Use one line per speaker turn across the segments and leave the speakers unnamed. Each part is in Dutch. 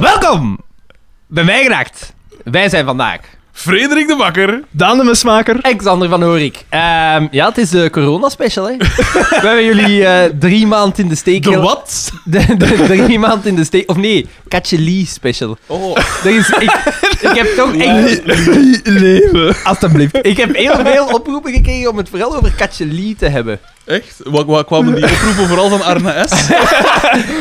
Welkom bij mij geraakt. Wij zijn vandaag
Frederik de Bakker.
Daan de mesmaker.
Alexander van Horik. Ehm, ja, het is de corona-special, hè. We hebben jullie eh, drie maanden in de steek...
De
gel-
wat?
De, de- drie maanden in de steek... Of nee, Katje Lee special.
Oh.
Dat is... Ik, ik heb toch echt...
Leven.
Alsjeblieft. Ik heb heel veel oproepen gekregen om het vooral over Katje Lee te hebben.
Echt? Wat, wat kwamen die oproepen vooral van Arne S?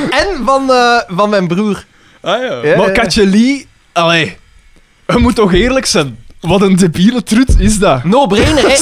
En van, eh, van mijn broer.
Ah ja.
Ja.
Maar Katje Lee, allee, we moeten toch eerlijk zijn. Wat een debiele trut is dat?
No-brainer, hè.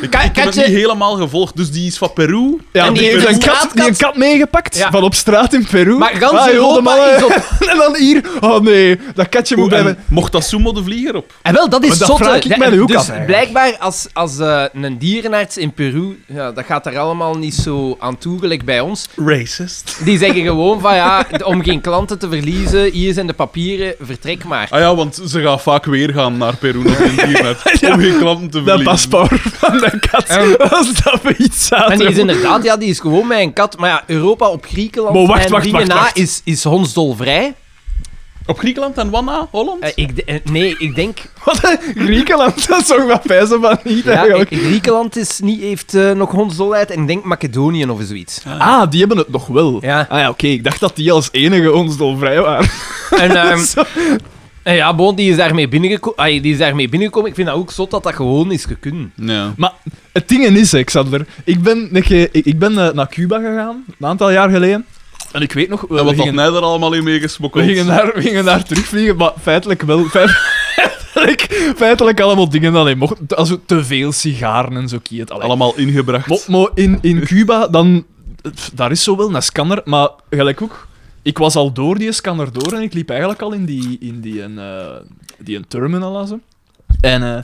Ik,
Ka-
ik heb het
Katje-
niet helemaal gevolgd, dus die is van Peru.
Ja,
En
die,
die
heeft
heeft
een
een
kat,
straatkat.
die een kat meegepakt
Ja.
van op straat in Peru.
Maar gans
Ah, joh, de
Europa
mannen.
is op-
En dan hier, oh nee, dat katje moet
Oeh, en
blijven.
mocht dat Sumo de Vlieger op?
En wel, dat is
Maar dat
zotte.
vraag ik
Ja,
mij nu ook
dus
af, eigenlijk.
blijkbaar als, als eh, een dierenarts in Peru, ja, dat gaat daar allemaal niet zo aan toe, gelijk bij ons.
Racist.
Die zeggen gewoon van ja, d- om geen klanten te verliezen, hier zijn de papieren, vertrek maar.
Ah ja, want ze gaat vaak weer gaan naar Peru naar het internet.
Ja.
Om geen klanten te
Dat
verliezen.
paspoort van de kat,
En-
als dat we iets zaten.
En die is inderdaad, ja, die is gewoon met een kat. Maar ja, Europa op Griekenland
Maar wacht,
en
wacht,
dingen
wacht,
na
wacht.
is, is hondsdolvrij.
Op Griekenland en Wanna, Holland?
Eh, ik, de- eh, nee, ik denk...
Wat een Griekenland, dat is toch wat pijzen van niet
Ja,
eigenlijk.
ik- Griekenland is niet, heeft eh, nog hondsdolheid en ik denk Macedonië of zoiets.
Ah, die hebben het nog wel.
Ja.
Ah ja, oké, ik dacht dat die als enige ons dolvrij waren.
En, ehm, en ja, bon, die is daarmee binnengeko- ai, die is daarmee binnengekomen. Ik vind dat ook zot dat dat gewoon is gekund.
Ja.
Maar het ding is, hè, Xander, ik ben, een keer- ik, ik ben eh, naar Cuba gegaan, een aantal jaar geleden. En ik weet nog, we,
En wat had
gingen,
mij er allemaal in
we,
meegesmokkeld?
gingen daar, we gingen daar terugvliegen, maar feitelijk wel. Feitelijk, feitelijk allemaal dingen dat hij mocht. Als we te veel sigaren en zo kiet. Allee.
Allemaal ingebracht.
Maar, maar in, in Cuba, dan, daar is zo wel een scanner, maar gelijk ook. Ik was al door die scanner door en ik liep eigenlijk al in die, in die, een, eh, die een terminal. als hem. En eh,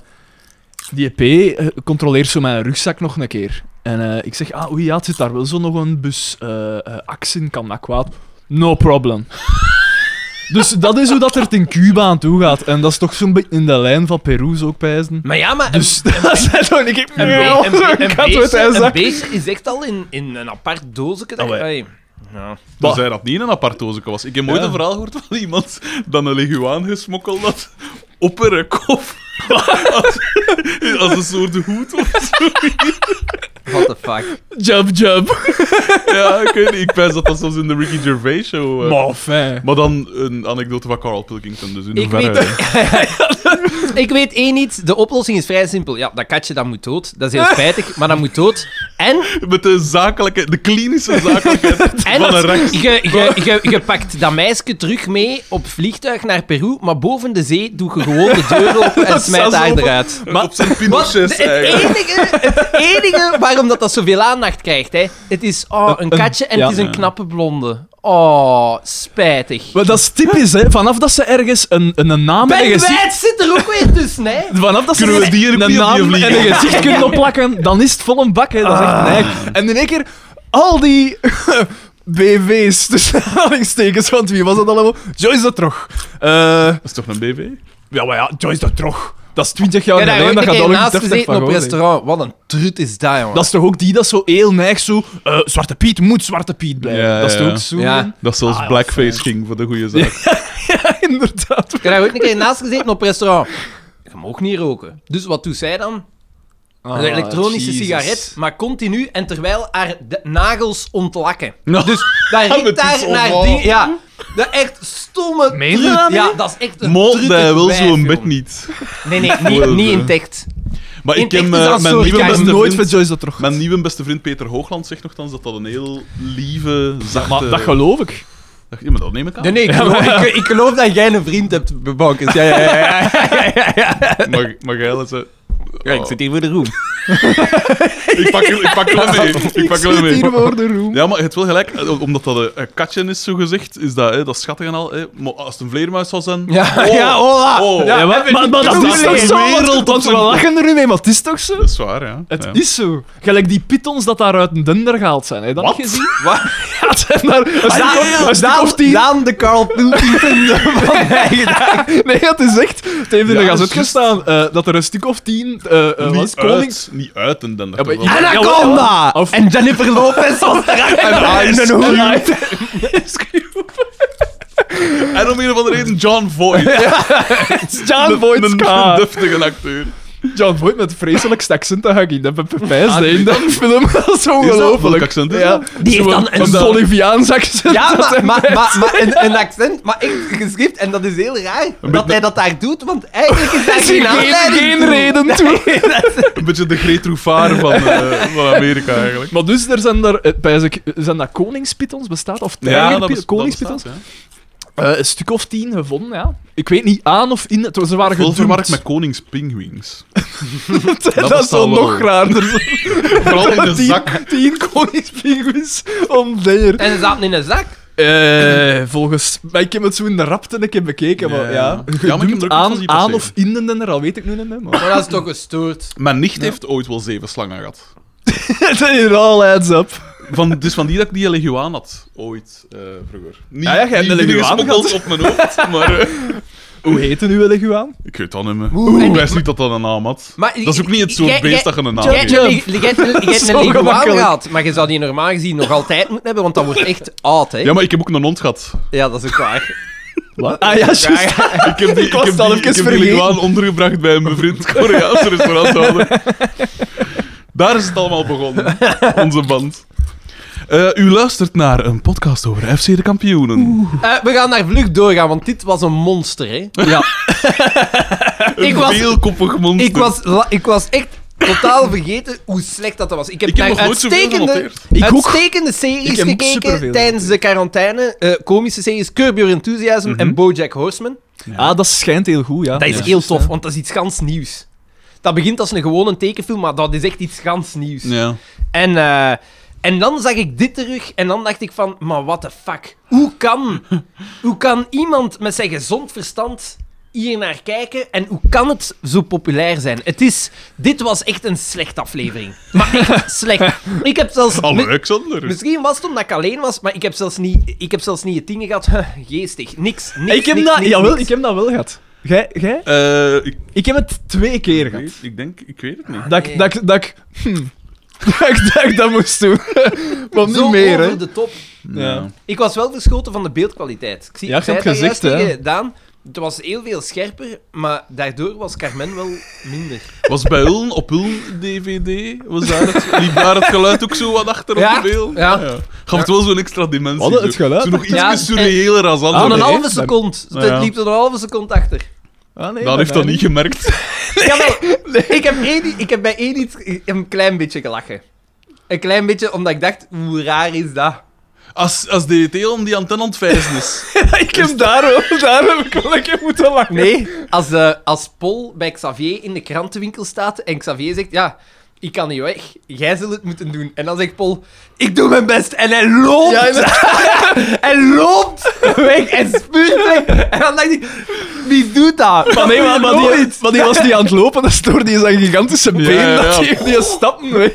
die EP eh, controleert zo mijn rugzak nog een keer. En eh, ik zeg, ah oei, ja, het zit daar wel zo nog een bus eh eh, aks in, kan dat kwaad? No problem. dus dat is hoe dat er het in Cuba aan toe gaat. En dat is toch zo'n beetje in de lijn van Peru's ook pijzen.
Maar ja, maar...
Dus dat zijn toch niet... Ik
Een,
Ja,
be- een, een
ik had het
beestje,
hij
een
zag.
beestje is echt al in, in een apart doosje. Dat,
Ah, wij-
ai, ja.
Dan
Bah.
zei dat niet in een apartozeke was. Ik heb ooit
Ja.
een verhaal gehoord van iemand dat een leguaan gesmokkeld had op een kop. als, als een soort hoed of zo.
What the fuck.
Jump, jump.
Ja, ik weet niet. Ik pijs dat dat soms in de Ricky Gervais show... eh.
Maar fijn.
Maar dan een anekdote van Carl Pilkington, dus in
Ik
hoeverre...
Ik weet één iets. De oplossing is vrij simpel. Ja, dat katje dat moet dood. Dat is heel spijtig, maar dat moet dood. En,
Met de zakelijke, de klinische zakelijkheid
en
van een rechts.
je, je,
Oh.
je, je pakt dat meisje terug mee op vliegtuig naar Peru, maar boven de zee doe je gewoon de deur open en
Dat
smijt
zou
haar
zo-
eruit.
op zijn
Wat? De-
pinochet
het,
eigenlijk.
enige, het enige waarom dat, dat zoveel aandacht krijgt, hè, het is oh, een katje en
ja.
het is een knappe blonde. Oh, spijtig.
Maar dat is typisch, hè. Vanaf dat ze ergens een, een, een naam en
Ben
een gezicht...
Wijd zit er ook weer tussen, hè?
Vanaf dat ze
Kunnen we
een-
die er niet
een
op die
naam en
vliegen?
een gezicht kunnen opplakken, dan is het vol een bak, hè. Dat is
Ah.
echt neig. En in één keer, al die... BV's, tussen aanhalingstekens, want wie was dat allemaal? Joyce de Trog. Eh,
Dat is toch een BV?
ja, maar ja, Joyce de Trog. Dat is 20 jaar
Ja, daar
geleden,
heb
dat
ik
gaat
een
al
naast
deftig
gezeten
van
op
gehoord, hè.
restaurant. Wat een trut is dat, jongen.
Dat is toch ook die dat zo heel neig zo... eh, Zwarte Piet moet Zwarte Piet blijven.
Ja,
dat is toch
ja.
ook zo?
Ja.
man?
Dat zelfs
Ah, ja, fijn.
blackface ging voor de goede zaak.
ja, inderdaad.
Ik heb daar ook een keer naast gezeten op restaurant. Je mag niet roken. Dus wat doet zij dan?
Ah,
Een elektronische sigaret, maar continu en terwijl haar de- nagels ontlakken.
Dus
Dat
het
riekt
is
daar naar
onwaar.
dingen... Ja, dat echt stomme
Meen je
truut.
dat niet?
Ja, dat is echt een
Mol,
trutte
dat wil
wijf,
zo'n bed
jongen.
niet.
Nee, nee, niet, niet intact.
Maar
In
ik heb
echt
eh,
is dat
mijn,
zo
nieuwe
raar.
beste
Ik
nooit
vriend,
van Joyce dat terug.
mijn nieuwe beste vriend Peter Hoogland zegt nogthans dat dat een heel lieve, zachte...
Maar dat geloof eh, ik.
Dag- Ja, maar dat neem ik aan.
Nee, nee, ik geloof, ik, ik geloof dat jij een vriend hebt bij Bankers. Ja, ja, ja. ja.
Mag, mag jij dat eh? zeggen?
Ja, ik zit hier voor de roem.
Ik pak hem ik pak hem mee. Ik pak hem mee.
voor de room.
Ja, maar het wil gelijk, eh, omdat dat eh, een katje is, zo gezegd, is dat, hè, dat is schattig en al. Hè. Maar als het een vleermuis zou zijn.
Ja,
oh,
ja, hola.
oh,
Ja, maar, maar, maar dat
dat
is
is
toch
de
zo?
wereld
want-
op
Want we
zijn-
lachen er nu mee, maar het is toch zo?
Dat is waar, ja.
Het
ja.
is zo. Gelijk die pitons dat daar uit een dender gehaald zijn. Hè? Dat
Wat?
heb je gezien? Ja, het zijn daar een stuk of- een stuk
Daan,
of tien.
Daan de Carl Pilkington van mij gedaan.
Nee, het is echt... Het heeft in
Ja,
de
juist.
gazet gestaan eh, dat er een stuk of tien... eh, eh, was
niet,
het? koning...
uit, niet uit en dan.
Ja, maar-
dat-
Anaconda!
Of-
En Jennifer Lopez was eruit.
En
En
Ice
een hoed.
Een live-
En om een of andere reden John Voight.
John Voight
Een, een deftige acteur.
John Voight met het vreselijkste accent dat ga ik in de pepijs
Ah,
in dat film. Dat is
Welk
ongelooflijk.
accent is
Ja,
dat?
Die heeft dan
een
een...
Boliviaans accent.
Ja,
dat
maar,
hem
maar,
heeft.
maar, maar een, een accent, maar echt geschrift. En dat is heel raar dat hij dat daar doet, want eigenlijk is daar
Er is hier
geen
geen,
aanleiding
geen
toe.
reden toe.
Een beetje de Greet Roefaar van, eh, van Amerika, eigenlijk.
Maar dus, er zijn daar, eh, pijs ik, zijn dat koningspitons bestaat? Of
dat
tijgerpi-
bes-
koningspitons?
dat bestaat,
Eh, een stuk of tien gevonden, ja. Ik weet niet aan of in. Het, ze waren
ja. Vol verwarkt
gedoemd.
met koningspingwings.
dat,
bestaat
is al
wel.
nog raarder.
Vooral in de
tien,
zak.
Tien koningspinguïns omdeerd.
En ze zaten in een zak.
Eh, volgens mij, ik heb het zo in de rapte een keer bekeken, maar
Ja. Ja,
ja.
maar ik heb
Gedoemd
er ook iets van zien
aan, aan
passeren.
of in de al weet ik nu niet meer. Maar.
Maar dat is toch gestoord.
Mijn nicht heeft ooit wel zeven slangen gehad.
It all adds up.
Van, dus van die dat ik die leguaan had, ooit, eh, vroeger. Niet,
Ah Ja, ja, jij hebt
niet-
een
niet
leguaan
gesmokkeld op mijn hoofd, maar... eh,
Hoe heette uw leguaan?
ik weet dat niet meer.
Oeh, en
Oeh,
die-
hij ziet dat dat een naam had.
Maar
Dat is ook niet het soort
jij-
beest
jij-
dat je een naam
jij-
geeft.
jij- jij- jij- jij- Jij hebt
Zo
een leguaan
gemakkelijk.
gehad, maar je zou die normaal gezien nog altijd moeten hebben, want dat wordt echt oud, hè?
Ja, maar ik heb ook een hond gehad.
Ja, dat is ook waar.
Wat? Ah ja, juist.
Ja, ja.
Ik heb die, ik
was
heb
het al
die, ik
even
heb
vergeten.
die leguaan ondergebracht bij een bevriend Koreaanse restauranthouder. Daar is het allemaal begonnen, onze band. Eh, u luistert naar een podcast over FC de kampioenen.
Eh, we gaan daar vlug doorgaan, want dit was een monster, hè?
Ja.
een
ik was-
veelkoppig monster.
Ik was, la- ik was echt totaal vergeten hoe slecht dat was. Ik heb,
Ik heb
naar
nog nooit zoveel
uitstekende,
genoteerd.
Ik ook.
uitstekende series
Ik heb ook
gekeken
superveel
tijdens de quarantaine. eh, komische series Curb Your Enthusiasm en
Mhm.
Bojack Horseman.
Ah, dat schijnt heel goed, ja.
Dat is
Ja.
heel tof, want dat is iets gans nieuws. Dat begint als een gewone tekenfilm, maar dat is echt iets gans nieuws.
Ja.
En, eh, en dan zag ik dit terug en dan dacht ik van, maar what the fuck? Hoe kan, hoe kan iemand met zijn gezond verstand hier naar kijken en hoe kan het zo populair zijn? Het is, dit was echt een slechte aflevering. Maar echt slecht. Ik heb zelfs... mi-
Alexander.
Misschien was het omdat ik alleen was, maar ik heb zelfs niet, ik heb zelfs niet het ding gehad. Geestig. Niks. niks
Ik heb,
niks,
dat,
niks,
jawel,
niks.
ik heb dat wel gehad. Jij? jij?
Eh, ik,
Ik heb het twee keer
ik
gehad.
weet- ik denk, ik weet het niet.
Dat
Nee.
ik dat, ik- dat, ik- hm. dat, ik- dat ik dat moest doen.
Zo
maar niet meer,
over
hè.
de top.
Ja.
Ik was wel verschoten van de beeldkwaliteit. Ik zie,
Ja, je
ik zei
hebt
dat
gezegd,
juist
hè.
tegen Daan, het was heel veel scherper, maar daardoor was Carmen wel minder.
Was bij Ulm, op Ulm DVD, was daar het, liep daar het geluid ook zo wat achter
Ja,
op de beeld?
ja.
Gaf het wel zo'n extra dimensie.
Wat, het
zo.
geluid?
Zo nog iets
Ja, en-
surreëler als
Aan
andere.
een
Ah, nee.
halve seconde.
Nou
Het
ja.
liep er een halve seconde achter.
Ah, nee,
Dan heeft dat niet gemerkt.
Jawel, ik, heb Edith, ik heb bij Edith een klein beetje gelachen. Een klein beetje, omdat ik dacht, hoe raar is dat?
Als, als DDT om die antenne aan het vijzen is.
ik heb daarom, daarom heb ik wel een keer moeten lachen.
Nee, als, eh, als Paul bij Xavier in de krantenwinkel staat en Xavier zegt, ja, ik kan niet weg, jij zult het moeten doen. En dan zegt Paul, ik doe mijn best. En hij loopt.
Ja, inderdaad.
En loopt weg en spuugt weg. En dan dacht ik, wie doet dat?
Maar nee, maar, maar die,
Nooit.
maar die was niet aan het lopen, dat stoorde die zijn gigantische been.
ja, ja.
Dat geeft die stappen weg.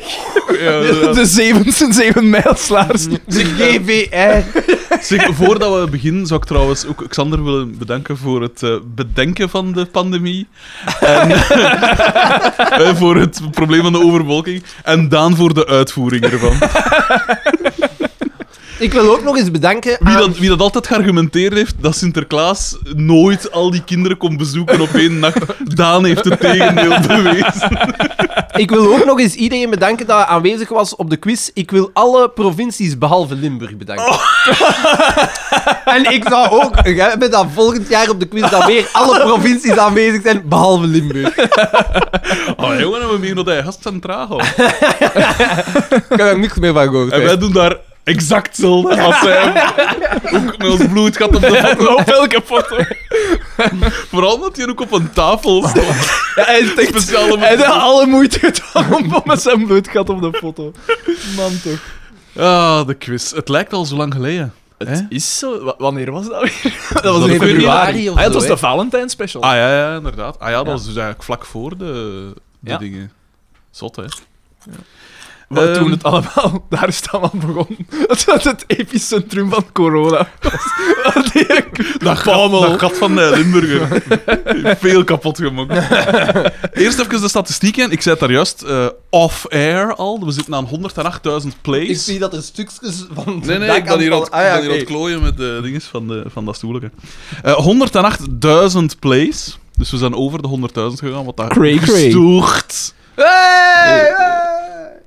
Ja, ja.
De zeven, zeven mijlslaars.
De GVR.
Zeg, voordat we beginnen, zou ik trouwens ook Xander willen bedanken voor het eh, bedenken van de pandemie. En eh, voor het probleem van de overbevolking. En Daan voor de uitvoering ervan.
Ik wil ook nog eens bedanken
Wie
aan-
dat, wie dat altijd geargumenteerd heeft, dat Sinterklaas nooit al die kinderen kon bezoeken op één nacht. Daan heeft het tegendeel bewezen.
Ik wil ook nog eens iedereen bedanken dat aanwezig was op de quiz. Ik wil alle provincies behalve Limburg bedanken.
Oh.
en ik zou ook hebben dat volgend jaar op de quiz dan weer alle provincies aanwezig zijn behalve Limburg.
Oh, jongen, hebben we meer dat hij gast centraal houdt.
Ik heb er niks meer van gehoord.
En wij doen daar exact hetzelfde als hij. Ook met ons bloed gaat op de foto.
Op welke foto?
Vooral omdat hij ook op een tafel stond.
Ja, hij heeft echt-
Speciaal om-
hij heeft alle moeite gedaan om- om met zijn bloedgat op de foto. Man, toch.
Ah, de quiz. Het lijkt al zo lang geleden. Hè?
Is zo... wa- Wanneer was dat weer? Dat
was in
februari of
Ah, ja, het
zo,
was
hè?
de Valentijn special.
Ah ja, ja, inderdaad. Ah ja, dat
Ja.
was dus eigenlijk vlak voor de, de
Ja.
dingen. Zot, hè?
Wa-
Ehm.
Toen het allemaal, daar is het allemaal begonnen. Het was het epicentrum van corona. Die
Eh, Dat gat,
Bammel.
dat gat van eh, Limburger. Veel kapot gemaakt. Eerst even de statistieken. Ik zei het daar juist eh, off-air al. We zitten aan 108.000 plays.
Ik zie dat er stukjes van de
Nee, nee,
dak
ik ben hier aan
aanvallen.
het,
Ah, ja,
ik ben hier aan het
oké.
klooien met de dinges van, de, van dat stoelje. Eh, 108.000 plays. Dus we zijn over de 100.000 gegaan, wat daar
Cray, cray.
stoert.
Hey,
Eh.
hey.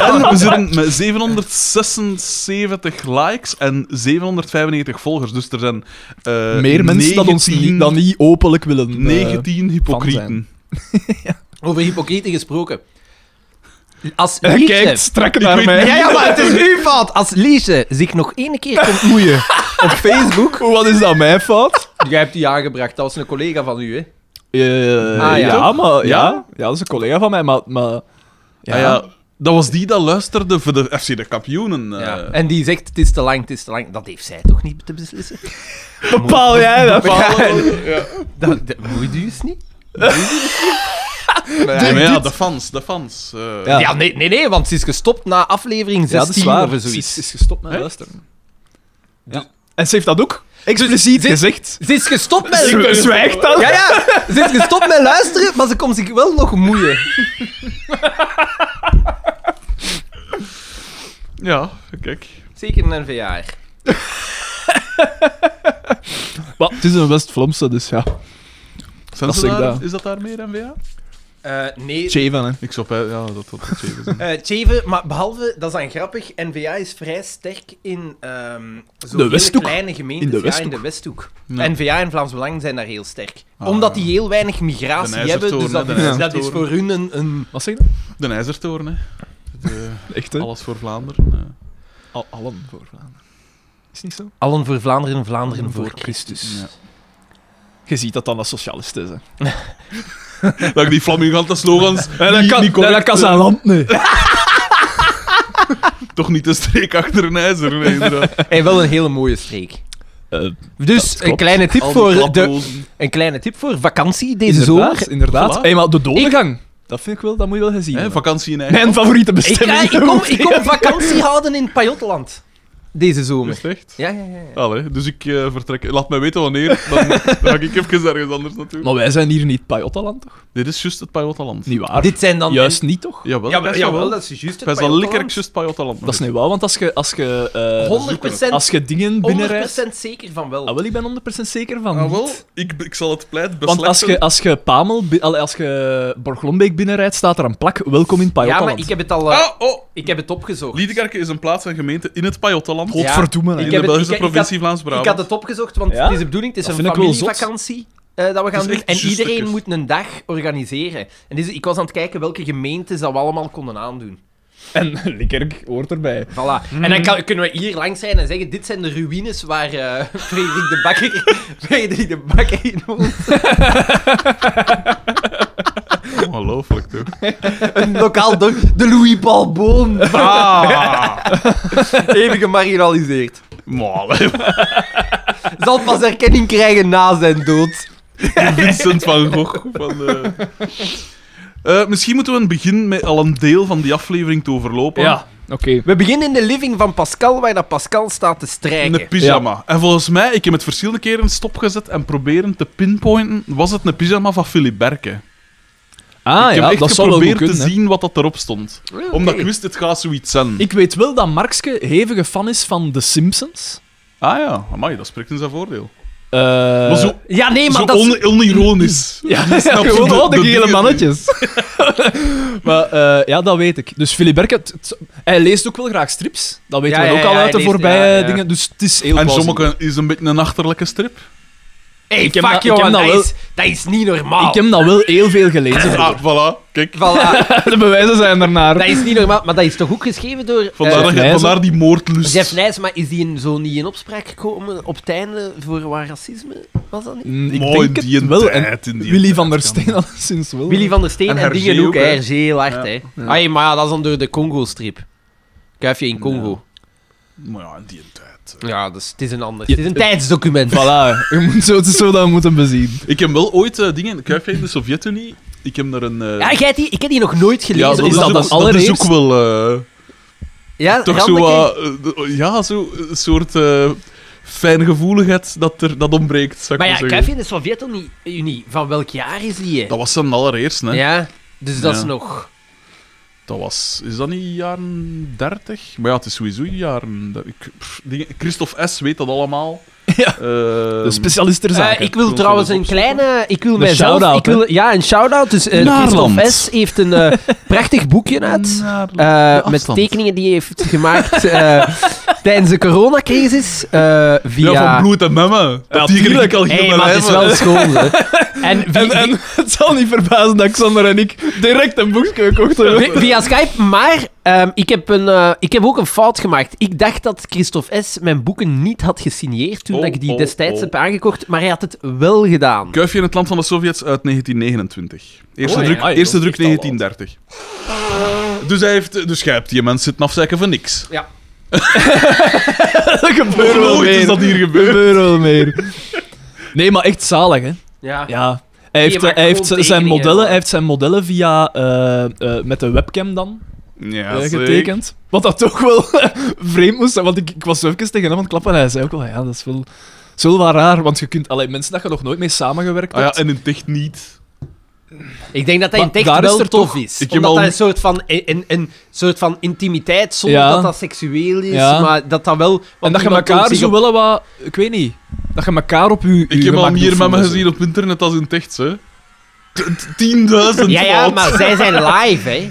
En we zitten met 776 likes en 795 volgers. Dus er zijn... eh,
Meer mensen dat ons niet,
19
dan niet openlijk willen. eh,
19
zijn.
hypocrieten.
Over hypocrieten gesproken. Als
Hij
Liesje-
kijkt strak
weet
naar mij.
niet-
Ja, ja, maar het is uw fout. Als Liesje zich nog één keer komt moeien op Facebook...
Wat is dat, mijn fout?
Jij hebt die aangebracht. Dat was een collega van u, hè?
Eh,
Ah, ja.
ja. maar, ja?
Ja?
Ja, Ah, dat is een collega van mij, maar... maar
Ja. ah, ja, dat was die dat luisterde voor de FC de kampioenen. eh.
Ja. En die zegt, het is te lang, het is te lang. Dat heeft zij toch niet te beslissen?
Bepaal jij dat?
Dat, dat moet je dus niet.
Ja, maar ja,
dit-
de fans, de fans. eh.
Ja.
Ja, nee, nee, nee, want ze is gestopt na aflevering 16 of zoiets.
Ze is gestopt met
Hè?
luisteren. Ja. En ze heeft dat ook expliciet
dit-
gezegd.
Dus Ze is gestopt met...
Ze zwijgt dan.
Ja, ja, ze is gestopt met luisteren, maar ze komt zich wel nog moeien.
Ja, kijk.
Zeker een NVA.
Maar het is een West-Vlaamse, dus ja.
Zijn
Dat
ze
zeg ik
daar-
dat.
Is dat daar meer NVA?
Eh nee,
Cheven, hè.
Ik zou bij- ja, dat dat dat zeker zijn.
Eh Tjeve, maar behalve, dat is dan grappig, N-VA is vrij sterk in ehm zo'n
De
hele
Westhoek.
kleine gemeentes.
In de
Ja, in
Westhoek.
de Westhoek.
Ja.
N-VA en Vlaams Belang zijn daar heel sterk.
Ah,
Omdat
ja.
die heel weinig
De
migratie hebben,
IJzertoren,
dus dat,
hè,
is,
de
dat is voor hun een... een-
Wat zeg je?
De IJzertoren, hè. De-
Echt, hè?
alles voor Vlaanderen. eh.
Al- allen voor Vlaanderen. Is niet zo?
Allen voor Vlaanderen, Vlaanderen voor
voor
Christus.
Ja.
Je ziet dat dan als socialist is, hè.
Dat ik die flamingante slogans
En dat
niet-
kan,
niet correct,
dat kan zijn land, nee.
eh, toch niet de streek achter een ijzer. Nee, inderdaad.
En wel een hele mooie streek. Dus een
Eh, klopt.
kleine, tip
Al die
voor de,
klapdozen.
een kleine tip voor vakantie deze
Inderdaad,
zomer.
inderdaad.
Voilà.
Hey, maar de dodengang, dat vind ik wel, dat moet je wel gezien
Hè,
hebben.
vakantie in eigen
Mijn favoriete
Ik, ga,
bestemming.
ik, kom, ik kom vakantie houden in Pajottenland deze
Is
zomer.
het echt?
Ja, ja, ja. ja.
Allee, dus ik eh, vertrek. Laat mij weten wanneer. Dan, dan ga ik even ergens anders naartoe.
Maar wij zijn hier niet Pajottenland, toch?
Dit is juist het Pajottaland.
Niet waar?
Dit zijn dan...
Juist niet, toch?
Jawel,
Ja, maar,
best wel.
jawel, dat is juist het
Best wel
Pajottenland.
likkerlijk juist Pajottaland.
Dat is niet waar, want als je... Als je eh,
100%,
Als je dingen binnenrijdt...
100% zeker van wel.
Ah, wel, ik ben 100% zeker van.
Ah, wel,
niet.
ik, ik zal het pleit beslechten.
Want als je, als je Pamel, bi- allee, als je Borglombeek binnenrijdt, staat er een plak. Welkom in
ja,
Pajottenland.
maar ik heb het al eh,
Ah, oh,
ik heb het opgezocht.
Liedekerke is een plaats en gemeente in het Pajottenland.
Ja.
Godverdomme, hè.
Ik heb
in de
het-
Belgische
ik- ik had-
provincie
ik
Vlaams-Brabant.
had het opgezocht, want
Ja?
het is de bedoeling, het is
Dat
een
vind ik wel
familievakantie eh, dat we
Dat
gaan
is
doen.
echt
En
juist
iedereen
lekker.
moet een dag organiseren. En dus ik was aan het kijken welke gemeentes dat we allemaal konden aandoen.
En Likkerk hoort erbij.
Voilà. En
Mhm.
dan kan- kunnen we hier langs zijn en zeggen, dit zijn de ruïnes waar eh, Frederik de Bakker, Frederik de Bakker in woont.
Ongelooflijk, toch?
Een lokaal dorp, de Louis Balboon. Even gemarginaliseerd.
Malen.
Zal pas erkenning krijgen na zijn dood.
Vincent van Gogh. Van, eh. Eh, misschien moeten we een begin met al een deel van die aflevering te overlopen.
Ja, oké.
We beginnen in de living van Pascal, waar dat Pascal staat te
In
strijken.
een pyjama. En volgens mij, ik heb het verschillende keren stopgezet en proberen te pinpointen, was het een pyjama van Philip Berke.
Ah
ik heb
ja,
echt
dat zal wel
geprobeerd
goed kunnen.
te
hè.
zien wat dat erop stond.
Oké.
Omdat ik wist, het gaat zoiets zijn.
Ik weet wel dat Markske hevige fan is van The Simpsons.
Ah ja, amai, dat spreekt in zijn voordeel.
Eh,
maar zo,
Ja, nee,
Dus
maar
zo
dat is...
on- onironisch.
Ja,
snap je?
gewoon
De-
al de
de
gele
dingen.
mannetjes. maar eh, ja, dat weet ik. Dus Philip Berke, het- het- hij leest ook wel graag strips. Dat weten
Ja,
we
ja,
ook
ja,
al
hij
uit de
leest-
voorbije
ja, ja.
dingen. Dus het is heel
En
plausible.
sommige is een beetje een achterlijke strip.
Hey,
Ik
fuck,
heb dat- ik
jongen,
heb
dat,
dat wel-
is, dat is niet normaal.
Ik heb dat wel heel veel gelezen.
Ah, voilà, kijk.
Voilà,
de bewijzen zijn
dat
ernaar.
is niet normaal. Maar dat is toch ook geschreven door...
Vandaar,
eh,
dat je-
Nijs.
vandaar die moordlust.
Jeff Nijs, maar is die in, zo niet in opspraak gekomen op het einde voor wat racisme? Was dat niet?
Mm, Ik
Mooi,
denk
die
het wel. En
tijd, in die
Willy
tijd,
van der
kan.
Steen alleszins wel.
Willy van der Steen en,
En Hergé
dingen ook,
ook,
hè.
hè.
Hergé heel hard, hè. Ai, maar ja, dat is dan door de Congo-strip. Kuifje in Congo.
Maar ja, in die tijd.
Ja, dus het is een ander.
Ja,
Het is een tijdsdocument.
Voilà, je moet zo, het is zo dat we moeten bezien.
Ik heb wel ooit eh, dingen... Kuifje in de Sovjet-Unie Ik heb er een... eh,
Ja, jij hebt die, ik heb die nog nooit
ja,
gelezen. is
is
dat
ook,
dan allereerst?
dat is ook wel... eh,
ja,
toch zo
Randeke?
wat... eh, ja, zo een soort eh fijngevoeligheid dat, er, dat ontbreekt, zou
Maar
ik maar
ja,
zeggen.
Kuifje in de Sovjet-Unie, van welk jaar is die?
Dat was zijn allereerst, hè.
Ja, dus dat is
Ja.
nog...
Dat was... Is dat niet jaren 30? Maar ja, het is sowieso jaren... der- Ik, pff, die- Christophe S. weet dat allemaal.
Ja.
Ehm,
De specialist ter
Eh,
zake.
ik wil
wil
trouwens
zo
een
eens opzoeken.
kleine... Ik wil
Dus, ah, Een
mijzelf...
shout-out,
Ik wil, ja, een shout-out. Dus eh,
Naarland.
Christophe S. heeft een eh, prachtig boekje uit.
Naar-
eh, met
afstand.
tekeningen die hij heeft gemaakt eh, tijdens de coronacrisis. eh, via...
Ja, van bloed en memmen. Dat
Ja,
die kreeg
tuurlijk.
ik al hier
Hey,
bij
maar het is
lijven.
wel schoon, hè. En,
En,
via,
en het zal niet verbazen dat Xander en ik direct een boekje kochten.
vi- via Skype, maar ehm, ik, heb een, eh, ik heb ook een fout gemaakt. Ik dacht dat Christophe S. mijn boeken niet had gesigneerd toen
Oh,
dat ik die
oh,
destijds
oh.
heb aangekocht, maar hij had het wel gedaan.
Kuifje in het land van de Sovjets uit 1929. Eerste
Oh, ja.
druk,
Ah, ja,
eerste
dat
druk
is echt al
1930. Dus hij heeft... Dus jij hebt die mensen zitten afzeiken van niks.
Ja.
Dat gebeurt wel
Nooit
meer.
is dat hier gebeurd.
gebeurt wel meer. Nee, maar echt zalig, hè?
Ja.
Ja. Hij
Die
heeft,
maakt
hij heeft
gewoon
zijn
tekeningen,
modellen,
hoor.
hij heeft zijn modellen via... eh, eh, met de webcam dan
Ja,
eh,
zeker.
getekend. Wat dat toch wel vreemd moest zijn. Want ik, ik was zo even tegen hem aan het klappen en hij zei ook wel... Ja, dat is wel... Dat is wel wat raar, want je kunt... Allee, mensen dat je nog nooit mee samengewerkt
Ah ja,
hebt.
en in ticht niet.
Ik denk dat hij in
Maar
het
daar
echt
is
wel
er
tof
toch-
is.
Ik heb
Omdat
al-
dat een soort van, eh, een, een soort van intimiteit, zonder
Ja.
dat dat seksueel is,
Ja.
maar dat dat wel... want
en dat je
iemand
elkaar
zich
zo
op-
wel wat... Ik weet niet. Dat je elkaar op je...
Ik heb al meer memmen gezien op internet als in ticht, hè. T- 10.000
Ja, ja,
wat.
maar zij zijn live, hè.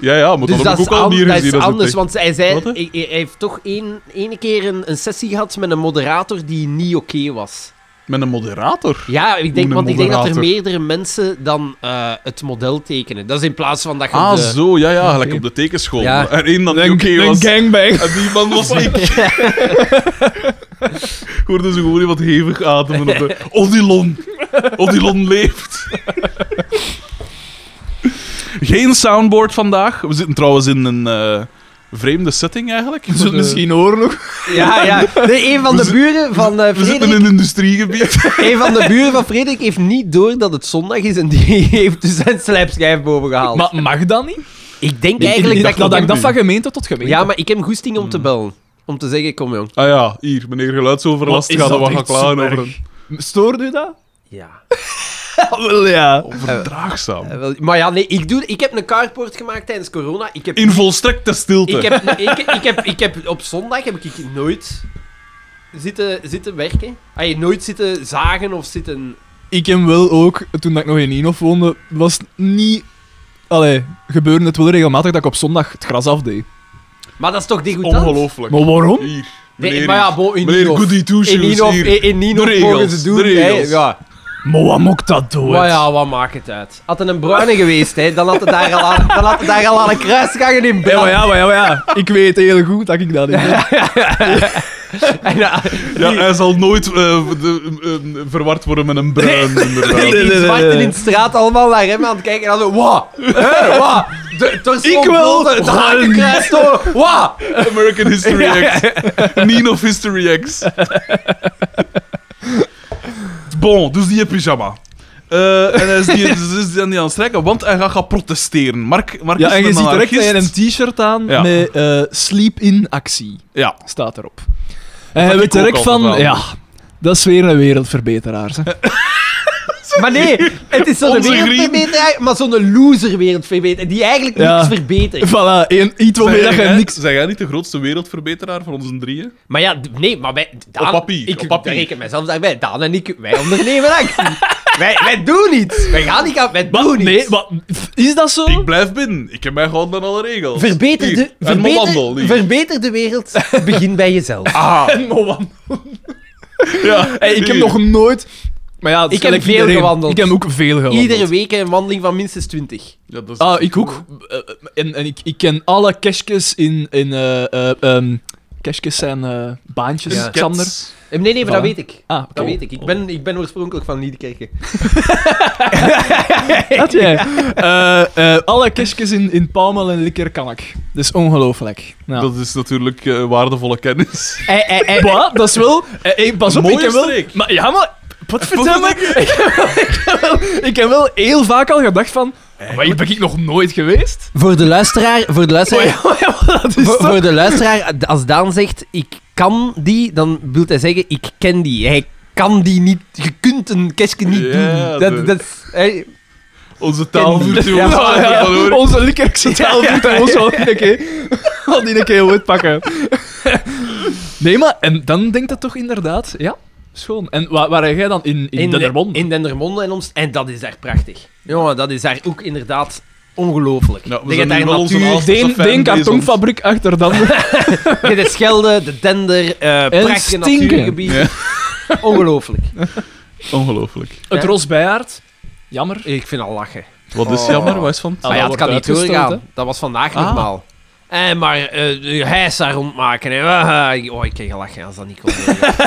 Ja, ja, maar
Dus
dat
dat
heb ik
is,
ook al
an-
meer
dat
gezien
is
als in
anders,
ticht.
want hij, zei,
Wat, hè?
hij, hij heeft toch één, ene keer een, een sessie gehad met een moderator die niet oké was.
Met een moderator.
Ja, ik
een
denk, want ik denk dat er
moderator?
meerdere mensen dan eh, het model tekenen. Dat is in plaats van dat je...
Ah,
de-
zo, ja, ja, gelijk
Oké.
op de tekenschool.
Ja.
Er één dat
Een,
niet oké was.
een gangbang.
En die man was ik. Ik hoorde ze gewoon wat hevig ademen. Op de... Odilon. Odilon leeft. Geen soundboard vandaag. We zitten trouwens in een eh, vreemde setting eigenlijk.
Je zult
Eh,
misschien horen nog.
Ja, ja. Nee, een van
We
de
zi-
buren van eh
We zitten
Frederik...
in een industriegebied.
Een van de buren van Frederik heeft niet door dat het zondag is en die heeft dus zijn slijpschijf boven gehaald.
Maar mag dat niet?
ik denk
ik-
eigenlijk
ik
dat,
dacht
ik...
dat
hem
ik dat
nu. Hmm.
van gemeente tot gemeente.
Ja, maar ik heb goesting om te bellen. Om te zeggen, kom jong.
ah ja, hier, meneer geluidsoverlast.
Wat is
Gaat er
dat
wat gaan
echt
klagen
zo
over
erg.
een
Stoorde u dat?
Ja.
wel ja.
overdraagzaam.
Eh, wel, Maar ja, nee, ik, doe, ik heb een carport gemaakt tijdens corona. Ik heb,
In volstrekte stilte.
ik heb, ik, ik heb, ik heb, op zondag heb ik nooit zitten, zitten werken. Ay, nooit zitten zagen of zitten...
Ik en wel ook, toen ik nog in Inof woonde, was het niet... Allee, gebeurde het wel regelmatig dat ik op zondag het gras afdeed.
Maar dat is toch degoutant?
Ongelooflijk.
Maar waarom?
Hier,
Nee,
meneer,
maar ja, bo, in
meneer
Ninof.
Goody Two
In eh,
Shoes.
Ninof,
hier.
in, in Ninof
De regels,
mogen ze doen.
de
hè.
regels.
ja.
Maar wat moet dat doen?
Maar ja, wat maakt het uit? Had het een bruine geweest, hè, dan had het daar al aan, dan had het daar al aan een kruisgangen in
Ja, maar
brand.
ja, maar ja, maar ja. Ik weet heel goed dat ik dat niet doe.
En, eh,
Ja, hij zal nooit eh, de- eh, verward worden met een bruin, inderdaad.
die-
nee,
Die
nee,
zwarten
nee.
in de straat allemaal naar hem aan het kijken en dan zo, wauw, hè, wauw. De- Toch
Ik wil
het
gaan.
hakenkruis, toch, wauw.
American History X. Nino of History X. bon, dus die heeft pyjama. Eh, en hij is, die, dus is die aan die aan het strijken, want hij gaat, gaan protesteren. Mark, Mark
Ja,
is
en je
een
ziet direct
anarchist.
dat je een t-shirt aan
Ja.
met eh, sleep in actie.
Ja,
Staat erop. En hij
ik
weet direct
ook al
van...
gedaan.
Ja, dat is weer een wereldverbeteraar. Hè.
Maar nee, het is zo'n
Onze
wereldverbeter, maar zo'n loser wereldverbeter, die eigenlijk
Ja.
niks verbetert.
Voilà, één- iets waarmee dat
Zeg
je
jij-
niks...
Zeg jij niet de grootste wereldverbeteraar van onze drieën?
Maar ja, d- nee, maar wij... Daan,
Op papier,
Ik
op papier.
reken mezelf daarbij. Daan en ik, wij ondernemen actie. wij, wij doen iets. Wij gaan niet aan, wij doen iets.
Nee, wat? Is dat zo?
Ik blijf binnen. Ik heb mij gehouden aan alle regels.
Verbeter
Hier,
de,
en
verbeter,
Mollandel, hier.
verbeter de wereld. Begin bij jezelf.
Ah, ja.
Hey, ik heb
hier.
nog nooit. Maar ja, dat is
Ik heb
gelijk
veel
iedereen.
gewandeld.
Ik heb ook veel gewandeld.
Iedere week een wandeling van minstens 20.
Ja, dat is-
Ah, ik ook. Eh, eh, En, en ik, ik ken alle cashkes in. in eh, eh, ehm, cashkes zijn eh, baantjes,
Ja.
Xander.
Cats.
Eh, Nee, nee, maar dat
Voilà.
weet ik.
Ah, oké.
Dat weet ik. Ik ben, ik ben oorspronkelijk van Liedekerke.
Had jij? Eh, eh, alle cashkes in, in Palmel en Likker kan ik. Dat is ongelooflijk. Nou.
Dat is natuurlijk eh, waardevolle kennis.
Eh, eh, eh,
Bah, dat is wel. eh, eh, pas op,
Mooie
ik heb wel.
streek.
Maar, ja, maar Potverdomme! ik, heb wel- ik heb wel- ik heb wel heel vaak al gedacht van... Maar hier ben ik nog nooit geweest.
Voor de luisteraar, voor de
Oh
luisteraar,
ja, maar ja, maar dat is
voor,
toch...
voor de luisteraar als Daan zegt, ik kan die, dan wil hij zeggen, ik ken die. Hij kan die niet, je kunt een kerstje niet
Ja,
doen. Dat,
de-
dat, is- hij-
Onze taal voert u
Ja,
ons
maar ja,
aan, hoor.
Onze Likkerkse taal doet er ons wel in een keer. Al die een keer ooit pakken. Nee, maar en dan denkt dat toch inderdaad... Ja, schoon. En waar, waar jij dan? In, in, Dendermonde?
In Dendermonde en ons. En dat is daar prachtig. Jongen, dat is daar ook inderdaad ongelooflijk.
Ja, Nou, we
je
zijn
hebt daar
nu wel onze
natuur,
Aalst-
De
Onze
een-
fan
de een
bezig.
kartonfabriek achter dan.
je hebt de Schelde, de Dender, eh prachtige
stinken.
natuurgebied.
Ja.
Ongelooflijk.
Oh.
Ongelooflijk.
Het Rosbijaard. Jammer.
Ik vind al lachen.
Wat is
Oh.
jammer, wat is van?
Ah,
maar ja,
dat
het kan niet
wordt uitgestoten,
doorgaan. Dat was vandaag
Ah.
normaal. Eh, maar eh, de hijs daar rondmaken. Hè. Ah, Oh, ik kreeg al lachen als dat niet kon.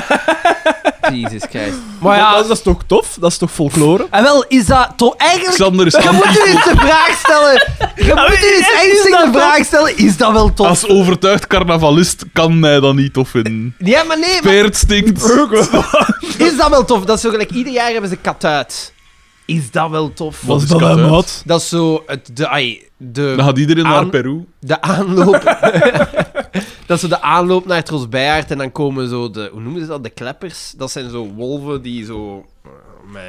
Jezus Christus. Maar
Maar ja,
ja,
dat is toch tof? Dat is toch folklore?
en wel, is dat toch eigenlijk
Xander is
Je
anti-
moet je eens de vraag stellen. Je moet je eens ernstig de vraag stellen. Is dat wel tof?
Als overtuigd carnavalist kan hij dat niet tof vinden.
Ja, maar nee. Maar
Peert stinkt.
is dat wel tof? Dat is zo gelijk. Ieder jaar hebben ze kat uit. Is dat wel tof?
Wat
Was
is
dat
kat
een
uit?
mat?
Dat is zo het, de, ai,
Dan
de,
gaat iedereen naar
Aan-
Peru.
de aanloop. dat is zo de aanloop naar Trosbeiaard. En dan komen zo de. Hoe noemen ze dat? De kleppers. Dat zijn zo wolven die zo. eh, Met,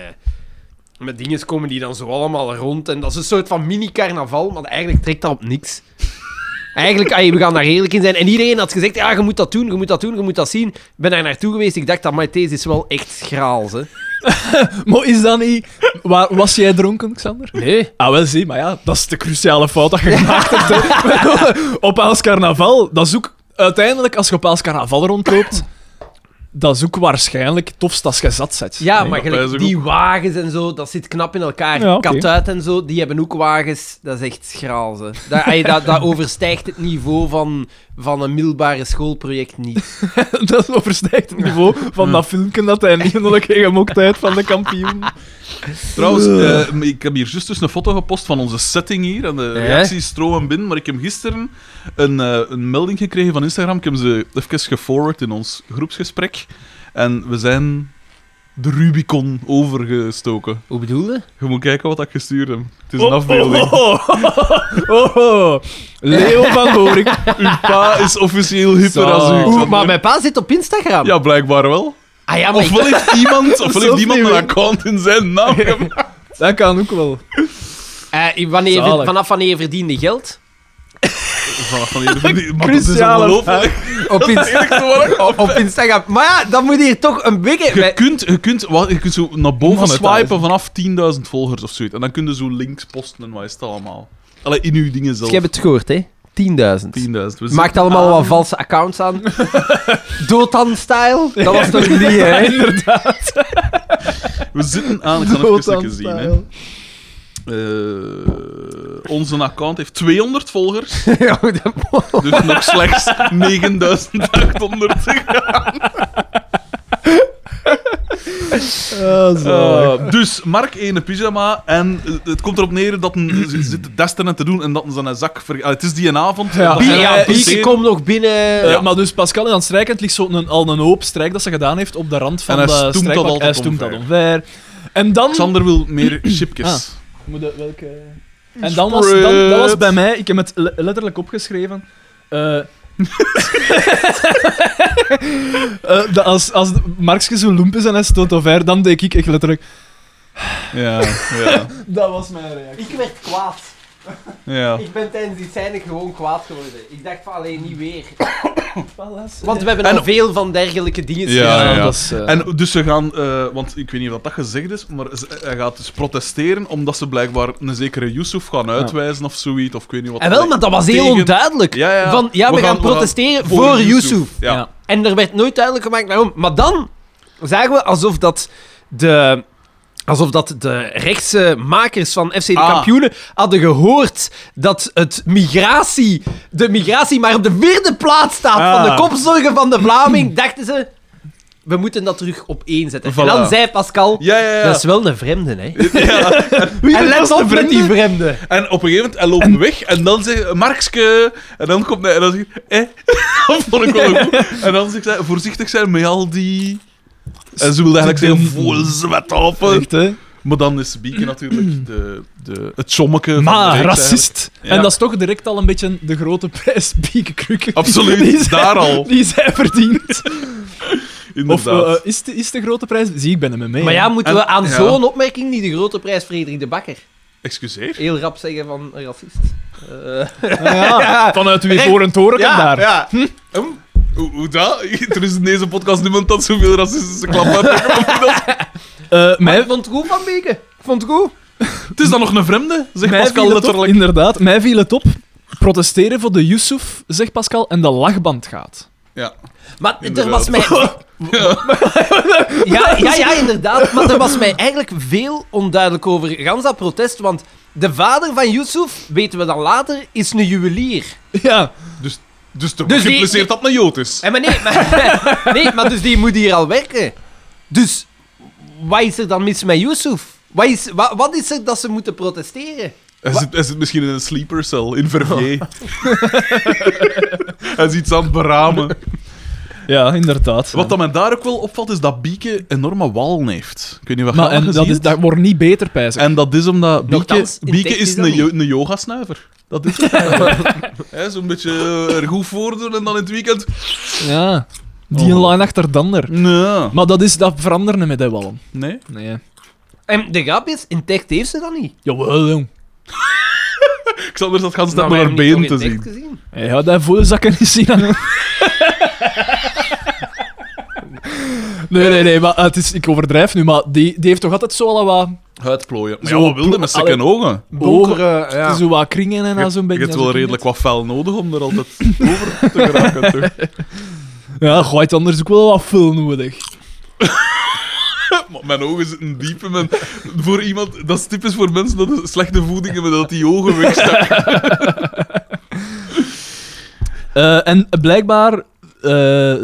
met dingen komen die dan zo allemaal rond. En dat is een soort van mini-carnaval. Maar eigenlijk trekt dat op niks. Eigenlijk, ai, we gaan daar eerlijk in zijn. En iedereen had gezegd, ja, je moet dat doen, je moet dat doen, je moet dat zien. Ik ben daar naartoe geweest, ik dacht, dat deze is wel echt schraal, hè.
Maar is dat niet... Waar, was jij dronken, Xander?
Nee.
Ah, wel zie, maar ja, dat is de cruciale fout dat je gemaakt hebt. hè. op Aals Carnaval, dat is ook... Uiteindelijk, als je op Aals Carnaval rondloopt, dat is ook waarschijnlijk het tofst als je zat zet.
Ja, maar
dat
gelijk
is ook
die wagens en zo, dat zit knap in elkaar.
Ja, oké.
Katuit en zo, die hebben ook wagens. Dat is echt schraal, hè. Dat, ai, dat, dat overstijgt het niveau van, van een middelbare schoolproject niet.
dat overstijgt het niveau van dat filmpje dat hij niet eindelijk gemokt heeft van de kampioen.
Trouwens, eh, ik heb hier juist dus een foto gepost van onze setting hier. En de
Ja.
reacties stromen binnen. Maar ik heb gisteren een, eh, een melding gekregen van Instagram. Ik heb ze even geforward in ons groepsgesprek. En we zijn de Rubicon overgestoken.
Hoe bedoel je?
Je moet kijken wat ik gestuurd heb. Het is een afbeelding.
Oh, oh, oh, oh. Leo van Horik.
Uw pa is officieel hyper
Zo.
als u.
Oeh,
Xander.
maar mijn pa zit op Instagram.
Ja, blijkbaar wel.
Ah ja, maar ik-
Ofwel heeft iemand, ofwel heeft
Zelf
iemand
niet
een
weten.
account in zijn naam gemaakt.
Dat kan ook wel.
eh, wanneer,
Zalig.
vanaf wanneer verdiende je geld?
Vanaf van hier, maar dat is
Cruciale
ongelooflijk.
Op, Inst-
Eerlijk te worden.
op Instagram. Maar ja, dan moet je hier toch een beetje...
Je kunt, je, kunt, wat, je kunt zo naar boven
Van het
swipen vanaf 10.000 volgers of zoiets. En dan kun je zo links posten en wat is het allemaal. Allee, in uw dingen zelf.
Dus jij hebt het gehoord, hè? 10.000.
10.000. We zitten-
Maakt allemaal wat valse accounts aan. Dotan-style. Dat was toch niet, hè?
We zitten aan, ik ga nog even een keer zien. Hè. Eh, onze account heeft 200 volgers,
Ja, dat-
dus nog slechts 9800 te gaan.
Ah,
Eh, dus Mark ene pyjama en eh, het komt erop neer dat een, ze zit te testen en te doen en dat een zijn zak... ver- Ah, het is die een avond.
Ja.
dat
Bie-
hij
ja,
aan het
Bieke
testen-
komt nog binnen.
Eh,
Ja.
Maar dus Pascal en aan het strijkend ligt zo een, al een hoop strijk dat ze gedaan heeft op de rand van
En hij
de
stoemt dat
strijkbank.
altijd
Hij stoemt dat
omver.
omver. En dan...
Xander wil meer chipjes.
Moet dat- welke... En dan was, dan, dat was bij mij... Ik heb het le- letterlijk opgeschreven. eh, eh, dat als, als Markske zo lomp is en hij stoot omver, dan denk ik echt letterlijk...
Ja, ja,
Dat was mijn reactie.
Ik werd kwaad.
ja.
Ik ben tijdens die scène gewoon kwaad geworden. Ik dacht van, alleen niet weer. Want we hebben
En-
al veel van dergelijke dingen
Ja,
gedaan.
ja.
dat is, eh,
En dus ze gaan, eh, want ik weet niet of dat gezegd is, maar ze- hij gaat dus protesteren omdat ze blijkbaar een zekere Yusuf gaan uitwijzen of zoiets, of ik weet niet wat.
En wel, maar dat was heel
Tegen-
onduidelijk.
Ja, ja.
Van, ja, we, gaan,
we gaan
protesteren voor Yusuf.
Ja.
Ja.
En er werd nooit duidelijk gemaakt waarom. Maar dan zagen we alsof dat de. Alsof dat de rechtse makers van FC de
Ah.
Kampioenen hadden gehoord dat het migratie, de migratie maar op de vierde plaats staat van
Ah.
de kopzorgen van de Vlaming, dachten ze, we moeten dat terug op één zetten. En
Voilà.
dan zei Pascal,
Ja, ja, ja.
dat is wel een vreemde, hè.
Wie
En
bent
let
als de
op met
vrienden?
die vreemde.
En op een gegeven moment, hij loopt weg en dan zegt Markske. En dan komt hij en dan zegt eh. dat vond ik wel goed. En dan zegt hij, voorzichtig zijn met al die En ze wilde eigenlijk
Ze doen-
zeggen, vol zwet op.
Echt, hè?
Maar dan is Bieke natuurlijk de, de, het sommeke van de
Maar
week eigenlijk.
racist.
Ja.
En dat is toch direct al een beetje de grote prijs Biekenkrukken.
Absoluut,
Die zij-
daar al.
Die zij verdient. Of
Inderdaad.
eh, is, de, is de grote prijs... Zie, ik ben er mee mee.
Maar ja,
hè.
moeten
En-
we aan
ja.
zo'n opmerking niet de grote prijs Frederik de Bakker
Excuseer.
heel rap zeggen van een racist? Eh,
Ja,
Ja.
Vanuit weer
Recht.
voor een toren
Ja,
daar.
Ja. Ehm, Hoe, hoe dat? Er is in deze podcast niemand dat zoveel racistische klappen heeft.
Eh,
maar
mij,
ik vond het goed van Beke. Ik vond het goed.
Het is dan nog een vreemde, zegt
mij
Pascal
viel het op,
letterlijk.
inderdaad. Mij viel het op. Protesteren voor de Yusuf, zegt Pascal, en de lachband gaat.
Ja.
Maar er was
Inderdaad.
mij... Ja, ja, ja, inderdaad. Maar er was mij eigenlijk veel onduidelijk over gans dat protest. Want de vader van Yusuf, weten we dan later, is een juwelier.
Ja.
Dus toch
Dus die-
geïmpliceerd dat het een jood is.
En Eh, maar nee, maar, nee, maar dus die moet hier al werken. Dus wat is er dan mis met Yusuf? Wat is, wa- wat is er dat ze moeten protesteren?
Hij zit, hij zit misschien in een sleeper cell in Verviers. hij is iets aan het beramen.
Ja, inderdaad.
Wat dat men daar ook wel opvalt, is dat Bieke enorme walen heeft. Ik weet niet wat
maar
je
en dat,
dat gezien
is,
hebt.
dat wordt niet beter, pijs ik.
En dat is omdat Bieke,
Nochtans, in
Bieke
tekst
is
is dat
een,
niet.
yo- een yogasnuiver. Dat is het. eigenlijk. Hè, Zo'n beetje eh, er goed voordoen en dan in het weekend...
Ja. Die een
Eh. Oh.
lijn achter de ander.
Nee.
Maar dat, is, dat veranderen met dat wel.
Nee?
Nee.
En de grap is, in tekst heeft ze dat niet.
Jawel, jong.
Xander zat gans
Maar
net
wij
naar haar
hebben die
benen te
toch in tekst
zien.
gezien.
Hij had dat volle zakken niet zien hangen. Nee, nee, nee, maar het is, ik overdrijf nu, maar die, die heeft toch altijd zo al wat,
Huidplooien. eh, Maar
Zo
ja, wat wilde
plo-
met stikken ogen?
Donkere, ja.
zo wat kringen en dan zo'n
Je
beetje.
hebt wel
zo'n
redelijk wat fel nodig om er altijd over te geraken, toch?
kringen. Ja, gooit anders ook wel wat veel nodig.
Maar Mijn ogen zitten diep in mijn... Voor iemand... Dat is typisch voor mensen dat de slechte voeding hebben, dat die ogen wegstappen.
Eh, en blijkbaar. eh,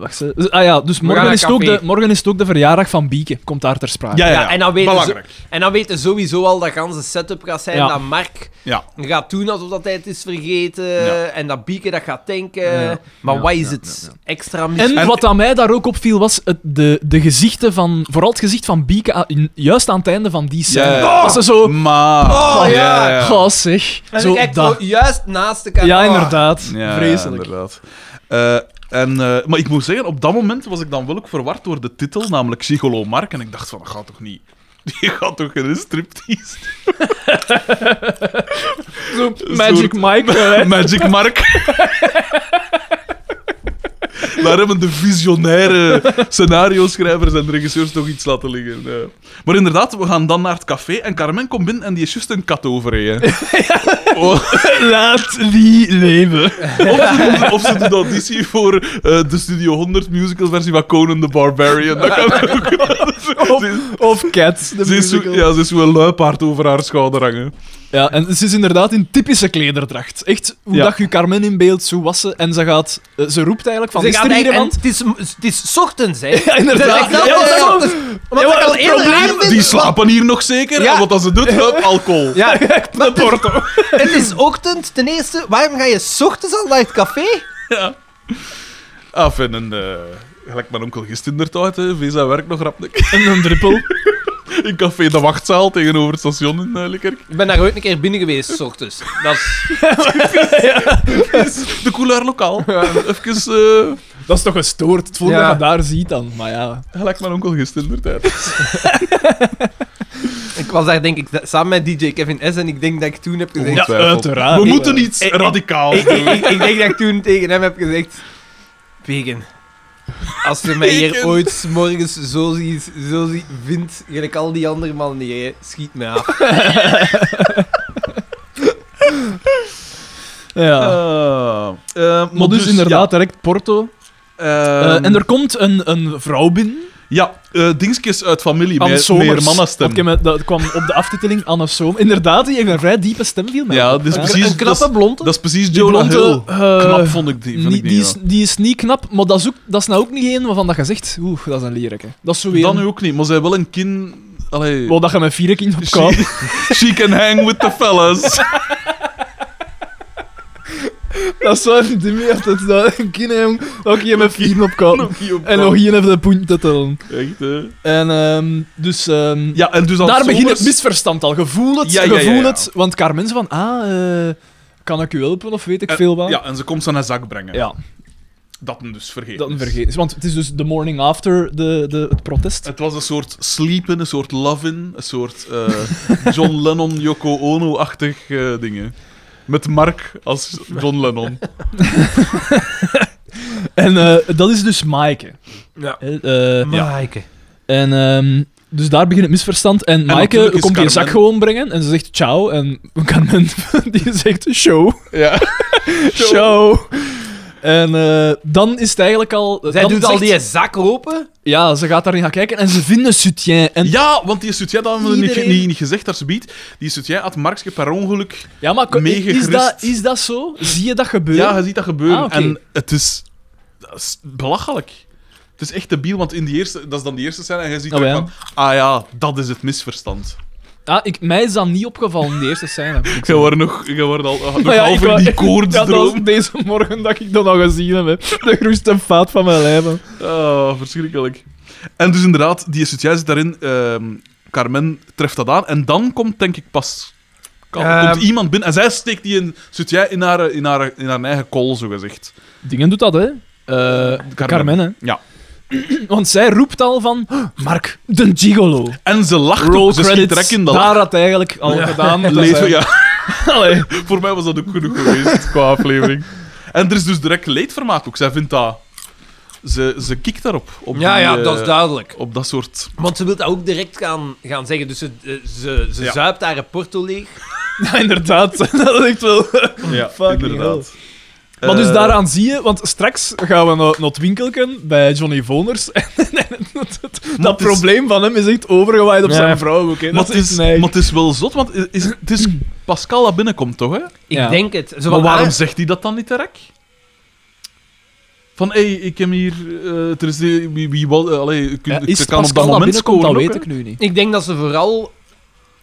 wacht ze. Ah ja, dus morgen
naar
is, het ook
café.
de, morgen is het ook de verjaardag van Bieke. Komt daar ter sprake.
ja. Ja, en dan weten ze-
Belangrijk.
En dan weten ze sowieso al dat ganse setup gaat zijn
Ja.
dat Mark
Ja.
gaat doen alsof dat hij het is vergeten
Ja.
en dat Bieke dat gaat denken.
Ja.
Maar
Ja,
wat is
ja,
het extra mis?
En
En-
wat aan mij daar ook opviel was het, de, de gezichten van. Vooral het gezicht van Bieke. aan- in- juist aan het einde van die scène.
Ja, ja.
Was ze zo.
Maar...
Oh, ja.
Goh, zeg.
En
Zo,
zo, kijkt
dat.
zo juist naast elkaar.
Ja,
Oh.
inderdaad.
Ja,
Vreselijk.
inderdaad. Eh, en, eh, maar ik moet zeggen, op dat moment was ik dan wel ook verward door de titel, namelijk Psycholo Mark. En ik dacht van, dat gaat toch niet... Die gaat toch geen striptease?
Zo,
Een
Magic
soort-
Mike. wel, hè.
Magic Mark. Daar hebben de visionaire scenario-schrijvers en regisseurs toch iets laten liggen. ja. Maar inderdaad, we gaan dan naar het café en Carmen komt binnen en die is juist een kat overreden. Of,
Laat die leven.
of ze doet- of ze doet auditie voor eh, de Studio 100 musicalversie van Conan the Barbarian. Dat kan ook.
Oh.
Ze,
Of Cats. De
ze is, zo-
musical.
ja, ze is wel een luipaard over haar schouder hangen.
Ja, en ze is inderdaad in typische klederdracht. Echt, hoe
Ja.
dat je Carmen in beeld zo was ze. En ze gaat... eh, Ze roept eigenlijk van,
Ze
is
gaat
er hier
eigenlijk- en
iemand?
het, is, het is 's ochtends, hè?
Ja, inderdaad.
dat-
Ja,
dat-
dat-
dat- Omdat ik al eerder raar vind-
Die slapen hier nog zeker.
Ja.
En wat als ze doet, hup, alcohol.
Ja,
dat porto.
het is ochtend. Ten eerste, waarom ga je 's ochtends al naar het café?
Ja. Af en een... eh, Gelijk mijn onkel gisteren inderdaad, hè. Wees aan werk nog rap.
En een druppel.
In café De Wachtzaal tegenover het station in eh, Likkerk.
Ik ben daar ooit een keer binnen geweest, 's ochtends. Dat is...
De couleur lokaal. Even... eh,
Dat is toch gestoord. Het volgende
Ja.
dat je daar ziet dan. Maar ja.
Gelijk mijn onkel gisteren inderdaad.
Ik was daar denk ik da- samen met DJ Kevin S. en ik denk dat ik toen heb gezegd...
Ja,
uiteraard.
We
Ik,
moeten
eh,
iets
ik- ik-
radicaals
Ik,
doen.
ik, ik- ik denk dat ik toen tegen hem heb gezegd... Vegan. Als je mij hier
Vegan.
ooit 's morgens zo, ziet, zo ziet, vindt, gelijk al die andere mannen hier, hè, schiet me af.
Ja.
Eh, eh,
maar dus, inderdaad, direct porto.
Ja,
Eh,
ehm,
en er komt een, een vrouw binnen.
ja eh, dingetjes uit familie.
Anne
Meer,
Somers.
meer mannenstem.
Want ik heb- dat kwam op de aftiteling Anne Somers. Inderdaad, die heeft een vrij diepe stem, viel mij
Ja,
op.
dit is precies...
een
dat,
knappe
is,
blond.
dat is precies
Die
Jonah
blonde,
Hill.
eh,
Knap vond ik die.
Die,
Vond ik
die,
niet,
is, die is niet knap, maar dat is, ook, dat is nou ook niet één waarvan dat je zegt... Oeh, dat is een liereke. Dat is zo
ja.
weer...
Dan nu ook niet, maar zij wel een kin... Allee...
Wel dat je met vier kinderen op
She,
kan.
she can hang with the fellas.
Dat is zo dimmy echt dat dat een kind jong ook hier met vier op kan. En nog hier even de punt te tellen.
Echt, hè.
En ehm, dus ehm,
Ja, en dus als
daar begint
zomers-
het misverstand al. Gevoel het,
Ja, ja, ja,
gevoel
ja.
het. Want elkaar mensen van, ah, eh, kan ik u helpen of weet ik
En-
veel wat.
Eh, Ja, en ze komt ze aan haar zak brengen.
Ja,
Dat hem dus vergeten
dat een
is.
vergeten is. Want het is dus de morning after de, de, het protest.
Het was een soort sleepen, een soort love-in, een soort eh, John Lennon, Yoko Ono-achtig eh, dingen. Met Mark als John Lennon.
En eh, dat is dus Maaike.
Ja.
Eh, eh,
Maaike.
En ehm, dus daar begint het misverstand. En, Maaike
natuurlijk is
komt die zak
Carmen-
gewoon brengen en ze zegt ciao. En Carmen die zegt show.
Ja.
Show. En eh, dan is het eigenlijk al...
Zij
dan
doet al
zegt-
die zak open.
Ja, ze gaat daarin gaan kijken en ze vinden Soutien. En ja,
Ja, want die Soutien, dat hebben we niet,
Iedereen-
niet, niet gezegd, daar ze biedt. Die Soutien had Markske per ongeluk...
maar ko- is
meegegrist.
dat, is dat zo? Zie je dat gebeuren?
Ja, je ziet dat gebeuren.
Ah, oké.
En het is, dat is belachelijk. Het is echt debiel, want in die eerste, dat is dan die eerste scène en je ziet
Oh,
ook
ja.
van... Ah ja, dat is het misverstand.
Ah, ik, mij is dat niet opgevallen in de eerste scène.
Ik word nog, ik word al
Maar
nog
Ah Oh ja,
half
ik
in
wou-
die
Ja, dat was
koortsdroom.
deze morgen dat ik dat al gezien heb. hè. De grootste fout van mijn leven.
Ah, verschrikkelijk. En dus inderdaad, die Soutien zit daarin. ehm, Carmen treft dat aan. En dan komt, denk ik, pas...
Ehm.
komt iemand binnen en zij steekt die in, Soutien in haar, in, haar, in haar eigen kool, zogezegd.
Dingen doet dat, hè? Eh Carmen. hè?
Ja.
Want zij roept al van... "Oh, Mark, de gigolo.
En ze lacht
Roll
ook, ze schiet
credits. Ah,
direct in de
daar
lach.
had eigenlijk al gedaan. dat
Leven,
zij-
ja.
Allee.
Voor mij was dat ook genoeg geweest qua aflevering. En er is dus direct leedvermaak ook. Zij vindt dat. Ze, ze kikt daarop. Op
Ja,
die,
ja,
eh,
dat is duidelijk.
Op dat soort.
Want ze wil dat ook direct gaan, gaan zeggen. Dus ze, eh, ze, ze
Ja.
zuipt haar porto leeg.
Ja, inderdaad. dat is echt wel...
Ja,
Fucking
Eh,
maar dus daaraan zie je... Want straks gaan we naar, naar het winkelken bij Johnny Voners. En, en dat- dat- dat
het is-
probleem van hem is echt overgewaaid op
Ja.
zijn vrouw ook. hè.
Maar
Dat
het, is,
echt neig.
maar het is wel zot, want i- is, het is Pascal dat binnenkomt, toch? Hè?
Ik
Ja.
denk het. Zo
Maar
van,
waarom
ah,
zegt hij dat dan niet direct? Van, hé, hey, ik heb hier... eh, er is die, wie, wie, wel- eh, allee, ik,
Ja,
ik-
is
ik kan
Pascal
op dat
daar
moment
binnenkomt,
scoren
dat
ook,
weet
hè.
ik nu niet.
Ik denk dat ze vooral...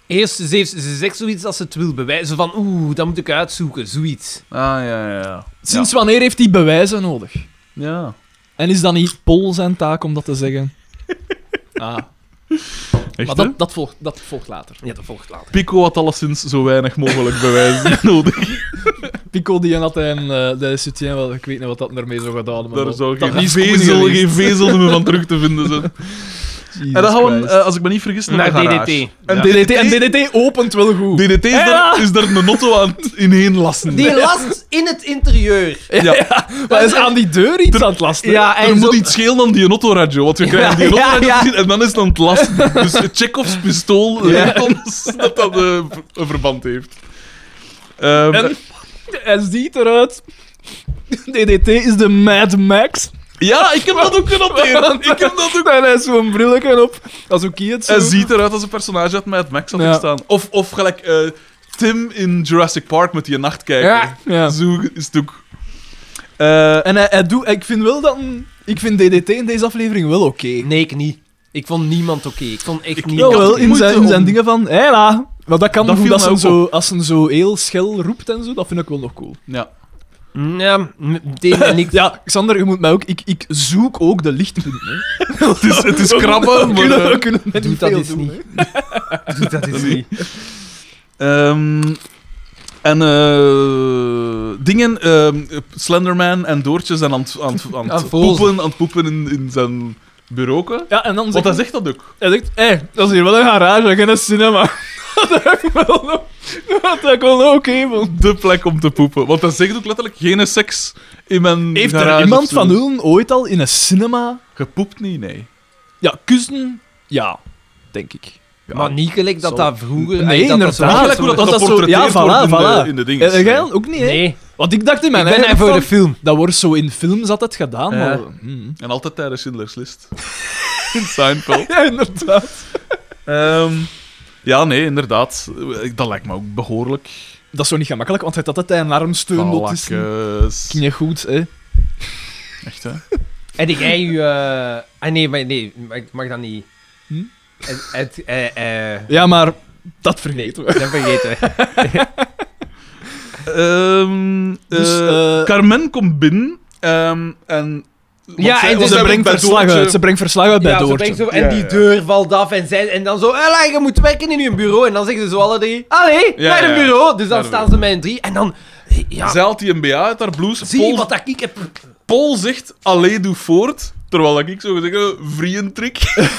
Eerst, ze, heeft- ze zegt zoiets als ze het wil bewijzen. Zo van, oeh, dat moet ik uitzoeken. Zoiets.
Ah, ja, ja, ja.
Sinds wanneer heeft hij bewijzen nodig?
Ja.
En is dan niet Pol zijn taak om dat te zeggen? Ah,
Echt,
maar
hè?
dat, dat, volgt, dat volgt later.
Ja, dat volgt later.
Pico had alleszins zo weinig mogelijk bewijs nodig.
Pico die had en eh, de Soutien, wel, ik weet niet wat dat ermee zou gedaan hebben.
Daar zou
dat
geen
is goed
vezel,
geweest.
geen vezel meer van terug te vinden zijn. en dan gaan we, eh, als ik me niet vergis, naar,
Naar
de garage.
DDT.
En
Ja.
DDT, en DDT opent wel goed.
DDT is, daar, is daar een notto aan het ineenlassen.
Die last in het interieur.
Ja.
maar is aan die deur iets aan het lasten?
Ja, en
Er moet
zo-
iets schelen dan die nottoradio, want we krijgen die
Ja, ja,
nottoradio
ja.
te zien en dan is het aan het lasten. Dus Chekhov's pistool leert ons dat dat eh, een verband heeft. Ehm,
En hij ziet eruit. DDT is de Mad Max.
Ja, ik heb dat ook genoteerd.
Ik heb dat ook. En hij heeft zo'n brilletje op. Dat is ook iets.
Hij ziet eruit als een personage uit Mad Max had
Ja.
ik staan. Of, of gelijk eh, Tim in Jurassic Park met die nachtkijker.
Ja.
Ja.
Zo is het ook. Eh,
En hij, hij doet... Ik vind wel dat... een- Ik vind DDT in deze aflevering wel oké.
Nee, ik niet. Ik vond niemand oké. Ik vond echt niemand.
had
Jawel,
echt
in
moeite
zijn, in zijn
om-
dingen van... Hela. Maar dat kan
Dat
goed,
viel
als,
mij
ze
ook
zo, als ze zo heel schel roept en zo. Dat vind ik wel nog cool.
Ja.
Mm, Ja, m- deed mij niks.
Ja, Xander, je moet mij ook... Ik, ik zoek ook de lichtpunten. hè.
Het is, het is krabben,
We
maar...
kunnen, we
eh,
kunnen net
Doe
niet
dat
veel
eens
doen,
niet.
hè.
Doe dat eens niet.
ehm, en eh, dingen, ehm, Slenderman en Doortje zijn aan het aan het- aan
Aan
het
het volzen.
poepen, aan het poepen in, in zijn bureau.
Ja, en dan
Want
zegt
hij zegt dat ook.
Hij zegt, hé, dat is hier wel een garage, geen cinema. dat heb ik wel nog... Dat heb ik wel nog oké, man.
De plek om te poepen. Want hij zegt ook letterlijk geen seks in mijn
Heeft er
garage
iemand
of zo.
van hun ooit al in een cinema...
Gepoept niet, nee.
Ja, kussen? Ja, denk ik.
Ja.
Maar niet gelijk dat
Zo.
dat vroeger...
Nee,
eh, dat dat
inderdaad.
zo-
Gelijk hoe dat,
dat
dat
dat Ah, zo-
geportretteerd
ja,
wordt in
voilà,
de,
voilà. Eh,
in de dingen.
En jij ook niet, hè?
Nee.
Want ik dacht in
Ik
mijn
ben
eigen
hij voor
van,
de film.
Dat wordt zo in films altijd gedaan,
Ja.
maar... hmm.
En altijd tijdens Schindler's List. in Seinfeld.
Ja, inderdaad.
Ehm, ja, nee, inderdaad. Eh, Dat lijkt me ook behoorlijk.
Dat is zo niet gemakkelijk, want hij had altijd een armsteun dat is
eh, Balakes.
Ging je goed, hè?
Echt, hè?
En ik jij je... eh, Ah nee, maar nee, maar ik mag dat niet.
Hm?
Het... het eh, eh, Ah,
Ja, maar dat vergeten we.
Dat vergeten.
Ehm,
Dus,
eh,
eh,
Carmen komt binnen ehm, en... want
Ja, en
want
dus- hebben
Ze
moet
brengt
bij
verslag
Doortje-
uit. Ze brengt verslag uit bij
ja, zo
Doortje.
denk zo,
Ja,
en die
ja.
deur valt af en, zij, en dan zo, "Ella, je moet werken in je bureau. En dan zeggen ze zo alle drie, allee,
Ja,
naar
ja.
het bureau. Dus dan
Naar de
staan ze met een drie en dan, ja,
Zij haalt die MBA uit haar blouse.
zie
Paul,
wat dat ik heb.
Paul zegt, allee, doe voort. Terwijl dat ik zo gezegd heb, vriendentrik.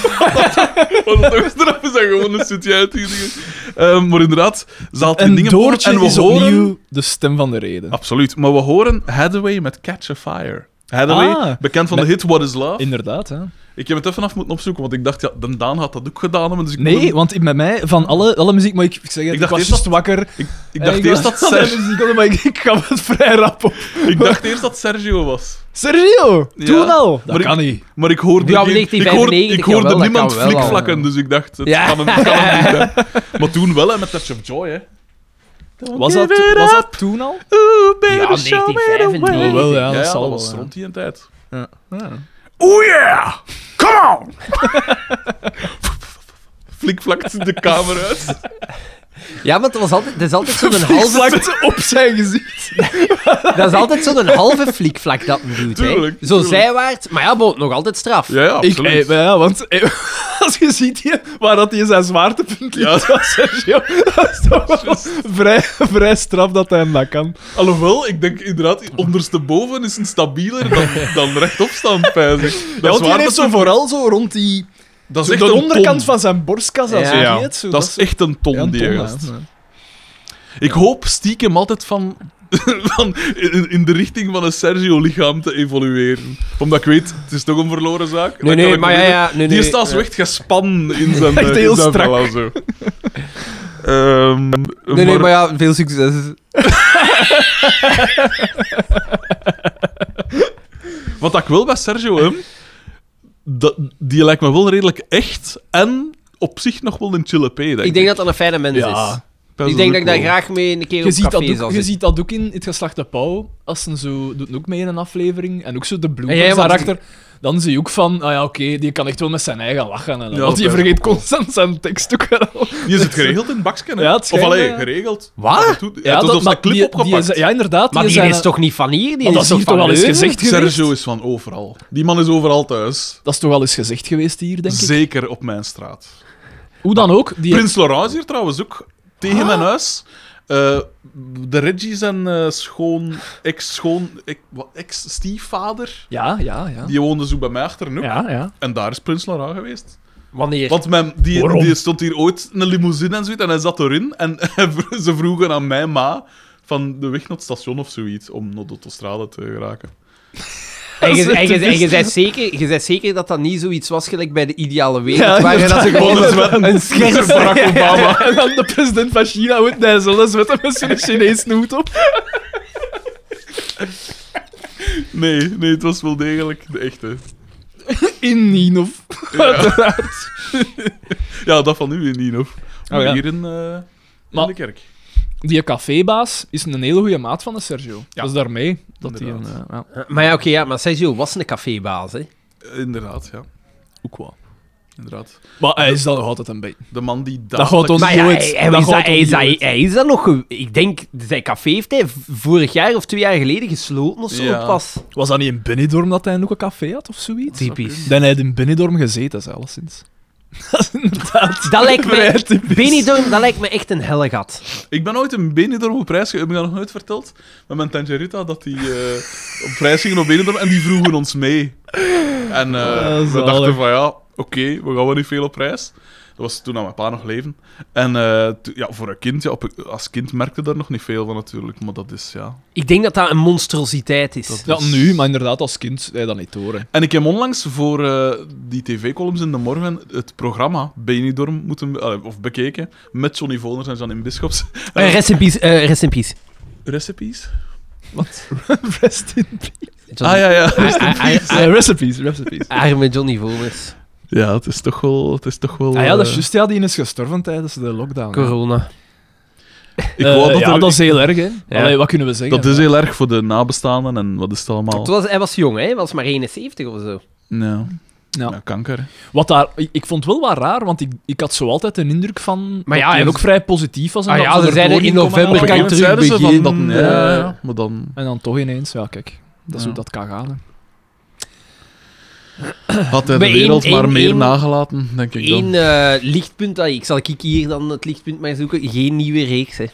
Want dat toch straf is dat gewoon een stukje uit die dingen. Ehm, maar inderdaad, ze haalt die
En
dingen op
Doortje
en we
is
horen...
opnieuw de stem van de reden.
Absoluut. Maar we horen Hathaway met Catch a Fire. Hathaway,
Ah.
bekend van de
Met-
hit What is Love.
Inderdaad, hè.
Ik heb het even af moeten opzoeken, want ik dacht, ja, de Daan had dat ook gedaan. hebben, Dus ik moet
Nee,
hem-
want met mij, van alle, alle muziek, maar ik, ik zeg het,
Ik
ik,
dacht
was
eerst
just wakker.
ik, ik
Eh,
dacht eerst dat
was- alle
Sergio...
muziek, maar ik, ik gaf het vrij rap op.
Ik dacht eerst dat Sergio was.
Sergio,
Ja.
toen al. Dat
Maar ik-
kan niet.
Maar ik hoorde,
Ja, maar
geen- ik
1995,
ik hoorde
jawel, dat
niemand
kan wel al.
flikvlakken, dus ik dacht, het
Ja.
kan hem, het kan hem niet. Hè. Maar toen wel, hè, met Touch of Joy. Hè.
Was dat,
give it
was dat toen al?
Ooh,
Ja,
baby, show me the way.
1995.
Wel, ja,
Ja,
dat
ja,
zal
dat
wel,
was
ja.
rond die tijd.
Ja.
Oh yeah! Come on! Flikvlakt de kamer uit.
Ja, want dat was altijd, dat is altijd zo'n halve,
Vlakte op zijn gezicht.
dat is altijd zo'n halve flikvlak dat hem doet, hè.
Tuurlijk,
Zo
tuurlijk.
zijwaarts, maar ja, bo, nog altijd straf.
Ja, ja,
Ik,
absoluut.
eh, maar ja, want eh, als je ziet hier, waar dat hij zijn zwaartepunt
Ja.
ligt, was Sergio. Dat is toch wel vrij, vrij straf dat hij hem dat kan.
Alhoewel, ik denk inderdaad, ondersteboven is een stabieler dan, dan rechtop staan, pijs ik. Dat
Ja,
is
want
waar,
hij
dat
heeft zo
is-
vooral zo rond die...
dat is
Zo
echt
de
een
onderkant
ton.
van zijn borstkas, als
Ja.
je
Ja,
weet, zo,
dat is echt een ton,
Ja, een
die
ton,
gast.
ja.
Ik hoop stiekem altijd van, van in, in de richting van een Sergio-lichaam te evolueren. Omdat ik weet, het is toch een verloren zaak. Dan
Nee,
kan
nee,
ik
maar ja,
proberen-
ja, nee,
Die
nee.
is daar zo echt gespannen in zijn
Echt
eh,
heel
in zijn
strak.
vel en zo. Ehm,
Nee, nee, maar ja, veel succes.
Wat dat ik wil bij Sergio hem, dat, die lijkt me wel redelijk echt en op zich nog wel een chille P, denk ik.
Ik denk dat dat een fijne mens
Ja.
is.
Pijs
Ik denk dat ik daar
ook wel.
graag mee een keer
Je
op
ziet, dat
café
ook,
zou
je
zitten.
ziet dat ook in het geslacht de Pauw, als ze zo doet ook mee in een aflevering en ook zo de bloepers
Ja, ja, want-
daarachter. Dan zie je ook van, ah ja, oké, die kan echt wel met zijn eigen lachen. En
Ja,
al, want die
dat is
vergeet
ook wel.
constant zijn tekst ook wel.
Die is het geregeld in het bakje, hè?
Ja, het
Of
schijnt,
alleen
eh,
geregeld.
Wat?
Af en toe- Hij heeft alsof
maar
zijn clip
die- die
opgepakt.
is- ja, inderdaad.
Maar die
zijn-
is toch niet van hier? Die
Maar dat
is
is
toch
hier toch
van
wel eens
Leuven?
gezegd geweest?
Sergio is van overal. Die man is overal thuis.
Dat is toch wel eens gezegd geweest hier, denk ik.
Zeker op mijn straat.
Hoe dan ook, die
Prins Laurent is hier trouwens ook. Tegen
Ah.
mijn huis. Eh, de Reggie zijn eh, schoon... Ex-schoon... ex- e-, wat, Ex-stiefvader.
Ja, ja,
Ah.
ja.
Die woonde zo bij mij achter een hoek.
Ja, ja.
En daar is Prins Laurent geweest.
Wanneer?
Want mijn, die,
Waarom?
die stond hier ooit in een limousine en zoiets. En hij zat erin. En ze vroegen aan mijn ma... Van de weg naar het station of zoiets. Om naar de autostrade te geraken.
En je- en je- en je
Typisch.
bent zeker, je bent zeker dat dat niet zoiets was gelijk bij de ideale wereld,
Ja,
waar je dat ze
inderdaad.
gewoon
Gewoon
een,
een-
een
Ze
scherm...
Barack Obama.
En dan de president van China moet naar zijn zwetten met zo'n Chinees hoed op.
Nee, nee, het was wel degelijk de echte.
In Ninov.
Ja, dat van nu weer niet, of?
Oh, ja.
Hier in, eh, in
Maar-
de kerk.
Die cafébaas is een hele goede maat van de Sergio. Dat is daarmee dat hij een...
Inderdaad.
eh, ja.
Maar ja, oké, ja, maar Sergio was een cafébaas, hè.
Eh, Inderdaad, ja.
Ook wel.
Inderdaad.
Maar hij is dan nog altijd een beetje...
De man die
Dat gaat ons
Maar ja,
nooit.
hij, hij
dat
is dat,
gaat
hij,
ons
is dat,
nooit.
hij is dat nog... ge- Ik denk, zijn café heeft hij v- vorig jaar of twee jaar geleden gesloten of zo
Ja.
pas.
Was dat niet in Benidorm dat hij ook een café had of zoiets?
Typisch.
Dan hij had in Benidorm gezeten, zelfs sinds. Dat is inderdaad...
Dat lijkt
Vrij
me...
typisch.
Benidorm, dat lijkt me echt een hellegat.
Ik ben ooit een Benidorm op prijs gegaan. Heb ik dat nog nooit verteld? Met mijn tante Rita, dat die eh, op prijs gingen op Benidorm en die vroegen ons mee. En eh,
Ah,
we
zalig.
dachten van ja, oké, we gaan wel niet veel op prijs. Dat was toen aan mijn pa nog leven. En eh, to- ja, voor een kind, ja, op- als kind merkte daar nog niet veel van natuurlijk. Maar dat is, ja,
Ik denk dat dat een monstrositeit is.
Dat-
Ja, nu, maar inderdaad, als kind hij dat niet horen.
En ik heb onlangs voor eh, die tv-columns in de morgen het programma Benidorm moeten, eh, of bekeken met Johnny Voners en Janine Bischops.
Eh, rest in peace. eh, rest in peace.
Recipes?
Rest in
Ah ja, ja.
Johnny- Ah, ah, ah,
Eh, recipes, recipes.
ah, Arme Johnny Voners.
Ja, het is toch wel... Het is toch wel
Ah ja, dat is
eh,
juist. Ja, die is gestorven tijdens de lockdown. hè.
Corona.
Ik
Eh,
wou dat,
ja,
er-
dat is heel erg, hè.
Ja.
Allee, wat kunnen we zeggen?
dat is heel erg voor de nabestaanden en wat is het allemaal.
Het was, hij was jong, hè? Hij was maar 71 of zo.
Ja.
Ja.
Ja, kanker. hè.
Wat daar, ik, ik vond het wel wat raar, want ik, ik had zo altijd een indruk van
Maar
dat
ja,
hij
en-
ook vrij positief was. En
Ah
dat
ja,
ze
ze
er
zeiden
doorheen
in
konden
november
halen.
Op
kan
een gegeven moment
terug
zeiden ze van dat...
beginnen,
nee,
eh.
ja, ja, maar dan...
En dan toch ineens, ja, kijk. Dat is
Ja.
hoe dat kan gaan. hè.
Had hij de
Bij
wereld
één-
maar
één-
meer
één-
nagelaten, denk ik
Eén
dan.
eh, lichtpunt, dat ik zal ik hier dan het lichtpunt maar zoeken. Geen nieuwe reeks, hè.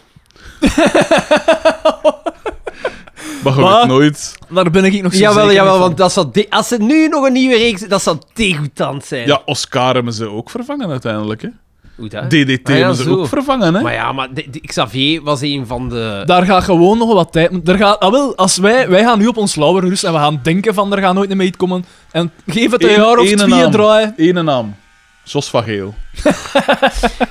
Maar je weet
Wat?
nooit.
Daar ben ik nog zo
Jawel,
zeker
jawel,
niet van.
want dat zou de- als er nu nog een nieuwe reeks dat zou degoutant zijn.
Ja, Oscar hebben ze ook vervangen uiteindelijk. Hè.
Hoe dat?
DDT
Ah, ja,
hebben ze
zo.
ook vervangen. Hè.
Maar ja, maar de- de- Xavier was een van de...
Eh, Daar gaat gewoon nog wat tijd. Er gaat, ah, wel, als wij, wij gaan nu op ons lauwer rusten en we gaan denken van er gaat nooit meer iets komen. En geef het een
Eén-
jaar of
één en
twee
aan.
draaien.
Ene naam. Jos van Geel.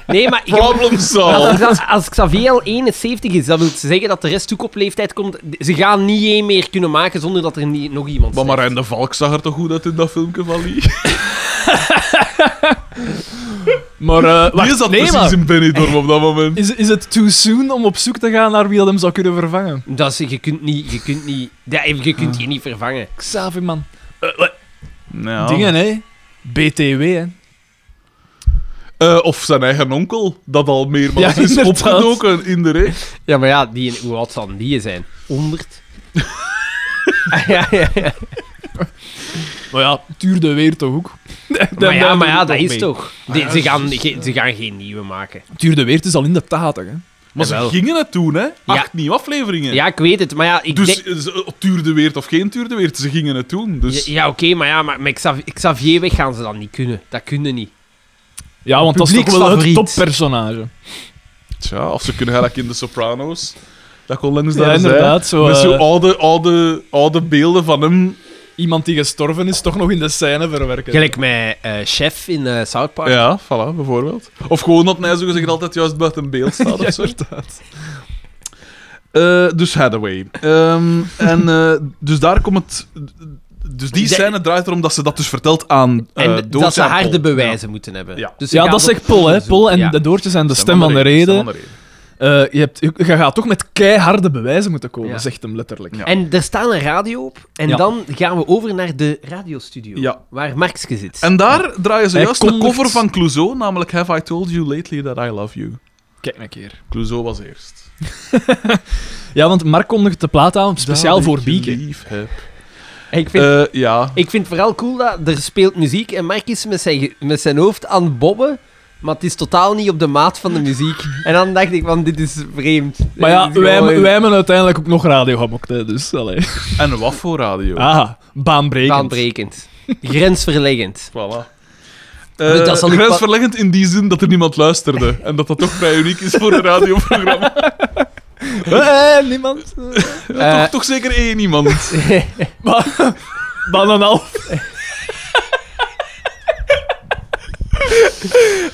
Nee, maar ik heb-
Problem solved.
als, als, als Xavier al 71 is, dat wil zeggen dat de rest ook op leeftijd komt. Ze gaan niet één meer kunnen maken zonder dat er niet, nog iemand
Maar
sterft.
Marijn de Valk zag er toch goed uit in dat filmpje van Lee?
Maar, eh, wacht,
Die zat
nee,
precies
maar
in Benidorm op dat moment.
is, is het too soon om op zoek te gaan naar wie dat hem zou kunnen vervangen?
Dat is, je kunt niet... Je kunt, niet, ja, je kunt je niet vervangen.
Xavi, man.
Ja.
Dingen, hè? BTW, hè?
Eh, of zijn eigen onkel, dat al meermaals
Ja,
is
inderdaad.
opgedoken in de reeks.
Ja, maar ja, die, hoe oud zal die zijn? 100? Ah, ja, ja, ja.
Maar ja, het duurde weer toch ook.
Maar ja, maar ja,
doet
dat
nog
is
mee. Ah, dus
toch... Die- ze, gaan, ge- ze gaan geen nieuwe maken.
Het duurde weer, het is al in de 80, hè?
Maar ze
Jawel.
gingen het toen, hè? Acht nieuwe afleveringen.
Ja, ik weet het, maar ja... Ik
Dus
denk-
eh, ze- tuurde weert of geen tuurde weert, ze gingen het doen. Dus
Ja, ja, oké, maar ja, maar met Xav- Xavier weg gaan ze dan niet kunnen. Dat kunnen niet.
Ja, want dat is toch wel het
Publieksfavoriet.
toppersonage.
Tja, of ze kunnen gelijk in de Sopranos. Dat kon langs daar
Ja,
eens, hè.
Dus inderdaad, zo,
Met zo'n
eh,
oude, oude, oude beelden van hem.
Iemand die gestorven is, toch nog in de scène verwerken.
Gelijk met eh, Chef in eh, South Park.
Ja, voilà, bijvoorbeeld. Of gewoon dat hij zogezegd altijd juist buiten beeld staat of zo.
inderdaad.
Eh, dus Hathaway. Ehm, en eh, dus daar komt het... Dus die
De-
scène draait erom dat ze dat dus vertelt aan eh
En
Doortje
dat ze
en
harde
Paul.
bewijzen moeten hebben.
Ja.
Dus ze
Ja,
gaan
dat
op
zegt Paul, hè? Paul
onderzoek.
en
Ja.
de Doortjes zijn de
Ja.
stem van de
Stem
reden.
van de reden.
Eh, je, hebt, je, je gaat toch met keiharde bewijzen moeten komen,
Ja.
zegt hem letterlijk.
Ja.
En er staat een radio op. En
Ja.
dan gaan we over naar de radiostudio.
Ja.
Waar Markske zit.
En daar draaien ze
Hij
juist de
kondigt-
cover van Clouseau, namelijk Have I Told You Lately That I Love You.
Kijk een keer.
Clouseau was eerst.
Ja, want Mark kondigt de plaat aan, speciaal
Dat
voor
ik je
Bieke.
lief heb.
En ik, vind,
Eh, ja,
ik vind het vooral cool dat er speelt muziek. En Mark is met zijn, ge- met zijn hoofd aan het bobben. Maar het is totaal niet op de maat van de muziek. En dan dacht ik van, dit is vreemd.
Maar ja,
Dit is
wij, hebben-
gewoon-
wij hebben uiteindelijk ook nog radio gemokt, hè, dus allee.
en wat voor radio.
Ah, baanbrekend.
Baanbrekend. Grensverleggend.
Voilà.
Dus dat zal ik pa-
grensverleggend in die zin dat er niemand luisterde. En dat dat toch vrij uniek is voor een radioprogramma.
Eh, niemand.
Eh,
toch, toch zeker één iemand.
Maar, dan een half.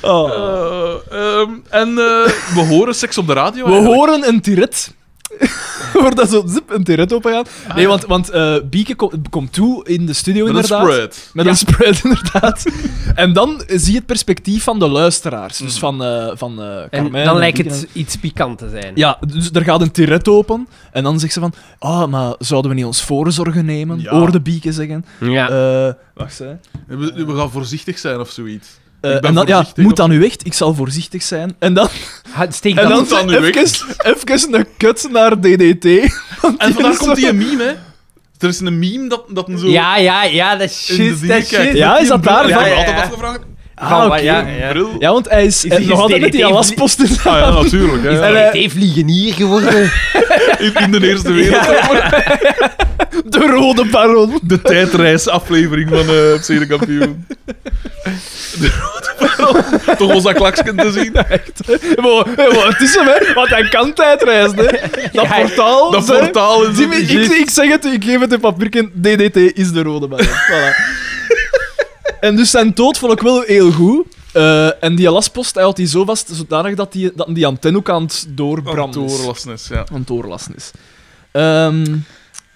Oh.
Eh, ehm, en eh, we horen seks op de radio.
We horen een tiret. Wordt dat zo zip, een tiret opgegaan? Nee, want, want eh, Bieke kom- komt toe in de studio,
Met een
inderdaad.
spread.
Met een spread, inderdaad. en dan zie je het perspectief van de luisteraars. Dus van, eh van eh,
En
Carmen
dan lijkt
Bieke en-
het iets pikant te zijn.
Ja, dus er gaat een tiret open. En dan zegt ze van... Ah, maar zouden we niet ons voorzorgen nemen?
Ja.
Hoorde Bieke zeggen.
Ja.
Eh, wacht, hè.
We, we gaan voorzichtig zijn of zoiets.
Eh,
Ik ben
en dan, ja,
voorzichtig,
moet
of-
dan nu echt? Ik zal voorzichtig zijn. En dan,
Ha, Steek
en
dat
dan,
moet dan
dan
nu
even, even een kut naar DDT. want
En vandaar
is
komt
zo-
die meme, hè? Er is een meme dat, dat een zo.
Ja, ja, ja, dat is
in de
shit,
dingen
dat is
kijkt.
shit.
Ja, is dat
Ik heb
daar?
me
Ja, ja,
altijd
ja.
afgevraagd.
Ah, oké.
ja,
Een
ja.
bril.
Ja, want hij is,
Is-
eh,
is
nog altijd met die
DDT
alaspost in zijn
Ah, ja,
hand.
natuurlijk. Hè.
En, eh,
Hij heeft vliegenier geworden.
In, in de Eerste Wereld.
De rode baron.
De tijdreisaflevering van eh FC de Kampioen. De rode Baron. Toch was dat klaksken te zien.
Echt. Wow, wow, het is hem, hè. Want hij kan tijdreizen, hè. Dat
Ja,
portaal.
Dat
zeg.
portaal is
Zie me, ik, ik zeg het, ik geef het in papierken. DDT is de rode baron. Voilà. En dus zijn dood vond ik wel heel goed. Eh, en die lastpost, hij had die zo vast, zodanig dat die, dat die antenne ook aan het doorbranden is.
Doorlastnis, ja.
Aan het doorlassen is. Ehm,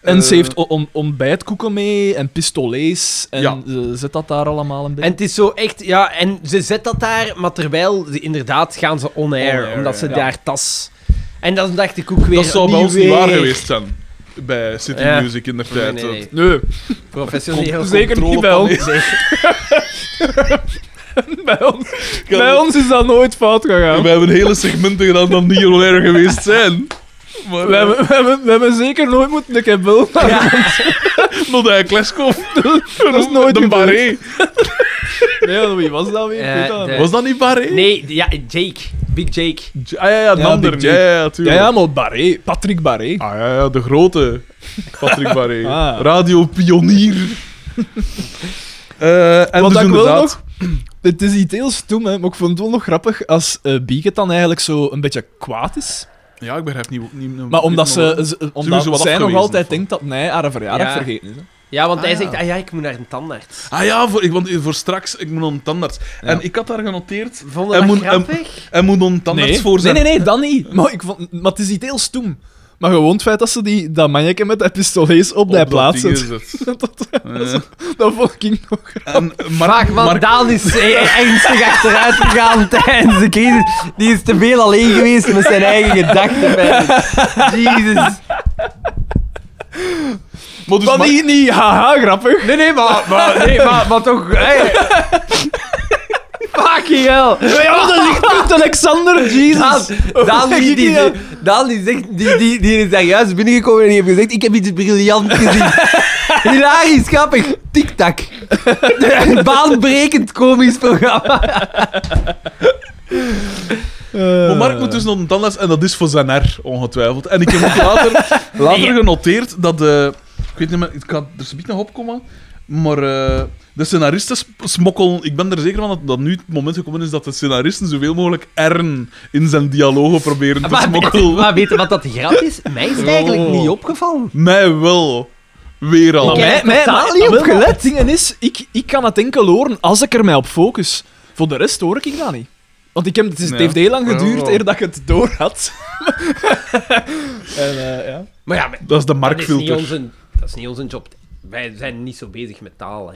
en ze
Eh.
heeft on- on- ontbijtkoeken mee en pistolets. En
Ja.
ze zet dat daar allemaal een beetje.
en het is zo echt, ja, en ze zet dat daar, maar terwijl, ze, inderdaad, gaan ze on-air,
On-air,
omdat ze
ja.
daar tas... En dan dacht ik ook weer...
Dat zou bij
niet
ons niet waar
weer.
geweest zijn. bij City
Ja.
Music in de
Nee,
tijd.
nee, nee.
Nee,
Professioneel.
zeker niet bij ons.
Nee.
bij ons. Bij ons is dat nooit fout gegaan.
We hebben hele segmenten gedaan dat niet Roller geweest zijn. Maar,
We hebben, we, hebben, we hebben zeker nooit moeten een keer bellen.
Nog een Kleskov.
Dat is nooit
De
gebeurd.
Barré.
Nee, wie was dat weer? Ik
Ja,
weet dat
de-
niet.
Was dat niet Barré?
Nee, ja, Jake. Big Jake.
J- Ah ja, ja, de
Ja,
ander.
Big
Ja,
Jake.
ja, ja, tuurlijk.
Ja, ja, maar Barré. Patrick Barré.
Ah ja, ja, de grote Patrick Barré.
Ah.
Radiopionier. Eh en
Wat
dus
ik wel
inderdaad...
nog... Het is iets heel stom, hè, maar ik vond het wel nog grappig als eh Beaket dan eigenlijk zo een beetje kwaad is.
Ja, ik begrijp niet... niet, niet
Maar omdat, ze,
nog-
ze-
Sowieso
omdat
wat
zij nog
afgewezen,
altijd
of wat?
denkt dat hij haar verjaardag
Ja.
vergeten is. Hè.
Ja, want
Ah,
hij
ja.
zegt, ah ja, ik moet naar een tandarts.
Ah ja, voor, ik, want voor straks, ik moet naar een tandarts. En ik had daar genoteerd,
Vonden
Hij
we dat
moet- hij-
grappig?
hij moet naar een tandarts
Nee.
voor
nee,
zijn...
nee, nee, dat niet. Maar, ik vond, maar het is iets heel stom. Maar gewoon het feit dat ze die, dat manneke met dat pistolees op, die
Op dat
plaats
ding Dus
zet.
gezet.
Dat, dat,
Eh,
dat vond ik nog
en
Vraag, want
Mark-
Daan is eh, ernstig achteruit gegaan tijdens de crisis. Die is te veel alleen geweest met zijn eigen gedachten. Jezus.
Maar dus
Maar
Mark-
niet, niet haha, grappig.
Nee, nee, maar, maar, nee, maar, maar toch... Hey. Fucking hell.
Ja, de lichtpunt, Alexander,
Daan,
Jesus.
Daan, die, die, die, Daan die, zegt, die, die, die is daar juist binnengekomen en die heeft gezegd: Ik heb iets briljant gezien. Hilarisch, grappig. Tik-tak. Baanbrekend komisch programma.
Eh.
Maar Mark moet dus naar een tandarts en dat is voor zijn R, ongetwijfeld. En ik heb ook later, later genoteerd dat de... Ik weet niet meer, ik kan er zoiets nog opkomen, maar eh, de scenaristen sp- smokkelen... Ik ben er zeker van dat, dat nu het moment gekomen is dat de scenaristen zoveel mogelijk R'en in zijn dialogen proberen te smokkelen.
weet je wat dat grap is? Mij is het
eigenlijk niet
opgevallen.
Mij wel. Weer al.
Maar
mij,
Ik
mij,
heb totaal
maar-
niet
ah, wel,
opgelet.
maar Het ding is, ik, ik kan het enkel horen als ik er mij op focus. Voor de rest hoor ik dat niet. Want ik heb, het, is, het
Ja.
heeft heel lang geduurd
Oh.
eer dat ik het door had. en, eh, ja.
Maar ja, maar
Dat is de
dat, is niet
Markfilter.
onze, dat is niet onze job. Wij zijn niet zo bezig met taal. Hè.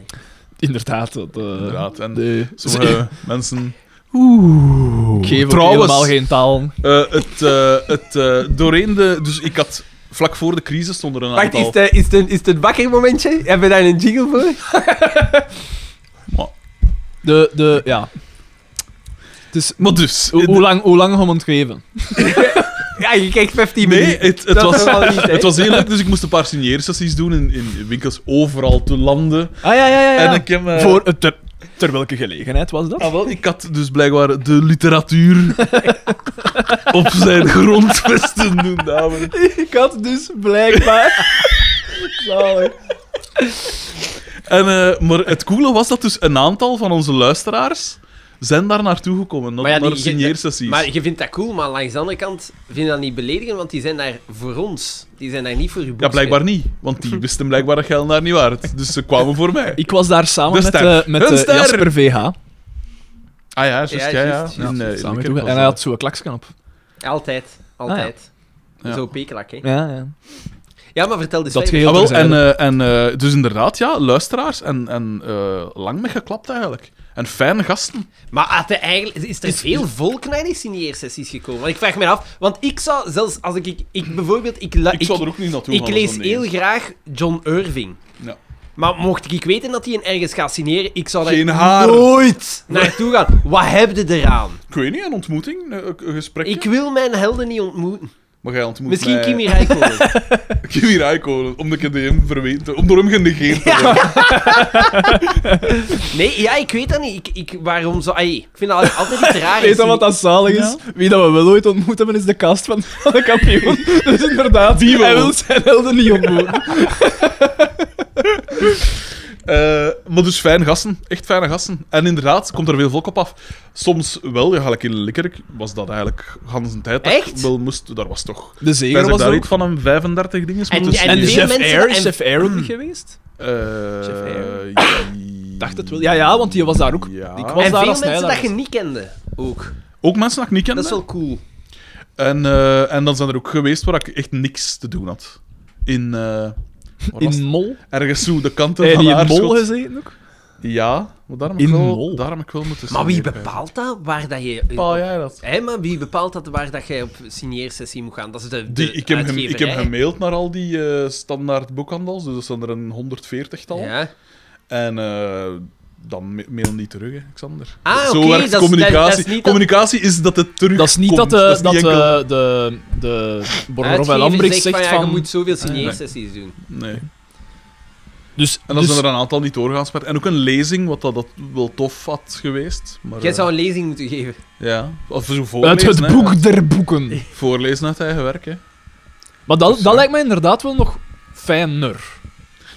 Inderdaad. Dat, eh,
Inderdaad. En
de-
sommige mensen...
Ik geef ook
Trouwens.
helemaal geen taal.
Eh, het, eh, het, eh, doorheen de... Dus ik had... Vlak voor de crisis stond er een
Wacht,
aantal...
is het, eh, is, het een, is het een bakkermomentje? Hebben we daar een jingle voor?
De, de, ja. Dus,
Maar dus...
hoe, hoe lang, hoe lang gaan we het geven?
Ja, je kijkt 15
Nee,
minuten.
het, het,
Dat
was,
is wel niet, hè?
het was heel leuk, dus ik moest een paar signeersessies doen in, in winkels overal te landen.
Ah, ja, ja, ja. ja.
En ik heb... eh,
Voor, eh, ter, ter welke gelegenheid was dat?
Ah, wel, ik had dus blijkbaar de literatuur op zijn grondvesten doen, dames.
Ik had dus blijkbaar. Zalig.
En, eh, maar het coole was dat dus een aantal van onze luisteraars zijn daar naartoe gekomen, naar,
Maar ja, die-
naar signeersessies.
Maar je vindt dat cool, maar langs de andere kant vind je dat niet beledigend, want die zijn daar voor ons. Die zijn daar niet voor je
Ja, blijkbaar niet, want die wisten blijkbaar dat geld daar niet waard. Dus ze kwamen voor mij.
Ik was daar samen
De
met,
ster.
eh, met
Een
eh,
ster.
Jasper VH.
Ah ja, juist,
Ja,
ja, ja.
juist,
In,
juist.
eh, in de
Samen
kerk
toe.
was
En hij
dat.
had zo'n klakskan op.
Altijd. Altijd.
Ja.
Zo pekelak, hè.
Ja, ja.
Ja, maar vertel dus.
Dat
verder.
geheel-
Ah, wel, en,
terzijde.
eh, en eh, dus inderdaad, ja, luisteraars en, en eh, lang mee geklapt eigenlijk. En fijne gasten.
Maar had hij eigenlijk, is er veel volk naar die signeersessies gekomen? Want ik vraag me af, want ik zou zelfs, als ik, ik, ik bijvoorbeeld, ik, la-
Ik,
ik,
zou er ook niet naartoe
ik
gaan.
lees heel graag John Irving.
Ja.
Maar mocht ik weten dat hij een ergens gaat signeren, ik Oh. zou daar
Geen haar.
nooit naartoe gaan. Wat heb je eraan?
Ik weet niet, een ontmoeting, een, een gesprekje.
Ik wil mijn helden niet ontmoeten.
Maar jij ontmoet
Misschien
mij...
Kimi Räikkönen.
Kimi Räikkönen, om de KDM verweten te- om door hem genegeerd te worden.
Nee, ja, ik weet dat niet. Ik, ik, waarom zo... ai, ik vind dat altijd iets raar.
Weet je wat dat zalig is? Wie dat we wel ooit ontmoet hebben, is de cast van van de kampioen. Dus inderdaad,
Die wel.
hij wil zijn helden niet ontmoeten.
Eh, maar dus fijne gasten, echt fijne gasten. En inderdaad, komt er veel volk op af. Soms wel, ja, gelijk in Likkerk was dat eigenlijk gans een tijd. dat ik
Echt?
Wel moest, daar was toch...
De
Wij
zeger
zijn
was
daar
er
iets
ook.
van een 35 dingen
En-
moeten
en
En
veel
signeren.
Chef
mensen-
Air,
en-
is Chef Air ook niet geweest? Chef
Eh,
Air.
ja.
Dacht het wel. Ja, ja, want die was daar ook.
Ja.
Ik
En
was
veel
daar als
mensen
hij daar
dat je
was.
niet kende, ook.
Ook mensen dat ik niet kende.
Dat is wel cool.
En, eh, en dan zijn er ook geweest waar ik echt niks te doen had. In... eh, waar was
In
het?
Mol.
Ergens zo, de kanten
Heb je
van
die in
Aarschot.
Mol gezeten ook?
Ja, maar daarom heb
In
ik wel,
mol.
daarom heb ik wel moeten eh.
Maar wie
signeren, eigenlijk.
bepaalt dat waar dat je...
Bepaal jij dat?
Hé, maar wie bepaalt dat waar dat jij op signeersessie moet gaan? Dat is de, de
Die, ik, heb hem, ik heb
uitgeverij.
gemaild naar al die eh, standaard boekhandels, dus dat zijn er een 140-tal.
Ja.
En eh, dan ma- mail niet terug, hè, Xander.
Ah,
Zo
oké,
werkt
dat is-
communicatie.
dat is niet dat-
Communicatie is dat het terug.
Dat is niet dat, de,
dat is
dat eh,
niet enkel-
de, de, de Borgerhof en
Uitgever
Lambrecht zegt
van...
van...
ja, je moet zoveel signeersessies doen.
Nee.
Dus,
En dan
dus
zijn er een aantal niet doorgaans met. En ook een lezing, wat dat, dat wel tof had geweest. Maar,
Jij
eh,
zou een lezing moeten geven.
Ja, of zo
uit
voorlezen.
het
hè.
boek der boeken.
Voorlezen uit eigen werk, hè.
Maar dat,
Zo.
dat lijkt mij inderdaad wel nog fijner.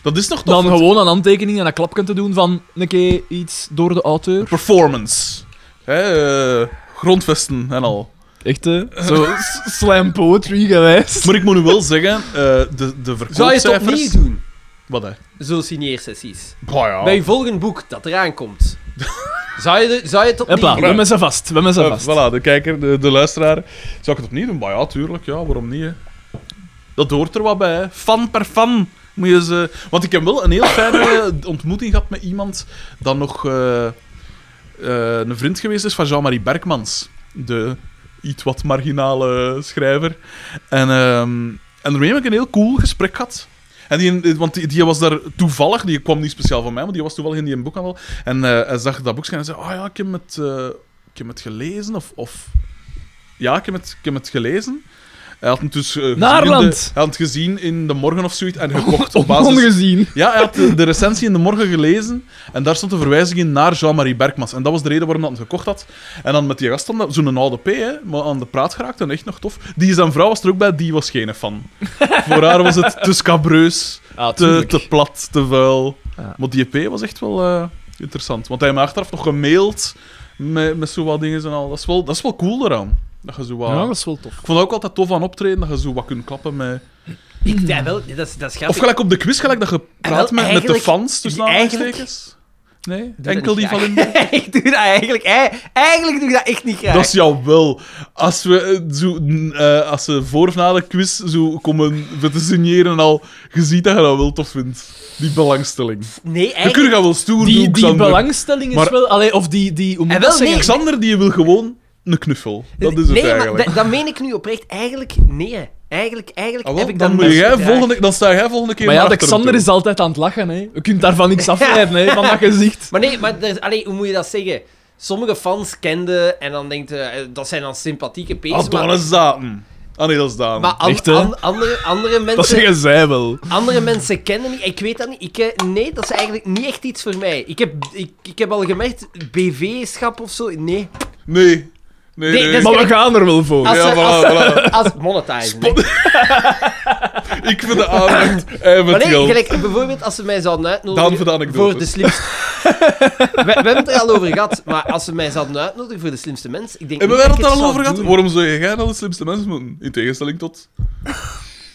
Dat is nog tof.
Dan
want-
gewoon een handtekening en een klapje te doen van een keer iets door de auteur.
Performance. Hè, eh, grondvesten en al.
Echt, hè? Zo s- slam poetry gewijs.
Maar ik moet nu wel zeggen, eh, de, de
Zou je het opnieuw
verkoopcijfers...
doen?
Wat, hè?
Zo'n signeersessies.
Bah, ja.
Bij je volgend boek dat eraan komt. zou, je, de- zou je het opnieuw
Hopla, we
doen?
hebben ze vast. We hebben ze
Eh,
vast.
voilà, de kijker, de, de luisteraar. Zou ik het opnieuw doen? Maar ja, tuurlijk. Ja, waarom niet? Hè? Dat hoort er wat bij. Hè. Fan per fan. Moet je ze... Want ik heb wel een heel fijne ontmoeting gehad met iemand dat nog eh, eh, een vriend geweest is van Jean-Marie Berkmans. De iets wat marginale schrijver. En, ehm, en daarmee heb ik een heel cool gesprek gehad. En die, want die, die was daar toevallig, die kwam niet speciaal van mij, maar die was toevallig in die boekhandel. En eh, hij zag dat boekje en hij zei: Ah ja, ik heb het, eh, ik heb het gelezen. Of, of... Ja, ik heb, het, ik heb het gelezen. Hij had het dus eh, gezien in
Naarland.
de- hij had het gezien in de morgen of zoiets en gekocht op basis.
Ongezien.
Ja, hij had eh, de, de recensie in de morgen gelezen en daar stond een verwijzing in naar Jean-Marie Berkmans. En dat was de reden waarom dat hij het gekocht had. En dan met die gast, dan- zo'n oude P, hè, maar aan de praat geraakt en echt nog tof. Die zijn vrouw was er ook bij, die was geen fan. Voor haar was het te scabreus,
Ah,
te,
tuurlijk.
te plat, te vuil.
Ja.
Maar die EP was echt wel eh, interessant. Want hij heeft me achteraf nog gemaild met, met zo wat dingen en al. Dat is wel, dat is wel cool eraan. Dat je zo wat...
Ja, dat is wel tof.
Ik vond het ook altijd tof aan optreden, dat je zo wat kunt klappen met...
Ik, ja, wel, dat is, dat is
Of
grappig.
gelijk op de quiz, gelijk dat je
wel,
praat met, met de
Eh, eigenlijk-
fans, tussen
eigenlijk-
aanhalingstekens. Nee,
dat
enkel die
niet
van
graag.
in.
ik doe dat eigenlijk... ei- Eigenlijk doe ik dat echt niet graag.
Dat is jou wel. Als, we, eh, zo, n- eh, als ze voor of na de quiz zo komen we te signeren en al, je ziet dat je dat wel tof vindt. Die belangstelling.
Nee,
Je kunt
eigenlijk...
dat wel stoer
Die,
doen,
die
Xander.
belangstelling is
Maar-
wel... Allee, of die... die hoe moet
Eh,
ik dat
wel, nee.
zeggen?
Xander die wil gewoon een knuffel. Dat is het
nee,
eigenlijk.
maar dat, dat meen ik nu oprecht. Eigenlijk, nee. Eigenlijk, eigenlijk
Ah, wel,
heb ik dus
dan,
dat
moet
niet
jij
graag.
volgende, dan sta jij volgende keer
Maar ja,
naar
de
achteren
Xander
toe.
is altijd aan het lachen, hè. Je kunt daarvan niks afleiden, hè, van dat gezicht.
Maar nee, maar er, allee, hoe moet je dat zeggen? Sommige fans kenden en dan denkt je, eh, dat zijn dan
Ah,
sympathieke pees. maar
Adonis Daten. Ah nee, dat is Daan.
maar an-
Echt, hè?
an- andere, andere,
Dat
mensen,
zeggen zij wel.
andere mensen kennen niet. Ik weet dat niet. Ik, eh, nee, dat is eigenlijk niet echt iets voor mij. Ik heb, ik, ik heb al gemerkt, BV-schap of zo. Nee.
Nee. Nee,
Nee,
nee.
dat is-
Maar we gaan er wel voor.
Als
Ja,
ze-
voilà, voilà.
Als monetizen. hè.
Ik vind de aandacht en
Maar
het
nee,
geld.
gelijk, bijvoorbeeld als ze mij zouden uitnodigen...
Dan voor de anekdotes.
Voor de slimste... we, we hebben het er al over gehad, maar als ze mij zouden uitnodigen voor de slimste mens, ik denk
Hebben
niet dat
wij dat
ik het
daar al
zou
over gehad?
doen.
Waarom zou jij nou de slimste mensen moeten? In tegenstelling tot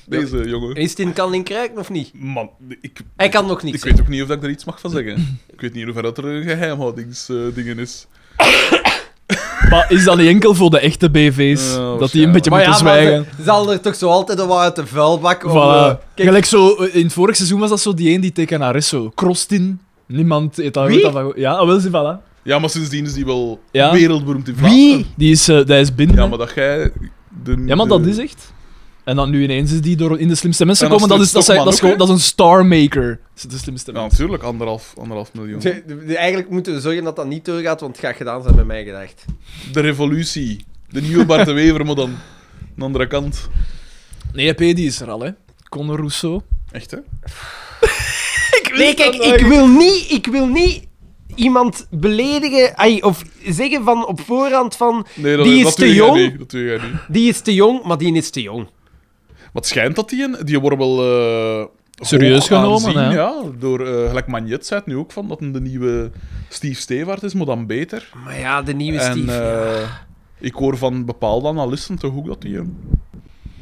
deze jongen.
Is het in Kanling Kruiken of niet?
Man, ik,
Hij kan nog
ik
niks.
weet ook niet of dat ik er iets mag van zeggen. Ik weet niet hoe ver dat er een geheimhoudingsdingen is.
Maar is dat niet enkel voor de echte BV's?
Ja,
dat die een beetje
maar
moeten
ja, maar
zwijgen.
ze- zal er toch zo altijd een wat uit de vuilbak om, eh,
Voilà.
kijk,
Gelijk zo, eh, in het vorig seizoen was dat zo die een die tegen haar is, zo. Krostin. Niemand heeft dat
Wie?
goed af- Ja, ah, wel ze, voilà.
Ja, maar sindsdien is die wel
Ja.
wereldberoemd in Vlaanderen.
Wie? Die is, eh die is binnen.
Ja, maar dat jij... De,
Ja, maar
de-
dat is echt. En dan nu ineens is die door in de slimste mensen
En als
komen, dat is, dat, zijn, dat, is
Stokman
gewoon, dat is een star maker. Dat is de slimste
Ja,
mensen.
natuurlijk. Anderhalf, anderhalf miljoen.
eh, ze- de- de- eigenlijk moeten we zorgen dat dat niet doorgaat, want het gaat gedaan zijn met mij gedacht.
De revolutie. De nieuwe Bart de Wever, maar dan... Aan de andere kant.
Nee, EP die is er al, hè. Conor Rousseau.
Echt, hè?
Nee, kijk,
dat nooit.
ik wil niet, ik wil niet iemand beledigen ai, of zeggen van op voorhand van
Nee, dat,
Die
dat
is te
doe jij
jong.
niet, Dat doe jij niet.
die is te jong, maar die is te jong.
Wat schijnt dat die in? Die worden wel. eh,
Serieus
hoog
genomen,
aanzien,
hè?
Ja, door. eh, gelijk Magnet zei het nu ook van dat hem de nieuwe Steve Stewart is, maar dan beter.
Maar ja, de nieuwe
en
Steve. ja.
eh, ik hoor van bepaalde analisten toch ook dat die. hem.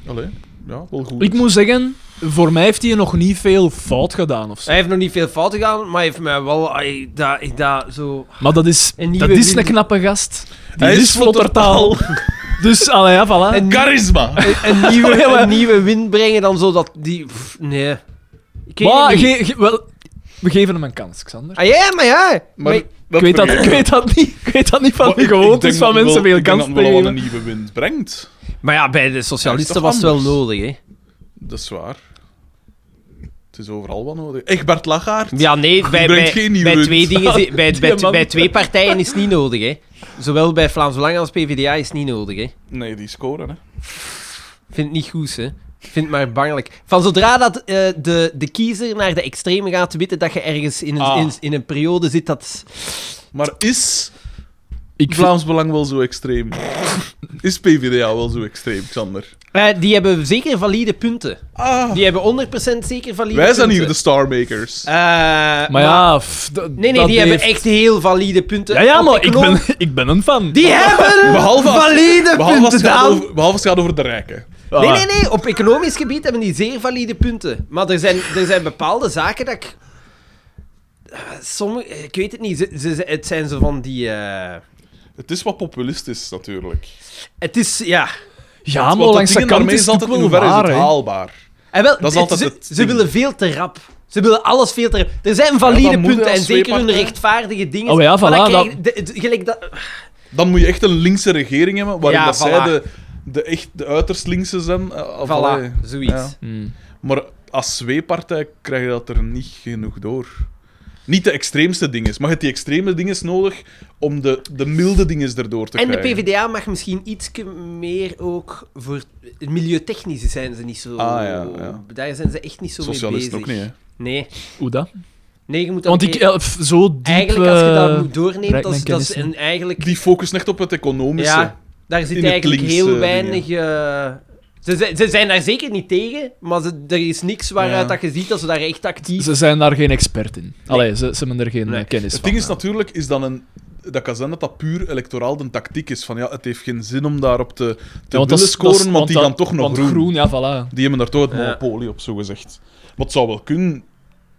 Allee, ja, wel goed.
Ik
is.
moet zeggen, voor mij heeft hij nog niet veel fout gedaan of zo.
Hij heeft nog niet veel fouten gedaan, maar hij heeft mij wel ai, dat, ik dat zo.
Maar dat is,
Een nieuwe
dat is
Willy.
een knappe gast. Die
Hij
is,
is
vlottertaal. dus, allee, ja, voilà.
En-
Charisma!
Een, een nieuwe, een nieuwe wind brengen dan zo dat die. pff, nee. Ik weet het
maar,
niet.
ge- ge- wel, We geven hem een kans, Xander.
Ah ja, maar ja. Maar,
Maar
Ik weet, dat, ik, weet dat niet, ik weet dat niet van
Maar
de
ik- ik
gewoontes
denk
van
dat
mensen
wel-
veel
ik denk
kansen te
dat wel wat
geven.
een nieuwe wind brengt.
maar ja, bij de socialisten
Dat
was
is
het
toch
wel nodig, hè.
Dat is waar. Het is overal wat nodig. Egbert Lagaard.
Ja, nee, bij,
brengt
bij,
geen nieuwe
bij,
wind.
twee dingen, zi- bij,
Die
bij,
man-
bij twee partijen is het niet nodig, hè. Zowel bij Vlaams Belang als PvdA is het niet nodig, hè.
Nee, die scoren, hè.
Vind het niet goed, hè. Vind het maar bangelijk. Van zodra dat eh, de, de kiezer naar de extreme gaat, weten dat je ergens in een,
Ah.
in, in een periode zit dat...
Maar is
Ik vind-
Vlaams Belang wel zo extreem? Is PvdA wel zo extreem, Xander?
Eh, die hebben zeker valide punten.
Ah,
Die hebben 100% zeker valide
wij zijn
punten.
hier dus- de Starmakers.
Eh,
maar ja, f- d-
Nee, nee,
dat
die hebben
heeft-
echt heel valide punten.
Ja, ja,
Want
maar ik
geloof-
ben, ik ben een fan.
Die hebben
Behalve als-
valide
Behalve als,
punten,
het gaat
Daan.
over, behalve als het gaat over de rijken.
Ah.
Nee, nee, nee. Op economisch gebied hebben die zeer valide punten. Maar er zijn, er zijn bepaalde zaken dat ik... Eh, Sommige... Ik weet het niet. Ze, ze- ze- het zijn zo van die... eh,
Het is wat populistisch, natuurlijk.
Het is... Ja.
Ja, maar
Want dat
langs de
ding
kant
daarmee
is het ook
in
wel
hoeverre is
waar,
het
hè.
haalbaar?
En wel,
Dat is
het-
altijd
ze,
het
ze
ding.
willen veel te rap. Ze willen alles veel te rap. Er zijn valide
Ja, dan moet je
punten en
als
zeker hun
tweepartij-
rechtvaardige dingen.
Oh ja,
Maar dan
voilà,
krijg je de- de- gelijk dat...
Dan moet je echt een linkse regering hebben, waarin
Ja,
dat zij
voilà.
de, de, echt, de uiterst linkse zijn. eh, of allee.
Voilà, zoiets.
Ja.
Hmm.
Maar als zweepartij krijg je dat er niet genoeg door. Niet de extreemste dingen. Maar je hebt die extreme dingen nodig om de, de milde dingen erdoor te
En de
krijgen.
PvdA mag misschien iets meer ook voor... Milieutechnisch zijn ze niet zo...
Ah, ja, ja.
Daar zijn ze echt niet zo
Socialisten
mee
ook
bezig.
niet, hè.
Nee.
Hoe dat?
Nee, je moet dat
Want
een
ik,
keer-
eh, f- zo diep...
Eigenlijk, als je dat
eh,
moet doornemen,
bereik
dat is,
mijn
dat is
kennis
een, eigenlijk...
Die focussen echt op het economische.
Ja, daar zit
in het
eigenlijk
links,
heel
eh,
weinig... eh, ze, zijn- ze zijn daar zeker niet tegen, maar ze- er is niks waaruit
Ja.
dat je ziet dat ze daar echt actief...
Ze zijn daar geen expert in. Allee, ze, ze hebben er geen
Nee.
eh, kennis
Het
van.
ding is
eh.
natuurlijk is dan een. Dat kan zijn dat dat puur electoraal de tactiek is. Van ja, het heeft geen zin om daarop te, te
Ja, want dat
willen
is-
scoren,
dat is-
want, die
dat-
gaan toch nog
want
groen.
groen, ja, voilà.
Die hebben daar toch het
Ja.
monopolie op, zogezegd. Wat zou wel kunnen,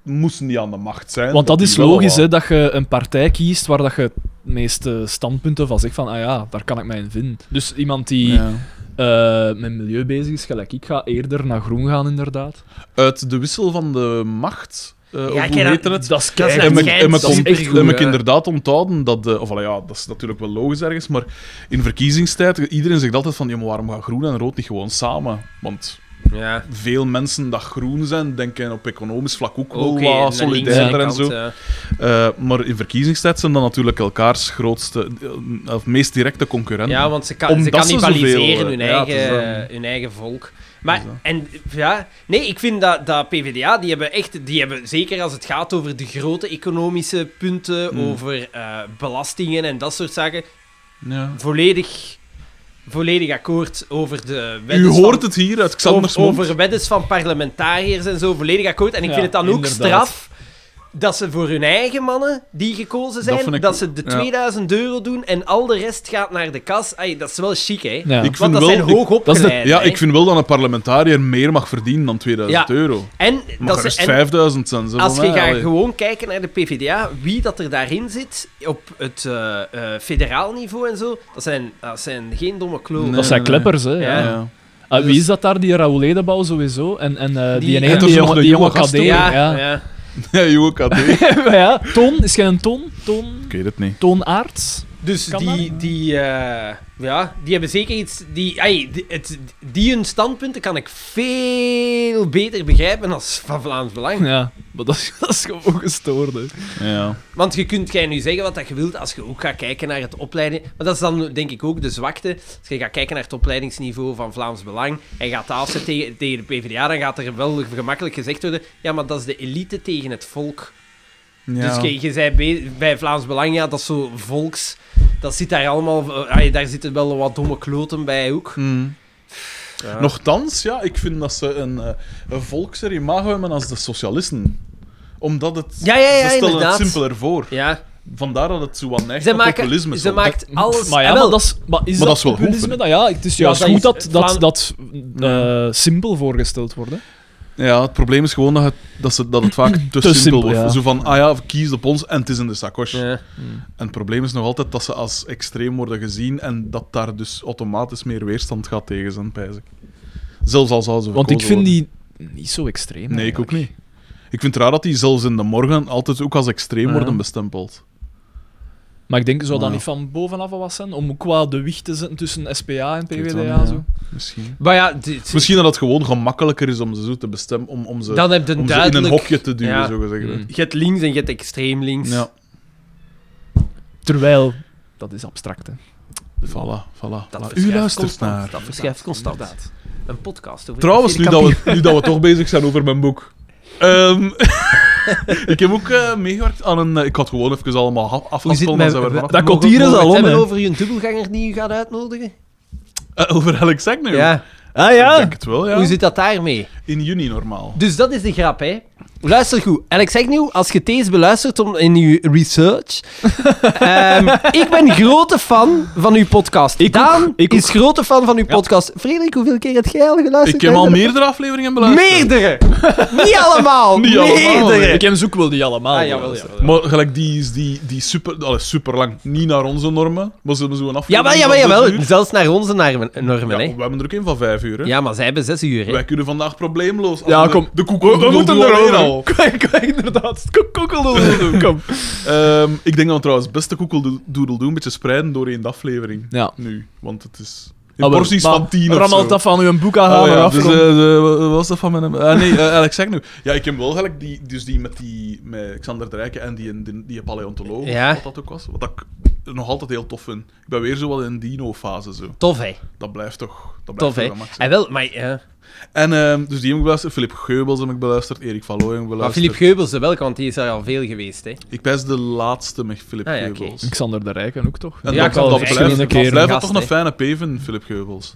moesten die aan de macht zijn.
Want dat is
die wel
logisch,
wat-
hè, dat je een partij kiest waar dat je de meeste standpunten van zegt van, ah ja, daar kan ik mij in vinden. Dus iemand die
Ja.
eh, met milieu bezig is, gelijk ik, ga eerder naar groen gaan, inderdaad.
Uit de wissel van de macht. eh, of
ik
hoe
ken
heet
dat-
het?
Dat is
Dat is
En
een
me-
schijn,
en me
dat is
kon-
echt
en
goed,
En ik
hè.
inderdaad onthouden dat... De, of allee, ja, dat is natuurlijk wel logisch ergens, maar in verkiezingstijd... Iedereen zegt altijd van, ja, maar waarom gaan groen en rood niet gewoon samen? Want
Ja.
veel mensen dat groen zijn, denken op economisch vlak ook wel
Oké,
wat
naar
solidairder ah,
links-
en zo.
kant,
Eh, maar in verkiezingstijd zijn dat natuurlijk elkaars grootste... eh, of meest directe
eh.
concurrenten.
Ja, want ze, kan,
Omdat
ze
ze
cannibaliseren
zoveel,
hun,
eh, ja,
eigen,
het is dan-
hun eigen volk. Maar,
Dus,
en, ja, nee, ik vind dat, dat PvdA, die hebben echt, die hebben, zeker als het gaat over de grote economische punten,
Mm.
over eh, belastingen en dat soort zaken,
Ja.
volledig, volledig akkoord over de
U
weddens dus
hoort
van,
het hier uit Xander's
over,
mond.
over weddens van parlementariërs en zo, volledig akkoord. En ik
Ja,
vind het dan ook
inderdaad.
straf dat ze voor hun eigen mannen die gekozen zijn,
Dat
dat,
vind ik-
ze de
ja.
2000 euro doen en al de rest gaat naar de kas. Ai, dat is wel chic, hè?
Ja.
Ik
Want
vind
dat
wel...
zijn
ik-
hoogopgeleiden.
ja,
hè.
ik vind wel dat een parlementariër meer mag verdienen dan 2000
Ja.
euro.
En,
Maar
dat
dat is
ze, en
5000 zijn ze
als
van
je
mij,
gaat
allee.
gewoon kijken naar de PvdA, wie dat er daarin zit op het eh, eh, federaal niveau en zo, dat zijn, dat zijn geen domme kloon.
Nee.
Dat zijn kleppers, hè. Ja.
Ja.
Ja.
Ah, wie is dat daar? Die Raoul Edebouw sowieso. En, en eh,
Die-
die,
En
ene,
dat
die,
is nog
jonge,
de
die
jonge
jonge
gast,
KD.
hoor.
ja,
Ja.
ja.
Ja, joh, KD. Ik
Maar ja, Toon. Is jij een Toon? Toon,
weet het niet.
toon Aerts?
Dus
Kan
die, die, eh, ja, die hebben zeker iets. Die, ai, die, het, die hun standpunten kan ik veel beter begrijpen als van Vlaams Belang.
Ja, maar dat is, dat is gewoon gestoord, hè.
Ja.
Want je kunt jij nu zeggen wat dat je wilt als je ook gaat kijken naar het opleiding. Maar dat is dan denk ik ook de zwakte. Als je gaat kijken naar het opleidingsniveau van Vlaams Belang en gaat dat afzetten tegen, tegen de PvdA, dan gaat er wel gemakkelijk gezegd worden: ja, maar dat is de elite tegen het volk. Dus je, je zei bij, bij Vlaams Belang, ja, dat is zo volks. Dat zit daar allemaal... eh, ah, daar zitten wel wat domme kloten bij ook.
Hmm.
Ja.
Nochtans, ja, ik vind dat ze een, eh, een volkser imago hebben als de socialisten. Omdat het...
Ja, ja, ja,
ze stellen
inderdaad.
het simpeler voor.
Ja.
Vandaar dat het zo wat neigt
Ze
naar
maken...
populisme.
Ze
soms.
maakt alles...
Maar ja,
Ah, wel.
maar dat is, maar is
Maar dat is wel goed,
populisme
hè?
dan? Ja, het is
Ja,
juist
dat
goed
is-
dat dat,
Vlaam-
dat eh, simpel voorgesteld wordt. hè.
Ja, het probleem is gewoon dat het, dat ze, dat het vaak te, simpel,
simpel,
wordt.
ja.
Zo van, ah ja, kies op ons en het is in de sacoche.
Ja.
En het probleem is nog altijd dat ze als extreem worden gezien en dat daar dus automatisch meer weerstand gaat tegen zijn, pijs ik. Zelfs al zouden ze
Want ik
verkozen
vind
worden.
die niet zo extreem.
Nee, ik ook
eigenlijk.
niet. Ik Ik vind het raar dat die zelfs in de morgen altijd ook als extreem
Ja.
worden bestempeld.
Maar ik denk, zou dat
Ja.
niet van bovenaf wat zijn? Om ook qua de wicht te zetten tussen SPA en
Ik weet
PWDA.
dat niet,
zo.
Misschien.
Maar ja, dit,
Misschien dat het gewoon gemakkelijker is om ze zo te bestemmen, om, om ze,
dan heb je
om ze
duidelijk...
in een hokje te duwen,
Ja.
zo gezegd.
Mm.
Je hebt links en je hebt extreem links.
Ja,
Terwijl, dat is abstract, hè.
voilà, voilà.
Dat
voilà. U
verschuift
luistert
constant,
naar.
Dat verschuift constant. Een podcast over...
Trouwens, nu dat, we, nu dat we toch bezig zijn over mijn boek. Ehm, ik heb ook eh, meegewerkt aan een... eh, Ik had gewoon even allemaal af-
Hoe zit
afhaspelen,
mijn...
dan zijn we er vanaf.
dat komt hier eens al om,
hebben
hè.
over je dubbelganger die je gaat uitnodigen?
Eh, over Alex Agnew?
Ah
Ik
ja!
denk het wel, ja.
Hoe zit dat daarmee?
In juni normaal.
Dus dat is de grap, hè. Luister goed. Alex Agnew, als je deze beluistert om, in je research... Ehm, ik ben grote fan van uw podcast.
Ik
Daan
ook, ik
is grote fan van uw podcast. Frederik, hoeveel keer heb jij al geluisterd?
Ik heb al
eigenlijk?
meerdere afleveringen beluisterd.
Meerdere! Niet allemaal!
Niet allemaal,
meerdere!
Ik heb ze ook wel die allemaal.
Ah,
wel,
jawel,
ja.
jawel.
Maar gelijk, die is die, die super, allee, super lang. Niet naar onze normen, maar ze hebben zo'n
Ja,
aflevering
maar, ja, maar,
van zes
jawel.
uur.
Zelfs naar onze normen, normen
Ja,
hè.
we hebben er ook één van vijf uur, hè.
Ja, maar zij hebben zes uur, hè.
Wij kunnen vandaag probleemloos.
Ja,
Als de-
kom.
De koek
We, we moeten erover.
al.
Kijk, kijk, inderdaad. Ko- Kokkeldoedeldoe, kom.
Ehm, ik denk dat we trouwens beste koekeldoedel doen, een beetje spreiden door één aflewering.
Ja. Ah,
Nu, want het is... In porties van tien of
Rammelt
zo.
dat van uw
Ah,
boek
Oh
aan
ja,
af.
dus, eh, de- wat was dat van mijn... Ah, nee, eh, Alex, zeg nu. Ja, ik heb wel gelijk die, dus die met die met Xander de Rijken en die, die, die paleontoloog, of
Ja.
wat dat ook was. Wat ik nog altijd heel tof vind. Ik ben weer zo wel in een dino-fase, zo.
Tof, hè.
Dat blijft toch... Dat
Tof,
blijft
hè.
toch gemaakt zijn.
En wel, maar... ja.
En ehm, dus die heb ik beluisterd. Filip Geubels heb ik beluisterd. Erik van Looy heb ik
Maar
beluisterd.
Philip Geubels wel, want die is er al veel geweest, hè.
Ik wijs de laatste met Philip
Ah, ja, oké.
Geubels.
Xander de Rijken ook, toch?
En
Ja,
dat,
ik zal
dat,
het
blijft,
verschillende
dat
keren
blijft
gast,
toch een
hè.
fijne peven, Philip Geubels.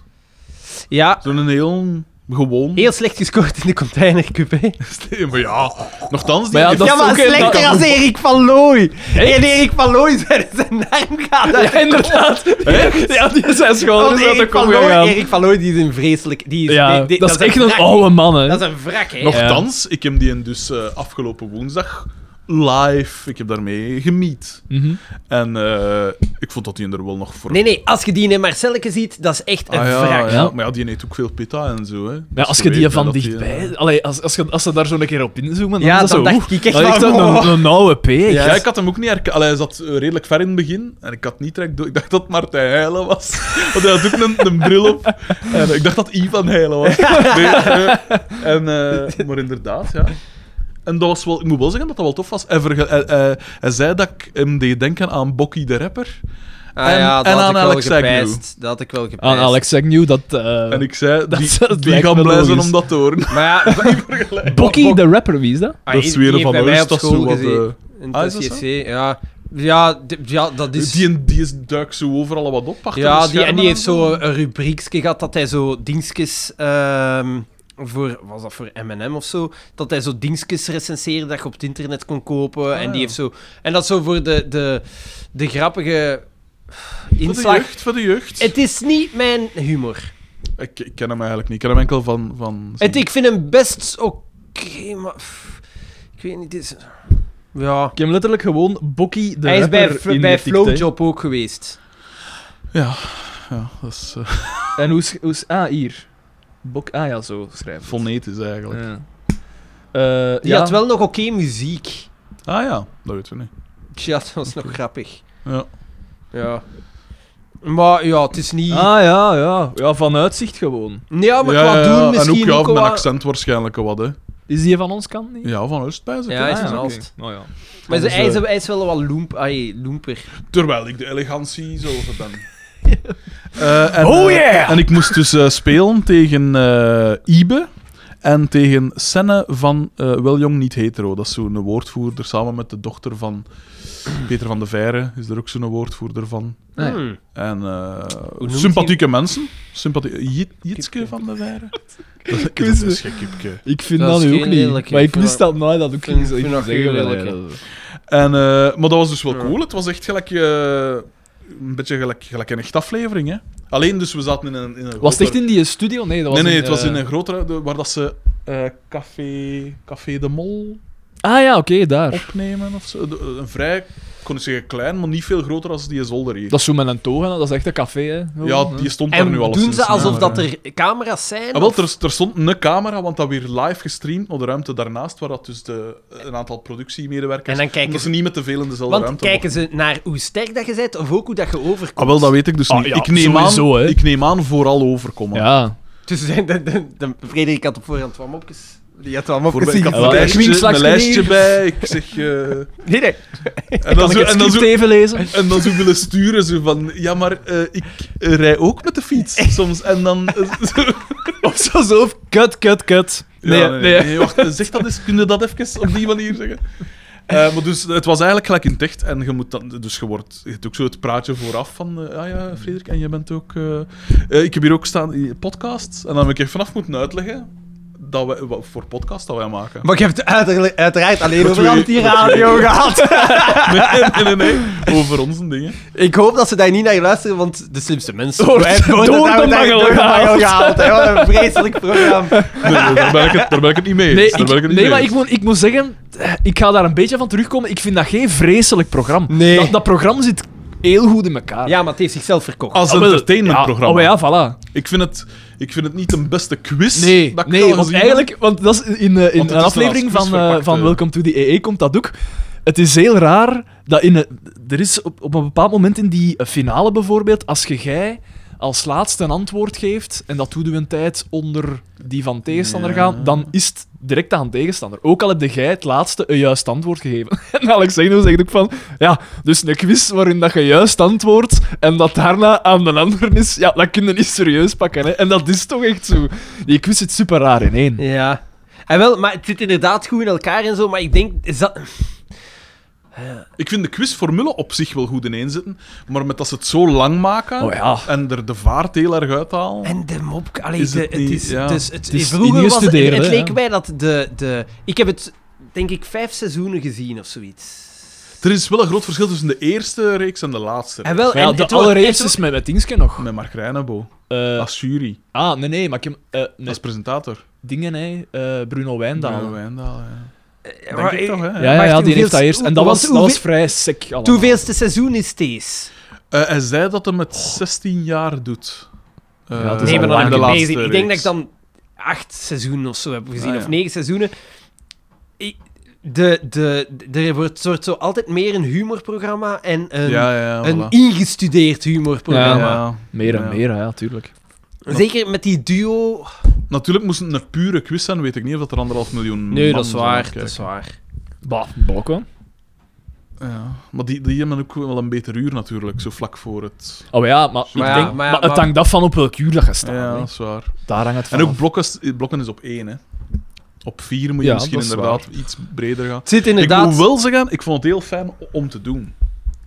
Ja,
Zo'n heel gewoon...
heel slecht gescoord in de containercup, hè.
Nee, maar ja, nogthans... Die
Maar ja,
heeft-
dat
ja,
is
maar
ook een-
slechter
dat-
als Erik van Looy. En Erik van Looy zijn, zijn naam gaat uit.
Ja, inderdaad. Ja, die zijn school
Want
is uit de
Erik
kom
van, Looy,
gegaan.
Erik van Looy, die is een vreselijk... Die is,
Ja,
die- die-
dat is echt
een
een
wrak,
oude man, hè.
Dat is een wrak, hè.
Nochtans, ik heb die dus eh, afgelopen woensdag live, ik heb daarmee gemiet.
Mhm.
En eh, ik vond dat die er wel nog voor...
Nee, nee, als je die in Marcelke ziet, dat is echt een
Ah, ja,
wrak.
ja.
Ja.
Maar ja, die eet ook veel pita en zo, hè.
Ja,
Dus
als
je
je die
weet, hè,
van
dat die,
dichtbij...
eh,
Allee, als, als, je, als ze daar zo een keer op inzoomen, dan
Ja,
is dat
dan
zo...
dacht
oeh,
ik echt
dat is echt
van,
een,
oh.
een, een oude P.
Ja,
echt.
ik had hem ook niet herkend. Allee, hij zat eh, redelijk ver in het begin. En ik had niet direct door. Ik dacht dat Martijn Heijlen was. Want hij had ook een, een bril op. En eh, ik dacht dat Ivan Heijlen was. Nee, eh, en, eh, maar inderdaad, ja. En dat was wel, ik moet wel zeggen dat dat wel tof was. Hij, verge- hij, hij- hij zei dat ik hem deed denken aan Bokkie de Rapper.
Ah,
En-
ja, dat
en
had
aan
ik wel
Alex
gepijst.
Agnew.
Dat had ik wel gepijst.
Aan Ah, Alex Agnew, dat... eh,
En ik zei,
dat-
die,
dat
die
lijkt
gaan
me
blij zijn
logisch.
om dat te horen.
Maar ja,
Bokkie de rapper, wie is dat?
Ah,
Ah, dat is
die
weer
heeft
van
bij
ons,
mij op
dat is
school
zo wat,
gezeten. In
ah, is
de
dat zo?
CSC, ja. Ja, d- ja, dat is...
Die, die is, duikt zo overal wat op. achter de
Dus- ja, die, en
schermen
die heeft
zo.
zo een rubriekje gehad dat hij zo dingetjes... ehm, voor, was dat voor M&M of zo? Dat hij zo dingetjes recenseerde dat je op het internet kon kopen. en die
Ah, ja.
heeft zo... En dat is zo voor de, de, de grappige
Voor de
inslag.
jeugd, voor de jeugd.
Het is niet mijn humor.
Ik, ik ken hem eigenlijk niet. Ik ken hem enkel van... van zijn-
Het, ik vind hem best oké, maar... pff, ik weet niet, het is... Ja...
Ik heb letterlijk gewoon Bokkie de
Hij is
rapper
bij, F- bij
ingetikt, hè.
Flowjob ook geweest.
Ja, ja dat is eh,
En hoe is... Hoe is ah, hier. Bok, ah ja, zo schrijven.
fonetisch eigenlijk.
Ja. Eh,
Die
ja.
had wel nog oké muziek.
Ah ja, dat weten we niet.
Tja, dat was nog grappig.
Ja.
Ja. Maar ja, het is niet...
Ah ja, ja. Ja, van uitzicht gewoon.
Ja, maar
Ja,
qua
ja, ja.
doen misschien
En ook, ja,
ook
mijn
wel-
accent waarschijnlijk wat, hè.
Is die van ons kant niet?
Ja, van Oostpijs.
Ja, hij is
Ah,
een
oké.
Alst.
Nou ja.
Maar
Dus,
hij, is,
eh,
hij is wel wat loemp, ai, loemper.
Terwijl ik de elegantie zo over ben. Eh, en,
Oh
eh,
yeah!
en ik moest dus eh, spelen tegen eh Ibe en tegen Senne van eh Weljong Niet Hetero. Dat is zo'n woordvoerder samen met de dochter van Peter van de Veire. Is er ook zo'n woordvoerder van.
Ah, ja.
Hmm.
En eh,
noemt
sympathieke mensen. Sympathie Jit- Jitske van de Weire. Dat is
Kipke.
een schikipke.
Ik vind
Dat
dat,
is
nu ook
geen
niet.
lelijke.
Maar
Ik
ik
vind
wist
dat-
dat nooit dat ook
vind-
niet zo
vind dat geen lelijke.
En, eh, maar dat was dus wel
Ja.
cool. Het was echt gelijk, eh, een beetje gelijk, gelijk een echt aflevering. Hè? Alleen dus we zaten in een. In een
Was het echt
grotere-
in die studio? Nee, dat was
Nee, nee,
in,
het was
eh,
in een grotere. de- waar dat ze eh, café, café de Mol eh,
Ah ja, oké, daar.
Oh. opnemen of zo. De- een vrij kon ik zeggen klein, maar niet veel groter als die zolder hier.
Dat is zo met een toga, dat is echt een café, hè. Gewoon,
ja,
hè.
die stond daar
En
nu al
doen ze alsof
ja,
dat er camera's zijn?
Ah, wel,
of-
er, er stond een camera, want dat weer live gestreamd naar de ruimte daarnaast, waar dat dus de, een aantal productiemedewerkers...
En dan kijken
omdat
ze-
ze niet met te veel in dezelfde
Want
ruimte
kijken ze naar hoe sterk dat je bent of ook hoe dat je overkomt?
Ah, wel, dat weet ik dus
Ah,
niet.
ja,
ik, neem
sowieso,
aan,
hè.
ik neem aan vooral overkomen.
Ja.
Dus de, de, de, de- Frederik had op voorhand wat mopjes. Die had wat
Voor,
mopjes.
ik had
zien.
een
Ja,
lijstje,
Queenslag's
een lijstje
hier.
bij, ik zeg... eh,
Nee, nee.
en, dan
Kan
zo,
ik het
en, dan zo,
script even lezen?
en dan zo willen sturen, zo van... Ja, maar eh, ik eh, rij ook met de fiets soms. En dan... eh, zo-
Of zo, zo. of Kut, kut, kut. Nee,
Ja,
nee.
wacht, eh, zeg dat eens. Kun je dat even op die manier zeggen? Eh, maar dus, het was eigenlijk gelijk in ticht en je moet dan, dus je wordt, je hebt ook zo het praatje vooraf van, eh, ah ja, Frederik, en jij bent ook, eh, eh, ik heb hier ook staan in podcasts, en dan heb ik je vanaf moeten uitleggen dat wij, wat voor podcast dat wij maken.
Maar je hebt uiterlijk- uiteraard alleen
Wat
over
wil je-
anti-radio gehad.
Nee, nee, nee, nee, over onze dingen.
Ik hoop dat ze daar niet naar luisteren, want de slimste mensen...
Door-
Wij hebben nooit
door
het
de
daar-
mangel
door de
gehaald.
mangel gehaald. hè. Wat een vreselijk programma.
Nee, nee, daar, ben ik het, daar ben ik het niet mee eens.
Nee,
Daar
ik-
ben het niet
nee
mee
maar ik
eens.
moet, ik moet zeggen, eh, ik ga daar een beetje van terugkomen. Ik vind dat geen vreselijk programma.
Nee.
Dat, dat programma zit heel goed in elkaar.
Ja, maar het heeft zichzelf verkocht.
Als
Ah, wel,
entertainmentprogramma.
Ja, oh ja, voilà.
ik, vind het, ik vind het niet de beste quiz
Nee,
Dus dat ik al
nee want
gezien heb.
eigenlijk, want dat is in, eh, in
het is
een
een
aflevering
als
van,
quiz
eh,
verpakt,
van
eh.
Welcome to the EE komt dat ook. Het is heel raar dat in een, er is op, op een bepaald moment in die eh, finale bijvoorbeeld, als je jij als laatste een antwoord geeft en dat doet u een tijd onder die van tegenstander
Ja.
gaan, dan is het direct aan tegenstander. Ook al heb jij het laatste een juist antwoord gegeven. En Alexeno zegt ook van, ja, dus een quiz waarin dat je juist antwoordt en dat daarna aan de ander is, ja, dat kun je niet serieus pakken. Hè. En dat is toch echt zo. Die quiz zit super raar in één.
Ja. En wel, maar het zit inderdaad goed in elkaar en zo, maar ik denk... Is dat...
Ik vind de quizformule op zich wel goed ineenzitten, maar met dat ze het zo lang maken
Oh ja.
en er de vaart heel erg uithalen.
En de mop... Allee,
Is
de-
het
het,
niet-
is,
ja.
dus, het,
Het is
vroeger was het...
ingestudeerd,
Het
hè,
leek
ja.
mij dat de, de... Ik heb het, denk ik, vijf seizoenen gezien of zoiets.
Er is wel een groot verschil tussen de eerste reeks en de laatste.
En wel,
Maar ja,
en
de
het wordt-
allereerste
het
is met, met Dingske nog.
reeks. Met Mark Reinebo
Eh,
als jury,
ah, nee, nee, maar ik heb... eh, nee,
als presentator.
dingen, hè. eh, Bruno Eh, Wijndalen.
Ja, Wijndaal, ja.
wordt-
Denk ik toch, hè?
Ja, ja,
Maar echt,
ja, die heeft
hoeveelste-
dat eerst. En dat
hoe-
was,
want
dat was
hoeveel-
vrij sick allemaal.
Het hoeveelste seizoen is Thees?
Eh, hij zei dat hij
Oh.
het 16 jaar doet. Eh,
dat is
Nee,
al
maar
lang
dan heb
de
ik
laatste
niet meegezien. Ik denk dat
reeks.
ik dan acht seizoenen of zo heb gezien,
Ah, ja.
of negen seizoenen. Ik- de, de, de, er wordt soort zo altijd meer een humorprogramma en een,
Ja, ja,
een
voilà.
ingestudeerd
Ja,
humorprogramma.
ja.
Meer en
Ja.
meer, ja, tuurlijk.
Zeker met die duo.
Natuurlijk moest het een pure quiz zijn, weet ik niet of dat er anderhalf miljoen
Nee,
man
dat is
zou
waar.
kijken.
Dat is waar.
Bah, blokken.
Ja. Maar die, die hebben ook wel een beter uur natuurlijk, zo vlak voor het...
Oh ja, maar,
Maar ja,
ik denk,
maar ja,
maar het
maar-
hangt af van op welk uur dat je staat.
Ja,
hè.
dat is waar.
Daar hangt het van
En ook
af.
blokken, blokken is op één, hè. Op vier moet je
Ja,
misschien
dat is
inderdaad iets breder gaan.
Het zit
Ik
inderdaad,
moet wel zeggen, ik vond het heel fijn om te doen.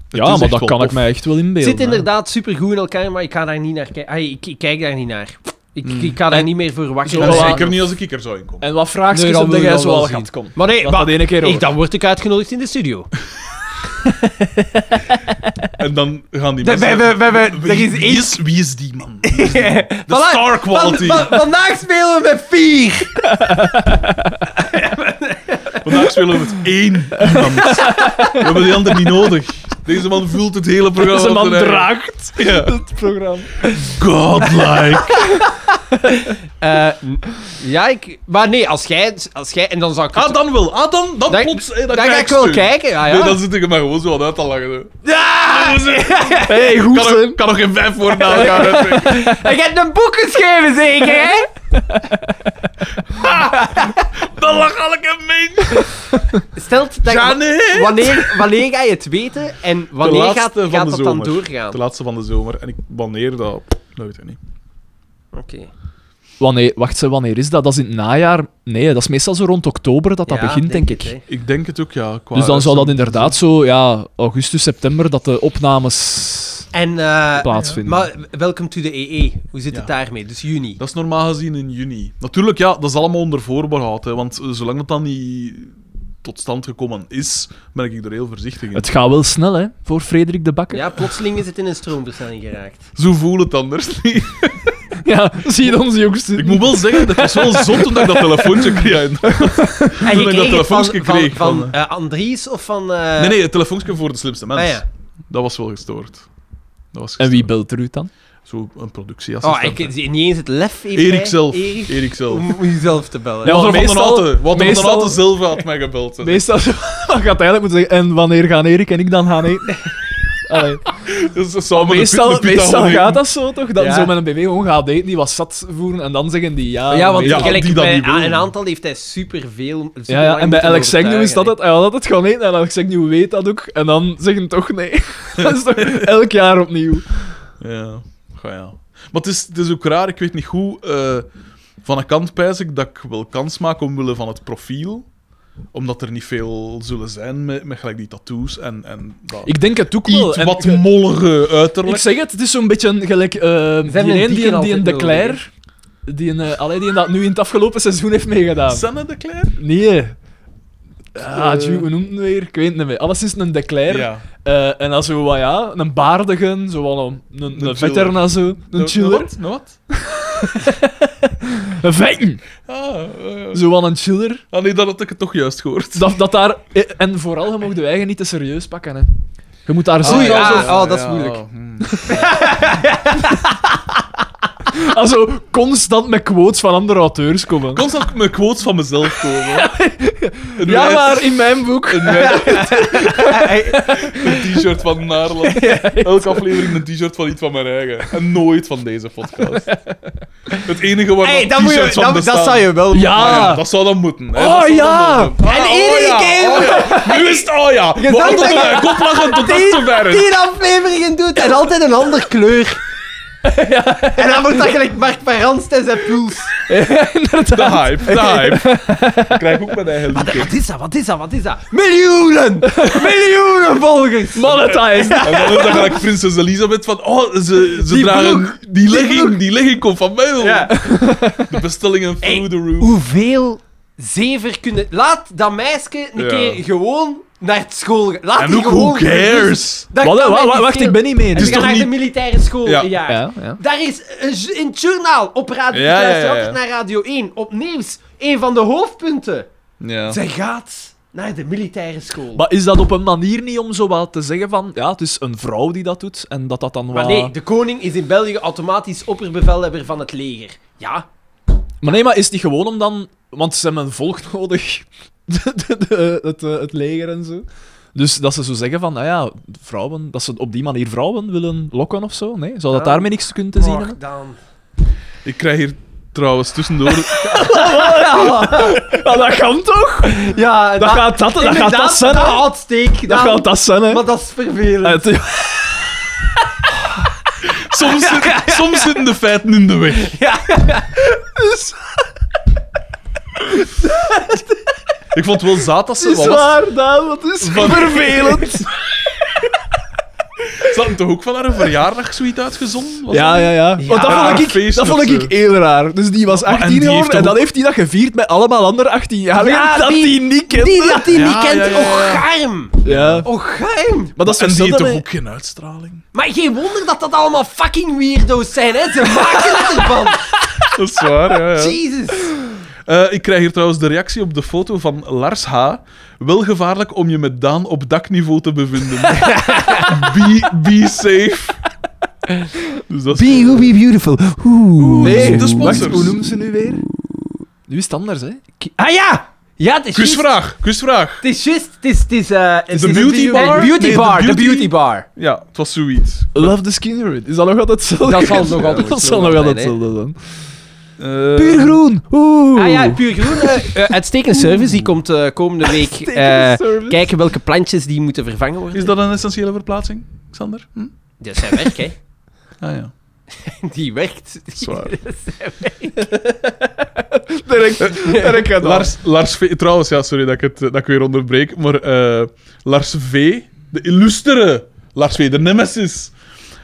Het
Ja,
is
maar
echt
dat
wel
kan ik
tof.
mij echt wel inbeelden.
zit
hè.
inderdaad supergoed in elkaar, maar ik ga daar niet naar kijken. Ah, ik, ik kijk daar niet naar. Ik,
Hmm.
ik ga daar niet meer voor wakker
Zo,
En
van
voilà.
zijn.
zeker niet als ik kikker zou inkomen.
En wat vraagjes
Nee,
nee,
dat
heb
wil
jij
je
zo
wel
al
zien.
gehad? Kom.
Maar nee,
Laat
maar-
dat ene keer
ik,
over.
dan word ik uitgenodigd in de studio.
En dan gaan die
We
mensen...
hebben, we hebben,
wie,
er is
wie
één
is, wie is die man? Wie is die man? De
Voilà,
star quality.
van- van- vandaag spelen we met vier.
Vandaag spelen we met één iemand. We hebben die ander niet nodig. Deze man vult het hele programma.
Deze
op
man
zijn eigen.
draagt
Ja.
het programma.
Godlike.
Eh, n- ja, ik, maar nee, als jij, als jij... En dan zou ik... het-
Ah, dan wel. Ah, dan, dan
dan,
plots. eh, dan
dan ga
krijg
ik wel
steun. Ah,
kijken. Ja, ja.
Nee, dan zit ik hem maar gewoon zo aan uit te lachen. hè.
Ja!
hey, goed
Kan
hè.
nog, kan nog geen vijf voor na elkaar uitdrukken.
En je hebt een boek geschreven, zeker, hè?
Dan lag al ik hem mee.
Stelt dat...
Ja, nee.
wanneer, wanneer ga je het weten en wanneer
laatste
gaat,
van
gaat
de
het dan
zomer.
doorgaan?
De laatste van de zomer. En ik, wanneer dat... Dat weet ik niet.
Oké.
Wanneer, wacht, ze, wanneer is dat? Dat is in het najaar. Nee, dat is meestal zo rond oktober dat dat
Ja,
begint, denk ik.
het, hè.
Ik denk het ook, ja. qua-
dus dan zou dat inderdaad zo, ja, augustus, september, dat de opnames
En... eh,
plaatsvinden.
maar welcome to the EE. Hoe zit het
Ja.
daarmee? Dus juni.
Dat is normaal gezien in juni. Natuurlijk, ja, dat is allemaal onder voorbehoud. Hè, want eh, zolang dat dan niet tot stand gekomen is, ben ik er heel voorzichtig in.
Het gaat wel snel, hè, voor Frederik de Bakker.
Ja, plotseling is het in een stroomversnelling geraakt.
Zo voel het anders niet.
Ja, zie je ons die ook
Ik
zitten.
moet wel zeggen, dat was wel zot toen ik dat telefoontje kreeg.
En
ik dat
van,
telefoonske
van,
kreeg
van,
van-
eh, Andries of van... eh,
Nee, nee, het telefoontje voor de slimste mens.
ah, ja.
Dat was wel gestoord. Dat was
En wie
gestoord.
belt er u dan?
Zo een
Oh,
productieassistent.
ik, niet eens het lef heeft
Erik
hij.
zelf.
Erik,
Erik zelf.
om om jezelf te bellen.
Ja,
Wat
want
er van
meestal-
de Alte- wat er van
meestal-
de Alte Silva had mij gebeld. hè.
Meestal gaat eigenlijk moeten zeggen, en wanneer gaan Erik en ik dan gaan eten? Allee.
Dus samen de
Meestal,
pit- de pita
meestal
gaan eten.
gaat dat zo toch? Dat
Ja.
zo met een BW gewoon gaat eten, die wat zat voeren en dan zeggen die ja.
ja, want
nee.
Ja,
gelijk
die dat
bij
niet wil.
a- een aantal heeft hij superveel...
ja, ja, en bij Alex Agnew is dat
het.
het. Hij wil altijd gewoon eten en Alex Agnew weet dat ook. En dan zeggen toch nee. dat is toch elk jaar opnieuw.
Ja, ga ja. Maar het is, het is ook raar, ik weet niet hoe. eh, van een kant pijs ik dat ik wel kans maak omwille van het profiel. Omdat er niet veel zullen zijn met, met gelijk die tattoos en, en dat
Ik denk het ook wel.
iets
En
wat
ge-
mollige
ik
uiterlijk.
zeg het, het is zo'n beetje een gelijk. eh, die
een
een
dikke
die, die een
altijd nodig,
De
hè.
Cler, die, een, eh, allee, die een dat nu in het afgelopen seizoen heeft meegedaan.
Sanne de Claire?
Nee. Ah,
Eh.
tjoe, hoe noemt het weer? Ik weet het niet meer. Alleszins een De Cler.
Ja.
Eh, en dan zo, wat ja, een baardigen, zo wel een, een,
Een
een vetter
chiller.
en zo. Een
Nog
chiller.
wat? Nog wat?
Een vetten!
Ah, eh,
Zo wel een chiller.
ah, nee, dat had ik het toch juist gehoord.
Dat, dat daar... eh, En vooral, je mocht de eigen niet te serieus pakken, hè. Je moet
Ah,
daar zo...
Oei,
wel
ja.
zo-
oh, dat is moeilijk.
hmm.
ah, zo constant met quotes van andere auteurs komen.
Constant mijn quotes van mezelf komen. Een
Ja,
wijs-
maar in mijn boek...
Een, wijs- een t-shirt van Naarland. Elke aflevering een t-shirt van iets van mijn eigen. En nooit van deze podcast. Het enige waar
Hey,
dat
dat, moet je,
t-shirts van
dat, dat
bestaan.
zou je wel moeten.
Ah, ja,
Ja!
dat zou dan moeten. Hè.
Oh,
dat zou dan
ja.
wel moeten.
En
Ah,
iedere
oh, ja,
keer-
oh, ja. Nu is het oh ja! We
dacht
hadden
dat
een kop lachen tot dat te ver is.
Tien afleveringen doet en altijd een andere kleur. En dan wordt dat gelijk Mark van Ranst en zijn puls.
De hype, de hype. Ik krijg ook mijn eigen look in.
Wat is dat, wat is dat, wat is dat? Miljoenen! Miljoenen volgers!
Mannen thuis!
En dan is dat gelijk prinses Elisabeth van... Oh, ze, ze
Die
dragen...
broek,
die legging, die legging komt van mij. hoor.
Ja.
De bestellingen through
Hey,
the roof.
Hoeveel zever kunnen... Laat dat meisje een
Ja.
keer gewoon naar het school gaan. Laat
En
die
ook,
gewoon
who cares?
Dat
Wat,
kan
wa-
mij
wa-
niet
wacht, ik
schelen.
ben niet mee.
En
Het
ze
is
gaan
toch
naar de
niet-
militaire school
Ja.
een jaar.
Ja, ja.
Daar is een j- in het journaal op radio.
Ja,
ik luister
ja, ja.
altijd naar Radio 1. Op nieuws. Een van de hoofdpunten.
Ja.
Zij gaat naar de militaire school.
Maar is dat op een manier niet om zo wat te zeggen van... Ja, het is een vrouw die dat doet en dat dat dan wat...
maar nee, de koning is in België automatisch opperbevelhebber van het leger. Ja.
Maar nee, maar is het niet gewoon om dan... Want ze hebben een volk nodig. De- de- de- het, eh, het leger en zo. Dus dat ze zo zeggen van, nou ja, vrouwen... Dat ze op die manier vrouwen willen lokken of zo. Nee, zou dat
Ja.
daarmee niks kunnen te zien hebben?
dan.
Ik krijg hier trouwens tussendoor
Ja, dat kan toch?
Ja,
Dat gaat dat, dat, gaat
inderdaad,
dat zijn, hè?
Dat houdt steek.
Dat
dan.
gaat dat zijn, hè? Eh,
Maar dat is
Eh,
vervelend.
Het-
Soms, zit- soms zitten de feiten in de weg. Ik vond het wel zaad dat ze
is
was.
waar, Daan, wat is
Van-
vervelend.
Ze hadden toch ook van haar een verjaardagssuite uitgezonden? Was
Ja,
dat
ja,
niet?
ja. Want dat
Ja,
vond ik,
feest
dat
of
vond
zo.
ik heel raar. Dus die was
en
18
die heeft
geworden en
toch
dan
ook-
heeft hij dat gevierd met allemaal andere 18-jarigen
Ja,
dat
die-
die niet kent.
Die dat hij
Ja,
niet kent.
ja, ja, ja.
Och, garm.
Ja.
Och, garm.
Maar dat is
En die heeft
hetzelfde
toch
met-
ook geen uitstraling?
Maar geen wonder dat dat allemaal fucking weirdo's zijn, hè? Ze maken het ervan.
Dat is waar, ja.
Jesus.
Eh, ik krijg hier trouwens de reactie op de foto van Lars H. Wel gevaarlijk om je met Daan op dakniveau te bevinden. be, be safe. Dus dat is wel-
be beautiful.
Nee,
de sponsors.
Wacht, hoe noemen ze nu weer? Nu is het anders, hè?
Ah ja! Ja, het is juist.
Quizvraag, quizvraag.
Het is juist. Het is, het is, eh, het
De
is-
beauty
eh,
bar?
De beauty
Nee, de
bar. De
beauty-
beauty bar.
Ja, het was zoiets.
Love the Skin Red. Is dat nog altijd hetzelfde?
Dat zal nog altijd
Dat
hetzelfde
zal nog altijd
zijn,
hetzelfde zijn.
Eh,
Puur groen. Oeh.
Ah ja, puur groen. eh, eh, uitstekende service. Die komt eh, komende week
Uitstekende
eh,
service.
kijken welke plantjes die moeten vervangen worden.
Is dat een essentiële verplaatsing, Xander? Hm?
Dat is zijn werk, hè?
Ah ja.
Die werkt.
Zwaar.
Direct, direct gaat dat.
Lars, Lars V... Trouwens, ja, sorry dat ik, het, eh, dat ik weer onderbreek, maar eh, Lars V, de illustere Lars V, de nemesis.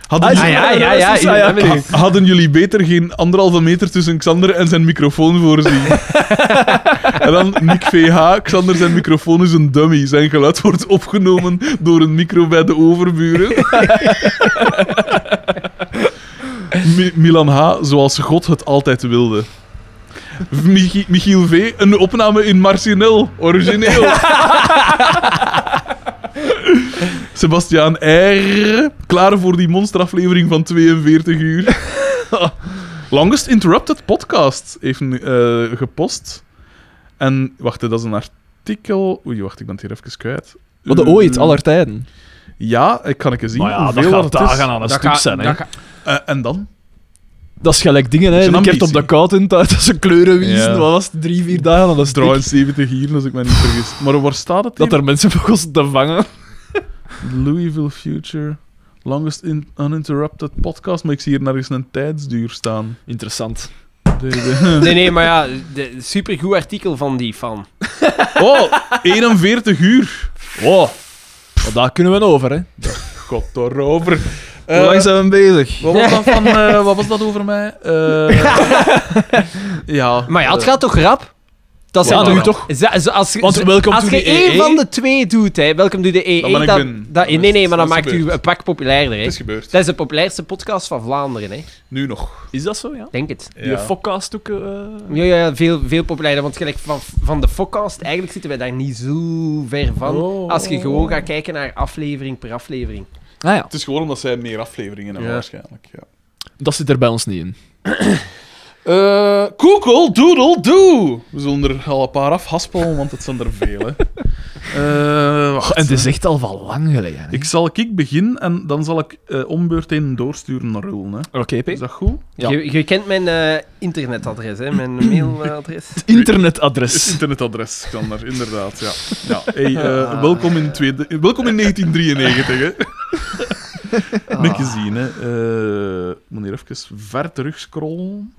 Hadden,
Ah,
Ah
jullie-
ja, ja, ja.
Ah, ja,
ja,
oké.
ja.
ha- hadden jullie beter geen anderhalve meter tussen Xander en zijn microfoon voorzien? en dan Nick VH, Xander zijn microfoon is een dummy. Zijn geluid wordt opgenomen door een micro bij de overburen. Mi- Milan H. Zoals God het altijd wilde. Michi- Michiel V. Een opname in Marcinel. Origineel. Sebastiaan R. Klaar voor die monsteraflevering van 42 uur. Longest Interrupted Podcast heeft eh, gepost. En wacht, dat is een artikel. Oei, wacht, ik ben het hier even kwijt. Eh,
Wat de ooit, aller tijden.
Ja, ik kan ik eens zien.
Maar ja, dat
hoeveel
gaat
dat het is.
dagen aan een
Dat
stuk
ga-
zijn, hè.
dat ga-
Eh, en dan?
Dat is gelijk dingen, hè.
Dat is
Je
een
hebt op
ambitie.
de koud in thuis, dat ze kleuren wiezen.
Ja.
Wat was het? Drie, vier dagen aan een stuk.
73 hier, als ik mij niet vergis. Maar waar staat het
Dat
hier?
er mensen begonnen te vangen.
Louisville Future, longest in- uninterrupted podcast. Maar ik zie hier nergens een tijdsduur staan.
Interessant.
Nee, nee, maar ja, de, supergoed artikel van die fan.
Oh, 41 uur.
Wow. Maar daar kunnen we over, hè.
God, daarover.
Hoe lang
Eh,
zijn we bezig?
wat, was dat van, eh, wat was dat over mij? Eh, ja.
Maar ja, het gaat toch rap? Dat
Ja,
zijn
nu toch?
Za- zo- Als,
Want
zo-
welkom
als
to
je
the EE.
één van de twee doet, hè, welkom doe de EE,
Dan ben ik
dat-
binnen.
dat-
Dan is
nee, nee,
het-
maar dan
dat is
maakt u
gebeurd.
een pak populairder. Hè.
Het is gebeurd.
Dat is de populairste podcast van Vlaanderen, hè.
Nu nog.
Is dat zo, ja?
denk het.
Die
Ja.
fokcast ook... eh,
Ja, ja, ja, veel, veel populairder, want gelijk van, van de Fokcast, eigenlijk zitten wij daar niet zo ver van.
Oh.
Als je gewoon gaat kijken naar aflevering per aflevering.
Ah ja,
Het is gewoon omdat zij meer afleveringen hebben,
Ja.
waarschijnlijk. Ja.
dat zit er bij ons niet in.
Eh, Google Doodle Doo. We zullen er al een paar afhaspelen, want het zijn er veel. Hè. Eh, wacht,
En het is
hè.
echt al van lang geleden. hè.
Ik zal ik beginnen en dan zal ik eh ombeurt heen doorsturen naar Roel. Hè.
Oké,
Is dat goed?
Ja.
Je, je kent mijn eh, internetadres, hè, mijn mailadres.
Internetadres.
Internetadres, Xander, inderdaad. Ja. Ja. Hey,
Ah.
eh, welkom, in tweede, welkom in 1993. Hè.
Ah.
Niet gezien, hè. Eh, ik moet hier even ver terugscrollen.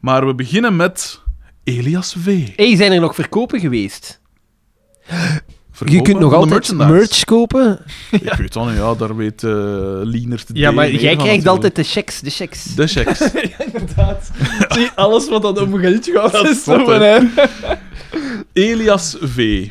Maar we beginnen met Elias V.
hey, zijn er nog verkopen geweest?
Verkoper
je kunt nog
van de
altijd
merchandise.
merch kopen.
Oh,
Ik weet dan, ja, daar weet eh Lienert
Ja,
D
maar
meer
jij
van
krijgt altijd
natuurlijk.
de checks, de checks.
de checks.
Inderdaad. Zie, alles wat dat om geld gaat
Dat
is
is zot,
zo van
hè.
hè.
Elias V.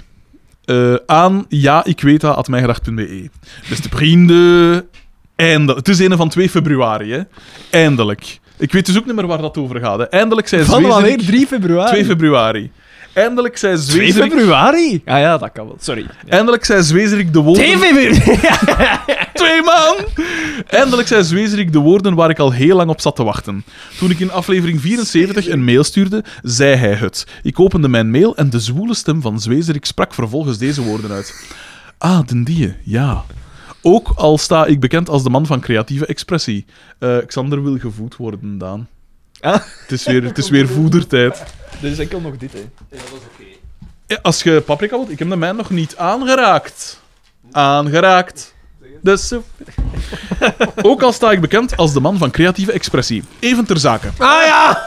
Eh, aan ja, ik weet dat, at mijngedacht.be. E. Beste vrienden, eindelijk. Het is een van 2 februari, hè. Eindelijk. Ik weet dus ook niet meer waar dat over gaat. Hè. Eindelijk zijn
Van wanneer?
Zwezerik...
3 februari.
2 februari. Eindelijk zijn
2
Zwezerik...
februari? Ah ja, dat kan wel. Sorry. Ja.
Eindelijk zijn Zwezerik de woorden... Twee man! Eindelijk zei Zwezerik de woorden waar ik al heel lang op zat te wachten. Toen ik in aflevering 74 een mail stuurde, zei hij het. Ik opende mijn mail en de zwoele stem van Zwezerik sprak vervolgens deze woorden uit. Ah, den die, ja. Ook al sta ik bekend als de man van creatieve expressie. Eh, Xander wil gevoed worden, Daan.
Ah.
Het, is weer, het is weer voedertijd.
Er is enkel dus nog dit, hè.
Eh, Als je paprika wilt, ik heb de mijn nog niet aangeraakt. Aangeraakt. De soep. Ook al sta ik bekend als de man van creatieve expressie. Even ter zake.
Ah ja!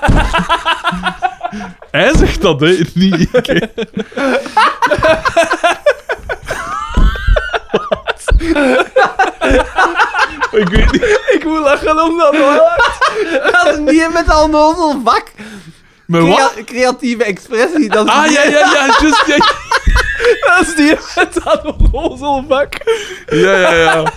Hij zegt dat, hè? Niet ik. hè. Wat? ik weet niet.
Ik moet lachen om dat, hoor.
Dat is niet met al nozel vak.
Maar wat?
Crea- creatieve expressie. Dat is
Ah, ja, ja, ja, just, ja,
Dat is die met dat onnozelbak.
Ja, ja, ja.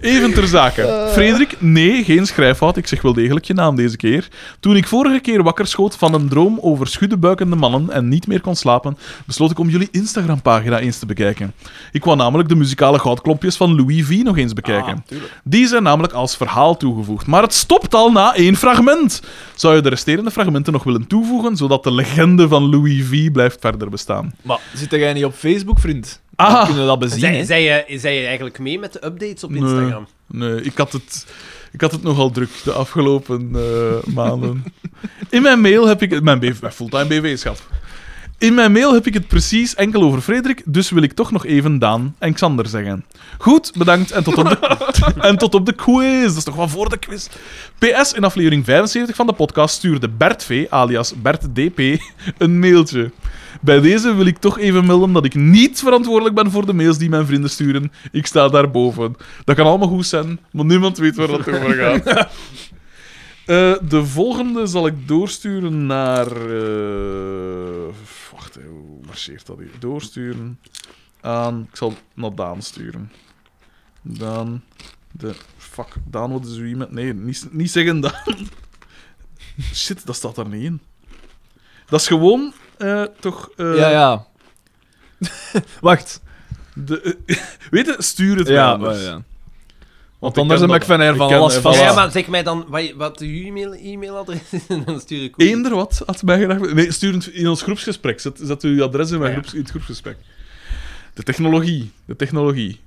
Even ter zake. Frederik, nee, geen schrijffout. Ik zeg wel degelijk je naam deze keer. Toen ik vorige keer wakker schoot van een droom over schuddebuikende mannen en niet meer kon slapen, besloot ik om jullie Instagram-pagina eens te bekijken. Ik wou namelijk de muzikale goudklompjes van Louis V nog eens
Ah,
Ah.
bekijken. Die zijn namelijk als verhaal toegevoegd. Maar het stopt al na één fragment. Zou je de resterende fragmenten nog willen toevoegen, zodat de legende van Louis V blijft verder bestaan?
Maar zit jij niet op Facebook, vriend?
Ah.
Dan kunnen we dat bezien,
Zij,
hè.
zij, eh, zij je eigenlijk mee met de updates op
Nee.
Instagram?
Nee, ik had het, ik had het nogal druk de afgelopen eh, maanden. In mijn mail heb ik... Mijn, BV, mijn fulltime BV-schap. In mijn mail heb ik het precies enkel over Frederik, dus wil ik toch nog even Daan en Xander zeggen. Goed, bedankt en tot op de, en tot op de quiz. Dat is toch wel voor de quiz. PS, in aflevering 75 van de podcast stuurde Bert V, alias Bert DP, een mailtje. Bij deze wil ik toch even melden dat ik niet verantwoordelijk ben voor de mails die mijn vrienden sturen. Ik sta daarboven. Dat kan allemaal goed zijn, maar niemand weet waar dat over gaat. Eh, de volgende zal ik doorsturen naar. eh, wacht, hè, hoe marcheert dat hier? Doorsturen aan. Ik zal het naar Daan sturen. Daan De, fuck, Daan, wat is uw e-mail? Nee, niet, niet zeggen Daan. Shit, dat staat er niet in. Dat is gewoon eh, toch. eh,
Ja, ja. Wacht.
De, weet je, stuur het mij
Ja,
anders.
ja, ja.
Want
anders
ken
heb ik
dat-
van haar van
ken
alles
haar
vast.
Ja,
Voilà.
maar zeg mij dan wat, wat uw e-mail, e-mailadres is en dan stuur ik ook.
Eender wat had mij gedacht. Nee, stuur het in ons groepsgesprek. Zet, zet uw adres in, mijn
Ja.
groeps, in het groepsgesprek. De technologie. De technologie.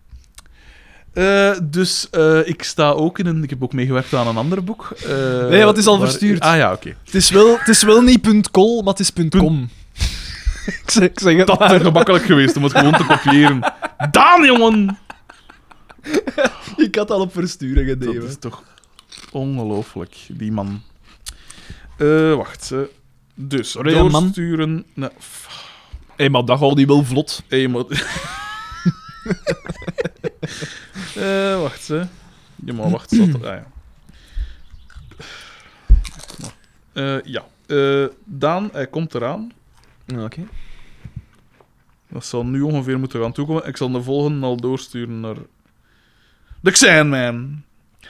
Eh, dus eh, ik sta ook in een. Ik heb ook meegewerkt aan een ander boek. eh,
Nee, want het is al
waar-
verstuurd.
Ah ja, oké.
Het is wel, het is wel niet .col, maar het is .com. ik, zeg, ik zeg het
Dat
maar.
is gemakkelijk geweest om het gewoon te kopiëren. Daan, jongen!
Ik had al op versturen
Dat
gedeven.
is toch ongelooflijk, die man. Eh, wacht. eh, dus,
Sorry, hè, man.
doorsturen... Nee,
Hé, maar dat gaat die wel vlot.
Hey, maar... Eh, wacht, hè. Ja, maar wacht. Zat er... Ah, ja. Eh, ja. Eh, Daan, hij komt eraan.
Ah, Oké.
Dat zal nu ongeveer moeten gaan toekomen. Ik zal de volgende al doorsturen naar... De Xanman.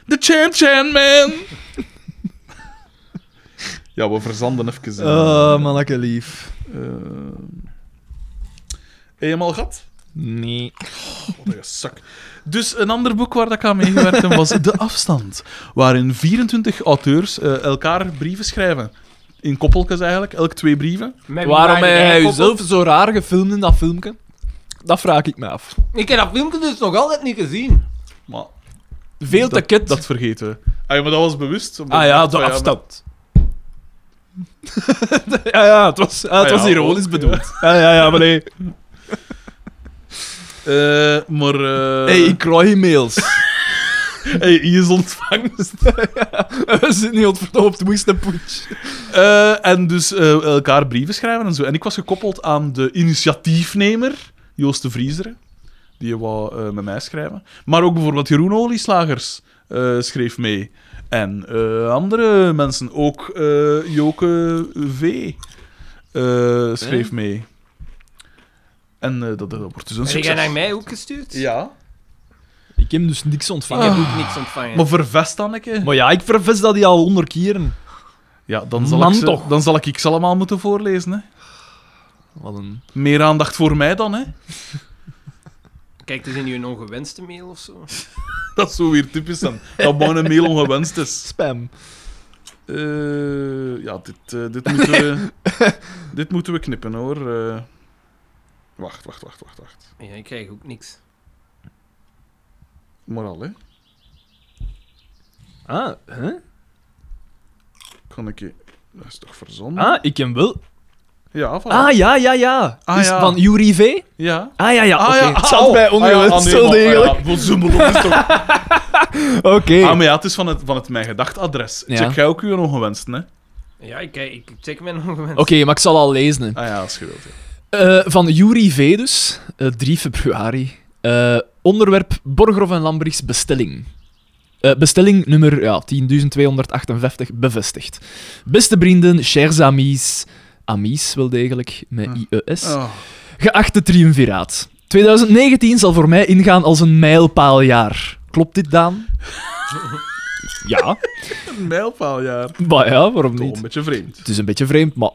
De Chan Chan Man. ja, we verzanden even. in.
Oh, manneke lief.
Eh, Eenmaal gat?
Nee.
Wat een zak. Dus een ander boek waar dat ik aan meegewerkt heb was De Afstand. Waarin 24 auteurs eh, elkaar brieven schrijven. In koppeltjes eigenlijk, elk twee brieven.
Met wie
Waarom heb
waren jij
jij
gekoppeld?
jezelf zo raar gefilmd in dat filmpje? Dat vraag ik me af.
Ik heb dat filmpje dus nog altijd niet gezien.
Maar
Veel te
dat,
kut.
dat vergeten we. Ah, ja, maar dat was bewust. omdat-
ah ja,
van,
de
maar-
afstand. ja, ja, het was, ah, het
Ah,
was
ja,
ironisch
ook,
bedoeld. Ja, ja, ja, maar nee.
Eh, maar... eh,
Hey, ik krijg e-mails.
hey, hier is ontvangst.
We zitten niet ontverdomme op de moeiste poets.
Eh, en dus eh, elkaar brieven schrijven en zo. En ik was gekoppeld aan de initiatiefnemer, Joost de Vriezeren. Die wou eh, met mij schrijven. Maar ook bijvoorbeeld Jeroen Olieslagers eh, schreef mee. En eh, andere mensen. Ook eh, Joke V. eh, schreef mee. En eh, dat, dat wordt dus een
Heb jij
succes.
naar mij ook gestuurd?
Ja.
Ik heb dus niks
Ik
ontvangen.
heb
Ah.
ook niks ontvangen.
Maar vervest, Anneke.
Maar ja, ik vervis dat die al honderd keren.
Ja, dan zal,
Man
ik ze,
toch.
dan zal ik ik ze allemaal moeten voorlezen. Hè.
Wat een...
Meer aandacht voor mij dan, hè.
Kijk, het is in je ongewenste mail of zo.
Dat is zo weer typisch dan. Dat gewoon een mail ongewenst is.
Spam.
Eh, ja, dit, eh, dit, moeten we, dit moeten we knippen hoor. Eh, wacht, wacht, wacht, wacht, wacht.
Ja, ik krijg ook niks.
Maar al, hè?
Ah, hè?
Kan ik je. Dat is toch verzonnen?
Ah, ik heb wel...
Ja, voilà.
Ah, ja, ja, ja.
Ah,
is
ja.
het van Yuri V?
ja.
Ah, ja, ja. Oké, het
ah,
zat
oh.
bij
Ah,
ongewenst,
ja,
zo
ah, nee, maar-
degelijk.
ah, ja, wat zoemel op is toch-
Oké.
Ah, maar ja, het is van het, van het mijn gedachtadres.
Ja.
Check jij ook uw ongewenst, hè?
Ja, ik, kijk- ik check mijn ongewenste.
Oké, maar ik zal al lezen. hè.
Ah ja, als je wilt. hè.
Eh, van Yuri V dus, eh, 3 februari. Eh, onderwerp Borgrof en Lambrichs bestelling. Eh, bestelling nummer ja, 10.258 bevestigd. Beste vrienden, chers amis. Amis wel degelijk, met E IES.
Oh,
Geachte triumviraat. 2019 zal voor mij ingaan als een mijlpaaljaar. Klopt dit, Daan? ja,
een mijlpaaljaar.
maar ja, waarom
Toch een
niet?
beetje vreemd.
Het is een beetje vreemd, maar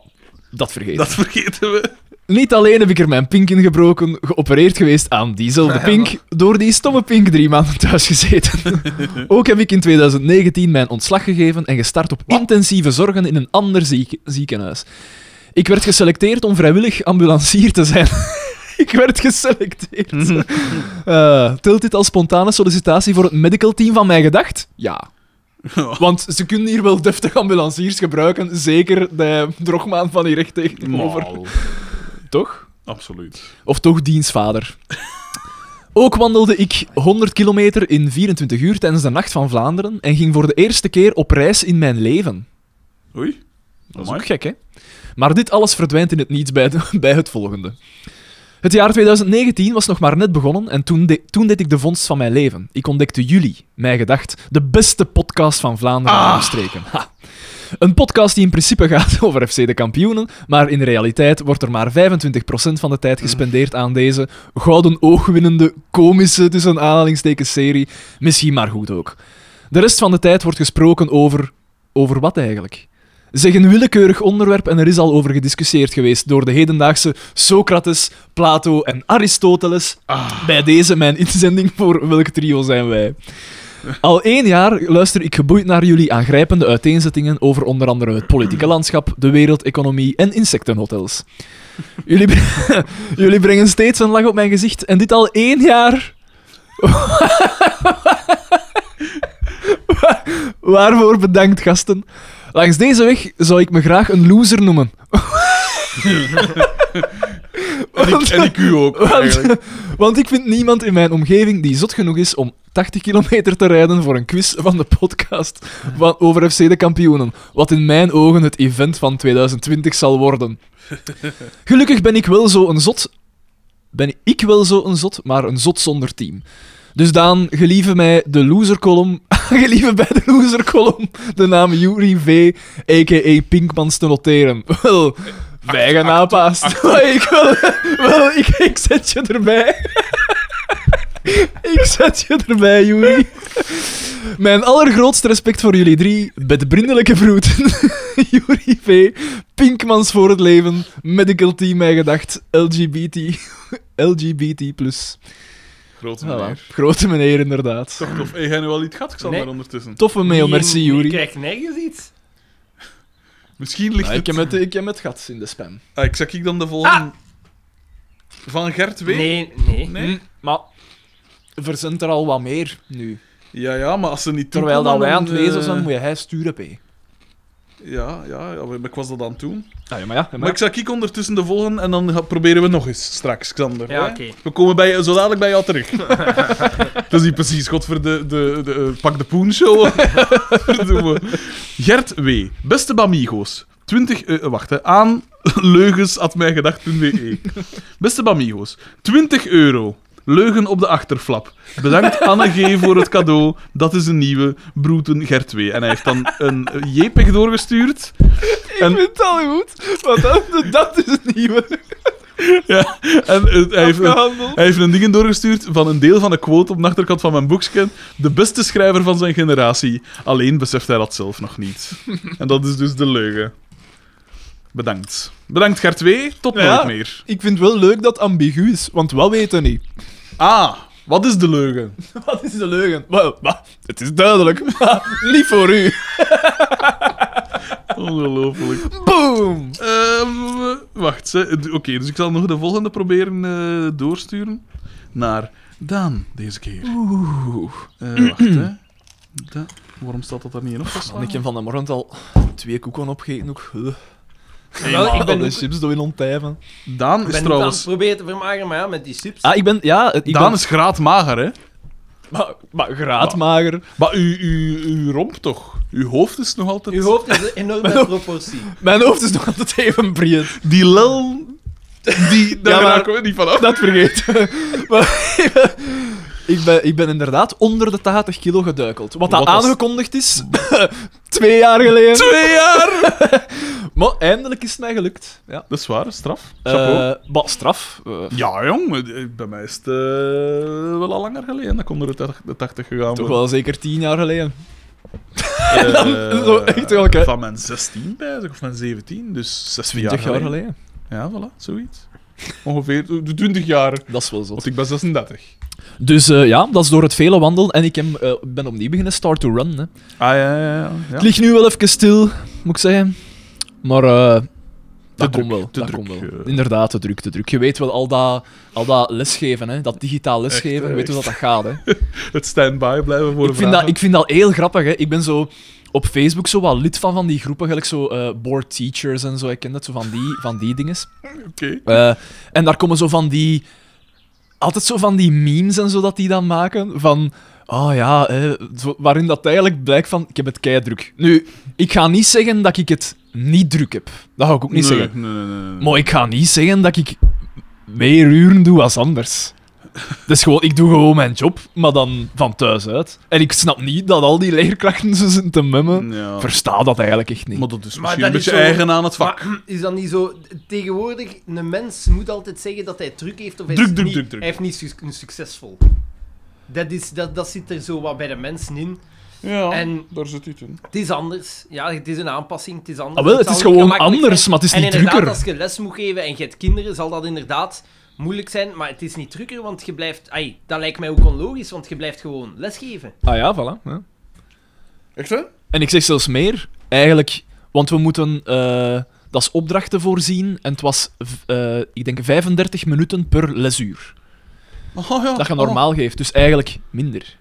dat vergeet
Dat vergeten we.
Niet alleen heb ik er mijn pink in gebroken, geopereerd geweest aan diezelfde pink, door die stomme pink drie maanden thuis gezeten. Ook heb ik in 2019 mijn ontslag gegeven en gestart op intensieve zorgen in een ander zieke- ziekenhuis. Ik werd geselecteerd om vrijwillig ambulancier te zijn. ik werd geselecteerd. Eh tilt dit als spontane sollicitatie voor het medical team van mij gedacht? Ja. Want ze kunnen hier wel deftig ambulanciers gebruiken, zeker de drogmaan van hier recht tegenover.
Mal.
Toch?
Absoluut.
Of toch diensvader. Ook wandelde ik 100 kilometer in 24 uur tijdens de Nacht van Vlaanderen en ging voor de eerste keer op reis in mijn leven.
Oei.
Dat is
Amai.
ook gek, hè? Maar dit alles verdwijnt in het niets bij, de- bij het volgende. Het jaar 2019 was nog maar net begonnen en toen, de- toen deed ik de vondst van mijn leven. Ik ontdekte jullie, mij gedacht, de beste podcast van Vlaanderen en omstreken. Ha. Een podcast die in principe gaat over FC de kampioenen, maar in de realiteit wordt er maar 25% van de tijd gespendeerd aan deze gouden oogwinnende, komische, tussen aanhalingstekens serie. Misschien maar goed ook. De rest van de tijd wordt gesproken over... Over wat eigenlijk? Zeg een willekeurig onderwerp en er is al over gediscussieerd geweest door de hedendaagse Socrates, Plato en Aristoteles. Bij deze mijn inzending voor welk trio zijn wij? Al één jaar luister ik geboeid naar jullie aangrijpende uiteenzettingen over onder andere het politieke landschap, de wereldeconomie en insectenhotels. Jullie, bre- jullie brengen steeds een lach op mijn gezicht en dit al één jaar. Wa- Waarvoor bedankt, gasten. Langs deze weg zou ik me graag een loser noemen.
En ik, en ik u ook, eigenlijk.
Want, want ik vind niemand in mijn omgeving die zot genoeg is om 80 kilometer te rijden voor een quiz van de podcast van, over FC de kampioenen. Wat in mijn ogen het event van 2020 zal worden. Gelukkig ben ik wel zo een zot. Ben ik wel zo een zot, maar een zot zonder team. Dus Daan, gelieve mij de loser column. gelieve bij de loser column de naam Yuri V, a.k.a. Pinkmans, te noteren. Wel, wij gaan aanpaast. Maar ik wil, wel, ik, ik zet je erbij. ik zet je erbij, Yuri. Mijn allergrootste respect voor jullie drie, met vriendelijke groeten. Yuri V, Pinkmans voor het leven, medical team mij gedacht, LGBT, LGBT+.
Grote
Voilà.
meneer.
Grote meneer, inderdaad.
Toch tof. Hey, jij nu al iets gehad? Ik zal
Nee.
daar ondertussen.
Toffe mail, merci
Je
Yuri.
krijgt nergens iets.
Misschien ligt
Ah, ik,
het...
heb het, ik heb het gat in de spam.
Ah, ik zeg ik dan de volgende... Van Gert W.
Nee, nee.
Nee?
Hm, maar verzend er al wat meer nu.
Ja, ja, maar als ze niet
Terwijl dat
toekomen,
wij aan het
dan,
lezen zijn,
eh,
moet je hij sturen, P.
Ja, ja, ja, maar ik was dat aan het doen.
Ah, ja, maar ja.
Maar ik zeg ik ondertussen de volgende en dan ga- proberen we nog eens straks, Xander.
Ja,
hè?
oké.
We komen bij, je- zo dadelijk bij jou terug. dat is niet precies, godver de, de, de eh, pak de poen show. Verdomme. Gert W. Beste Bamigo's. 20, eh, wacht, hè, aan leugens.mijgedacht.be. E. Beste Bamigo's, 20 euro. Leugen op de achterflap. Bedankt Anne G. voor het cadeau. Dat is een nieuwe Broeten Gert W. En hij heeft dan een eh, JPEG doorgestuurd. en-
vind het al goed, want dat, dat is het nieuwe.
Ja, en eh, hij, heeft een, hij heeft een ding doorgestuurd van een deel van een quote op de achterkant van mijn boekscan. De beste schrijver van zijn generatie. Alleen beseft hij dat zelf nog niet. En dat is dus de leugen. Bedankt. Bedankt, Gert W. Tot
Ja.
nooit meer.
Ik vind wel leuk dat het ambigu is, want wat weten niet?
Ah, wat is de leugen?
Wat is de leugen? Wel, maar, het is duidelijk, maar niet voor u.
Ongelooflijk.
Boom!
Ehm, wacht, hè. D- oké, dus ik zal nog de volgende proberen eh, doorsturen. Naar Daan, deze keer. Oeh. wacht, hè. Da- Waarom staat dat daar niet in opgeslagen?
Ik heb van de morgen al twee koeken opgegeten. Ook. Ugh.
Wel, ik ben,
Alle
ook-
chips door in ontijven.
Daan
ik ben ook
is
aan het
trouwens...
proberen te vermageren, maar ja, met die chips.
Ah, ik ben... Ja, ik
Daan
ben...
is graadmager, hè?
Maar, maar graadmager.
Maar uw, uw, uw romp toch? Uw hoofd is nog altijd...
Uw hoofd is een enorme proportie.
Mijn hoofd is nog altijd even breed.
Die lel... Die, daar
Ja, maar-
raken we niet vanaf.
Dat vergeet. maar, ik ben- ik, ben, ik ben inderdaad onder de 80 kilo geduikeld. Wat dat
Wat was-
aangekondigd is, twee jaar geleden.
Twee jaar!
Maar eindelijk is het mij gelukt. Ja.
Dat is waar, straf. Chapeau.
Eh, maar straf. eh,
ja, jong. eh, Bij mij is het eh, wel al langer geleden. Dat ik onder de 80 de 80 gegaan
toch
ben.
wel zeker tien jaar geleden.
Eh,
zo echt wel, hè.
Van mijn 16 bij, zeg, of mijn 17. Dus 16
20 jaar geleden.
Ja, voilà, zoiets. Ongeveer eh, 20 jaar.
Dat is wel zot.
Want ik ben 36.
Dus eh, ja, dat is door het vele wandelen. En ik heb, eh, ben opnieuw beginnen start to run. Hè.
Ah, ja, ja, ja. ja.
Het ligt nu wel even stil, moet ik zeggen. Maar eh dat
druk,
komt wel.
te
dat
druk,
komt wel.
eh.
Inderdaad, te druk, te druk. Je weet wel al dat, al dat lesgeven, hè? dat digitaal lesgeven,
hè,
weet hoe
echt.
dat, dat gaat. Hè?
Het stand-by blijven voor
Ik, vind dat, ik vind dat heel grappig. Hè? Ik ben zo op Facebook zo wat lid van van die groepen, gelijk zo eh, board teachers en zo. Ik ken dat zo van die, van die dinges.
Oké.
Eh, en daar komen zo van die. Altijd zo van die memes en zo dat die dan maken. Van. Oh ja, eh, zo- waarin dat eigenlijk blijkt van. Ik heb het keidruk. Nu, ik ga niet zeggen dat ik het niet druk heb. Dat ga ik ook niet
nee,
zeggen.
Nee, nee, nee. nee.
Maar ik ga niet zeggen dat ik meer uren doe als anders. Dus gewoon, ik doe gewoon mijn job, maar dan van thuis uit. En ik snap niet dat al die leerkrachten zo zitten te mummen.
Ja.
Versta dat eigenlijk echt niet.
Maar dat is misschien
Maar dat
een beetje
is zo-
eigen aan het vak.
Maar hm, is dat niet zo? Tegenwoordig, een mens moet altijd zeggen dat hij druk heeft of hij,
Druk,
is
druk,
niet,
druk, druk.
hij heeft niet suc- een succesvol. Dat, is, dat, dat zit er zo wat bij de mensen in.
ja,
En-
daar zit iets in.
Het is anders. Ja, het is een aanpassing. Het is anders.
Ah, wel, het
zal
is
niet
gewoon
gemakkelijk
anders,
zijn.
maar het is
en
niet
inderdaad,
drukker.
als je les moet geven en je hebt kinderen, zal dat inderdaad moeilijk zijn. Maar het is niet drukker, want je blijft... Ai, dat lijkt mij ook onlogisch, want je blijft gewoon lesgeven.
Ah ja, voilà. ja.
Echt hè?
En ik zeg zelfs meer, eigenlijk, want we moeten eh, dat is opdrachten voorzien. En het was, v- eh, ik denk, 35 minuten per lesuur.
Oh, ja.
Dat je normaal geeft, dus eigenlijk minder. Is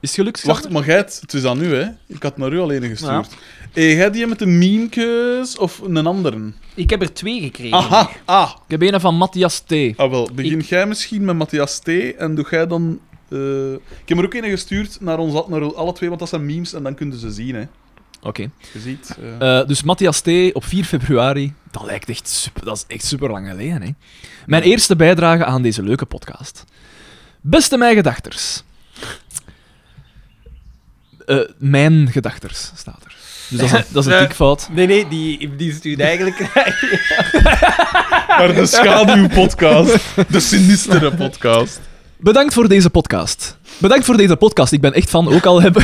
het gelukt?
Oh. Wacht, maar jij, het het is aan u, hè? Ik had naar u alleen gestuurd. Hey, jij die met een memekes of een anderen?
Ik heb er twee gekregen.
Aha, ah.
Ik heb een van Matthias T.
Ah, wel. Begin jij misschien met Matthias T. en doe jij dan. eh, Ik heb er ook een gestuurd naar ons naar alle twee, want dat zijn memes en dan kunnen ze zien, hè?
Oké.
Je ziet. eh.
Eh, dus Matthias T. op 4 februari. Dat lijkt echt super, dat is echt super lang geleden. Hè? Mijn eerste bijdrage aan deze leuke podcast. Beste mijn gedachters. Eh, mijn gedachters staat er. Dus dat is een, dat is een
Eh.
tikfout.
Nee, nee, die, die stuurt eigenlijk...
Maar de schaduwpodcast. De sinistere podcast.
Bedankt voor deze podcast. Bedankt voor deze podcast. Ik ben echt van, ook al heb,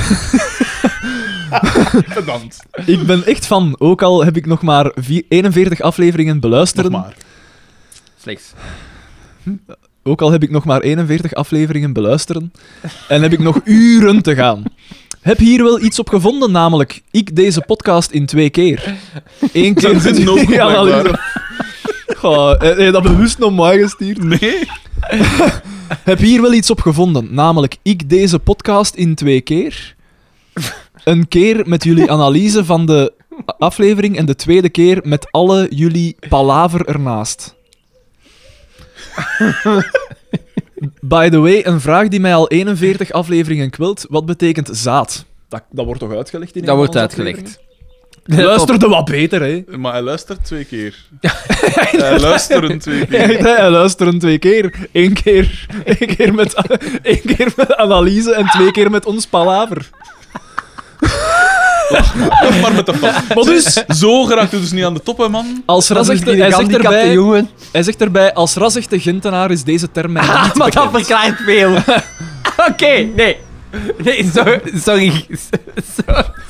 Bedankt.
ik ben echt van, ook al heb ik nog maar vier- 41 afleveringen beluisterd.
Nog maar.
Slechts.
Ook al heb ik nog maar 41 afleveringen beluisteren en heb ik nog uren te gaan. Heb hier wel iets op gevonden, namelijk ik deze podcast in twee keer. Eén keer
Dat zit nog op,
Ja, wel,
blijkbaar.
is- Goh, eh, heb je dat bewust nog maar gestuurd?
Nee.
Heb hier wel iets op gevonden, namelijk ik deze podcast in twee keer. Een keer met jullie analyse van de aflevering en de tweede keer met alle jullie palaver ernaast. By the way, een vraag die mij al 41 afleveringen kwelt. Wat betekent zaad? Dat, dat wordt toch uitgelegd in een
Dat
van
wordt
onze
uitgelegd.
afleveringen? Luisterde wat beter, hè?
Eh, Maar hij luistert twee keer. hij luistert twee keer.
Echt, hè? Hij luisteren twee keer. Eén keer, één keer, met, één keer met analyse en twee keer met ons palaver.
Nog maar met de vast.
Maar dus,
Zo geraakt u dus niet aan de top, hè, man.
als razichte, hij, zegt erbij,
jongen.
hij zegt erbij, als razichte Gentenaar is deze term mij niet
Ah, maar dat
bekend.
verklaart veel. Oké, nee. Nee, sorry. Sorry.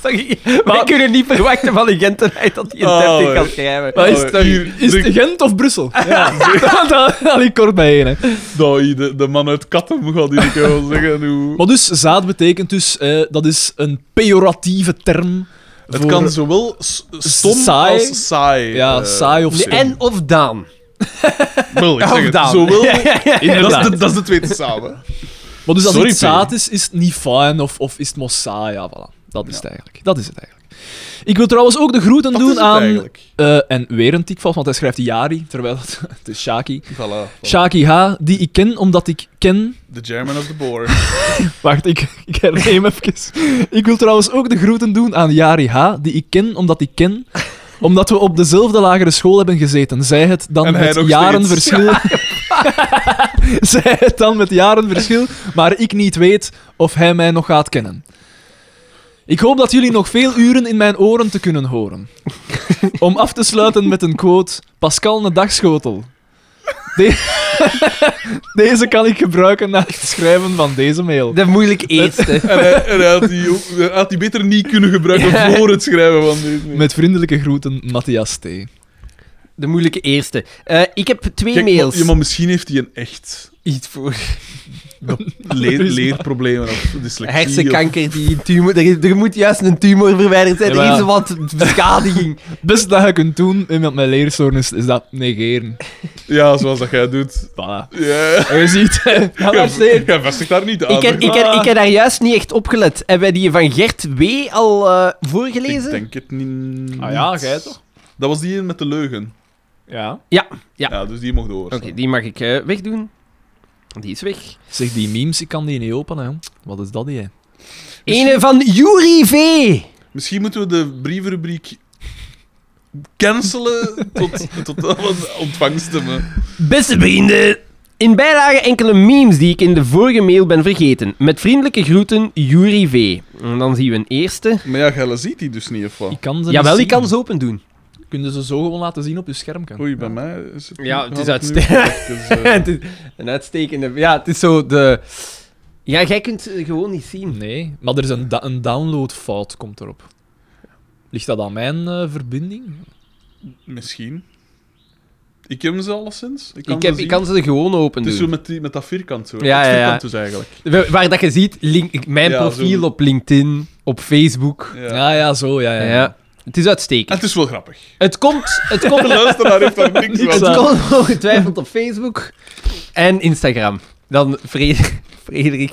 sorry. Wij
Maar-
kunnen niet verwachten van een Gentenaar dat hij een
Oh,
30 kan
ja.
schrijven.
Maar is,
Oh,
het, dan-
hier,
is het
drink-
Gent of Brussel? Ja, dat dat ligt kort bijeen. Hè.
Doi, de, de man uit Katten gaat hier een keer wel zeggen hoe...
Maar dus, zaad betekent dus, eh, dat is een pejoratieve term.
Het
voor-
kan zowel s- stom
Saai.
als saai.
Ja,
eh,
saai of
De
stom.
en of Daan.
Wel, ik
Ja,
zeg
of
het,
Daan.
Zowel...
Ja, ja, ja.
Dat is,
Inderdaad.
de, dat is de twee tezamen.
Maar dus als
Sorry,
het
P.
zaad is, is het niet fijn of, of is het mossa? Ja, voilà. Dat is het eigenlijk. Dat is het eigenlijk. Ik wil trouwens ook de groeten
Dat
doen
is het
aan...
eigenlijk.
eh, en weer een tikfout, want hij schrijft Jari, terwijl dat, het is Shaki.
Voilà. voilà.
Shaki H, die ik ken omdat ik ken...
The German of the Boer.
Wacht, ik, ik herneem even. Ik wil trouwens ook de groeten doen aan Jari H, die ik ken omdat ik ken... Omdat we op dezelfde lagere school hebben gezeten. Zij het dan
En hij
met
nog
jaren
steeds.
verschil. Zij het dan met jaren verschil, maar ik niet weet of hij mij nog gaat kennen. Ik hoop dat jullie nog veel uren in mijn oren te kunnen horen. Om af te sluiten met een quote: Pascal een dagschotel. De- deze kan ik gebruiken na het schrijven van deze mail.
De moeilijk eerste.
En hij, en hij had, die ook, hij had die beter niet kunnen gebruiken voor het schrijven van deze.
Met vriendelijke groeten, Matthias T.
De moeilijke eerste. Eh, ik heb twee
Kijk, maar-
mails.
ja, maar misschien heeft hij een echt
Iets voor
leer, leerproblemen of dyslexie.
hersenkanker die een tumor... Er, er moet juist een tumor verwijderd zijn. Er
Jawel.
is wat beschadiging.
Het beste dat je kunt doen met mijn leerstoornis is dat negeren.
of- Ja, zoals dat jij doet.
Voilà.
Ja.
En je ziet, dat was
Jij
het.
jij vestigt daar niet aan.
Ah,
Ah,
Ik heb, ik, heb, ik heb daar juist niet echt op gelet. Hebben wij die van Gert W. al eh, voorgelezen?
Ik denk het niet.
Ah ja, jij toch?
Dat was die met de leugen.
Ja.
Ja.
Ja, dus die mocht over.
Oké, die mag ik eh, wegdoen. Die is weg.
Zeg, die memes, ik kan die niet openen, jong. Wat is dat, die? hè?
Dus-
Ene van Yuri V.
Misschien moeten we de brievenrubriek cancelen tot, tot aan de ontvangsten. hè.
Beste vrienden, In bijlage enkele memes die ik in de vorige mail ben vergeten. Met vriendelijke groeten, Yuri V. En dan zien we een eerste.
Maar ja, Gelle ziet die dus niet, of wat?
Ik kan ze
Jawel,
niet
die
zien.
kan ze open doen.
Kunnen ze zo gewoon laten zien op je scherm? Kan.
Oei, bij mij is het...
Ja, het is
had ik nu
uitstekend.
ook even, eh,
het is een uitstekende... Ja, het is zo de... Ja, jij kunt ze gewoon niet zien.
Nee, maar er is een, da- een downloadfout, komt erop. Ligt dat aan mijn eh, verbinding?
Misschien. Ik heb ze alleszins. Ik kan
Ik,
ze
heb,
zien.
ik kan ze gewoon open
Het
doen.
is zo met, die, met dat vierkant zo.
Ja,
Het
ja, ja.
vierkant dus eigenlijk.
Wa- Waar dat je ziet, link- mijn
Ja,
profiel
zo.
op LinkedIn, op Facebook.
Ja.
Ja, ja, zo, ja.
Ja.
ja. ja.
Het is
En
uitstekend.
het is wel grappig.
Het komt, het komt,
De luisteraar heeft daar niks
Ik
van.
zou-
het komt ongetwijfeld op Facebook en Instagram. Dan Fred- Frederik.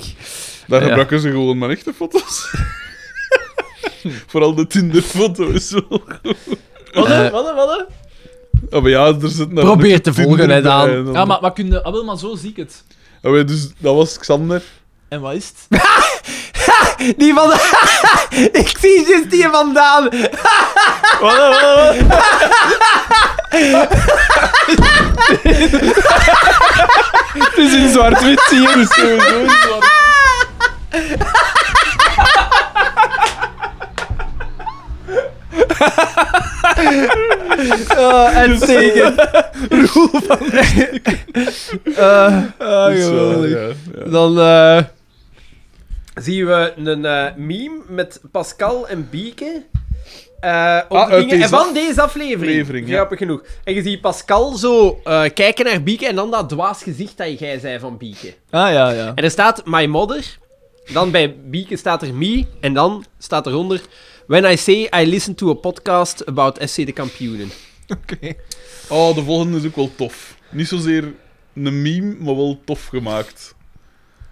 Daar
Ja.
gebruiken ze gewoon maar echte foto's. Vooral de Tinder-foto is wel...
Wat,
hè,
wat,
Ah, maar ja, er zit daar
Probeer
een
te
Tinder
volgen, hè,
bij
Daan.
en dan-
Ah, maar, maar, kun je, ah, wel, maar zo zie ik het.
Ah, maar dus, dat was Xander.
En wat is het?
Die van... ik zie juist die vandaan.
Het is in zwart-wit, zie je?
Dus sowieso is dat-
Eh,
Oh,
Dus-
uitstekend. Roel van... Eh,
Ah,
dus, eh, ja, ja.
Dan eh, zien we een eh, meme met Pascal en Bieke. eh over
Ah, uit
dingen
deze
van deze aflevering.
aflevering, ja.
Grappig genoeg. En je ziet Pascal zo eh, kijken naar Bieke en dan dat dwaas gezicht dat jij zei van Bieke.
Ah, ja, ja.
En er staat My Mother. Dan bij Bieke staat er Me. En dan staat eronder When I say I listen to a podcast about SC de kampioenen.
Oh, de volgende is ook wel tof. Niet zozeer een meme, maar wel tof gemaakt.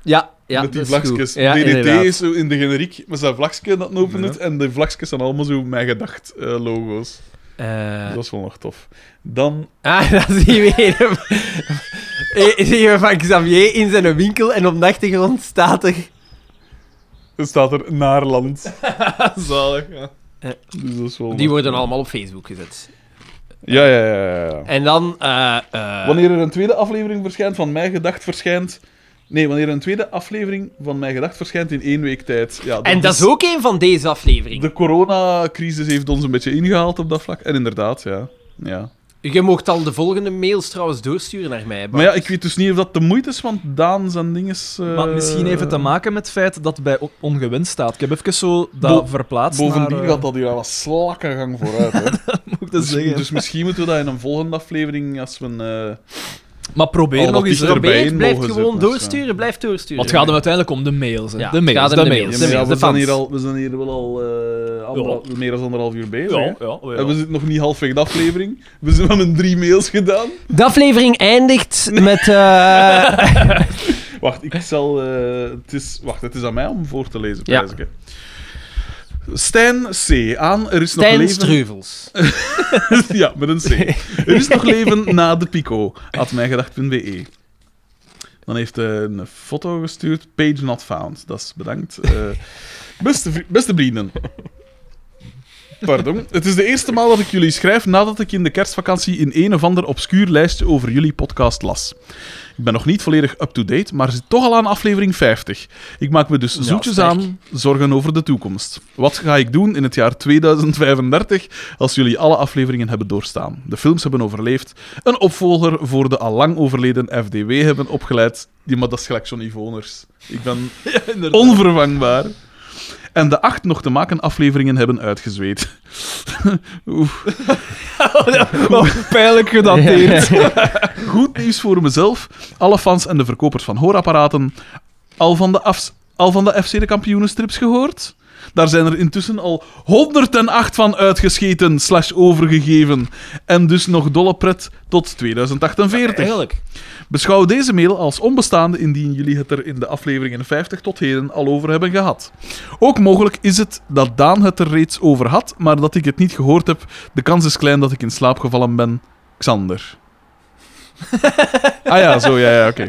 Ja, ja
Met die
dat is goed.
vlakjes.
Ja,
DDT
inderdaad.
is zo in de generiek met zijn vlakje dat opent het. En de vlakjes zijn allemaal zo mijn gedacht eh, logo's.
Eh,
Dat is wel nog tof. Dan
Ah, dan zien we, een- Eh, zien we van Xavier in zijn winkel en op de achtergrond staat er...
staat er Naarland.
Zalig, ja.
Dus dat is wel
Die
nog
worden
tof.
allemaal op Facebook gezet.
Ja, ja, ja. ja, ja.
En dan... eh, eh,
Wanneer er een tweede aflevering verschijnt van Mijn Gedacht verschijnt... Nee, wanneer een tweede aflevering van Mijn Gedacht verschijnt in één week tijd. Ja,
En dat is ook een van deze afleveringen.
De coronacrisis heeft ons een beetje ingehaald op dat vlak. En inderdaad, ja. ja.
Je mocht al de volgende mails trouwens doorsturen naar mij.
Maar ja, ik weet dus niet of dat de moeite is, want Daan zijn ding is... eh,
Maar misschien heeft het te maken met het feit dat het bij on- ongewenst staat. Ik heb even zo dat
Bo-
verplaatst
Bovendien
naar, eh,
gaat dat hier al een slakkengang vooruit. Hè.
moet ik dat
dus,
zeggen.
dus misschien moeten we dat in een volgende aflefering, als we... eh,
Maar probeer
Al
nog
wat
eens...
dichterbij.
erop-
Probeer het,
in
Dus blijf
mogen
gewoon
zetten, dus, eh.
doorsturen, blijf doorsturen.
Want het gaat hem uiteindelijk om de mails, hè.
Ja,
de
het
mails,
gaat
de,
om de
mails.
mails. de
ja, we, zijn
fans.
hier al, we zijn hier wel al eh, anderhalf- meer dan anderhalf uur bezig. hè.
ja, ja.
En we zitten nog niet halfweg de aflevering. We zijn al een drie mails gedaan.
De aflevering eindigt met... eh,
Wacht, ik zal. eh, het is, wacht, het is aan mij om voor te lezen.
Ja.
prijs ik, hè. Stijn C. Aan, er is nog
Stijn
leven.
Streuvels.
ja, met een C. Er is nog leven na de pico. At mijgedacht.be. E. Dan heeft hij een foto gestuurd. Page not found. Dat is bedankt. Eh, beste, vri- beste vrienden. Pardon. Het is de eerste maal dat ik jullie schrijf nadat ik in de kerstvakantie in een of ander obscuur lijstje over jullie podcast las. Ik ben nog niet volledig up-to-date, maar zit toch al aan aflevering 50. Ik maak me dus zoetjes
sterk.
aan zorgen over de toekomst. Wat ga ik doen in het jaar 2035 als jullie alle afleveringen hebben doorstaan? De films hebben overleefd, een opvolger voor de allang overleden FDW hebben opgeleid. Die, maar dat is gelijk Johnny Voners. Ik ben onvervangbaar. En de acht nog te maken afleveringen hebben uitgezweet. Oeh.
Pijnlijk gedateerd.
Goed nieuws voor mezelf, alle fans en de verkopers van hoorapparaten. Al van de, afs- al van de FC de kampioenenstrips gehoord? Daar zijn er intussen al 108 van uitgescheten slash overgegeven. En dus nog dolle pret tot 2048.
Eigenlijk.
Beschouw deze mail als onbestaande indien jullie het er in de afleveringen 50 tot heden al over hebben gehad. Ook mogelijk is het dat Daan het er reeds over had, maar dat ik het niet gehoord heb. De kans is klein dat ik in slaap gevallen ben. Xander. ah ja, zo, ja, ja, oké.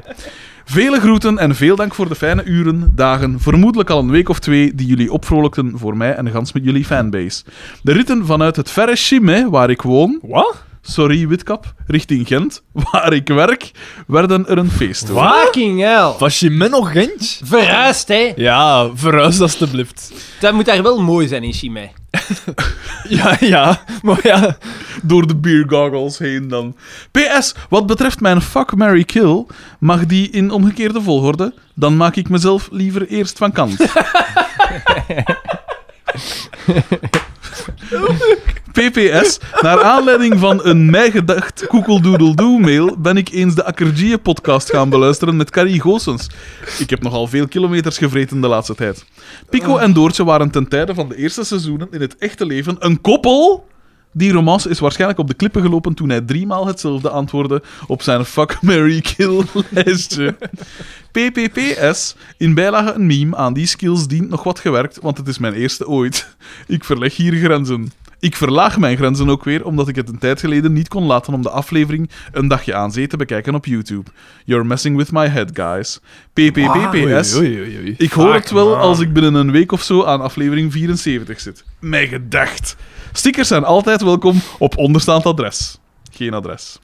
Vele groeten en veel dank voor de fijne uren, dagen, vermoedelijk al een week of twee, die jullie opvrolijkten voor mij en gans met jullie fanbase. De ritten vanuit het verre Chimay, waar ik woon,
Wat?
sorry Witkap, richting Gent, waar ik werk, werden er een feest. hoor.
Fucking hell.
Was je met nog Gent?
Verhuisd, hè.
Ja, verhuis alstublieft.
Dat moet daar wel mooi zijn in Chimay.
Ja, ja. Maar ja,
Door de biergoggles heen dan. PS, wat betreft mijn fuck, Mary kill, mag die in omgekeerde volgorde, dan maak ik mezelf liever eerst van kant. PPS, naar aanleiding van een mijgedacht koekeldoedeldoe-mail ben ik eens de Akkergie-podcast gaan beluisteren met Carrie Goossens. Ik heb nogal veel kilometers gevreten de laatste tijd. Pico
Eh.
en Doortje waren ten tijde van de eerste seizoenen in het echte leven een koppel... Die romance is waarschijnlijk op de klippen gelopen toen hij driemaal hetzelfde antwoordde op zijn fuck, Mary kill lijstje. PPPS, in bijlage een meme aan die skills dient nog wat gewerkt, want het is mijn eerste ooit. Ik verleg hier grenzen. Ik verlaag mijn grenzen ook weer, omdat ik het een tijd geleden niet kon laten om de aflevering een dagje aan zee te bekijken op YouTube. You're messing with my head, guys. PPPPS,
Ah, Oei, oei, oei.
ik hoor het wel als ik binnen een week of zo aan aflevering 74 zit. Mijn gedacht. Stickers zijn altijd welkom op onderstaand adres. Geen adres.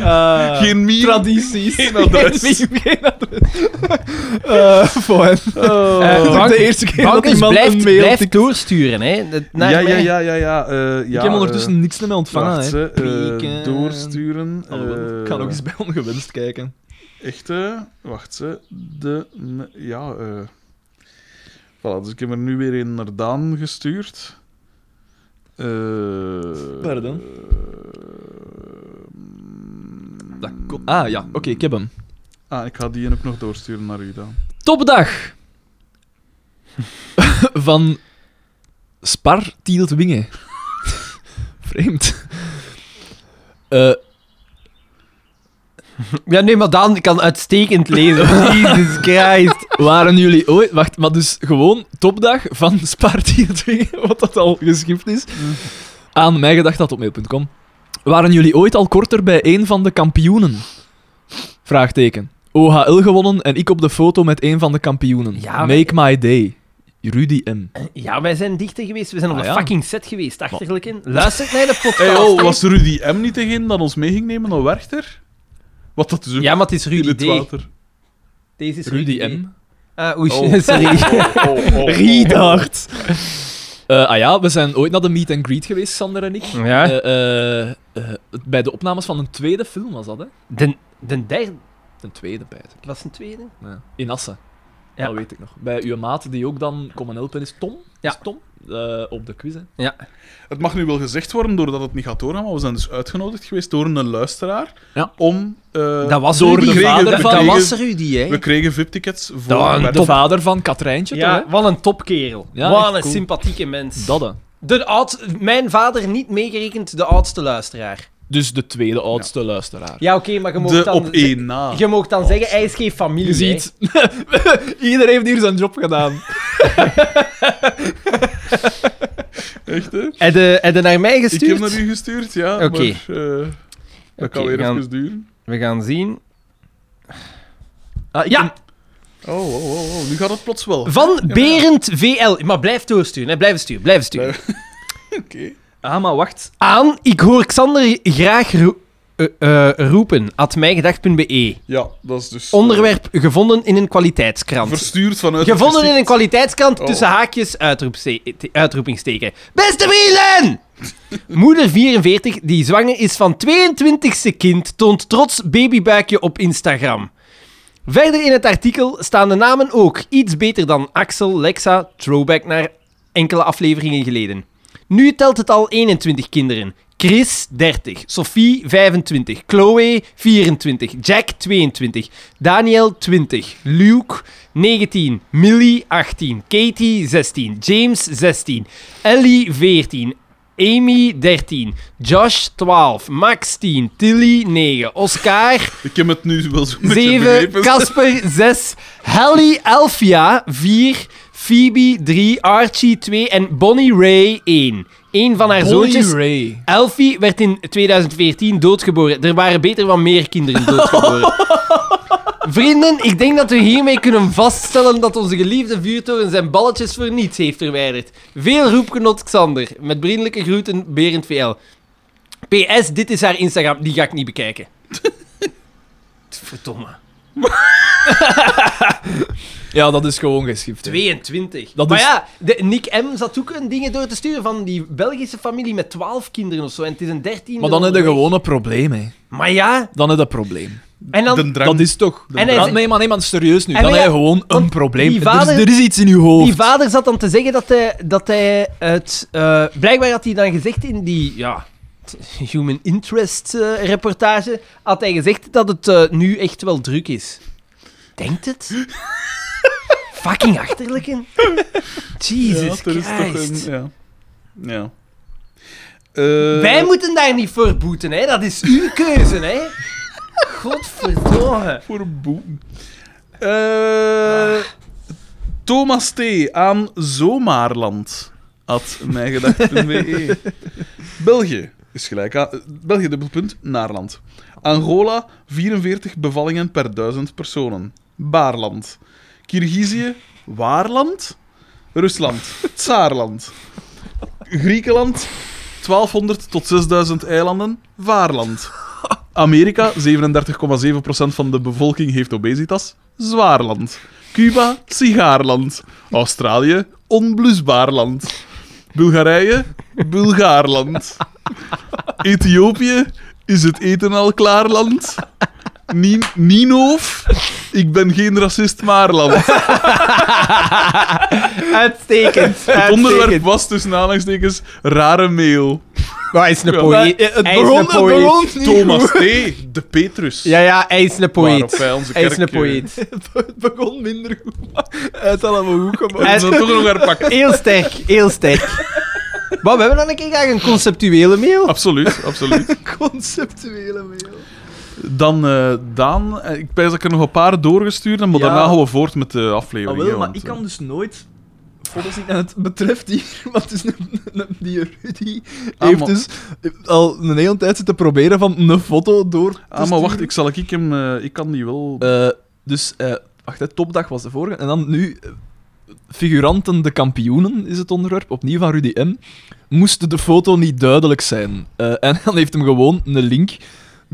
Eh,
Geen meme.
tradities.
Geen adres.
Geen meme, geen adres. Eh, fijn.
Eh,
Dat is
Bank-
de eerste keer dat
Bankens
iemand
blijft,
een mail
blijft
tikt.
doorsturen, hè. Dat- naar
ja, ja,
mij.
ja, ja, ja, eh, ja.
Ik heb ondertussen niks meer ontvangen. hè.
Ze, eh,
Pieken.
doorsturen.
Alhoewel, ik
eh,
kan ook eens bij ongewenst kijken.
Echte. Wacht ze. De. me- Ja, eh. Voilà, dus ik heb er nu weer een naar Daan gestuurd. Eh
Waar dan?
eh,
Dat kon- Ah ja, oké, ik heb hem.
Ah, ik ga die ook nog doorsturen naar u dan.
Topdag! Van Spar Tielt Wingen. Vreemd. Eh,
Ja, nee, maar Daan kan uitstekend lezen. Jesus Christ.
waren jullie ooit... Wacht, maar dus gewoon topdag van Spar Tielt Wingen, wat dat al geschift is, aan mijgedacht.mail.com. Waren jullie ooit al korter bij een van de kampioenen? Vraagteken. OHL gewonnen en ik op de foto met een van de kampioenen.
Ja, maar-
Make my day. Rudy M.
Ja, wij zijn dichter geweest. We zijn op
Ah,
een
ja.
fucking set geweest, achterlijk in. Luister naar de podcast.
Hey, oh, was Rudy M niet degene dat ons mee ging nemen naar Werchter? Wat dat is ook
Ja, maar het is
in het
Rudy D.
water.
Deze is
Rudy
D.
M.
Ah, oei,
Oh.
sorry.
Oh, oh, oh.
Retard. Eh, ah ja, we zijn ooit naar de meet and greet geweest, Sander en ik.
Ja.
Eh, eh, eh, bij de opnames van een tweede film was dat, hè?
De, de derde
Een tweede, bijt.
was een tweede.
In Assen.
Ja.
Dat weet ik nog. Bij uw maat, die ook dan komen helpen, is Tom.
Ja.
Is Tom? Eh, op de quiz, hè?
Het mag nu wel gezegd worden, doordat het niet gaat doorgaan, maar we zijn dus uitgenodigd geweest door een luisteraar
Ja.
om... eh,
Dat was
door
Rudy.
de
Dat-
vader van-
Dat was Rudy, hè.
We kregen VIP-tickets voor...
Dan
Bert.
de vader van Katrijntje,
Ja,
toch?
wat een topkerel.
Ja,
wat
echt
een
cool.
sympathieke
Hè?
mens.
Dat, hè.
De oud, mijn vader niet meegerekend, de oudste luisteraar.
Dus de tweede oudste luisteraar.
Ja, oké, maar je mag
de
dan...
op één na.
Je mag dan zeggen, hij is geen familie.
Je ziet, iedereen heeft hier zijn job gedaan.
Echt, hè?
Heb je, heb je naar mij
Ik
gestuurd?
heb naar u gestuurd, ja.
Oké.
maar, eh, dat
Oké,
kan weer
gaan-
even duren.
We gaan zien.
Ah, ik-
Ja.
Oh, oh, oh, oh, nu gaat het plots wel. Oké.
Van Berend VL. Maar blijf doorsturen, hè. blijf sturen, blijf sturen.
Ah, maar wacht.
Aan, ik hoor Xander graag roe- eh, eh, roepen, at mijgedacht.be.
Ja, dat is dus... eh,
Onderwerp gevonden in een kwaliteitskrant.
Verstuurd vanuit...
Gevonden in een kwaliteitskrant,
Oh.
tussen haakjes, uitroepste- te- uitroepingsteken. Beste Wielen! Moeder 44, die zwanger is van 22e kind, toont trots babybuikje op Instagram. Verder in het artikel staan de namen ook iets beter dan Axel, Lexa, throwback naar enkele afleveringen geleden. Nu telt het al 21 kinderen. Chris 30, Sophie 25, Chloe 24, Jack 22, Daniel 20, Luke 19, Millie 18, Katie 16, James 16, Ellie 14, Amy 13, Josh 12, Max 10, Tilly 9, Oscar
Ik heb het nu wel zo'n beetje
7,
begrepen.
Casper 6, Helly Elfia 4, Phoebe 3, Archie 2 en Bonnie Ray 1. Eén van haar zoontjes,
Ray.
Elfie, werd in 2014 doodgeboren. Er waren beter van meer kinderen doodgeboren. Vrienden, ik denk dat we hiermee kunnen vaststellen dat onze geliefde vuurtoren zijn balletjes voor niets heeft verwijderd. Veel roepgenot Xander. Met vriendelijke groeten, Berend VL. PS, dit is haar Instagram. Die ga ik niet bekijken. Verdomme.
Ja, dat is gewoon geschift. hè.
22.
Dat
maar
is-
ja, de, Nick M zat ook een dingen door te sturen van die Belgische familie met 12 kinderen of zo. En het is een 13.
Maar dan heb je gewoon een probleem, hè.
Maar ja,
Dan heb je een probleem.
en dan...
De drang.
Dat is toch...
En hij-
Ja, nee, maar nee, maar serieus nu.
En
Dan
maar
heb je
ja,
gewoon een
want
probleem.
die
Er is,
vader-
er is iets in je hoofd.
Die vader zat dan te zeggen dat hij, dat hij het... eh, blijkbaar had hij dan gezegd in die ja, t- human interest eh, reportage, had hij gezegd dat het eh, nu echt wel druk is. Denkt het? Fucking achterlijken. Jesus
ja, er is toch
Christ.
een... Ja. ja. Eh,
Wij moeten daar niet voor boeten, hè. Dat is uw keuze, hè. Godverdomme.
Voor boem. Eh, Thomas T. aan Zomaarland. At mijgedacht.be. België is gelijk aan... eh, België, dubbelpunt, Naarland. Angola, 44 bevallingen per duizend personen. Baarland. Kirgizië, Waarland. Rusland, Tsaarland. Griekenland, 1200 tot 6000 eilanden, Vaarland. Amerika, 37,7% van de bevolking heeft obesitas. Zwaarland. Cuba, sigaarland. Australië, onblusbaar land. Bulgarije, Bulgaarland. Ethiopië, is het eten al klaarland? Ni Ninoof, ik ben geen racist, maarland.
Uitstekend.
Het onderwerp was tussen aanhalingstekens rare mail.
Hij is een poëet.
Maar, eh, het
Hij is
begon-
een
het
poëet.
begon niet
Thomas
goed.
T, de Petrus.
Ja, ja, hij is een
Waarop
poëet.
wij onze
Hij is een
kerk, eh,
poëet.
Het begon minder goed, maar het had allemaal goed gemaakt.
En ze toch nog herpakken.
Heel sterk, heel sterk. Maar we hebben dan een keer graag een conceptuele mail.
Absoluut, absoluut.
Conceptuele mail.
Dan eh, Daan, eh, ik pijs dat ik er nog een paar doorgestuurd heb, maar
Ja.
daarna gaan we voort met de aflevering.
Ah,
hè,
wel, maar
want,
ik
eh,
kan dus nooit foto's zien. En het betreft hier, want het is een- een- die Rudy
Ah,
heeft
maar-
dus al een hele tijd zitten proberen van een foto door te
Ah, maar wacht,
sturen.
ik zal ik hem... eh, ik kan die wel...
Eh, dus, eh, wacht, hè, topdag was de vorige. En dan nu, eh, figuranten de kampioenen is het onderwerp, opnieuw van Rudy M. Moest de foto niet duidelijk zijn. Eh, en dan heeft hem gewoon een link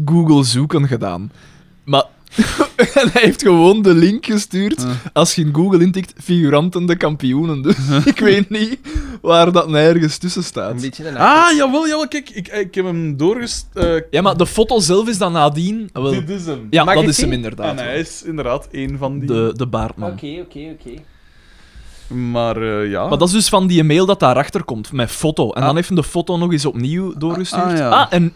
Google zoeken gedaan. Maar en hij heeft gewoon de link gestuurd.
Ah.
Als je in Google intikt, figuranten de kampioenen. Dus ik weet niet waar dat nergens tussen staat.
beetje een
Ah, jawel, jawel, kijk, ik, eh, ik heb hem doorgestuurd.
Ja, maar de foto zelf is dan nadien. Ah, wel,
dit is hem.
ja,
Mag
dat
ik
is hem
zien? Ah,
inderdaad.
En hij
wel.
is inderdaad één van die.
De, de baardman.
Oké, oké, oké.
Maar eh, ja.
Maar dat is dus van die mail dat daarachter komt, met foto. En
Ah.
dan heeft hij de foto nog eens opnieuw doorgestuurd.
Ah,
Ah,
ah, ja.
en...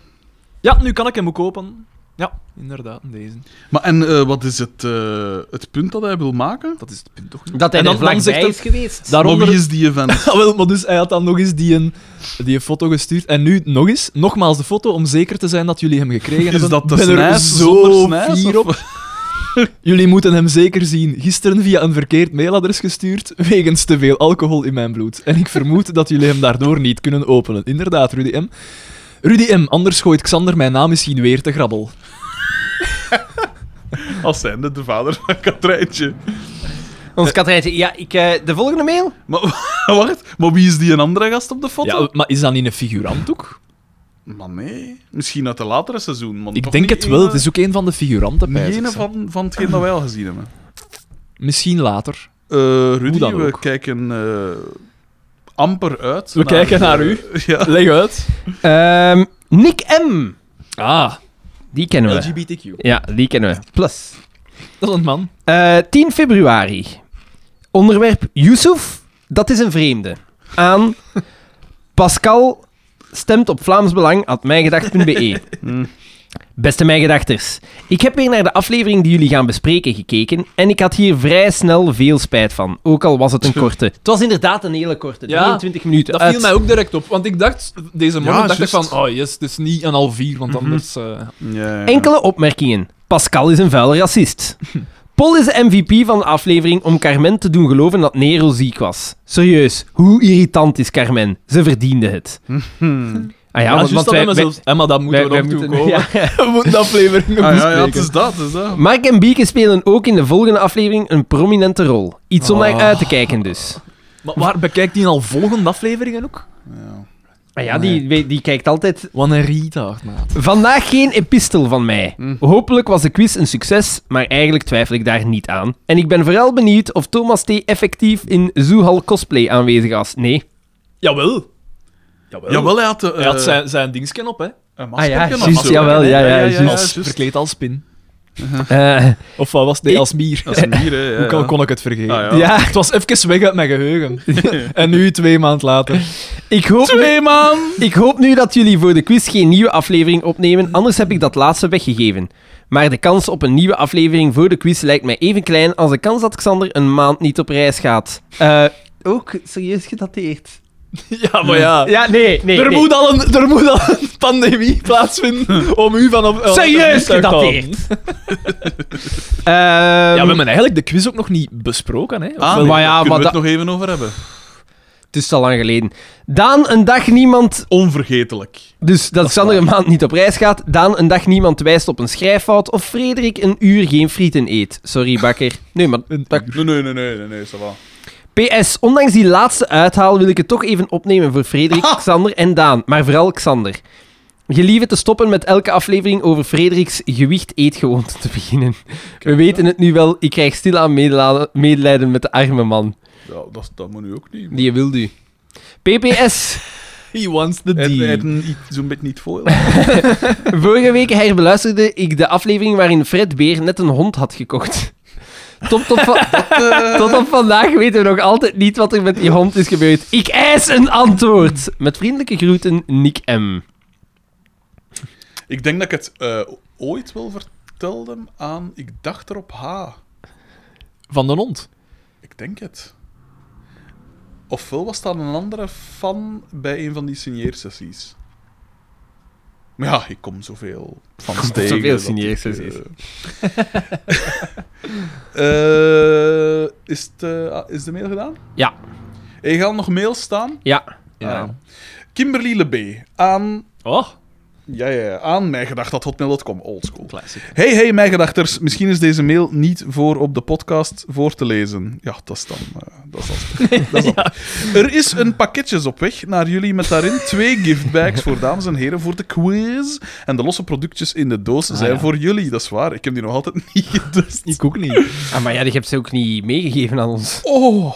Ja, nu kan ik hem ook open. Ja, inderdaad, deze.
Maar en eh, wat is het, eh, het punt dat hij wil maken?
Dat is het punt toch?
Dat hij
En
er
dan- dan zegt
vlakbij
hij-
is geweest.
Maar
Daaronder...
wie is die event?
Ah, wel, maar dus hij had dan nog eens die, een, die een foto gestuurd. En nu nog eens, nogmaals de foto, om zeker te zijn dat jullie hem gekregen
Is
hebben.
dat de
Ik ben er
snijs zonder
zo
snijs,
fier
of-
op. Jullie moeten hem zeker zien. Gisteren via een verkeerd mailadres gestuurd, wegens te veel alcohol in mijn bloed. En ik vermoed dat jullie hem daardoor niet kunnen openen. Inderdaad, Rudy M. Rudy M, anders gooit Xander mijn naam misschien weer te grabbel.
Als zijnde de vader van Katrijntje.
Ons Katrijntje, ja, ik, eh, de volgende mail?
Maar wacht, maar wie is die een andere gast op de foto?
Ja, maar is dat niet een figurant ook?
Maar nee, misschien uit de latere seizoen. want
Ik
toch
denk
niet
het wel,
ene-
het is ook een van de figuranten.
niet
pijs ik
ene
zo.
van, van hetgeen dat wij al gezien hebben.
Misschien later.
Eh Rudy,
Hoe dan
we
ook.
kijken eh, amper uit.
We kijken naar u.
Ja.
Leg uit.
Ehm, Nick M.
Ah,
Die kennen we.
LGBTQ.
Ja, die kennen we. Plus.
Dat is een man.
Eh, 10 februari. Onderwerp Yusuf, dat is een vreemde. Aan Pascal stemt op Vlaams Belang at mijngedacht.be.
Hmm.
Beste mijngedachters, ik heb weer naar de aflevering die jullie gaan bespreken gekeken en ik had hier vrij snel veel spijt van, ook al was het een korte. Het was inderdaad een hele korte,
Ja,
23 minuten.
Dat viel
uit.
mij ook direct op, want ik dacht, deze morgen
Ja,
dacht ik
juist.
van, oh yes, het is niet een half vier, want
Mhm.
anders... eh,
Ja, ja.
Enkele opmerkingen. Pascal is een vuile racist. Paul is de MVP van de aflevering om Carmen te doen geloven dat Nero ziek was. Serieus, hoe irritant is Carmen? Ze verdiende het. Ah ja,
Ja,
want,
juist
want
dat
wij,
hebben
wij,
zelfs- hè, maar dat moeten
wij-
we
wij
nog toe
moeten-
komen.
ja.
We moeten de aflevering nog
Ah, ja, ja, het
bespreken.
is dat, het is dat.
Mark en Bieke spelen ook in de volgende aflevering een prominente rol. Iets om naar
Oh.
uit te kijken dus.
Maar waar bekijkt die al volgende afleveringen ook?
Ja.
Ah ja, die, we- die kijkt altijd...
Wat een retard, maat.
Vandaag geen epistel van mij.
Hm.
Hopelijk was de quiz een succes, maar eigenlijk twijfel ik daar niet aan. En ik ben vooral benieuwd of Thomas T. effectief in Zuhal cosplay aanwezig was. Nee.
Jawel. Jawel.
Jawel, hij had, de,
Hij
eh,
had zijn, zijn dingsken op, hè.
een
Ah ja,
maskertje
juist,
of zo.
jawel, ja, ja,
Als-
juist.
Verkleed als spin.
Eh,
Of wat was het? Nee,
Ik-
als mier.
Dat is een mier, hè. ja,
Hoe kan,
ja.
kon ik het vergeten?
Ah, ja.
ja,
Het was even weg uit mijn geheugen. en nu, twee maanden later.
ik hoop...
Twee maanden!
Ik hoop nu dat jullie voor de quiz geen nieuwe aflevering opnemen, anders heb ik dat laatste weggegeven. Maar de kans op een nieuwe aflevering voor de quiz lijkt mij even klein als de kans dat Xander een maand niet op reis gaat. Eh, ook serieus gedateerd.
Ja, maar ja.
Ja, nee, nee.
er,
nee.
Moet al een, er moet al een pandemie plaatsvinden om u van op... eh,
Serieus
op-
gedateerd. Ehm,
Ja, we hebben eigenlijk de quiz ook nog niet besproken, hè.
Ah,
Of
nee,
wel-
maar ja,
daar kunnen
maar
we
dat-
het nog even over hebben.
Het is al lang geleden. Daan, een dag niemand.
Onvergetelijk.
Dus dat, Xander een maand niet op reis gaat. Daan, een dag niemand wijst op een schrijffout. Of Frederik, een uur geen frieten eet. Sorry, bakker. Nee, maar
Een-
Nee, nee, nee, nee, nee, nee, ça va.
PS, ondanks die laatste uithaal wil ik het toch even opnemen voor Frederik, Xander en Daan. Maar vooral Xander. Gelieve te stoppen met elke aflevering over Frederiks gewicht-eetgewoonte te beginnen. We weten het nu wel, ik krijg stilaan medela- medelijden met de arme man.
Ja, dat, dat moet nu ook niet. maar-
Die wil u. PPS,
He wants the
Het-
deal.
het niet- Zo'n beetje niet voor.
vorige week herbeluisterde ik de aflevering waarin Fred Beer net een hond had gekocht. Tot op, va- tot op vandaag weten we nog altijd niet wat er met die hond is gebeurd. Ik eis een antwoord. Met vriendelijke groeten, Nick M.
Ik denk dat ik het eh, ooit wel vertelde aan... Ik dacht er op H.
Van de hond.
Ik denk het. Ofwel was dat een andere fan bij een van die signeersessies. Maar ja, ik kom zoveel van tegen.
zoveel
dat ik,
signeersessies.
eh, eh, is, het, eh, ah, is de mail gedaan?
Ja.
Er gaan nog mails staan.
Ja.
Ja.
Ah, Kimberly Lebe aan...
Oh,
Ja, ja, ja, aan mijgedacht.hotmail.com. Oldschool.
classic.
Hey, hey, mijn gedachters. Misschien is deze mail niet voor op de podcast voor te lezen. Ja, dat is dan... eh, dat is dan, dat is dan. Er is een pakketjes op weg naar jullie met daarin twee giftbags voor dames en heren voor de quiz. En de losse productjes in de doos zijn
ja.
voor jullie. Dat is waar. Ik heb die nog altijd niet gedust.
Ik ook niet.
Ah, maar ja, die heb ze ook niet meegegeven aan ons.
Oh.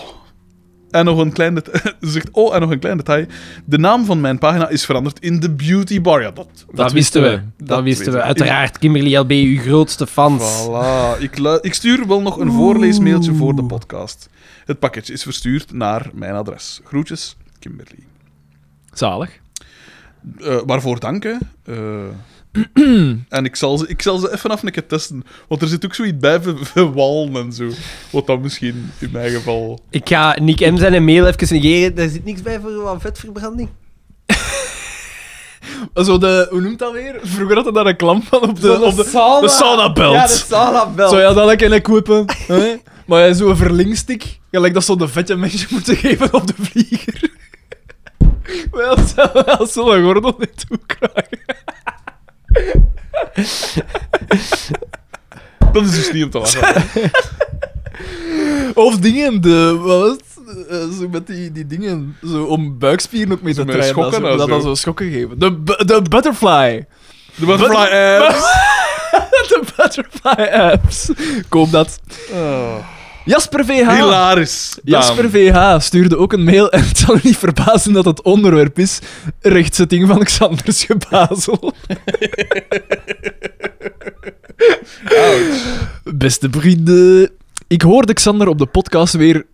En nog een klein detail. Ze zegt, oh, en nog een klein detail. De naam van mijn pagina is veranderd in The Beauty Bar. Ja, dat...
Dat, wisten we. Dat,
Dat
wisten we.
weten we.
Uiteraard, Kimberly LB, uw grootste fans.
Voilà. Ik, lu- ik stuur wel nog een voorleesmailtje voor de podcast. Het pakketje is verstuurd naar mijn adres. Groetjes, Kimberly.
Zalig.
Eh, waarvoor danken. eh, en ik zal, ze, ik zal ze even af een keer testen. Want er zit ook zoiets bij van van wallen en zo. Wat dan misschien in mijn geval.
Ik ga Nick M zijn mail even negeren. Daar zit niks bij voor wat vetverbranding.
Zo de, hoe noemt dat weer? Vroeger had hij daar een klamp van op de,
Zo'n
op de,
sauna.
de saunabelt.
Ja, de saunabel.
Zou je dat lekker in kwippen? hè? Maar ja, zo'n verlingstick, gelijk dat ze de vetje mensen moeten geven op de vlieger. Wel, als ze een gordel niet toe krijgen.
Dat is dus niet om te lachen.
Of dingen, de, wat was het? Eh, Zo met die, die dingen, zo om buikspieren ook mee te
met
trainen.
schokken
dat, ze- dat,
en zo.
dat zo schokken geven. De, bu- de butterfly.
De butterfly abs.
de butterfly apps. Koop dat.
Oh.
Jasper VH.
Hilarisch. Daan.
Jasper VH stuurde ook een mail en het zal u niet verbazen dat het onderwerp is rechtzetting van Xanders gebazel. Beste vrienden, ik hoorde Xander op de podcast weer...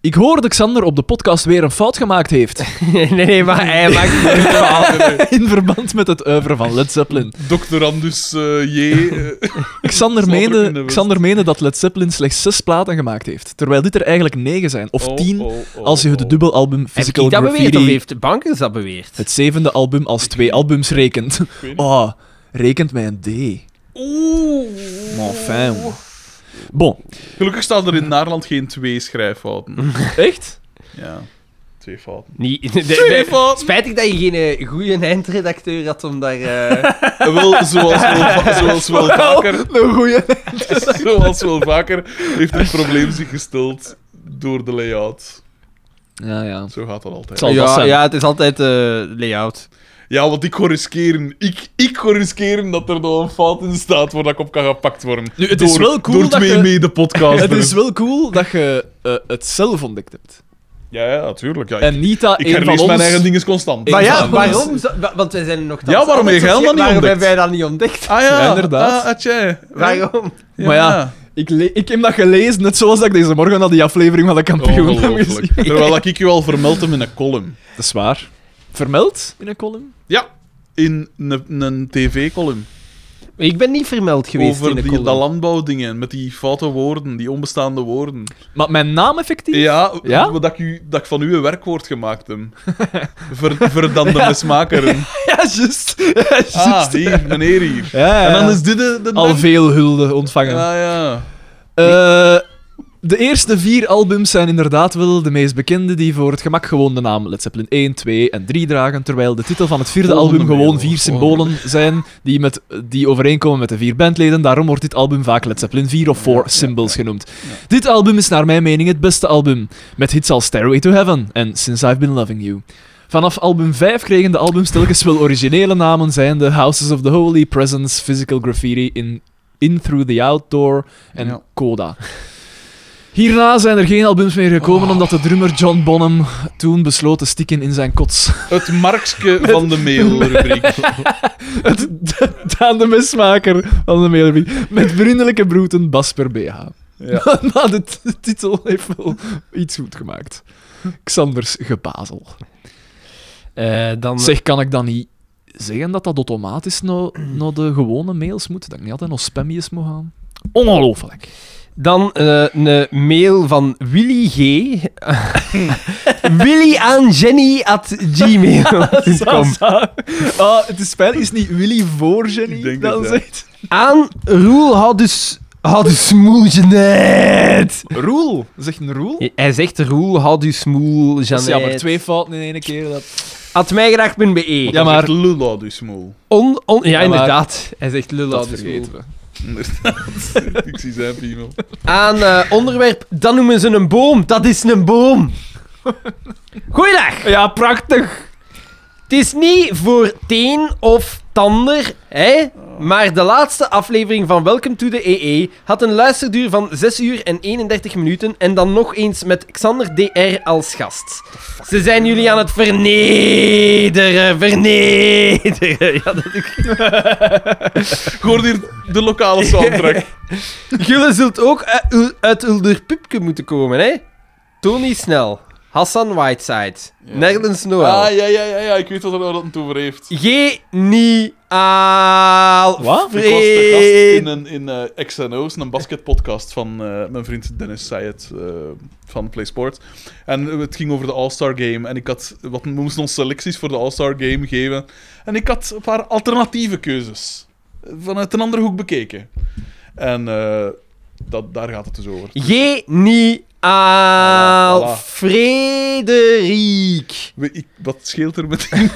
Ik hoorde Xander op de podcast weer een fout gemaakt heeft
nee, nee, maar hij maakt het
in verband met het oeuvre van Led Zeppelin.
Dr. Andus eh, J. eh,
Xander
Zal er ook in
meende,
de bus.
Xander meende dat Led Zeppelin slechts zes platen gemaakt heeft, terwijl dit er eigenlijk negen zijn, of
oh,
tien
oh, oh,
als je het
oh.
dubbelalbum
Heb ik
Physical
dat beweerd of
Graffiti
heeft Bankers dat beweerd?
het zevende album als twee albums rekent.
weet niet.
Oh, rekent mij een D.
Oeh.
Mon fin. hoor. Bon,
Gelukkig staan er in Naarland geen twee schrijffouten.
echt?
Ja. Twee fouten.
Niet, de- de- spijtig dat je geen goede eindredacteur had om daar... eh,
Eh, Wel, zoals wel, va- zoals wel vaker...
Een goeie.
Zoals wel vaker heeft het probleem zich gesteld door de layout.
Ja, ja.
Zo gaat dat altijd.
Zal dat
ja,
zijn?
ja, het is altijd eh, layout.
Ja, want ik kon riskeren. Ik, ik kon riskeren dat er nog een fout in staat waar ik op kan gepakt worden.
Nu, het is
door,
wel cool
Door
dat
twee
je-
mede-podcasters.
Het is wel cool dat je eh, het zelf ontdekt hebt.
Ja, ja, natuurlijk. Ja, ik,
En niet dat
ik
een van
herlees
ons...
mijn eigen dingen constant.
Maar
Ik
ja,
zou-
waarom? zo- wa- Want wij zijn nog...
Ja, waarom heb jij dat niet
Waarom
ontdekt?
hebben wij dat niet ontdekt?
Ah ja,
Ja, inderdaad.
Ah, atje.
Waarom?
Maar ja, ik, le- ik heb dat gelezen, net zoals dat ik deze morgen al die aflevering van de kampioen heb gezien.
Ongelooflijk. Terwijl ik je al vermeld heb in een column.
Dat is waar. Vermeld in een column?
Ja, in een, een tv-column.
Ik ben niet vermeld geweest
Over
in de
die,
column.
dat landbouwdingen, met die foute woorden, die onbestaande woorden.
Maar mijn naam effectief?
Ja,
Ja?
Dat, ik u, dat ik van u een werkwoord gemaakt heb. Ver, verdande mismakeren.
Ja, juist. Ja, juist.
Ah, hier, meneer hier.
Ja, ja,
En dan
ja.
is dit de... de
Al veel hulde ontvangen.
Ja, ja.
Eh, de eerste vier albums zijn inderdaad wel de meest bekende die voor het gemak gewoon de naam Led Zeppelin 1, 2 en 3 dragen, terwijl de titel van het vierde
Volgende
album gewoon
mail,
vier
volgende.
symbolen zijn die, met, die overeenkomen met de vier bandleden. Daarom wordt dit album vaak Led Zeppelin 4 of 4 symbols genoemd. Dit album is naar mijn mening het beste album, met hits als Stairway to Heaven en Since I've Been Loving You. Vanaf album 5 kregen de albums telkens wel originele namen, zijnde Houses of the Holy, Presence, Physical Graffiti, In, in Through the Outdoor en
Ja.
Coda. Hierna zijn er geen albums meer gekomen
Oh.
omdat de drummer John Bonham toen besloot te stikken in zijn kots.
Het Markske van de mailrubriek.
Het aan de mesmaker van de mailbrief. Met vriendelijke broeten Basper BH.
Ja.
maar de t- titel heeft wel iets goed gemaakt. Xanders gebazel.
Eh, dan...
Zeg, kan ik dan niet zeggen dat dat automatisch naar naar de gewone mails moet? Dat ik niet altijd nog spammies moet gaan? Ongelooflijk.
Dan eh, een mail van Willy G. Willy aan Jenny at gmail.com.
Ah, het is spijtig, is niet Willy voor
Ik
Jenny
denk
dan
het, ja.
zegt.
Aan Roel had dus... Had dus smoel genet.
Roel. Zegt een Roel?
Hij zegt Roel had dus smoel
Dat is jammer,
genet.
twee fouten in één keer. Dat...
Had mij gedacht ben bij E.
Ja, maar-
Lula dus, moel.
On, on, ja,
maar-
inderdaad. Hij zegt lul
Dat
had dus smoel.
vergeten we.
Inderdaad. Ik zie zijn piemel.
Aan eh, onderwerp, dan noemen ze een boom. Dat is een boom. Goeiedag.
Ja, prachtig.
Het is niet voor teen of tander, hè? Maar de laatste aflevering van Welcome to the EE had een luisterduur van 6 uur en 31 minuten en dan nog eens met Xander DR als gast. Ze zijn jullie aan het vernederen, vernederen. Ja, dat ik...
Ik hoor hier de lokale soundtrack.
Jullie zult ook uit, Ul- uit Ulderpupke moeten komen, hè? Tony Snel, Hassan Whiteside, Nerlens Noel.
Ah, ja, ja, ja, ja. Ik weet wat er nou dat toe voor heeft.
Geniaal.
Wat?
Ik was de gast in, een, in eh, XNO's, een basketpodcast van eh, mijn vriend Dennis Sayed eh, van PlaySport. En het ging over de All-Star Game. En ik had, wat, we moesten ons selecties voor de All-Star Game geven. En ik had een paar alternatieve keuzes. Vanuit een andere hoek bekeken. En eh, dat, daar gaat het dus over.
Geniaal.
Voilà, voilà.
Frederik.
We- ik- wat scheelt er met die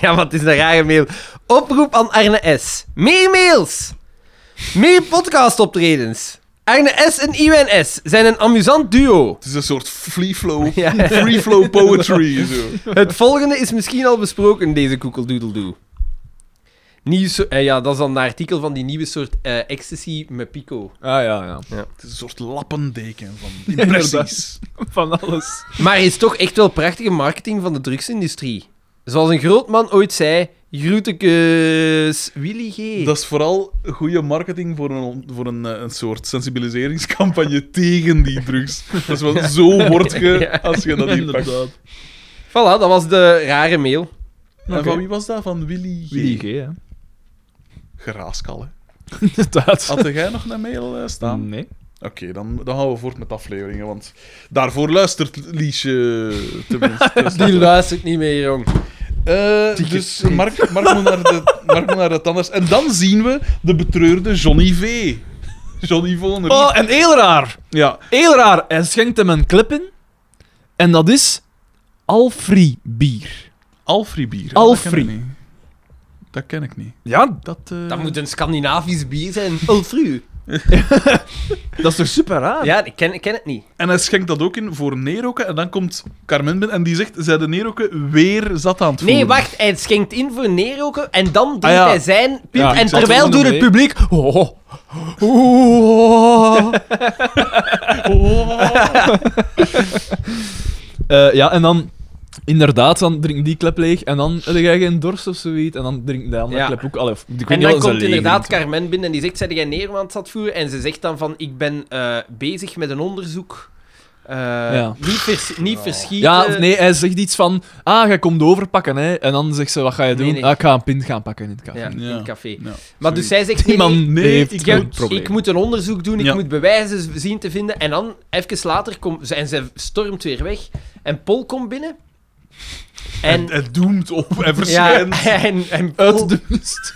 Ja, wat is een rare mail. Oproep aan Arne S. Meer mails. Meer podcastoptredens. Arne S en Iwan S zijn een amusant duo.
Het is een soort free flow,
Ja.
free flow poetry. Zo.
Het volgende is misschien al besproken in deze koekeldoedeldoe. Nieuw so- eh, ja, dat is dan een artikel van die nieuwe soort eh, ecstasy met Pico.
Ah ja, ja.
Het is een soort lappendeken van
Inderdaad.
impressies.
Van alles.
Maar is toch echt wel prachtige marketing van de drugsindustrie. Zoals een groot man ooit zei, groetekes Willy G.
Dat is vooral goede marketing voor, een, voor een, eh, een soort sensibiliseringscampagne tegen die drugs. Dat is wel, zo word
Ja.
je als je dat hier pakt.
Voilà, dat was de rare mail.
En van wie was dat? Van Willy G.
Willy G, hè?
Geraaskal, hè.
Inderdaad.
Had jij nog een mail eh, staan?
Nee.
Oké, dan, dan gaan we voort met afleveringen, want daarvoor luistert Liesje eh, tenminste.
Die luistert niet meer, jong.
Eh, dus Mark, Mark, moet naar de, Mark moet naar de tandarts. En dan zien we de betreurde Johnny V. Johnny Voner.
Oh, en heel raar.
Ja,
Heel raar. Hij schenkt hem een clip in. En dat is Alfri bier.
Alfri bier.
Alfri.
Dat ken ik niet. Dat ken ik niet.
Ja,
Dat, eh,
Dat moet een Scandinavisch bier zijn. Ulfru.
dat is toch super raar?
Ja, ik ken, ik ken het niet.
En hij schenkt dat ook in voor Neroke. En dan komt Carmen binnen en die zegt: Zij de Neroke weer zat aan het voeren.
Nee, wacht. Hij schenkt in voor neerroken en dan drinkt
Ah, ja.
hij zijn pint.
Ja, ik
en
zat
terwijl
er van
doet
de
het publiek... Oh, oh.
Oh.
Eh, ja, en dan... Inderdaad, dan drinkt die klep leeg en dan heb jij geen dorst of zoiets en dan drinkt de andere
Ja.
klep ook. Allee, of- ik weet
En
niet
dan
of ze
komt
leeg
inderdaad
drinkt.
Carmen binnen en die zegt, zijn jij neer aan het zatvoeren? En ze zegt dan van, ik ben eh, bezig met een onderzoek. Eh, Niet, vers- niet verschieten.
Ja, of nee, hij zegt iets van... Ah, jij komt overpakken, hè. En dan zegt ze, wat ga je doen?
Nee, nee.
Ah, ik ga een pint gaan pakken in het café.
Ja, in
Ja.
het café.
Ja,
Maar dus
zoiets.
zij zegt, nee,
Die
nee,
man
nee,
heeft
ik
Ik,
een
heb-
probleem.
ik moet een onderzoek doen, ik
Ja.
moet bewijzen z- zien te vinden. En dan, even later, komt ze, en ze stormt weer weg. En Paul komt binnen.
En
En,
het doemt op en
ja,
verschijnt.
en, en Paul-
Uit de mist.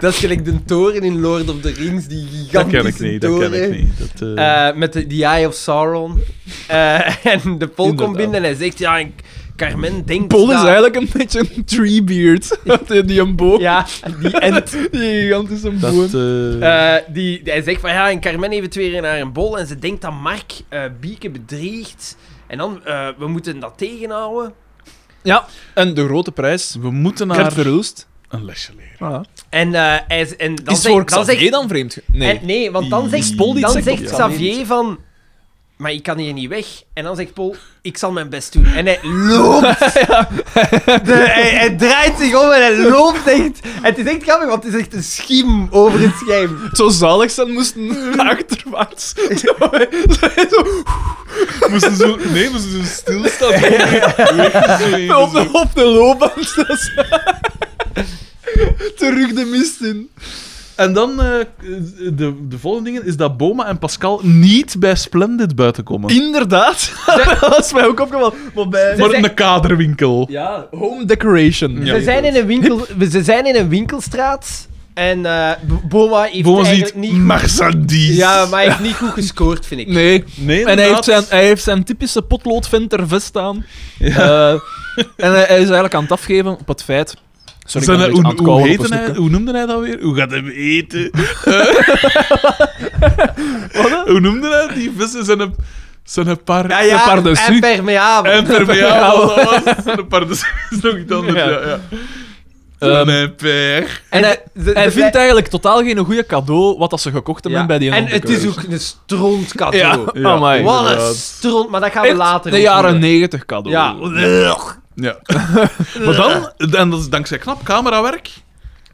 dat is gelijk de toren in Lord of the Rings, die gigantische
dat ken ik niet, dat ken
toren.
ik niet. Dat, eh,
Eh, met de The Eye of Sauron. Eh, en de Paul komt
Inderdaad.
binnen en hij zegt, ja, en Carmen denkt...
Paul is
dat-
eigenlijk een beetje een treebeard. Die- die een boom.
Ja, die ent.
Die gigantische
dat,
boom.
eh,
Eh, die, hij zegt van ja, en Carmen heeft het weer in haar een bol en ze denkt dat Mark eh, Bieke bedriegt. En dan, eh, we moeten dat tegenhouden.
Ja, en de grote prijs.
we moeten
Kurt
naar
Verhulst.
een lesje leren.
En, eh, hij, z- en dan
Is
zegt-
voor
dan Eh,
Xavier
zegt-
dan vreemd? ge- Nee.
en- nee, want dan
Die-
zegt,
Paul
iets
dan
zegt op
zegt
Xavier
Xavier van... Maar ik kan hier niet weg. En dan zegt Paul, ik zal mijn best doen. En hij loopt. De- hij, hij draait zich om en hij loopt echt. Het is echt grappig, want het is echt een schiem over het scherm.
Het zou zalig zijn moesten achterwaarts. Zo, zo,
We moesten zo, nee, we moesten zo stilstaan. Zo even
op,
zo.
de, op de loopband. Dat is- Terug de mist in.
En dan, eh, de, de volgende dingen is dat Boma en Pascal niet bij Splendid buiten komen.
Inderdaad. Dat is mij ook opgevallen. Maar bij...
Maar in
zijn-
de kaderwinkel.
Ja, home decoration.
Ja.
ze, zijn in een winkel, ze zijn in een winkelstraat en eh, B- Boma heeft
Boma ziet
eigenlijk niet...
Marzandis.
Ja, maar hij heeft niet goed gescoord, vind ik.
Nee.
Nee,
En hij heeft,
inderdaad.
zijn, hij heeft zijn typische potloodvent er vest aan. Eh, en hij, hij is eigenlijk aan het afgeven op het feit... Sorry,
Zijn
ik ben
er-
een beetje
hoe,
aan het kauwen
hoe
op
heette
een
hij-
snoepje.
hoe noemde hij dat weer? Hoe gaat hem eten? hoe noemde hij die vissen? Zijn een, zijn een paar...
Ja, ja,
De pardessus.
impermeabel.
Impermeabel, dat was het. Zijn een paar... Dat is nog iets anders,
Ja.
ja. ja.
Ehm,
Mijn per.
En hij,
En hij-
ze-
Hij
ze
vindt
blij-
eigenlijk totaal geen goede cadeau wat dat ze gekocht hebben
Ja,
bij die
En het is ook een stront cadeau.
Ja, amai.
Wat een
inderdaad.
stront, maar dat gaan we
Echt
later
de
nog
jaren
doen.
negentig cadeau.
Ja.
Ja. maar dan, en dat is dankzij knap camerawerk,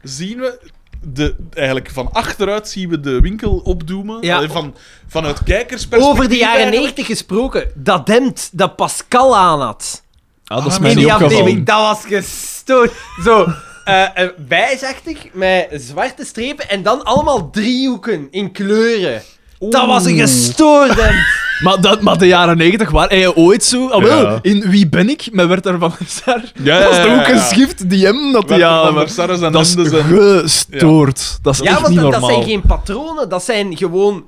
zien we... De, eigenlijk van achteruit zien we de winkel opdoemen.
Ja.
Allee, Van, vanuit kijkersperspectief.
Over de jaren
eigenlijk.
90 gesproken, dat demt dat Pascal aan had.
Ah, dat is
Ah,
mij
in
niet
die
opgevallen.
aflevering. Dat was gestoord. Zo, eh eh, bijzachtig, met zwarte strepen en dan allemaal driehoeken in kleuren. Dat was een gestoorde.
Maar, dat, maar de jaren negentig, waar hij ooit zo... Ah, wel,
Ja.
in Wie ben ik? Met werd er van Sar.
Ja,
dat is toch
ja,
ook
ja,
een
ja.
schift die hem dat
Werther
ja,
van
maar,
der Sarre zijn
Dat is
hemden zijn-
gestoord. Dat is
Ja,
echt
want
niet
dat, dat
normaal.
zijn geen patronen, dat zijn gewoon.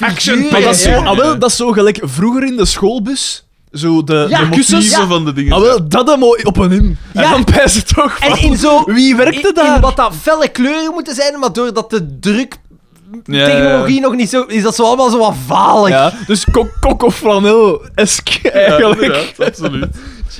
Action
Maar
Ja,
dat is,
ja.
zo, ah, wel, dat is zo gelijk vroeger in de schoolbus. Zo de,
Ja,
de kussens.
motieven van de dingen.
Ah, wel, dat hem mooi op een in.
Ja.
En dan pijs het toch
En
van,
in zo.
Wie
in-
werkte
in
daar?
wat dat felle kleuren moeten zijn, maar doordat de druktechnologie
Ja,
nog niet zo. is dat zo allemaal zo wat valig.
Ja, dus kok, kok of flanel esk
ja, ja,
eigenlijk.
inderdaad, absoluut.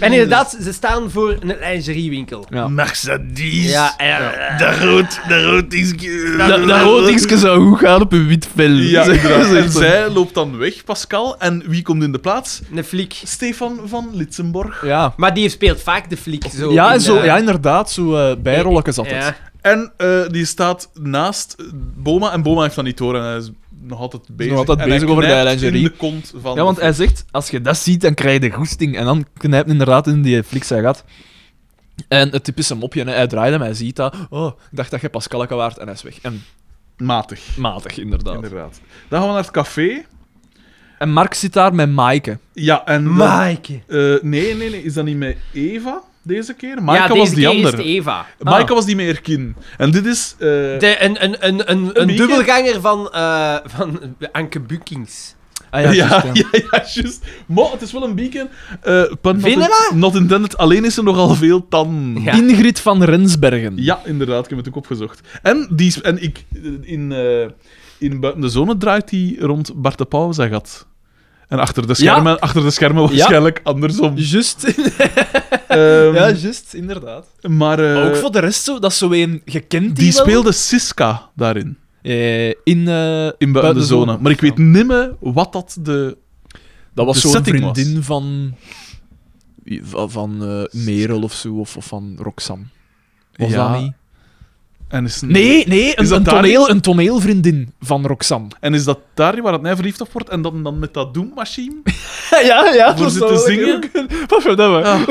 En inderdaad, ze staan voor een lingeriewinkel.
Ja.
Mercedes.
Ja, en-
De rood, de rood is... ge-
Dat, dat rood dingetje zou goed gaan op een wit vel.
Ja,
Zeg-
inderdaad.
zeg
En
zo.
zij loopt dan weg, Pascal. En wie komt in de plaats?
een fliek.
Stefan van Litsenborg.
Ja.
Maar die speelt vaak de fliek. Zo
Ja,
in,
zo,
eh,
ja, inderdaad, zo eh bijrolletjes altijd.
ja.
En eh, die staat naast Boma. En Boma heeft dan niet door en hij is nog altijd bezig.
altijd
En hij
bezig over de
knijpt
lingerie.
in de kont van...
Ja, want hij zegt, als je dat ziet, dan krijg je de goesting. En dan knijpt hij inderdaad in die flik zijn gat. En het typische mopje, hè, hij draait hem, hij ziet dat. Oh, ik dacht dat je Pascalke waard en hij is weg. En
Matig,
matig, inderdaad.
inderdaad. Dan gaan we naar het café.
En Mark zit daar met Maaike.
Ja, en... dan-
Maaike.
eh, nee, nee, nee. Is dat niet met Eva deze keer? Maaike
ja, deze
was die
keer
andere.
is het Eva.
Maaike was die met Erkin. En dit is... eh,
De, een een, een, een, een
Mieke?
dubbelganger van, eh van Anke Bukings.
Ah
Ja,
ja,
ja,
juist, ja.
ja, juist. Maar het is wel een beacon. Eh pun not,
Vind je dat?
not intended. Alleen is er nogal veel tan.
Ja.
Ingrid van Rensbergen.
Ja, inderdaad, ik heb het ook opgezocht. En, die, is- en ik, in, eh, in Buiten de Zone draait hij rond Bart de Pauw zijn gat. En achter de schermen, achter de schermen waarschijnlijk andersom.
Just.
Ehm,
ja, just, inderdaad.
maar eh,
ook voor de rest zo, dat is zo een gekend
die speelde Siska daarin,
in, eh
in Buiten de Zone. Maar ik weet niet meer wat dat de...
Dat was
de
zo'n
setting was.
vriendin van... Van, van eh, Merel of zo, of, of van Roxanne. Was
Ja.
dat niet?
En is,
Nee, nee, een,
Is dat
een,
daar
toneel, een toneelvriendin van Roxanne.
En is dat daar waar het mij verliefd op wordt en dan, dan met dat doommachine?
ja, ja.
Voor
dat
ze
zou
te
wel
zingen?
leuk kunnen. Wat voor dat we?
Ah.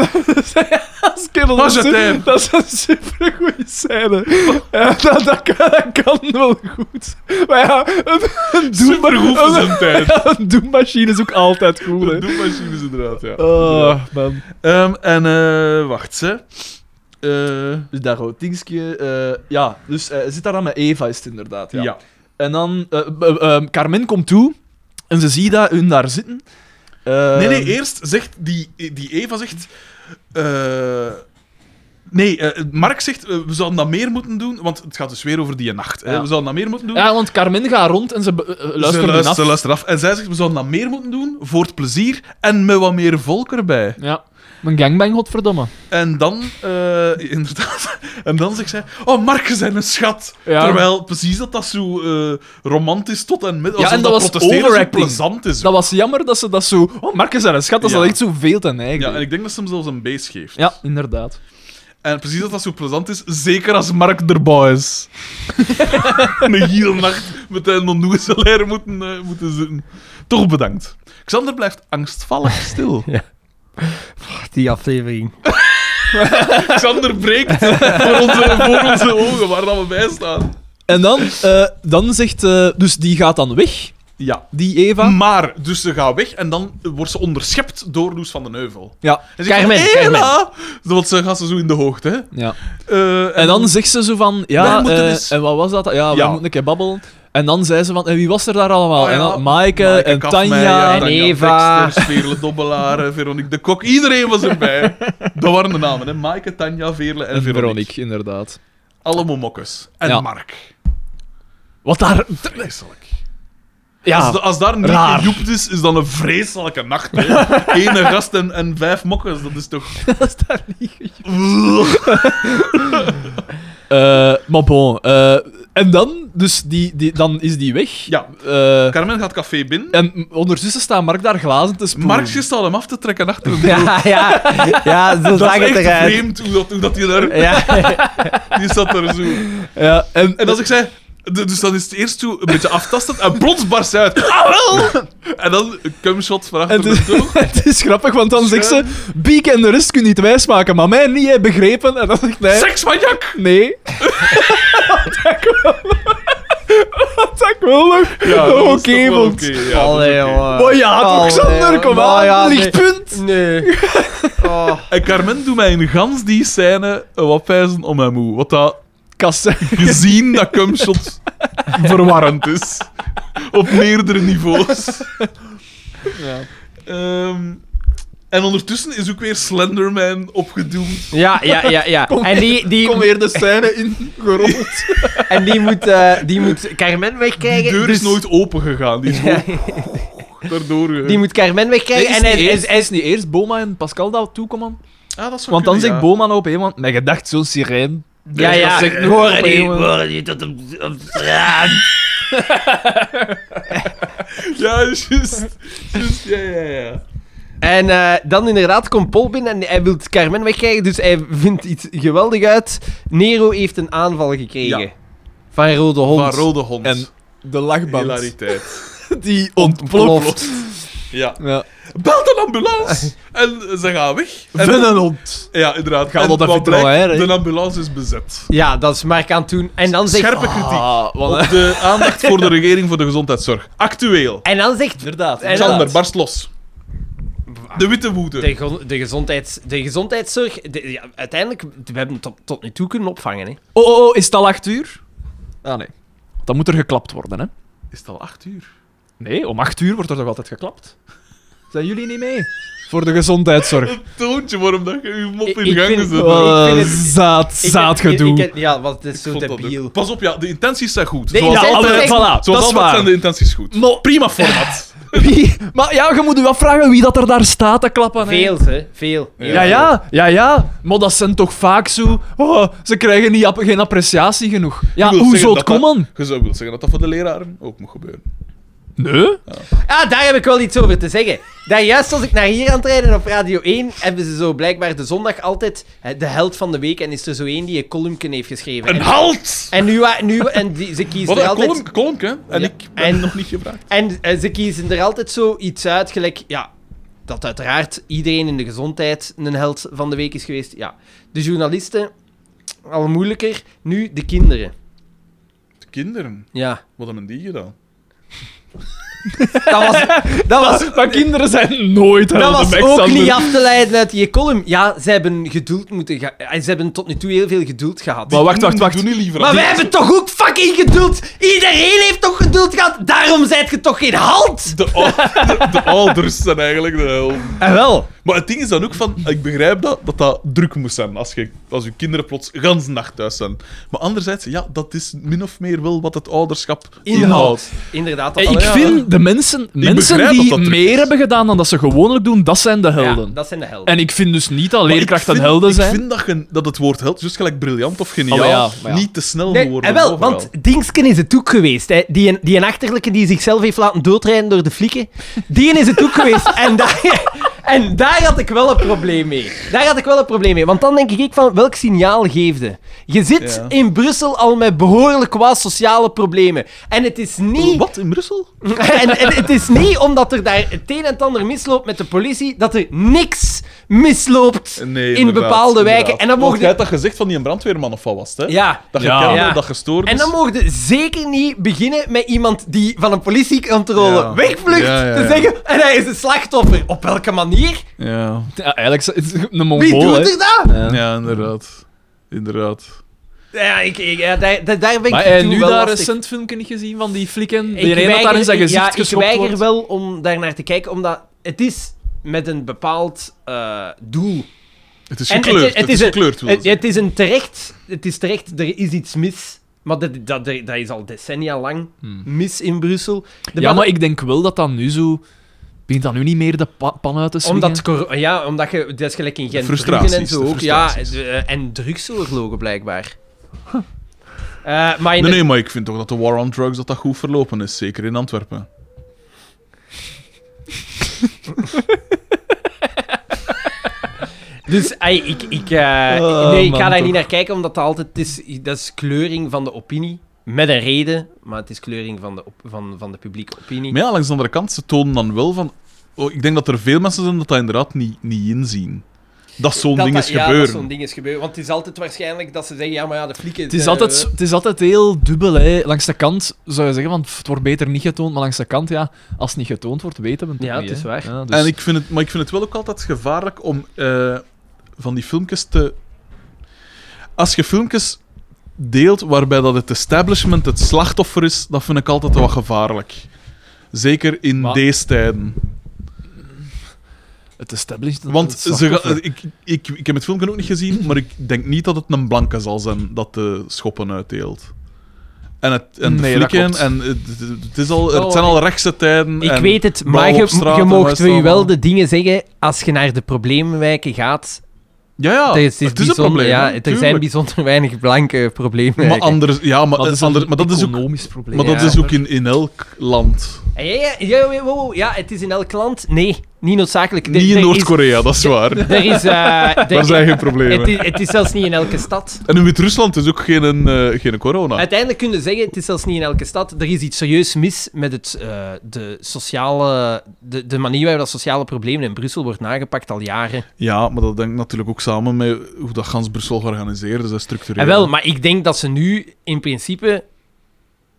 Dat is kerel,
Was
dat,
het
is-
hem?
dat is een supergoeie scène. Ja, dat, dat, kan, dat kan wel goed. Maar ja, een, een, doemma-
Supergoed voor zijn tijd.
ja, een doemmachine is ook altijd goed.
De
Hè.
doommachine is inderdaad, ja.
Oh, man.
Ehm, en eh, wacht, hè. Eh,
Dus daar ook, dingetje. eh, ja, dus eh, zit daar dan met Eva, is het inderdaad. Ja.
ja.
En dan, eh, eh, eh, Carmen komt toe en ze ziet dat hun daar zitten. Eh,
Nee, nee, eerst zegt die, die Eva zegt. eh, nee, eh, Mark zegt eh, we zouden dat meer moeten doen, want het gaat dus weer over die nacht. Hè,
Ja.
we zouden dat meer moeten doen.
Ja, want Carmen gaat rond en ze be- eh, eh,
ze
luistert
luistert,
ernaar.
ze luistert af. En zij zegt we zouden dat meer moeten doen voor het plezier en met wat meer volk erbij.
Ja. Mijn gangbang, godverdomme.
En dan, eh, inderdaad, en dan zegt zij: Oh, Mark, ze zijn een schat.
Ja.
Terwijl precies dat dat zo eh, romantisch tot en met.
Ja,
alsof
en dat was
protesteren zo
overacting.
plezant is.
Dat was jammer dat ze dat zo... Oh, Marcus en een schat, dat ze
Ja.
dat echt zo veel ten eigen
Ja,
ja,
en ik denk dat ze hem zelfs een beest geeft.
ja, inderdaad.
En precies dat dat zo plezant is, zeker als Mark erbij is. De hele nacht met een Mondoeze moeten, eh, moeten zitten. Toch bedankt. Xander blijft angstvallig stil.
Die aflevering.
Xander breekt voor onze, voor onze ogen, waar dat we bij staan.
En dan, eh, dan zegt... eh, dus die gaat dan weg,
Ja.
die Eva.
Maar, dus ze gaat weg en dan wordt ze onderschept door Loes van den Heuvel.
Ja.
En ze zegt
Carmen,
van,
Carmen.
"Ela!" Want ze gaat ze zo in de hoogte. Hè.
ja.
Eh,
En dan zegt ze zo van...
Wij
Ja,
moeten
eh,
dus-
en wat was dat? Ja, we
Ja.
moeten een keer babbelen. En dan zei ze van... En wie was er daar allemaal?
Oh ja,
En dan Maaike,
Maaike
en
Kafmeij,
Tanja...
ja,
en
Tanja
Eva.
Dexter, Veerle Dobbelaar, eh, Veronique de Kok. Iedereen was erbij. Dat waren de namen, hè. Maaike, Tanja, Veerle en,
en
Veronique.
Veronique, inderdaad.
Alle momokkes. En
Ja.
Mark.
Wat daar...
Vreselijk.
Ja,
Als, da- als daar niet
raar.
gejoept is, is dan een vreselijke nacht. hè. Ene gast en, en vijf mokkes, dat is toch...
dat is daar niet Eh, maar bon, eh, en dan, dus die, die, dan is die weg.
Ja.
Eh,
Carmen gaat café binnen.
en ondertussen staat Mark daar glazen te spoelen.
Mark zit al hem af te trekken achter hem.
Ja, ja. Ja, zo
Dat
zag
is
het
echt
eruit.
vreemd hoe dat, hoe dat die daar...
Ja.
Die zat er zo...
Ja, en,
En als ik zei... d- Dus dan is het eerst toe een beetje aftastend en plots barst ze uit. Ah, wel! En dan een cumshot van achter
En
de
het-
toog.
het is grappig, want dan zegt ze... Biek en de rest kunnen niet wijsmaken, maar mij niet, hè, begrepen. En dan zegt hij...
Seks van Jak!
Nee. Wat ik wil nog
dat was
oké
toch wel
vond.
oké, ja, dat is
Allee,
oké.
jongen.
Maar ja, toch,
Allee,
Xander, Ah, kom
maar
aan,
ja, Oh, nee.
lichtpunt.
Nee. Oh.
En Carmen doet mij in gans die scène een wat pijzen om hem moe. Wat dat
Kast.
gezien dat cumshot verwarrend is. Op meerdere niveaus. Ehm, en ondertussen is ook weer Slenderman opgedoemd.
Ja, Ah, ja, ja, ja. En die, die,
Kom weer de scène in, gerold.
en die moet, eh, die moet Carmen
Die
wegkrijgen.
deur
dus
is nooit open gegaan. Die is gewoon Oh, daardoor eh. gegaan.
Die moet Carmen wegkrijgen.
Nee,
en hij,
eerst,
is, hij is
niet eerst Boma en Pascal dat toekomen?
Ah, dat zou
Want dan
kunnen,
zegt
ja.
Boma op een, want mijn gedacht zo'n sirene.
Ja, ja.
dat zegt-
horen die,
jongen.
horen die tot op, op straat.
Ja, juist. Juist, ja, ja, ja.
En eh, dan inderdaad komt Paul binnen en hij wil Carmen wegkrijgen, dus hij vindt iets geweldig uit. Nero heeft een aanval gekregen.
Ja.
Van Rode Hond.
Van rode hond.
En de lachband
hilariteit.
die
Ontploft.
ontploft.
Ja.
Ja.
Belt een ambulance! en ze gaan weg. En
Van een hond.
Ja, inderdaad.
Gaan
En
we dat
wat blijkt,
vertrouwen, hè, hè?
De ambulance is bezet.
Ja, dat is Mark aan het doen. En dan zegt,
Scherpe kritiek
Ah, wat
op de aandacht voor de regering voor de gezondheidszorg. Actueel.
en dan zegt
Inderdaad.
En
inderdaad.
Xander, barst los. De witte woede.
de, gro- de, gezondheids, de gezondheidszorg... de- ja, uiteindelijk, we hebben het tot, tot nu toe kunnen opvangen. Hè.
Oh, oh, oh, is het al acht uur? Ah, nee. Dan moet er geklapt worden, hè.
Is het al acht uur?
Nee, om acht uur wordt er toch altijd geklapt? Zijn jullie niet mee? Voor de gezondheidszorg.
Toontje, waarom dat je je mop
Ik-
in
ik
gang
vind-
zet.
wel-
Wat
vind
een
het-
zaad,
Ik-
zaadgedoe.
ik- ik- Ja, want het is
Ik
zo
vond dat
debiel.
ook. Pas op, ja, de intenties zijn goed.
Nee,
zoals
ja, altijd-
altijd,
voilà,
zoals
dat is
altijd zijn
waar.
de intenties goed.
Maar
Prima format.
wie- maar ja, je moet je afvragen wie dat er daar staat te klappen. hè.
Veel, hè. Veel. Heel
Ja, ja, ja, ja. Maar dat zijn toch vaak zo... oh, ze krijgen niet, app- geen appreciatie genoeg. Ja,
Ik
hoe
wil zeggen
zou het
dat dat-
komen?
Je zou willen zeggen dat dat voor de leraren ook moet gebeuren.
Nee.
Ah, daar heb ik wel iets over te zeggen. Daar juist als ik naar hier aan het rijden op Radio 1, hebben ze zo blijkbaar de zondag altijd eh, de held van de week en is er zo één die een columnke heeft geschreven.
Een
En-
halt!
En nu, wa- nu en die, ze kiezen
Wat
er
een
altijd...
kolom, kolom, hè? En
Ja.
ik ben
En-
nog niet gevraagd.
En eh, ze kiezen er altijd zo iets uit, gelijk... Ja, dat uiteraard iedereen in de gezondheid een held van de week is geweest. Ja, de journalisten, al moeilijker. Nu de kinderen.
De kinderen,
Ja,
wat hebben die gedaan?
dat was, dat was,
Maar kinderen zijn nooit
dat
helden,
was
Max
ook
Sander.
niet af te leiden uit die column. Ja, ze hebben geduld moeten... ge- eh, Ze hebben tot nu toe heel veel geduld gehad.
Maar wacht, wacht,
Doen-
wacht.
Doen niet liever
Maar
aan
wij
die-
hebben toch ook fucking geduld? Iedereen heeft toch geduld gehad? Daarom zijt je toch geen halt?
De, ou- de, de ouders zijn eigenlijk de helden.
Eh,
En wel.
Maar het ding is dan ook van, ik begrijp dat dat, dat druk moest zijn als, je, als je kinderen plots gans nacht thuis zijn. Maar anderzijds, ja, dat is min of meer wel wat het ouderschap inhoudt.
Inderdaad. Dat
Ik
wel, ja.
vind de mensen, mensen
begrijp dat
die
dat druk
meer
is.
hebben gedaan dan dat ze gewoonlijk doen, dat zijn de helden.
Ja, dat zijn de helden.
En ik vind dus niet dat
Maar
leerkrachten
ik vind-
helden zijn.
Ik vind dat, je- dat het woord held, juist gelijk briljant of geniaal,
Oh, maar ja, maar ja.
niet te snel
Nee,
worden.
eh, wel,
overal.
want Dingsken is het ook geweest. Hè. Die, een, die een achterlijke die zichzelf heeft laten doodrijden door de flikken. Die is het ook geweest. En daar, en daar had ik wel een probleem mee. Daar had ik wel een probleem mee. Want dan denk ik van, welk signaal geefde? Je zit
Ja.
in Brussel al met behoorlijk wat sociale problemen. En het is niet...
Wat, in Brussel?
En, en het is niet omdat er daar het een en het ander misloopt met de politie, dat er niks misloopt
Nee,
in bepaalde wijken. En dan mogen
jij hebt dat gezegd van die brandweerman of wat was het, hè?
Ja.
Dat je
Ja.
kende,
Ja.
dat gestoord is.
En dan mogen ze zeker niet beginnen met iemand die van een politiecontrole
Ja.
wegvlucht,
Ja, ja, ja.
te zeggen, en hij is een slachtoffer. Op welke manier?
Ja.
Ja, eigenlijk is het een
Wie
Mongool,
doet
hè.
er dat?
Ja.
Ja, inderdaad. Inderdaad.
Ja, ik, ik, ja, daar, daar- daar ben ik
Maar
toe
eh, nu
wel
dat
lastig.
recent filmpje niet gezien van die flikken?
Ik
Die ene dat daar in
weiger-
zijn gezicht
ja, ik
geschopt
weiger
wordt.
wel om daar naar te kijken, omdat het is met een bepaald eh, doel.
Het is
En het-
gekleurd.
het
Het,
is
is
een-
gekleurd, wil
Het,
zeggen.
het is een terecht, het is terecht, er is iets mis. Maar dat, dat, dat is al decennia lang mis in Brussel. De
Ja, maar ik denk wel dat dat nu zo... Begint dat nu niet meer de pa- pan uit te swingen?
Omdat, cor- ja, omdat je, dat is gelijk in Gent,
frustraties,
Bruggen en zo
de
ook. Ja,
frustraties.
de- eh, en drugsoorlogen blijkbaar. Eh, maar in
Nee,
de-
nee, maar ik vind toch dat de war on drugs dat dat goed verlopen is. Zeker in Antwerpen.
Dus ai, ik, ik, eh,
Oh,
nee, ik
man,
ga daar
toch.
niet naar kijken, omdat dat altijd... Het is, dat is kleuring van de opinie. Met een reden, maar het is kleuring van de, op- van, van de publieke opinie.
Maar ja, langs de andere kant, ze tonen dan wel van... Oh, ik denk dat er veel mensen zijn dat dat inderdaad niet, niet inzien. Dat zo'n
dat,
ding
dat-
is
ja, dat
gebeuren.
zo'n ding is gebeuren. Want het is altijd waarschijnlijk dat ze zeggen, ja, maar ja, de eh, flieken...
Het is, altijd, het is altijd heel dubbel. Hè. Langs de kant zou je zeggen, want het wordt beter niet getoond. Maar langs de kant, ja, als het niet getoond wordt, weten we het
Ja,
ook
het
niet.
is
hè.
waar.
Ja, dus-
En ik vind het, maar ik vind het wel ook altijd gevaarlijk om eh, van die filmpjes te. Als je filmpjes deelt waarbij dat het establishment het slachtoffer is, dat vind ik altijd wat gevaarlijk. Zeker in
Maar-
deze tijden.
Het established...
Want
het
ze
slachtoffer.
ga- eh, ik, ik, ik heb het filmpje ook niet gezien, maar ik denk niet dat het een blanke zal zijn dat de schoppen uitdeelt. En het en de
Nee, dat
flikken,
klopt.
en het, het is al,
Oh,
het zijn al rechtse tijden.
Ik
en
weet het,
blauw
maar
op
je,
straat
je
en wat
moogt
is het
u wel
allemaal?
de dingen zeggen als je naar de probleemwijken gaat.
Ja,
Er
ja,
is-
Oh, het is een
bijzonder-
probleem.
Ja,
hè,
er zijn
tuurlijk.
bijzonder weinig blanke problemen.
Maar anders, ja, maar,
Maar dat is,
ander-
een
maar dat is ook,
economisch probleem.
maar dat
Ja.
is ook in, in elk land.
Ja, ja, ja, ja, ja, wow, ja, het is in elk land. Nee, niet noodzakelijk. Er-
Niet in
er is-
Noord-Korea, dat is waar.
Er is... eh, er-
Daar zijn geen
het,
problemen.
is, het is zelfs niet in elke stad.
En in Wit-Rusland is ook geen, eh, geen corona.
Uiteindelijk kun je zeggen, het is zelfs niet in elke stad. Er is iets serieus mis met het, eh, de, sociale, de, de manier waarop dat sociale problemen in Brussel wordt nagepakt al jaren.
Ja, maar dat denk natuurlijk ook samen met hoe dat gans Brussel georganiseerd is en structureel.
En wel, maar ik denk dat ze nu in principe.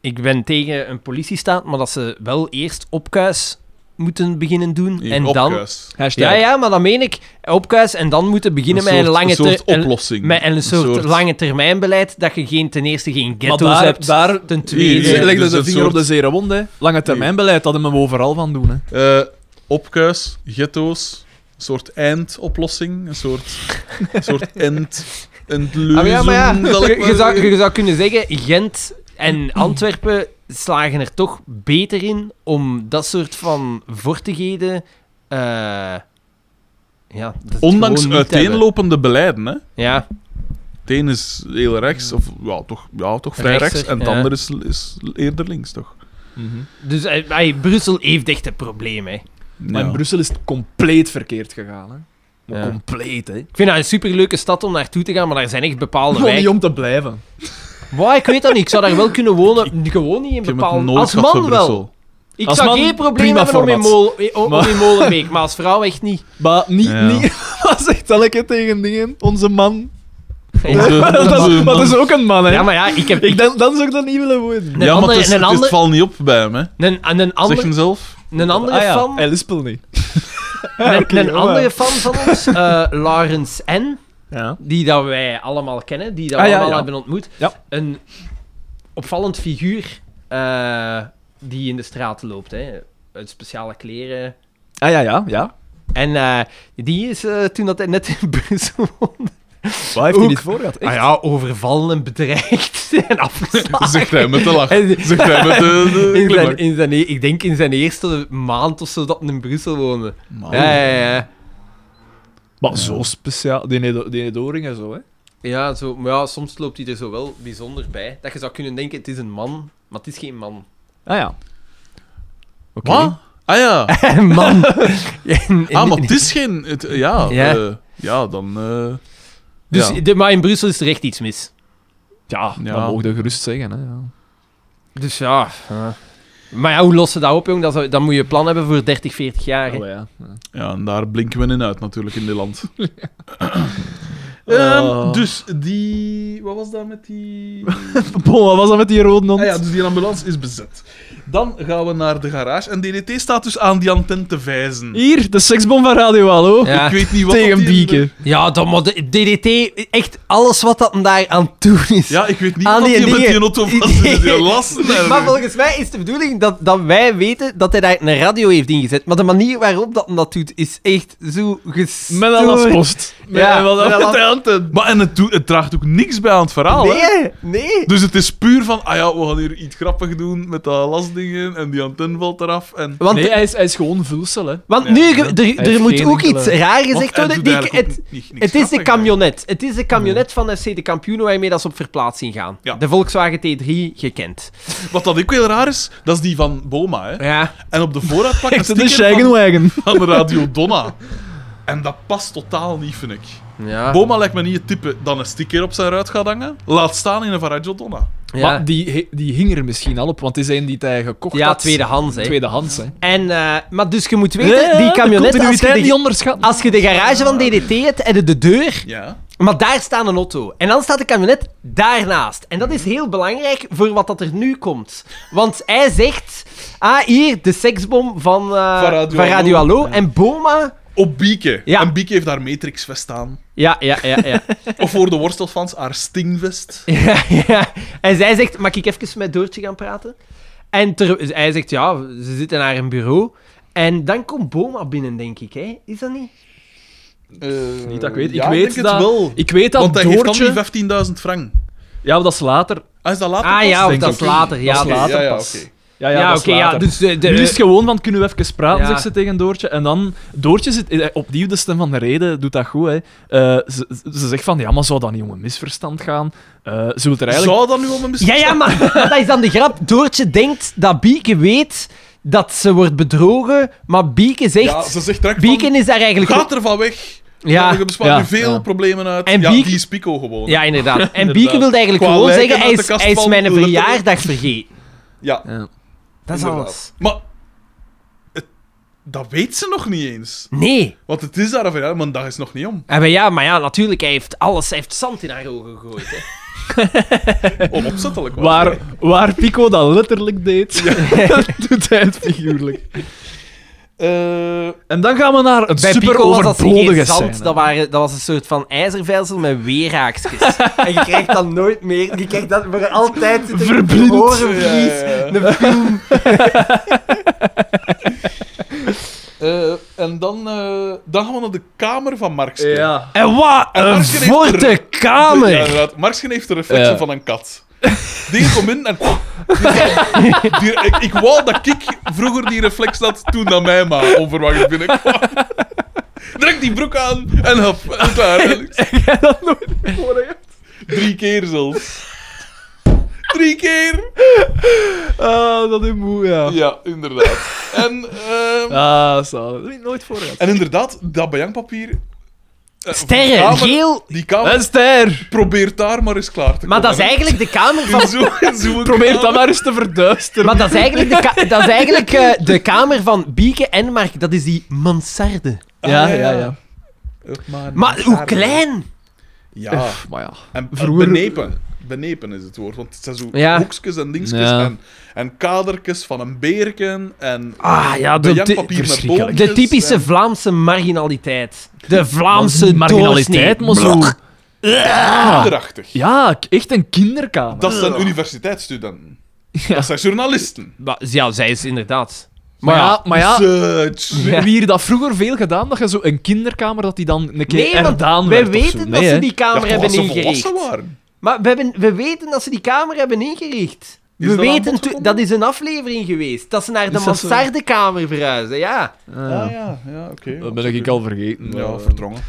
Ik ben tegen een politiestaat, maar dat ze wel eerst opkuis moeten beginnen doen.
Hier,
en dan...
opkuis.
Hashtag.
Ja, ja, maar dat meen ik. Opkuis en dan moeten beginnen
Een
met een
soort-
lange
een soort
ter- een-
oplossing.
Met een soort,
soort-
lange termijn beleid dat je geen, ten eerste geen
Maar
ghetto's
daar,
hebt.
daar
ten
Hier,
tweede...
hier.
legde
dus
de
het
vinger op
soort-
de zere wond, hè. Lange termijn beleid, dat hebben we overal van doen, hè.
Eh, opkuis, ghetto's, een soort eindoplossing, een soort, een soort end, endleuzen.
Ah, maar ja, maar ja,
zal ik
je,
maar
je zou,
zeggen.
je zou kunnen zeggen, Gent en Antwerpen slagen er toch beter in om dat soort van vortigheden... eh, ja, dat het
Ondanks
gewoon niet
uiteenlopende beleiden, hè.
hebben. Ja,
Het een is heel rechts, of ja, toch, ja, toch vrij
Rechtser,
rechts, en het
ja.
ander is, is eerder links, toch?
dus eh, ey, Brussel heeft echt een probleem, hè.
Ja.
En Brussel is compleet verkeerd gegaan, hè. Maar
Ja.
compleet, hè.
Ik vind dat een superleuke stad om naartoe te gaan, maar daar zijn echt bepaalde
Gewoon niet
wijken.
om te blijven.
Wow, ik weet dat niet. Ik zou daar wel kunnen wonen. Gewoon niet in
Ik heb het
bepaalde...
nooit
Als
gehad
man
van
wel.
Brussel.
Ik
Als
zou
man,
geen probleem
prima
hebben om in,
format.
Mol, eh, om
Maar-
in Molenbeek, maar als vrouw echt niet.
Maar niet...
Ja.
niet wat zegt elke tegen dingen? Onze man.
Onze-
Maar dat,
onze
maar dat is
man-
ook een man, hè.
Ja, maar ja, ik heb...
ik, dan, dan zou ik dat niet willen worden.
Een
Ja, maar
ander-
het, is,
een
het, is-
ander-
het valt niet op bij hem, hè.
Een, en een,
Zeg
ander,
hem zelf.
een andere
Ah ja,
fan...
hij lispelt niet.
Een,
Oké,
een
maar-
andere fan van ons, eh Lawrence N.,
Ja.
die dat wij allemaal kennen, die dat we
Ah, ja,
allemaal
ja.
hebben ontmoet.
Ja.
Een opvallend figuur eh, die in de straat loopt. Hè. Uit speciale kleren.
Ah ja, ja, ja.
En eh, die is eh, toen dat hij net in Brussel woonde.
Waar
Ook-
heeft hij dit voor gehad? Echt?
Ah ja, overvallen en bedreigd en afgeslagen.
Zegt hij met de lach.
En-
Zegt hij met de, de
in zijn,
glimlach.
in zijn, e- ik denk in zijn eerste maand of zo dat hij in Brussel woonde.
Man.
Ja, ja, ja.
Maar zo speciaal. Die Nedo- die Nedoringen zo, hè.
Ja, zo, maar ja, soms loopt hij er zo wel bijzonder bij. Dat je zou kunnen denken, het is een man, maar het is geen man.
Ah ja. Oké.
Wat? Ah ja.
Een man. In- in-
Ah, maar het is geen... Het, ja,
Ja.
ja. ja, dan... eh,
dus,
ja.
de, maar in Brussel is er echt iets mis.
Ja,
Ja.
dat mogen we gerust zeggen, hè. Ja.
Dus ja. Maar ja, hoe lossen ze dat op, jong? Dat zou- Dan moet je een plan hebben voor 30, 40 jaar. hè.
Allee, ja.
Ja, en daar blinken we in uit natuurlijk in dit land.
Oh.
Ehm, dus die. Wat was dat met die.
Bon, wat was dat met die rode hond?
ah ja, dus die ambulance is bezet. Dan gaan we naar de garage. En DDT staat dus aan die antenne te vijzen.
Hier, de seksbom van Radio Hallo.
Ja.
Ik weet niet wat.
Tegen
dat die-
Bieke.
Ja, dan moet de- DDT, echt alles wat dat hem daar aan toe is.
Ja, ik weet niet
Aan
wat
die
die met
dingen.
die auto vast is. Die lasten
Maar
hebben.
volgens mij is de bedoeling dat, dat wij weten dat hij daar een radio heeft ingezet. Maar de manier waarop dat hem dat doet, is echt zo gestoord.
Met een lastpost.
Ja,
Met
met
een
een
last-
Maar en het, doet- het draagt ook niks bij aan het verhaal. Hè?
Nee, nee.
Dus het is puur van. Ah ja, we gaan hier iets grappig doen met dat lastdingen. En die antenne valt eraf. En.
Want,
Nee, hij is, hij is gewoon vulsel, hè.
want
Ja.
nu, ge- er,
heeft
er moet
geen
ook
enkele-
iets raar gezegd
Want hij
worden.
doet
Die-
eigenlijk
het,
ook niet-
het
niks
is de
grappigs, hè.
camionet. Het is de camionet van FC De Kampioen waarmee dat ze op verplaatsing gaan.
Ja.
De Volkswagen T3, gekend.
Wat dat ook heel raar is, dat is die van Boma. Hè?
Ja.
En op de voorraad plakt een
Echt de
sticker van-
Shagenwagen.
aan de Radio Donna. En dat past totaal niet, vind ik.
Ja.
Boma lijkt me niet het type dat een sticker op zijn ruit gaat hangen. Laat staan in een van Radio Donna.
ja.
Maar die, he- die hing er misschien al op, want die zijn die hij gekocht
Ja,
had.
tweedehands, hè.
Tweedehands, hè.
En, eh, maar dus je moet weten, die Ah. camionet, als je,
continuïteit niet
de,
onderschatten.
als je de garage van DDT hebt, heb je de deur
Ja.
Maar daar staat een auto. En dan staat de camionet daarnaast. En dat is heel belangrijk voor wat dat er nu komt. Want hij zegt... Ah, hier, de seksbom van, eh,
Van Radio
van Radio
Hallo.
Hallo. En Boma...
Op Bieke.
Ja.
En Bieke heeft daar Matrix-vest aan.
Ja, ja, ja, ja.
Of voor de worstelfans haar Stingvest.
ja, ja. En zij zegt... Mag ik even met Doortje gaan praten? En ter- hij zegt... Ja, ze zitten naar een bureau. En dan komt Boma binnen, denk ik. Hè? Is dat niet?
Niet dat ik weet. Ik
Eh, Ja,
weet
denk het
dat...
wel.
Ik weet dat
Want hij
Doortje...
heeft dan die 15.000 frank.
Ja, maar dat is later.
Ah, is dat later
Ah
pas?
ja, of
Denk
dat
ik.
is later. Ja, dus-
dat is later
Ja, ja,
pas.
oké.
Ja, ja, dat is later.
ja. Dus de... de
nu is het gewoon van, kunnen we even praten,
Ja.
zegt ze tegen Doortje. En dan, Doortje zit eh, opnieuw de stem van de reden, doet dat goed, hè. Eh, ze, ze zegt van, ja, maar zou dat niet om een misverstand gaan? Eh, ze wil er eigenlijk...
Zou dat nu om een
Ja,
misverstand?
ja, maar, maar dat is dan de grap. Doortje denkt dat Bieke weet dat ze wordt bedrogen, maar Bieke zegt...
Ja, ze zegt direct
Bieke
van,
is daar eigenlijk...
gaat er van weg.
Ja.
Je bespaart
Ja,
nu veel
ja.
problemen uit.
En
ja,
Bieke-
die is Pico gewoon.
Ja, inderdaad. En
Inderdaad.
Bieke wilde eigenlijk
Qua
gewoon
lijken
zeggen, hij
uit de
is,
kast
hij is
van
mijn
Letterlijk.
verjaardag vergeten.
ja.
Ja.
Dat is
Inderdaad.
alles.
Maar het- dat weet ze nog niet eens.
Nee.
Want het is daar een verjaardag, maar een dag is nog niet om.
En maar ja, maar ja, natuurlijk, hij heeft alles, hij heeft zand in haar ogen gegooid. Hè.
Onopzettelijk. was
Waar,
het.
waar Pico dat letterlijk deed, doet hij het figuurlijk.
Eh,
En dan gaan we naar een
bij
super
Pico was dat
overbodige
geen
scène.
zand, dat, waren, dat was een soort van ijzervijzel met weerhaakjes. en je krijgt dat nooit meer. Je krijgt dat voor altijd in je
Verblind.
orenvlies. Een film.
Eh, en dan, eh, dan gaan we naar de kamer van Markske.
Ja.
En wat
En
een
Marken heeft
forte
er-
Ah,
kamer!
Ja, inderdaad. Markske heeft de reflectie
Ja.
van een kat. Die komt in en... Die- die- ik, ik wou dat ik vroeger die reflex had toen dat mij maar onverwacht binnenkwam. Druk die broek aan en hop, en klaar.
Jij dat nooit horen, ja.
Drie keer zelfs. Drie keer!
Ah, dat is moe, ja.
Ja, inderdaad. En, ehm,
Ah, zo. Dat heb ik nooit voor gehad.
en inderdaad, dat bajankpapier... eh,
Sterren,
kamer-
geel.
Die kamer
Een ster!
probeert daar maar eens klaar te
Maar dat
komen.
is eigenlijk de kamer van...
In zo- in zo'n
Probeer
kamer.
dat maar eens te verduisteren.
Maar dat is eigenlijk, de, ka- dat is eigenlijk eh, de kamer van Bieke en Mark. Dat is die mansarde.
Ja,
Ah,
ja, ja.
Maar hoe klein!
Ja,
Ah, Maar ja.
en
Vroeger-
benepen. Benepen is het woord, want het zijn zo
Ja.
hoekjes en dingetjes
Ja.
en, en kadertjes van een beerken en
Ah ja, de,
bajankpapier
de,
met
verschrikkelijk.
boompjes
de typische
en-
Vlaamse marginaliteit. De Vlaamse
marginaliteit,
doorsnee.
maar zo.
kinderachtig.
Ja, k- echt een kinderkamer.
Dat zijn universiteitsstudenten.
Ja.
Dat zijn journalisten.
Maar- Ja, zij is inderdaad.
Maar ja, maar ja,
Research.
Ja.
wie hier dat vroeer veel gedaan, dat je zo een kinderkamer dat die dan een keer
Nee, want
herdaan
wij
werd of zo.
weten dat
Nee,
ze
hè.
die
Ja,
kamer
toch,
hebben
als ze
ingericht.
volwassen waren.
Maar we, hebben, we weten dat ze die kamer hebben ingericht. we
Is dat aan
weten,
bod
tu-
gekomen?
dat is een aflevering geweest. Dat ze naar de
Is dat zo?
mansardekamer verhuizen, ja.
Ah ja, ja oké.
Dat ben ik al vergeten.
Ja,
maar-
verdrongen.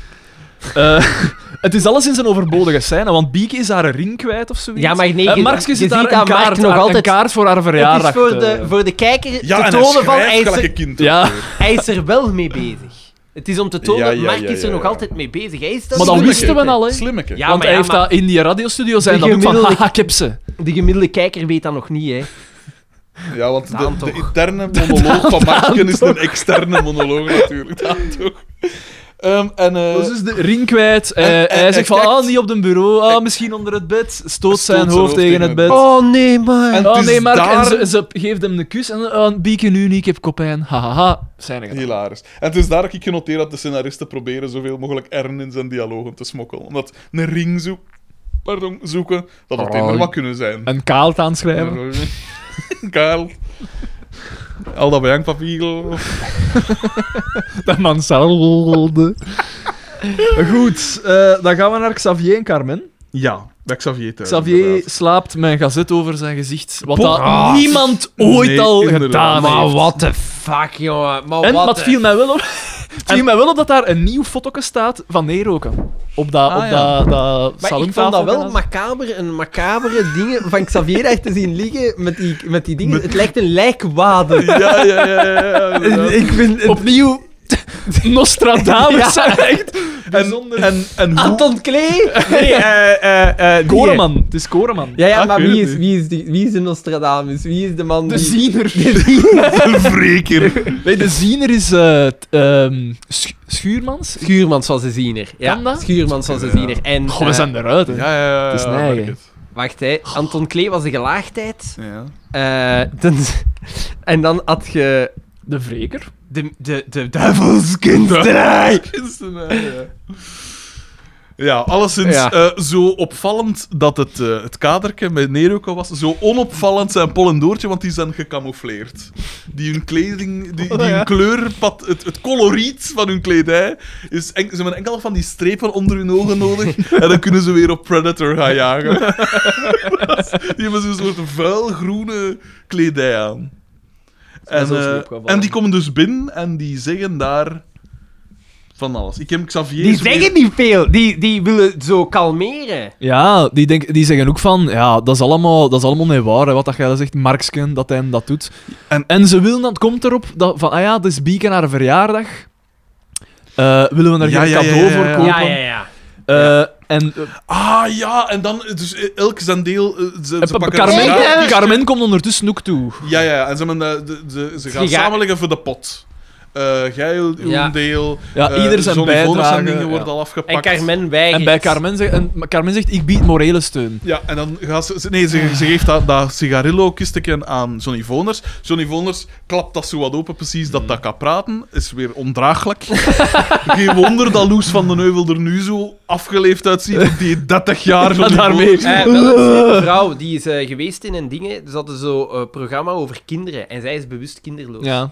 Eh, het is alleszins een overbodige scène, want Bieke is haar ring kwijt of zoiets.
Ja, maar nee,
en
je-
Markske
je
zit daar
ziet
een
aan Mark
kaart,
nog
haar- een
altijd-
kaart voor haar
Het is
verjaardag.
voor de,
eh.
voor de kijker
Ja,
te
en hij
tonen van... Hij
schrijft
is,
gelijk
er,
een kind.
Ja.
hij is er wel mee bezig. Het is om te tonen,
Ja, ja,
Mark
ja,
is er
ja,
nog
ja.
altijd mee bezig. Hij is dat
Maar dan
niet
wisten we
vergeten.
al, hè.
Slimmeke.
Ja,
want
maar
hij heeft
maar
dat in die radiostudio zijn
De
dat ook van,
gemiddelde-
haha, ik heb ze.
de gemiddelde kijker weet dat nog niet, hè.
Ja, want de,
Daan
de
toch.
interne monoloog van Marken is een externe monoloog natuurlijk. Daan toch. Ehm, en, eh,
Dus is de ring kwijt. eh, hij
en- en
zegt van,
kijkt-
ah, niet op een bureau. Ah, misschien onder het bed. Stoot, zijn hoofd, tegen het bed.
Oh, nee, maar...
En-
Oh
het is
nee, Mark.
daar-
En ze, ze geeft hem een kus. En oh, Bieke nu niet, ik heb kopijn. Hahaha. Zijn er gedaan.
Hilarisch. En het is daar dat ik genoteerd dat de scenaristen proberen zoveel mogelijk ern in zijn dialogen te smokkelen. Omdat een ring zo pardon, zoeken, dat het
Oh,
eender
ik-
wat kunnen zijn.
Een kaalt aanschrijven.
Karel. Al dat bejankpapier.
De mansarde. Goed, eh, dan gaan we naar Xavier en Carmen.
Ja, bij Xavier thuis.
Xavier
Eh, inderdaad.
slaapt met een gazet over zijn gezicht. Wat
Pop.
dat
Ah.
niemand ooit
Nee,
al
inderdaad.
gedaan
maar
heeft.
what the fuck, jongen. Maar eh, what
En maar het
the-
viel mij wel op. Het viel mij wel op dat daar een nieuw fotoke staat van neerroken. Op dat,
Ah,
op
ja.
dat, dat
Maar ik vond dat wel macaber, een macabere dingen van Xavier daar te zien liggen met die, met die dingen. Het lijkt een lijkwade.
Ja, ja, ja. ja, ja, inderdaad.
Ik vind het...
Opnieuw, Nostradamus
Ja.
zijn echt
en, en, en hoe...
Anton Klee? Nee, eh, eh, eh, die,
Koreman. Het is Koreman.
hè. Ja, ja,
Ah,
maar
ik weet
wie
het
is, wie, is die, wie is de Nostradamus? Wie is de man
De
die...
ziener.
De ziener.
Een wreker.
Nee, de ziener is eh, t- ehm, Sch- Schuurmans.
Schuurmans was de ziener. Ja,
Kan dat?
Schuurmans was de
Ja.
ziener. En,
Goh, we
eh,
zijn eruit, hè.
Ja, ja, ja.
Het is
ja,
neigen.
merk het.
Wacht, hè. Anton Klee was de gelaagdheid.
Ja.
Eh, dan- en dan had je...
De wreker.
De, de, de duivelskunsterij.
Kunstenaar, ja. Ja, alleszins
Ja.
eh, zo opvallend dat het, eh het kaderke met Neroka was, zo onopvallend zijn Paul en Doortje, want die zijn gecamoufleerd. Die hun kleding, die, die
Oh, ja.
hun kleurpad, het, het coloriet van hun kledij, is en, ze hebben enkel van die strepen onder hun ogen nodig en dan kunnen ze weer op Predator gaan jagen. die hebben zo'n soort vuilgroene kledij aan.
mij
En,
zelfs niet
eh,
opgevallen.
en die komen dus binnen en die zeggen daar van alles. Ik heb Xavier...
Die
zo weer-
zeggen niet veel. Die, die willen zo kalmeren.
Ja, die, denk, die zeggen ook van, ja, dat is allemaal, dat is allemaal niet waar, hè, wat dat jij daar zegt, Marksken, dat hij hem dat doet.
En-
En, ze willen, dat komt erop, dat, van, ah ja, het is Bieke haar verjaardag. Eh, willen we er
Ja,
geen
ja, ja,
cadeau
ja, ja.
voor kopen?
Ja, ja, ja.
Eh, en eh,
Ah ja, en dan, dus eh, elk zijn deel. eh, Ze, ze pakken
Carmen,
Echt,
Ja,
hè?
Carmen komt ondertussen ook toe.
ja, ja, en ze, hebben, eh, de- de- ze gaan
Die ga-
samenleggen voor de pot. eh, jij uw uw
Ja.
deel.
Ja,
eh,
ieder zijn
Johnny Voners
bijdrage,
zijn dingen
ja.
worden al afgepakt.
En Carmen weigert.
En bij Carmen, zegt- en Carmen zegt, ik bied morele steun.
Ja, en dan gaat ze... ze- Nee, ze, ze geeft dat, dat sigarillo-kisteken aan Johnny Voners. Johnny Voners klapt dat zo wat open, precies, dat dat kan praten. Is weer ondraaglijk. Geen wonder dat Loes van den Heuvel er nu zo afgeleefd uitziet, die 30 jaar Johnny
Daarmee.
Voners-
Eh, wel, een zeker vrouw, die is eh, geweest in een ding. Ze hadden zo'n programma over kinderen. En zij is bewust kinderloos.
Ja.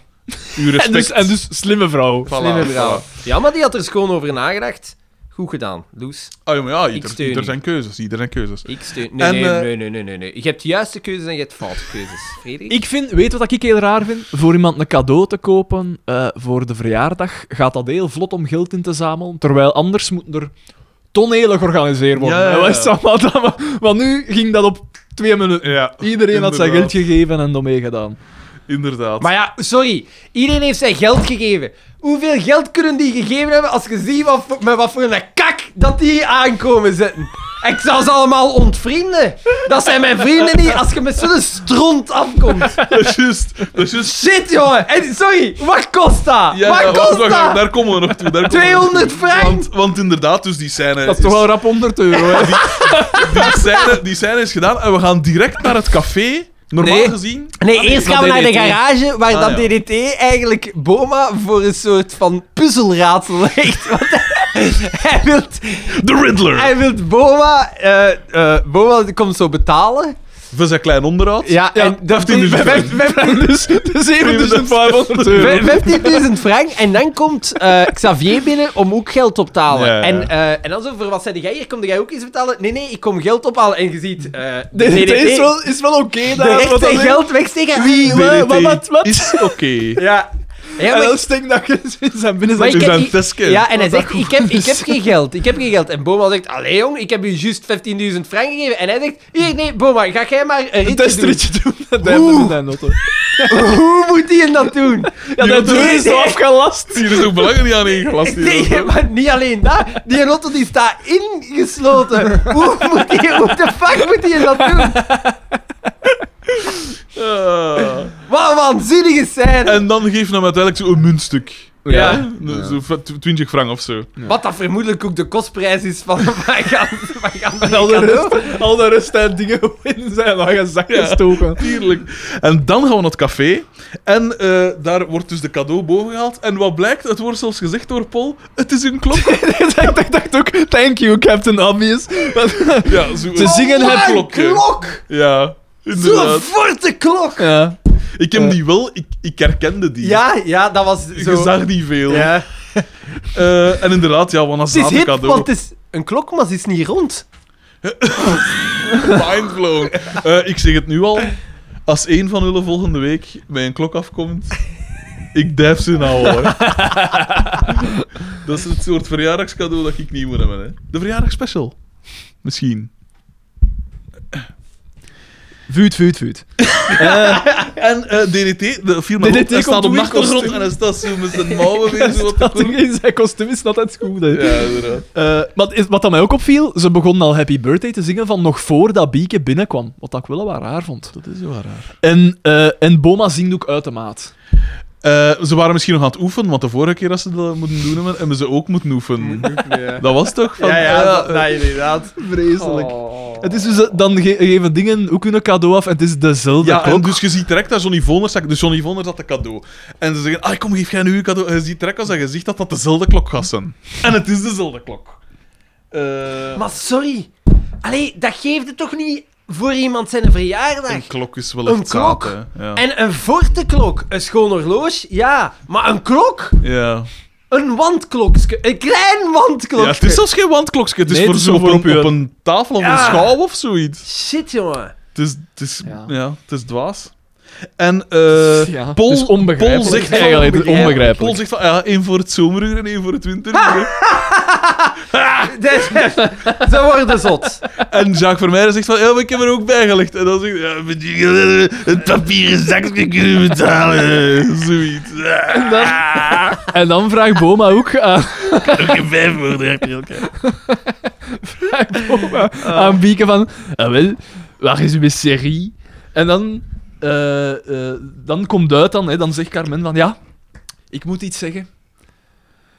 Uw
En
respect.
dus, en dus slimme vrouw.
Voilà,
Slimme vrouw.
voilà.
Ja, maar die had er schoon over nagedacht. Goed gedaan, Loes.
Ah, ja, maar ja,
Ik
ieder,
steun
ieder
u.
zijn keuzes. Ieder zijn keuzes.
Ik steun... Nee,
En,
nee,
eh,
nee, nee, nee, nee, nee. Je hebt juiste keuzes en je hebt foute keuzes. Frederik?
Ik vind, weet je wat ik heel raar vind? Voor iemand een cadeau te kopen eh, voor de verjaardag gaat dat heel vlot om geld in te zamelen. Terwijl anders moeten er tonelen georganiseerd worden.
Ja, ja,
En wij
ja.
staan maar dan- maar- Want nu ging dat op twee minuten.
Ja,
Iedereen had zijn geld
Inderdaad.
gegeven en ermee gedaan.
inderdaad.
Maar ja, sorry. Iedereen heeft zijn geld gegeven. Hoeveel geld kunnen die gegeven hebben als je ziet wat, voor- met wat voor een kak dat die aankomen zetten? Ik zou ze allemaal ontvrienden. Dat zijn mijn vrienden niet als je met zo'n stront afkomt.
Dat is juist. Dat is juist.
Shit, jongen. En sorry, wat kost dat?
Ja,
wat
wacht,
kost
wacht, wacht,
dat?
daar komen we nog toe. daar komen we nog toe.
200 frank.
Want, want inderdaad, dus die scène...
Dat is toch
is-
wel rap 100 euro, hè?
Die scène, die scène is gedaan en we gaan direct naar het café. Normaal
Nee.
gezien.
Nee, eerst gaan we naar de
DDT.
garage waar
Ah,
dat
ja.
DDT eigenlijk Boma voor een soort van puzzelraadsel legt. Want hij, hij wil
De Riddler.
Hij wil Boma... eh, eh, Boma komt zo betalen.
Voor zijn klein onderhoud.
Ja, en dat
15.000 frank.
dus, dus 7500 euro.
15.000 frank. En dan komt eh, Xavier binnen om ook geld op te halen.
Ja, ja.
En, eh, en dan zo, voor wat zei jij hier? Kom jij ook iets betalen? Nee, nee, ik kom geld ophalen. En je ziet... eh
Dit is wel, is wel oké daar.
de
want
recht
dan
zijn
denk-
geld wegsteken. Wie?
DDT
wat- wat- wat?
Is oké.
Ja. Ja,
En
maar,
dan stinkt dat je in zijn binnen
maar
zijn
ik
Dus
heb,
aan
ik-
Teske.
ja, en hij
Wat
zegt,
dat
ik heb, ik heb
is.
geen geld, ik heb geen geld. En Boma zegt, allee jong, ik heb u juist 15.000 frank gegeven. En hij zegt, hier, nee, Boma, ga jij maar eh, een
een
ritje doen.
testritje doen. Dat hebben we in zijn auto.
Hoe moet hij dat doen?
Ja, dat deur is zo afgelast.
Hier is ook belangrijk niet aan ingelast. hier.
Nee, maar niet alleen dat. Die auto die staat ingesloten. Hoe moet die, hoe de fuck moet die dat doen?
Ah.
Wat een waanzinnige scène.
En dan geeft hem uiteindelijk zo'n muntstuk.
Ja.
Hè? Zo va- tw- 20 frank of zo.
Wat dat vermoedelijk ook de kostprijs is van van gaan- van gaan die
Al de
cadeau.
rest, al de rest zijn dingen in zijn eigen zak gestoken.
Tuurlijk. En dan gaan we naar het café. En eh, daar wordt dus de cadeau boven gehaald. En wat blijkt, het wordt zelfs gezegd door Paul: het is een klok.
ik dacht- dacht ook, thank you, Captain Obvious. Maar-
Ja, zo
Ze zingen
Wat
het
een
klokje.
klok.
Ja,
Zo'n
inderdaad.
forte klok.
ja.
Ik heb
Eh.
die wel, ik, ik herkende die.
Ja, ja, dat was
Je
zo...
zag die veel.
Ja.
Eh, en inderdaad, ja, wat een
Het is
zalig
hip,
cadeau.
want het is een klok, maar ze is niet rond.
Mindblown. Eh, ik zeg het nu al. Als één van jullie volgende week bij een klok afkomt, ik dijf ze nou hoor. dat is het soort verjaardagscadeau dat ik niet moet hebben. Hè. De verjaardagsspecial. Misschien.
Vuut, vuut, vuut.
En eh, DDT, de film
DDT
erop, hij staat
komt
op
weer
nachtrond
kostuum.
en hij staat zo met zijn mouwen weer zo wat te
Dat
koelen.
ding in zijn kostuum is not het goed. hè.
Ja, inderdaad.
Eh, wat, is, wat dat mij ook opviel, ze begonnen al Happy Birthday te zingen van nog voordat Bieke binnenkwam. Wat dat ik wel wat raar vond.
Dat is wel raar.
En, eh, en Boma zingt ook uit de maat.
Eh, ze waren misschien nog aan het oefenen, want de vorige keer dat ze dat moeten doen hebben, hebben ze ook moeten oefenen. Dat was toch van... eh,
inderdaad.
Vreselijk. Het is dus, eh, dan ge- geven dingen ook hun cadeau af en het is dezelfde
ja, en
klok.
dus je ziet direct dat Johnny Voners... Dus Johnny Voners had een cadeau. En ze zeggen, ah, kom, geef jij nu je cadeau. En je ziet direct als hij gezicht dat dat dezelfde klok gaat zijn. En het is dezelfde klok. Eh,
Maar sorry. Allee, dat geeft het toch niet voor iemand zijn verjaardag?
een klok is wel
Een
echt zaad,
klok?
hè. Ja.
En een vortenklok, een schoon horloge, ja. Maar een klok?
ja.
Een wandklokje. Een klein wandklokje.
ja, het is zelfs geen wandklokje. Het is
Nee,
voor
het is
zo op
voor op
een,
je-
op een tafel of
Ja.
een schouw of zoiets.
Shit, jongen.
Het is, het is, ja.
Ja.
het is dwaas. En eh
Ja, het
Paul,
is onbegrijpelijk.
Paul zegt van-
Eigenlijk
onbegrijpelijk.
onbegrijpelijk. Ah!
Paul zegt van, ja, één voor het zomeruur en één voor het winteruur.
Ze worden zot.
en Jacques Vermeijden zegt van, ja, maar ik heb er ook bij gelegd. En dan zegt hij, ja, met die, eh, het papieren zakje kunnen we betalen. Zoiets.
En dan, en dan vraagt Boma ook aan,
Ook een vijf voor de rechtbank.
vraagt Boma aan Bieke van... Ah, wel, waar is uw serie? En dan, eh, eh, dan komt uit dan, hè, dan zegt Carmen van... Ja, Ik moet iets zeggen.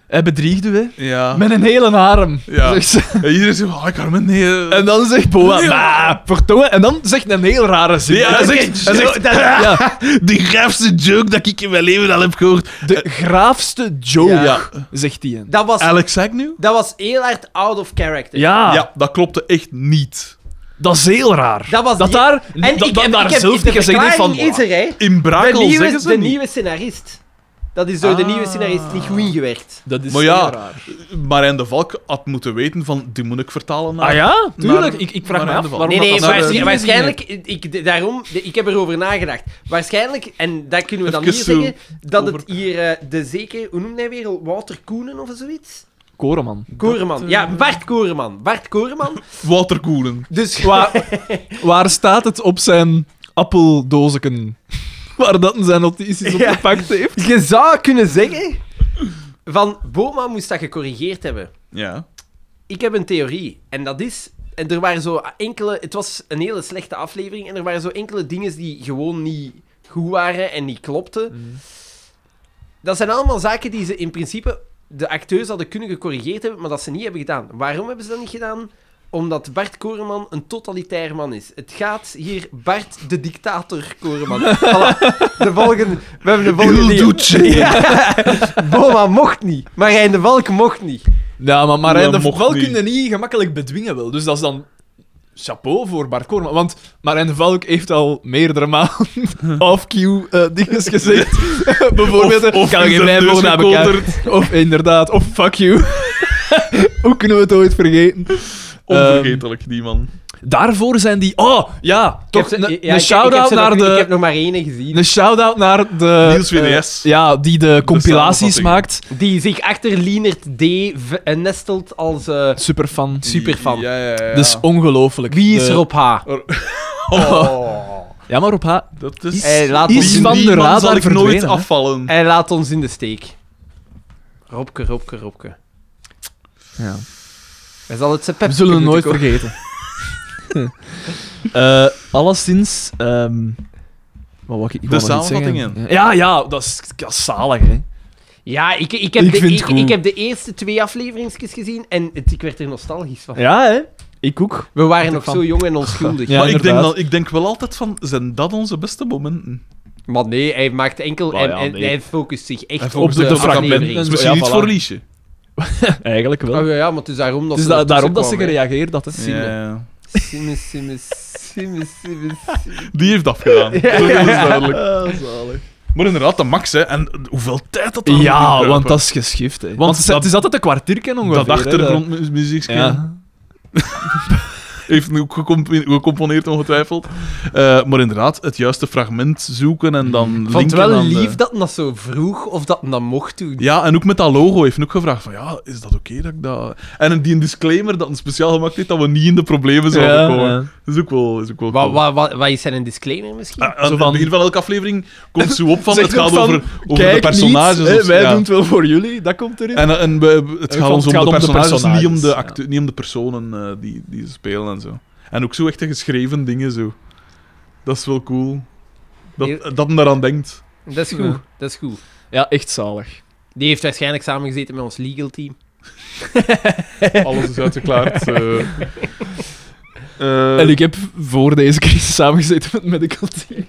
Hij bedriegt u, hè?
Ja.
Met een hele arm.
Ja.
Zegt ze.
En iedereen zegt, ah, Carmen, nee. eh.
En dan zegt Boa, "Bah, verdomme." En dan zegt een heel rare zin.
Ja, hij zegt- hij zegt,
Ja,
die graafste joke dat ik in mijn leven al heb gehoord.
de graafste joke,
Ja.
zegt hij.
Dat was,
Alex Agnew?
dat was heel hard out of character.
Ja,
Ja, dat klopte echt niet.
dat is heel raar.
Dat was die-
daar,
En
dat,
ik
dat
heb,
daar
ik heb
zelf
de
niet gezegd heeft van...
verklaring is er, hè.
In
De,
Brakel
nieuwe,
zeggen ze
de
niet.
nieuwe scenarist. Dat is door de
Ah.
nieuwe scenarist niet goed ingewerkt.
Dat is
Maar ja,
heel raar.
Marijn de Valk had moeten weten van, die moet ik vertalen naar...
Ah ja? Tuurlijk.
maar-
ik, ik vraag
maar
me af
aan de
waarom
Nee,
dat
nee,
dat nou zo
waarsch-
gezien
waarschijnlijk,
is.
waarschijnlijk ik, d- daarom, de- ik heb erover nagedacht. Waarschijnlijk, en dat kunnen we dan hier
Even zo
zeggen, dat het
over-
hier eh, de zeker, hoe noemt hij weer, Wouter Koenen of zoiets?
Koreman.
Koreman,
eh,
ja, Bart Koreman. Bart Koreman.
Walter Koenen.
Dus
Waar, waar staat het op zijn appeldozen? Waar dat zijn notities op
Ja.
gepakt heeft.
je zou kunnen zeggen, van Boma moest dat gecorrigeerd hebben.
Ja.
Ik heb een theorie. En dat is. En er waren zo enkele. Het was een hele slechte aflevering. En er waren zo enkele dingen die gewoon niet goed waren en niet klopten. Dat zijn allemaal zaken die ze in principe. De acteurs hadden kunnen gecorrigeerd hebben, maar dat ze niet hebben gedaan. Waarom hebben ze dat niet gedaan? Omdat Bart Koreman een totalitair man is. Het gaat hier Bart de dictator Koreman. Voilà. De volgende, we hebben de volgende.
Il
die-
Duce.
Boma mocht niet. Marijn de Valk mocht niet.
Ja, maar Marijn
Dat
de
mocht
Val
niet.
kunnen niet gemakkelijk bedwingen wel. Dus dat is dan chapeau voor Bart Koreman. Want Marijn de Valk heeft al meerdere maanden off-cue eh, dingen gezegd. Bijvoorbeeld,
Of- of
kan
in
geen
zijn
vijf
neus
woorden aan elkaar.
gekoterd.
Of inderdaad, of fuck you. Hoe kunnen we het ooit vergeten? Ehm,
Onvergetelijk, die man.
Daarvoor zijn die... Oh, ja, toch
Ik heb ze- ja,
een
ik- ik
een
heb
shout-out
ze
naar
nog- Ik
de...
heb nog maar één gezien.
Een shout-out naar de...
Niels WDS.
eh, ja, die de compilaties
samenvatting.
maakt.
Die zich achter Lienert D. v- eh, nestelt als eh,
Superfan.
superfan.
Ja, ja, ja.
Dat is ongelooflijk.
Wie is
De-
Rob H?
Ja, maar Rob H.
Dat is...
Hij laat,
is
Die-
ons
van
die
de
man
radar
zal ik nooit
verdwenen, hè?
afvallen.
hij laat ons in de steek. Robke, Robke, Robke.
Ja.
Hij zal het zijn pep
We zullen het nooit vergeten. Eh alleszins... ehm, wat wou ik, ik
De
wou nog iets zeggen.
samenvattingen.
Ja, ja, dat is, dat is zalig, hè.
Ja, ik, ik, heb
Ik
de,
vind het
ik,
goed.
ik heb de eerste twee afleveringsjes gezien en het- ik werd er nostalgisch van.
Ja, hè. Ik ook.
We waren nog
van.
zo jong en onschuldig.
Ja.
maar ik denk,
inderdaad.
dan, ik denk wel altijd van, zijn dat onze beste momenten?
Maar nee, hij maakt enkel...
Maar
en,
ja,
en
nee.
hij focust zich echt
Hij
op
focust
de,
op de
aflevering.
fragmenten.
Misschien
Ja,
niet
voilà.
voor Liesje.
Eigenlijk wel.
Oh ja, ja, maar het is daarom dat
dus
ze
da-
er
daarom dat ze
tussen
gereageerd had, hè.
Simme.
Ja.
kwamen, hè. Simme, simme, simme, simme, simme.
Die heeft afgedaan. Dat is duidelijk. Maar inderdaad, de max, hè. En hoeveel tijd dat daar moet
Ja,
gebeuren.
want dat is geschift, hè. Want,
Want
het,
dat-
is altijd een kwartiertje ongeveer.
Dat
hè,
achtergrondmuziekje
Ja.
heeft nu ook gecomp- gecomponeerd, ongetwijfeld. Eh, maar inderdaad, het juiste fragment zoeken en dan
Ik vond
linken
het wel
aan de-
lief dat hij dat zo vroeg of dat hij dat mocht doen.
Ja, en ook met dat logo heeft hij ook gevraagd van, ja, is dat oké dat ik dat... En die disclaimer dat een speciaal gemaakt heeft dat we niet in de problemen zouden
Ja,
komen.
ja.
Dat is ook wel... Is ook wel
Wat,
cool.
wat, wat, wat is zijn een disclaimer misschien?
Ah, aan
Zo
het
van-
begin van elke aflevering komt zo op van,
Zegt
het gaat
ook van,
over, over de
kijk
personages.
niet, hè,
of-
wij
ja.
doen het wel voor jullie, dat komt erin.
En, en we- we- het
Ik
gaat
vond-
ons
het
om de
gaat om de
personages, niet, om de
personages,
acte- niet om de personen eh, die, die ze spelen en zo. En ook zo echte geschreven dingen zo. Dat is wel cool.
Heel-
Dat, dat men daaraan denkt.
Dat is goed,
Ja.
dat is goed.
Ja, echt zalig.
Die heeft waarschijnlijk samengezeten met ons legal team.
Alles is uitgeklaard. eh. Eh,
en ik heb voor deze crisis samengezeten met medical team.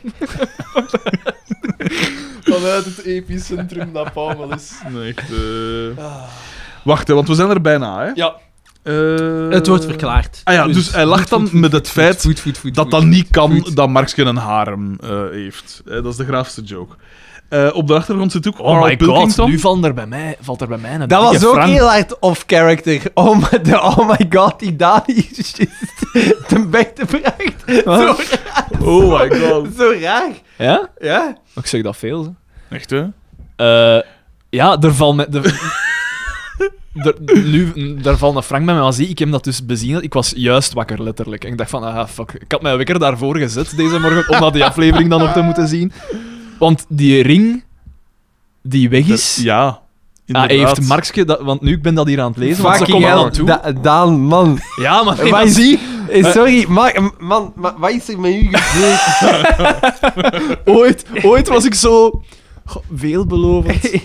Vanuit het epicentrum dat Pamel is.
nee, echt, eh. Wacht, hè, want we zijn er bijna, hè?
Ja.
Eh,
het wordt verklaard.
Ah ja,
Punt.
dus hij lacht dan met het feit
Voet, voet, voet,
dat
voet.
dat niet kan
Goed.
dat Marx geen harem eh, heeft. Eh, dat is de graafste joke. Eh, op de achtergrond zit ook
Oh
Carl
my god,
Pilkington.
nu valt er bij mij, valt er bij mij een
Dat was
dikke
ook
frank.
heel hard off-character. Oh my, de- oh my god, die Dani is just ten beste bracht. Zo,
Oh my god.
zo raar.
Ja? Oh,
Ja?
Ik zeg dat veel, hè.
Echt, hè?
Eh, ja, er valt me... Er, er- nu, daar valt een frank bij mij. Maar zie, ik heb dat dus bezien. Ik was juist wakker, letterlijk. En ik dacht van, ah, fuck. Ik had mijn wekker daarvoor gezet deze morgen, om dat die aflevering dan nog te moeten zien. Want die ring die weg is...
Ja.
Ah,
inderdaad.
heeft Markske dat, want nu ik ben dat hier aan het lezen, want ze
Fucking
komen
hell,
aan toe.
Da- Daan, man.
Ja, maar nee,
Wat
maar
is-
zie,
Eh, Sorry, maar, man, maar wat is er met u gebeurd?
ooit, ooit was ik zo Goh, Veelbelovend. Dat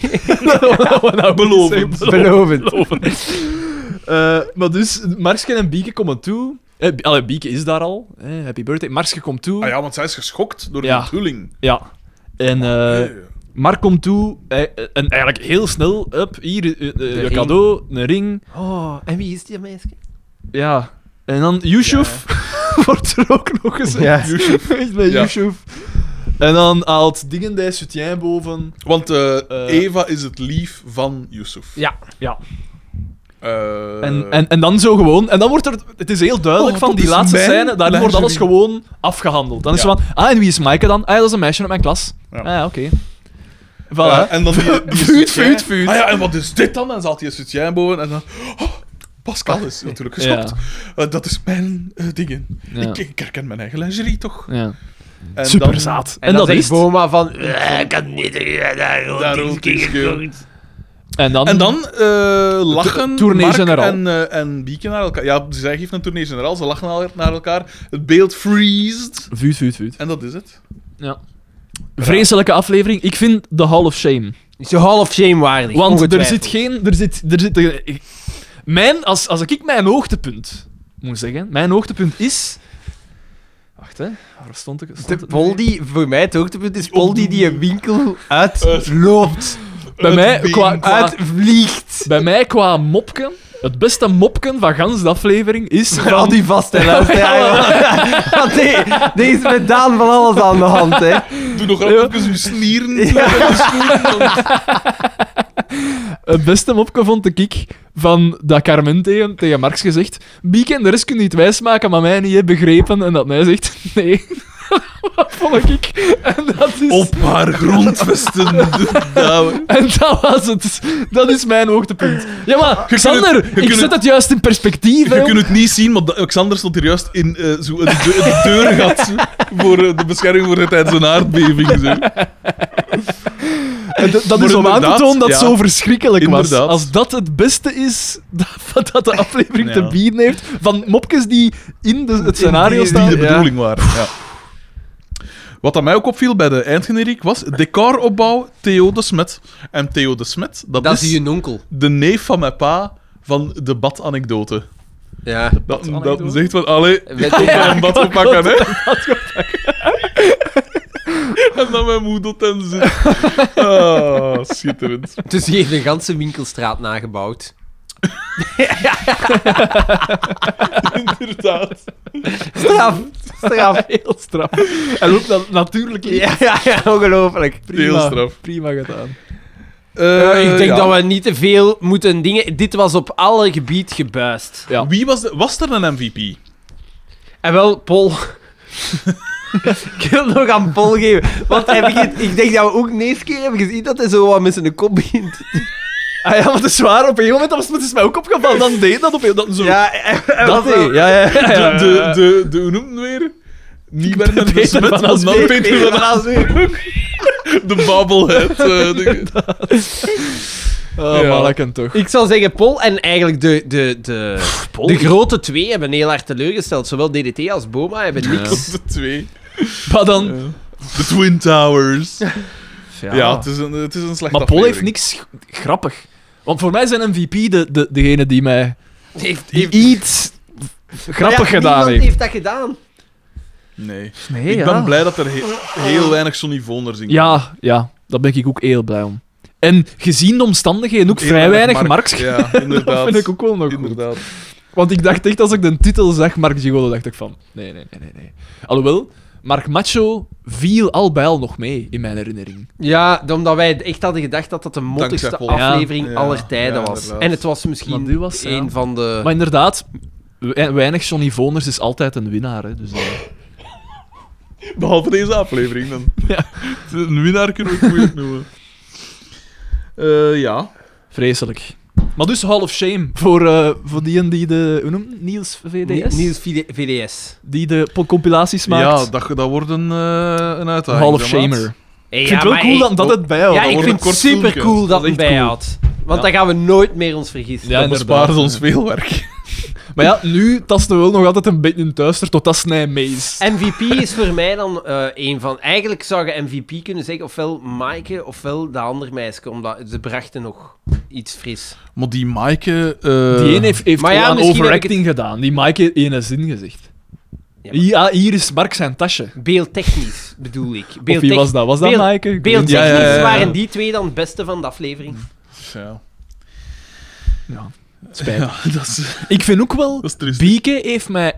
we nou
Belovend.
zeggen,
Belovend.
Eh, maar dus, Marske en Bieke komen toe. Eh, Bi- allee, Bieke is daar al. Eh, happy birthday. Marske komt toe.
Ah ja, want zij is geschokt door de
Ja.
onthulling.
Ja. En eh
Nee.
Mark komt toe. eh, eh, en eigenlijk heel snel. Up, hier, eh, eh, je
ring.
cadeau, een ring.
Oh, en wie is die meisje?
Ja. En dan Yusuf wordt er ook nog eens.
Ja.
Yusuf. Echt bij
Ja.
Yusuf. En dan haalt Dingen die soutien boven.
Want eh,
Eh.
Eva is het lief van Yusuf.
Ja.
Ja.
Eh,
En, en, en dan zo gewoon. En dan wordt er. Het is heel duidelijk
Oh,
van
dat
die
is
laatste
mijn
scène. Daar wordt
lingerie.
alles gewoon afgehandeld. Dan is
Ja.
het van. Ah, en wie is Maaike dan? Ah, ja, dat is een meisje uit mijn klas.
Ja.
Ah, ja, oké.
ja,
Voilà.
en dan die, die
Vuut,
soutien.
vuut, vuut.
Ah ja, en wat is dit dan? En zat die soutien boven en dan... Oh, Pascal is natuurlijk geschokt.
Ah, Ja.
Eh, dat is mijn eh, dingen.
Ja.
Ik, ik herken mijn eigen lingerie toch?
Ja.
En
Super
dan-
zaad.
En, dan zegt
het.
Boma van... "Eh, Ik kan niet eh, daar
Daar
rood
rood is
is
En dan,
En dan eh, lachen
tournee
Mark
generaal.
en, eh en Bieke naar elkaar. Ja, zij geeft een tournee generaal. Ze lachen al- naar elkaar. Het beeld freezed.
Vuut, vuut, vuut.
En dat is het.
Ja. Vreselijke aflevering. Ik vind The Hall of Shame.
Is je Hall of Shame waardig.
Want er
ongetwijfeld.
zit geen... Er zit, er zit, ik- mijn, als, als ik mijn hoogtepunt moet zeggen, mijn hoogtepunt is... Wacht, hè. Waar stond ik? Stond
De
het?
Poldi, voor mij het hoogtepunt is Poldi die een winkel uitloopt,
Bij
Het
mij,
been.
qua, qua-
uitvliegt.
bij mij qua mopken, het beste mopken van gans de aflevering is...
Maar Al
Van,
die vast, hè. Dat is- Want die, die is met Daan van alles aan de hand, hè.
Doe nog even uw snieren. Ja.
het beste mopken vond ik van dat Carmen tegen, tegen Marx gezegd... Bieke en de rest kunnen niet wijsmaken, maar mij niet hè, begrepen. En dat mij zegt... Nee. Wat vond ik? En dat is...
Op haar grondvesten. dame.
En dat was het. Dat is mijn hoogtepunt. Ja, maar,
kunt
Sander,
het- je
ik
kunt
zet
het-
het juist in perspectief. hè,
Je kunt het niet zien, maar Alexander stond hier juist in eh zo een, de- een deurgat zo, voor eh, de bescherming voor de tijdens een aardbeving. Zo.
En dat- dat
Maar
is om aan te
inderdaad,
tonen dat het
ja.
zo verschrikkelijk was.
Inderdaad.
Als dat het beste is dat, dat de aflevering
Ja.
te bieden heeft, van mopjes die in de, het scenario
die
staan.
de
Ja.
bedoeling waren. Ja. Wat aan mij ook opviel bij de eindgeneriek was decoropbouw Theo de Smet. En Theo de Smet, dat,
Dat
is,
is je onkel.
de neef van mijn pa van de badanekdote.
Ja.
Dat,
badanekdote?
dat zegt van, allee,
Weet
je komt
je-
bij een bad gepakken, hè. En dan mijn moeder ten zin. Ah, schitterend.
Dus die heeft een ganse winkelstraat nagebouwd.
Inderdaad.
Straf, straf.
Heel straf. En ook dat natuurlijk in.
Ja, ja, ja ongelooflijk.
prima,
Heel straf.
Prima gedaan.
Eh, ik denk
ja.
dat we niet te veel moeten dingen... Dit was op alle gebied gebuist.
Ja.
Wie was, de, was er een MVP?
En wel, Paul. ik wil het nog aan Paul geven. Want hij begint, ik denk dat we ook de eerste keer hebben gezien dat hij zo wat met zijn kop begint.
Ah ja, want het is waar. Op een gegeven moment was het is mij ook opgevallen. Dan deed dat op een dat zo.
Ja, en- en
dat
wel-
deed. Ja, ja, ja.
De, de, de, de, hoe noemt hem weer? Niet Werner de
Peter
Smet,
van
maar
Asbeek.
dan Peter van Asbeek. De babbelhead. eh, dingen.
Oh,
Ja.
maar dat kan toch.
Ik zou zeggen Paul en eigenlijk de, de, de,
Paul,
de
ik-
grote twee hebben heel hard teleurgesteld. Zowel DDT als Boma hebben niks.
de twee.
Maar dan...
De Twin Towers. Ja,
ja
het, is een, het is een slechte
Maar Paul heeft
aflevering.
niks g- grappig. Want voor mij zijn MVP de, de, degene die mij
Heeft,
die
heeft-
iets grappig
Maar ja,
gedaan
niemand
heeft.
heeft dat gedaan.
Nee.
Nee,
ik
ja.
ben blij dat er he- heel weinig Sonny Vonder zingt.
Ja, ja, daar ben ik ook heel blij om. En gezien de omstandigheden ook
Heel
vrij weinig Mark.
Ja, inderdaad.
dat vind ik ook wel nog goed.
Inderdaad.
Want ik dacht echt, als ik de titel zag, Mark Gigolo, dacht ik van... Nee, nee, nee, nee. nee. Alhoewel, Mark Macho viel al bij al nog mee, in mijn herinnering.
Ja, omdat wij echt hadden gedacht dat dat de mottigste
Paul.
Ja.
aflevering
Ja,
aller tijden
ja,
was.
inderdaad.
En het was misschien
Maar die was, ja.
een van de...
Maar inderdaad, we- weinig Johnny Voners is altijd een winnaar. Hè, dus, eh.
Behalve deze aflevering dan.
Ja.
Een winnaar kunnen we ook moeilijk noemen. Eh, ja.
Vreselijk. Maar dus Hall of Shame voor, eh, voor die en die de... Hoe noemt het? Niels VDS?
Niels VD- VDS.
Die de po- compilaties maakt.
Ja, dat, dat wordt een, eh, een uitdaging.
Hall of
zeg maar.
Shamer.
Hey,
Ik vind
ja,
het wel
maar
cool
hey,
dat, dat het bij
Ja, ik
wordt
vind
een
het
kort
super cool
filmpje.
dat
Dat is
het
echt
bijhoudt. Want
Ja.
dan gaan we nooit meer ons vergissen.
Ja,
Dat
inderdaad.
bespaart ons veel werk.
Maar ja, nu tasten we wel nog altijd een beetje in het duister tot dat snijmees.
MVP is voor mij dan eh een van... Eigenlijk zou je MVP kunnen zeggen, ofwel Maaike, ofwel de andere meisje, omdat ze brachten nog iets fris.
Maar die Maaike... eh,
Die een heeft, heeft
Maar ja,
gewoon aan
misschien heb ik
overacting gedaan. Die Mike heeft ene zin gezegd.
Ja,
Ja,
maar-
hier is Mark zijn tasje.
Beeldtechnisch, bedoel ik.
Of wie was dat? Was dat
beeld-
Maaike? Ik weet niet.
Beeldtechnisch
Ja, ja, ja, ja.
waren die twee dan het beste van de aflevering.
Ja.
Ja.
ja, dat is,
Ik vind ook wel...
dat is triest.
Bieke heeft mij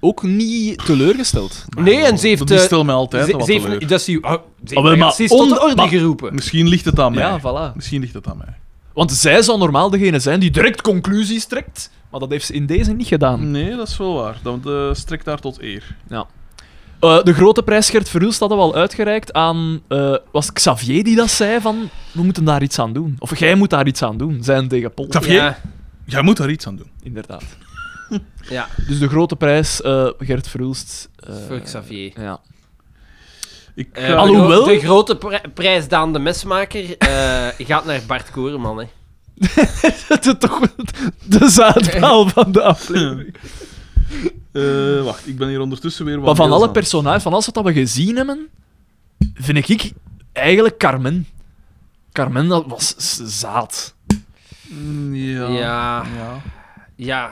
ook niet teleurgesteld.
Nee, en ze heeft...
Die
eh,
stel mij
ze,
altijd
ze
wat
heeft-
teleur.
dat is die, oh, ze
Ah, maar-
heeft
maar
racistisch tot de
onder-
orde
maar-
geroepen.
Misschien ligt het aan mij.
Ja, voilà.
Misschien ligt het aan mij.
Want zij zou normaal degene zijn die direct conclusies trekt. Maar dat heeft ze in deze niet gedaan.
Nee, dat is wel waar. Dat eh, strekt daar tot eer.
Eh, de grote prijs Gert Verhulst hadden we al uitgereikt aan... eh, was het Xavier die dat zei van... We moeten daar iets aan doen. Of jij moet daar iets aan doen. Zijn tegen Pol.
Xavier?
Ja,
Jij moet daar iets aan doen.
Inderdaad.
ja,
Dus de grote prijs eh, Gert Verhulst. eh,
voor Xavier.
Ja.
Ik
Eh,
ga-
de
alhoewel-
gro- De grote pri- prijs Daan de Mesmaker eh, gaat naar Bart Koreman. Hè.
Het is toch de zaadpaal van de aflevering.
Eh, wacht, ik ben hier ondertussen weer wat
Maar van
mails
alle
aan.
personages, van alles wat we gezien hebben, vind ik eigenlijk Carmen. Carmen, dat was z- zaad.
Mm, Ja.
Ja,
Ja.
ja.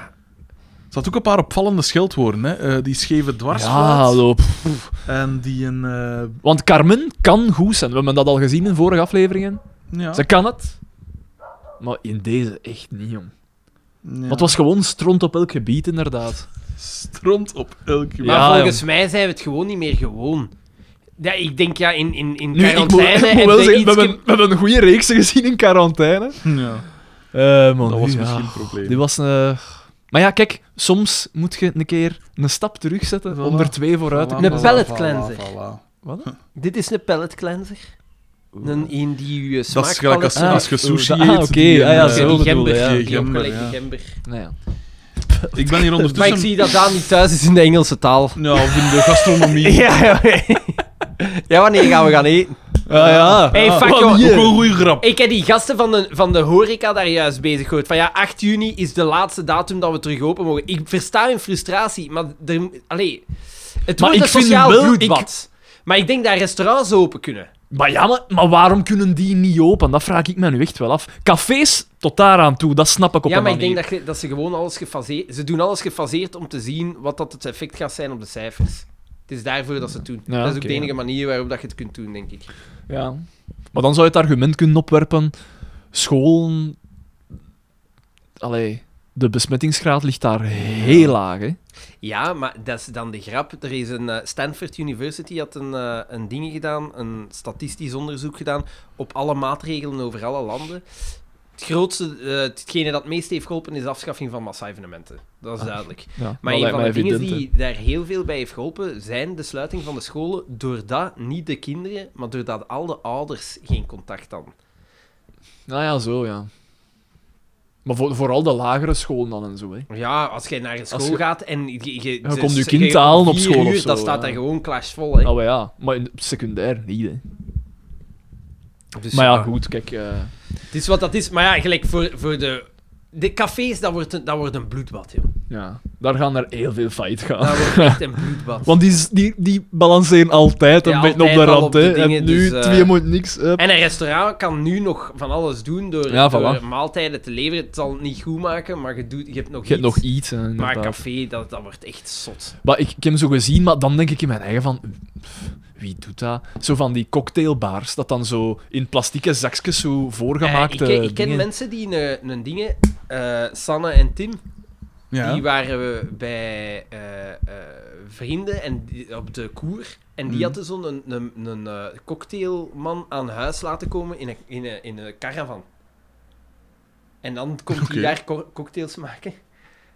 Er zat ook een paar opvallende scheldwoorden. Hè. Eh, die scheve
Ja,
dwarsfluit
loop.
en die een... eh,
Want Carmen kan goed zijn. We hebben dat al gezien in vorige afleveringen.
ja.
Ze kan het. Maar in deze echt niet, jong.
ja.
Want het was gewoon stront op elk gebied, inderdaad.
Stront op elke
Maar
Ja,
volgens mij zijn we het gewoon niet meer gewoon. Ja, ik denk ja, in, in, in
Nu, ik moet,
quarantaine
ik moet
heb
wel
je
zeggen, we
ietske-
hebben, we hebben een goede reeks gezien in quarantaine.
Ja.
Eh, man,
Dat was
ja.
misschien een probleem.
Dit was een... Maar ja, kijk, soms moet je een keer een stap terugzetten
Voilà.
om er twee vooruit te
Voilà,
komen.
Een
voilà,
pallet
voilà,
cleanser.
voilà.
Wat?
Dit is een pellet cleanser. Een een die je
Dat
smaak
is gelijk als,
Ah,
als je sushi
ah,
eet.
oké,
die een,
ah, ja,
eh,
zo.
die
bedoelde,
gember,
ja.
die
Gember,
ook gelijk
ja.
die gember.
Nou ja.
Ik ben hier
Maar ik
ondertussen...
zie dat Daan niet thuis is in de Engelse taal.
Ja, of in de gastronomie.
Ja, ja. Ja, wanneer gaan we gaan eten?
Ah, ja.
Hey,
Ah,
fuck,
wat
joh.
Ook
hier?
wel een goede grap.
Ik heb die gasten van de, van de horeca daar juist bezig gehoord. Van ja, 8 juni is de laatste datum dat we terug open mogen. Ik versta hun frustratie, maar er... Allee, het
Maar
wordt
ik
een
vind
sociaal
wel-
bloedbad. Maar ik denk dat restaurants open kunnen.
Maar ja, maar, maar waarom kunnen die niet open? Dat vraag ik me nu echt wel af. Cafés, tot daaraan toe, dat snap ik op
ja,
een
maar
manier.
ik denk dat, je- dat ze gewoon alles gefaseerd... Ze doen alles gefaseerd om te zien wat dat het effect gaat zijn op de cijfers. Het is daarvoor dat ze het doen.
Ja,
dat is ook
oké,
de
ja.
enige manier waarop dat je het kunt doen, denk ik.
Ja. Maar dan zou je het argument kunnen opwerpen... Scholen... Allee, de besmettingsgraad ligt daar heel laag, hè.
Ja, maar dat is dan de grap. Er is een eh, Stanford University had een, eh, een ding gedaan, een statistisch onderzoek gedaan op alle maatregelen over alle landen. Het grootste, eh, hetgene dat het meest heeft geholpen is de afschaffing van massa-evenementen. Dat is
Ah,
duidelijk.
Ja,
Maar
dat
een
lijkt
van
mij
de dingen
evident, hè.
die daar heel veel bij heeft geholpen, zijn de sluiting van de scholen doordat niet de kinderen, maar doordat al de ouders geen contact hadden.
Nou ja, zo, ja. Maar voor, vooral de lagere scholen dan en zo, hè.
Ja, als jij naar een school
je-
gaat en je, je,
Dan
ze-
komt je
ze-
kind
je-
te halen op
vier
school of
uur,
zo,
Dan staat
ja.
daar gewoon clashvol. Hè.
Nou ja, maar in, secundair niet, hè.
Dus
Maar ja,
ja.
goed, kijk... eh,
Het is wat dat is, maar ja, gelijk voor, voor de... De cafés, dat wordt een, dat wordt een bloedbad, joh.
Ja, daar gaan er heel veel failliet gaan.
Dat wordt echt een bloedbad.
Want die, die, die balanceren altijd een
Ja,
beetje op de
altijd al
rand.
op de
hè.
dingen,
en nu
dus, eh,
twee moet niks. eh.
En een restaurant kan nu nog van alles doen door,
Ja, voilà.
door maaltijden te leveren. Het zal het niet goed maken, maar je, doet, je hebt nog
je hebt
iets.
nog iets. eh,
maar
inderdaad.
een
Maar,
café, dat, dat wordt echt zot.
ik, ik heb hem zo gezien, maar dan denk ik in mijn eigen van... pff, Wie doet dat? Zo van die cocktailbars, dat dan zo in plastieke zakjes zo voorgemaakte
Eh, ik, ik ken
dingen.
mensen die een, een dingen... eh, Sanne en Tim, die
Ja.
waren we bij eh, eh, vrienden en die- op de koer. En die
Mhm.
hadden zo'n een, een, een, eh, cocktailman aan huis laten komen in een, in een, in een caravan. En dan komt hij
Oké.
daar co- cocktails maken.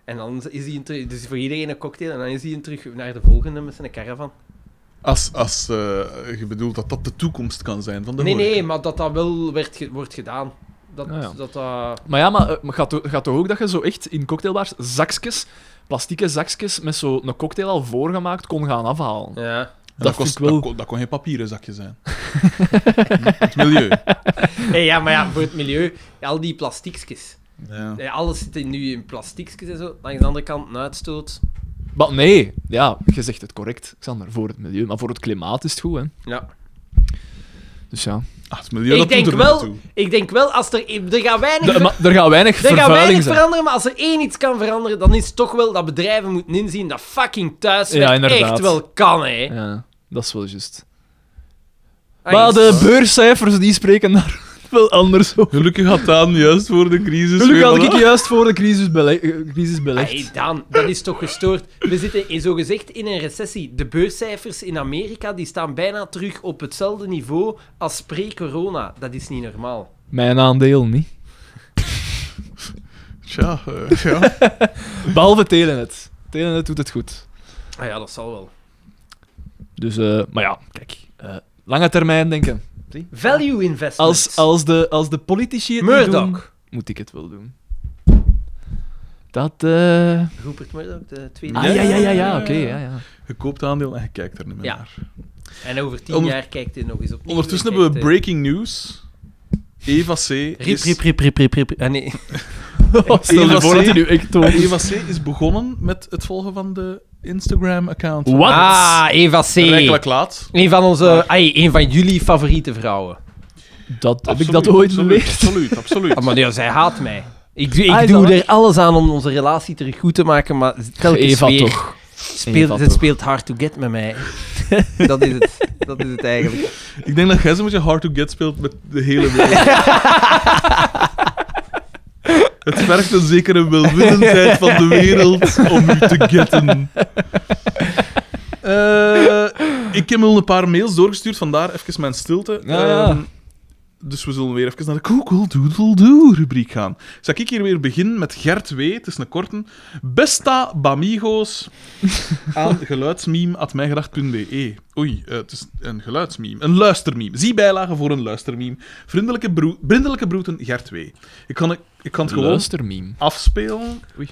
En dan is hij terug, dus voor iedereen een cocktail. En dan is hij terug naar de volgende met zijn caravan.
Als, als eh, je bedoelt dat dat de toekomst kan zijn van de
nee,
horeca.
nee, maar dat dat wel werd ge- wordt gedaan. Dat,
Ah, ja.
dat, dat-
Maar ja, maar eh, maar gaat, toch- gaat toch ook dat je zo echt in cocktailbars zakjes, plastieke zakjes met zo'n cocktail al voorgemaakt kon gaan afhalen?
ja.
Dat,
Dat
kost,
vind ik wel-
dat, kon, dat kon geen papieren zakje zijn. Hm, het milieu.
Hey, ja, maar ja, voor het milieu, al die plastiekjes.
Ja.
Ja, alles zit in- nu in plastiekjes en zo. Langs de andere kant een uitstoot.
Maar nee, ja, je zegt het correct, Xander, voor het milieu. Maar voor het klimaat is het goed, hè.
Ja.
Dus ja.
Ah, het milieu,
ik,
dat
denk
doet er niet
wel,
toe.
ik denk wel, als er, er gaat weinig,
De- maar er gaat
er
weinig
gaat weinig
vervuiling zijn.
veranderen, maar als er één iets kan veranderen, dan is het toch wel dat bedrijven moeten inzien dat fucking
Ja,
thuiswerk
inderdaad.
echt wel kan, hè.
Ja, dat is wel juist.
Ah,
maar
is-
de beurscijfers, die spreken daar wel anders over.
Gelukkig had Daan juist voor de crisis.
Gelukkig
weer
had
wat-
ik juist voor de crisis, bele eh, crisis belegd.
Hey Dan, dat is toch gestoord. We zitten in, zogezegd in een recessie. De beurscijfers in Amerika die staan bijna terug op hetzelfde niveau als pre-corona. Dat is niet normaal.
Mijn aandeel niet.
Tja, eh, ja.
Behalve Telenet. Telenet doet het goed.
Ah ja, dat zal wel.
Dus, eh, maar ja, kijk. eh, lange termijn denken.
Value investment.
Als, als, de, als de politici het niet doen,
Murdoch.
moet ik het wel doen. Dat, eh...
Rupert Murdoch, de tweede.
Ah, ja, ja, ja, ja, oké, ja, ja.
Je koopt aandeel en je kijkt er niet meer
Ja.
naar.
En over tien
Onder-
jaar kijkt hij nog eens op.
Ondertussen hebben we breaking news. Eva C.
Rip,
is...
rip, rip, rip, rip, rip. Ah, nee.
Stel je voor dat hij nu echt dood is.
Eva C. is begonnen met het volgen van de Instagram-account.
Wat?
Ah, Eva C.
Rijkelijk laat.
Een van onze... Ai, een van jullie favoriete vrouwen.
Dat, heb ik
Absoluut,
dat ooit
absoluut,
geleerd?
Absoluut, absoluut.
Ah, maar nee, zij haat mij. Ik, ik
Ah, is dat
doe
waar?
er alles aan om onze relatie terug goed te maken, maar telkens
Eva
weer...
toch. Eva
Speelt, ze
toch.
speelt hard to get met mij. dat, is het. dat is het eigenlijk.
Ik denk dat jij zo'n beetje hard to get speelt met de hele wereld. Het vergt een zekere welwillendheid van de wereld om u te getten. Eh, ik heb al een paar mails doorgestuurd, vandaar even mijn stilte.
Ja, ja.
Ehm, dus we zullen weer even naar de Google Doodle Doo rubriek gaan. Zal ik hier weer beginnen met Gert W. Het is een korte. Besta Bamigo's aan geluidsmeme.mijgedacht.be. Oei, eh, het is een geluidsmeme. Een luistermeme. Zie bijlagen voor een luistermeme. Vriendelijke, broe vriendelijke broeten Gert W. Ik kan, ik kan het gewoon
Luistermeme.
afspelen Oei.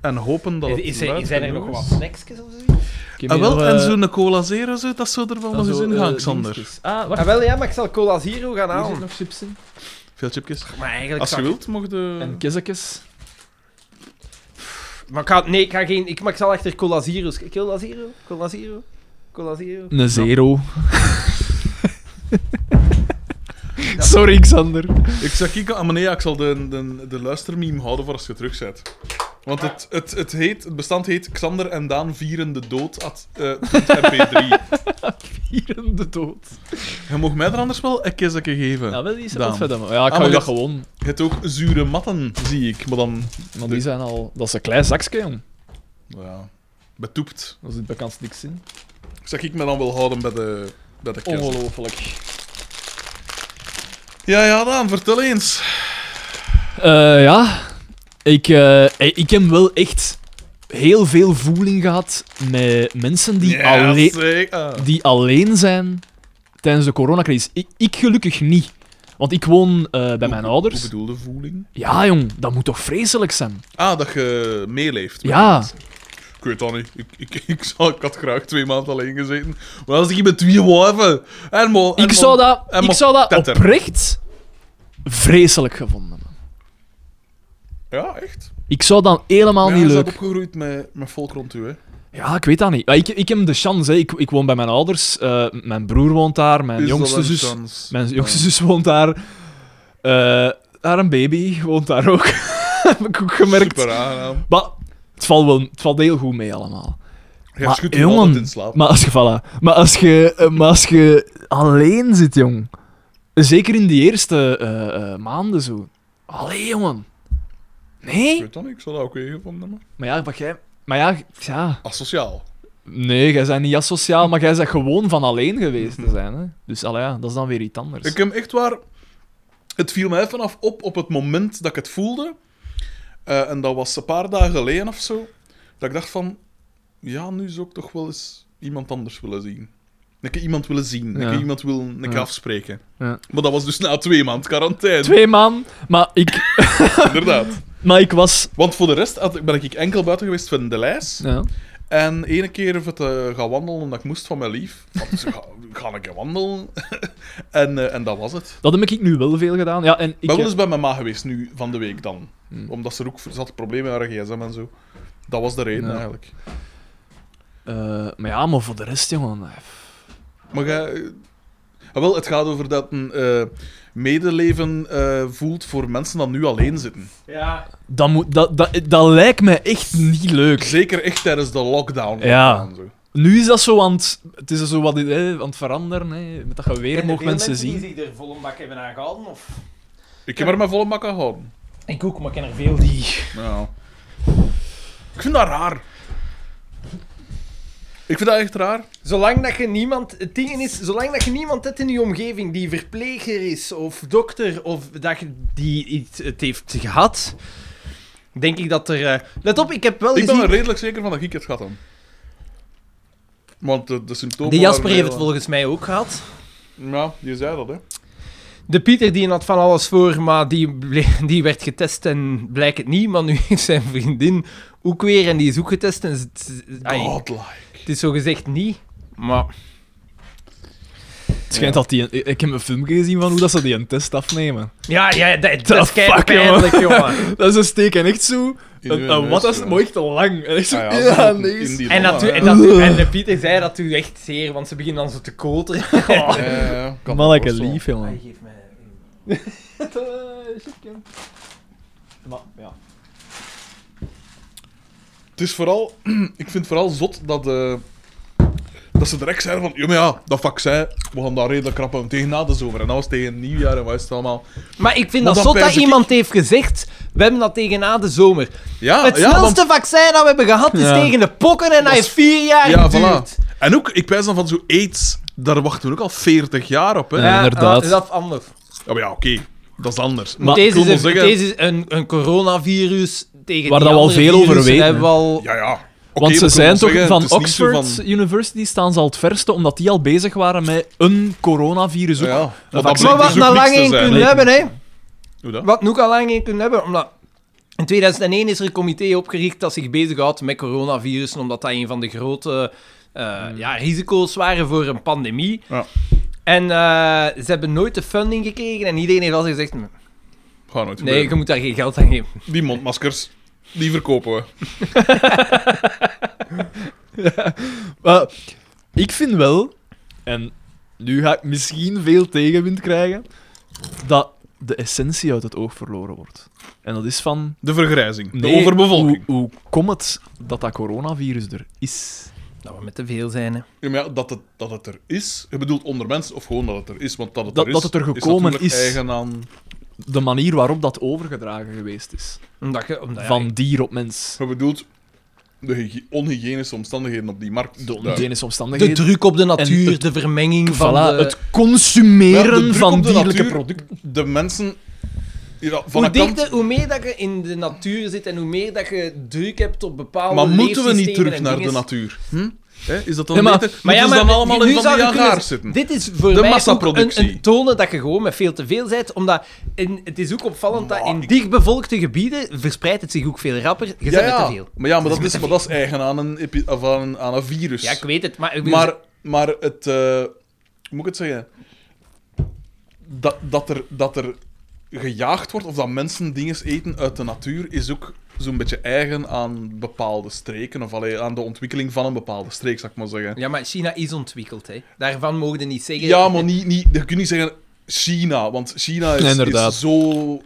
en hopen dat het luid genoeg is.
snacksjes of zoiets?
Ik heb
Ah,
hier
wel,
nog,
en
eh,
zo'n cola zero, zo, dat zou er wel nog eens in gaan, Xander.
Ah,
Ah, wel ja, maar ik zal Cola Zero gaan
Hier zit
halen.
nog chips in. Ehm,
Veel chipjes.
Maar eigenlijk
Als je
zou ik-
wilt, mocht je...
En kizakjes.
Maar ik ga, nee, ik ga geen... Ik, maar ik zal achter Cola Zero's... Cola Zero? Cola Zero? Cola Zero?
Een zero. Sorry, Xander.
Ik zeg, ik, ah, maar nee, ja, ik zal de, de, de luistermeme houden voor als je terug bent. Want het, het, het, heet, het bestand heet Xander en Daan vieren de dood at eh, mp3.
Vieren de dood.
je mag mij er anders wel een kizakje geven.
Ja, wel, die is
Daan.
wat verder. maar- Ja, ik
Ah,
ga
maar
je dat
je-
gewoon...
Je hebt ook zure matten, zie ik. Maar dan...
Want die zijn al... Dat is een klein zakje, jong.
nou Ja, betoept.
Daar zit bekend niks in.
Ik zeg, ik me dan wel houden bij de, bij de kerst.
Ongelooflijk.
Ja, ja, Daan, vertel eens.
Eh, ja, ik, eh, ik heb wel echt heel veel voeling gehad met mensen die,
Ja,
alleen,
zeg, ah.
die alleen zijn tijdens de coronacrisis. Ik, ik gelukkig niet. Want ik woon eh, bij mijn
Hoe-
ouders.
Hoe bedoelde voeling?
Ja, jong, dat moet toch vreselijk zijn?
Ah, dat je meeleeft. met
Ja.
mensen. Ik weet dat niet. Ik, ik, ik, zou, ik had graag twee maanden alleen gezeten. Maar als ik hier met twee wijven... En mo, en
Ik
mo-
zou dat,
en
ik
mo-
zou dat
tetter.
oprecht vreselijk gevonden hebben.
Ja, echt.
Ik zou dat helemaal
Maar ja,
niet
je
leuk
bent opgegroeid met, met volk rond u, hè.
Ja, ik weet dat niet. Maar Ik, ik heb de chance. Hè. Ik, ik woon bij mijn ouders. eh, mijn broer woont daar. Mijn
Is dat
jongste
een
zus.
kans?
Mijn jongste zus woont daar. Eh haar een baby woont daar ook. Heb ik ook gemerkt.
Super aangenaam.
Maar het valt, wel, het valt heel goed mee allemaal.
Je
Maar,
schudt
jongen,
jongen, in slaap.
Maar als je, voilà. maar als je, eh, maar als je alleen zit, jong. Zeker in die eerste eh, eh, maanden zo. Allee, jongen.
Ik
Nee?
weet dat niet. Ik zou dat ook weer gevonden hebben.
Maar ja, wat jij... Maar ja, ja...
Ah, Asociaal.
Nee, jij bent niet asociaal, maar jij bent gewoon van alleen geweest te zijn. Hè? Dus allee, ja, dat is dan weer iets anders.
Ik heb echt waar... Het viel mij vanaf op op het moment dat ik het voelde. Eh, en dat was een paar dagen geleden of zo. Dat ik dacht van... Ja, nu zou ik toch wel eens iemand anders willen zien. Een keer iemand willen zien. Een
Ja.
keer iemand willen een keer
Ja.
afspreken.
Ja.
Maar dat was dus na twee maand quarantaine.
Twee man, maar ik,
Inderdaad.
maar ik was...
Want voor de rest had ik- ben ik enkel buiten geweest van de lijst.
Ja.
En ene keer even te eh, gaan wandelen, omdat ik moest van mijn lief. Dus ik ga, ik ga een keer wandelen. en, eh, en dat was het.
Dat heb ik nu wel veel gedaan. Ja, en ik
Ik ben wel
heb-
eens bij mijn ma geweest nu van de week dan.
Hm.
Omdat ze er ook zat problemen met haar gsm en zo. Dat was de reden
Ja.
eigenlijk.
Eh, maar ja, maar voor de rest, jongen. eh, pff.
Maar jij... Ah, wel, het gaat over dat een eh, medeleven eh, voelt voor mensen die nu alleen zitten.
Ja.
Dat, moet, dat, dat, dat lijkt me echt niet leuk.
Zeker echt tijdens de lockdown.
Ja.
En zo.
Nu is dat zo aan het, het, is zo wat, eh, aan het veranderen. Hè. Met dat je weer mogen mensen zien.
die zich er vol een bak hebben aan gehouden. Of...
Ik heb er mijn volle makken gehouden.
Ik ook, maar ik ken er veel die...
Ja. Ik vind dat raar. Ik vind dat echt raar.
Zolang dat je niemand... Het ding is, zolang dat je niemand hebt in je omgeving die verpleger is, of dokter, of dat je die iets, het heeft gehad, denk ik dat er... eh, Let op, ik heb wel
Ik ben
gezien...
er redelijk zeker van dat ik het gehad heb. Want de, de symptomen...
De Jasper
waren
heeft het
heel-
volgens mij ook gehad.
Ja, je zei dat, hè.
De Pieter die had van alles voor, maar die, ble- die werd getest en blijkt het niet. Maar nu heeft zijn vriendin ook weer en die is ook getest. En het, ai,
Godlike.
het is zo gezegd niet. Maar
Het schijnt dat die... Ik ik heb een filmpje gezien van hoe dat ze die een test afnemen.
ja, ja dat,
The
dat is
fuck,
pijnlijk, jongen.
Dat is een steek en echt zo...
In
eh,
een-
uw
een
neus,
wat is
ja.
mooi echt te lang. En echt zo...
Ah
Ja,
ja, in
nee.
die
is-
longen,
En, dat, doe-
hè.
en, dat, doe- en de Pieter zei dat doet echt zeer, want ze beginnen dan zo te koteren.
Ja, ja, ja. Eh, Kan
Mannelijke
dat wel.
lief, jongen.
geef mij...
Maar, ja.
Het is vooral... Ik vind het vooral zot dat... eh, dat ze direct zeiden van, ja, maar ja, dat vaccin, we gaan daar redelijk krap aan tegen na over. En dat was tegen nieuwjaar en wat is het allemaal.
Maar ik vind dat
Maar dan
zot dat
pijs ik-
iemand heeft gezegd, we hebben dat tegen na de zomer.
Ja,
het
Ah, ja, want-
snelste vaccin dat we hebben gehad is
Ja.
tegen de pokken en dat
Dat
heeft
is-
vier jaar
Ja,
geduurd.
voilà. En ook, ik wijs dan van zo AIDS, daar wachten we ook al 40 jaar op. Hè?
Ja.
Ja,
inderdaad.
Dat is dat anders.
maar ja, oké, dat is anders.
Maar
ik
deze,
wil
is
wel
een,
zeggen-
deze is een, een coronavirus tegen
Waar
die
dat we al
andere
veel over
virussen
weten,
hebben we al-
Ja, ja. Oké,
Want ze
we kunnen wel
zijn toch
zeggen,
van
het is niet zo
Oxford
van-
University staan ze al het verste, omdat die al bezig waren met een coronavirus ook.
Ja, ja.
dat
Want
blijkt
Maar
dus
wat
ook
we al
niks
lang
te
in
zijn,
kunnen
hè.
hebben, hè.
Hoe dat?
Wat we ook al lang in kunnen hebben, omdat... In 2001 is er een comité opgericht dat zich bezighoudt met coronavirussen, omdat dat een van de grote eh, ja, risico's waren voor een pandemie.
Ja.
En eh, ze hebben nooit de funding gekregen en iedereen heeft altijd gezegd,
Gaat nooit
nee, je
gebeuren.
moet daar geen geld aan geven.
Die mondmaskers, die verkopen we.
Maar ik vind wel, en nu ga ik misschien veel tegenwind krijgen, dat de essentie uit het oog verloren wordt. En dat is van...
De vergrijzing,
nee,
de overbevolking.
Hoe, hoe komt het dat dat coronavirus er is?
Dat we met te veel zijn, hè.
Ja, maar ja, dat, het, dat het er is, je bedoelt onder mensen of gewoon dat het er is? Want dat het
Dat-
er is,
dat het er gekomen
natuurlijk
is.
eigen aan...
De manier waarop dat overgedragen geweest is.
Omdat je... Omdat, ja,
Van dier op mens.
Je bedoelt de hygi- onhygiënische omstandigheden op die markt.
De
Ja.
onhygiënische
de
omstandigheden.
druk op de natuur,
het-
de vermenging
Voilà,
van de...
het consumeren
Ja, de druk
van
op de
dierlijke
natuur,
producten.
De mensen... Ja, van
Hoe,
een kant-
dichter, hoe meer dat je in de natuur zit en hoe meer dat je druk hebt op bepaalde
Maar moeten we niet
leefsystemen
terug
en
naar de
dinges.
natuur? Hm? Hè, Is dat dan
Ja, maar-
beter?
Maar ja,
Moeten
maar
ze dan allemaal
nu
in van
zou
die
je kunnen
agaar
zeggen,
zitten?
Dit is voor
De
mij ook een,
massaproductie.
een tonen dat je gewoon met veel te veel bent, omdat in, het is ook opvallend dat in
ik-
dichtbevolkte gebieden verspreidt het zich ook veel rapper. Je bent
Ja,
met
ja.
te veel.
Maar ja, maar dat is, maar dat is eigen aan een, epi- of aan een, aan een virus.
Ja, ik weet het, maar...
maar, maar het... eh, hoe moet ik het zeggen? Dat, dat, er, dat er gejaagd wordt, of dat mensen dingen eten uit de natuur, is ook zo'n beetje eigen aan bepaalde streken, of allee, aan de ontwikkeling van een bepaalde streek, zou ik maar zeggen.
Ja, maar China is ontwikkeld, hè. Daarvan mogen we niet zeggen...
Ja, maar niet, niet, je kunt niet zeggen China, want China is,
Inderdaad.
is zo...
Ja, ik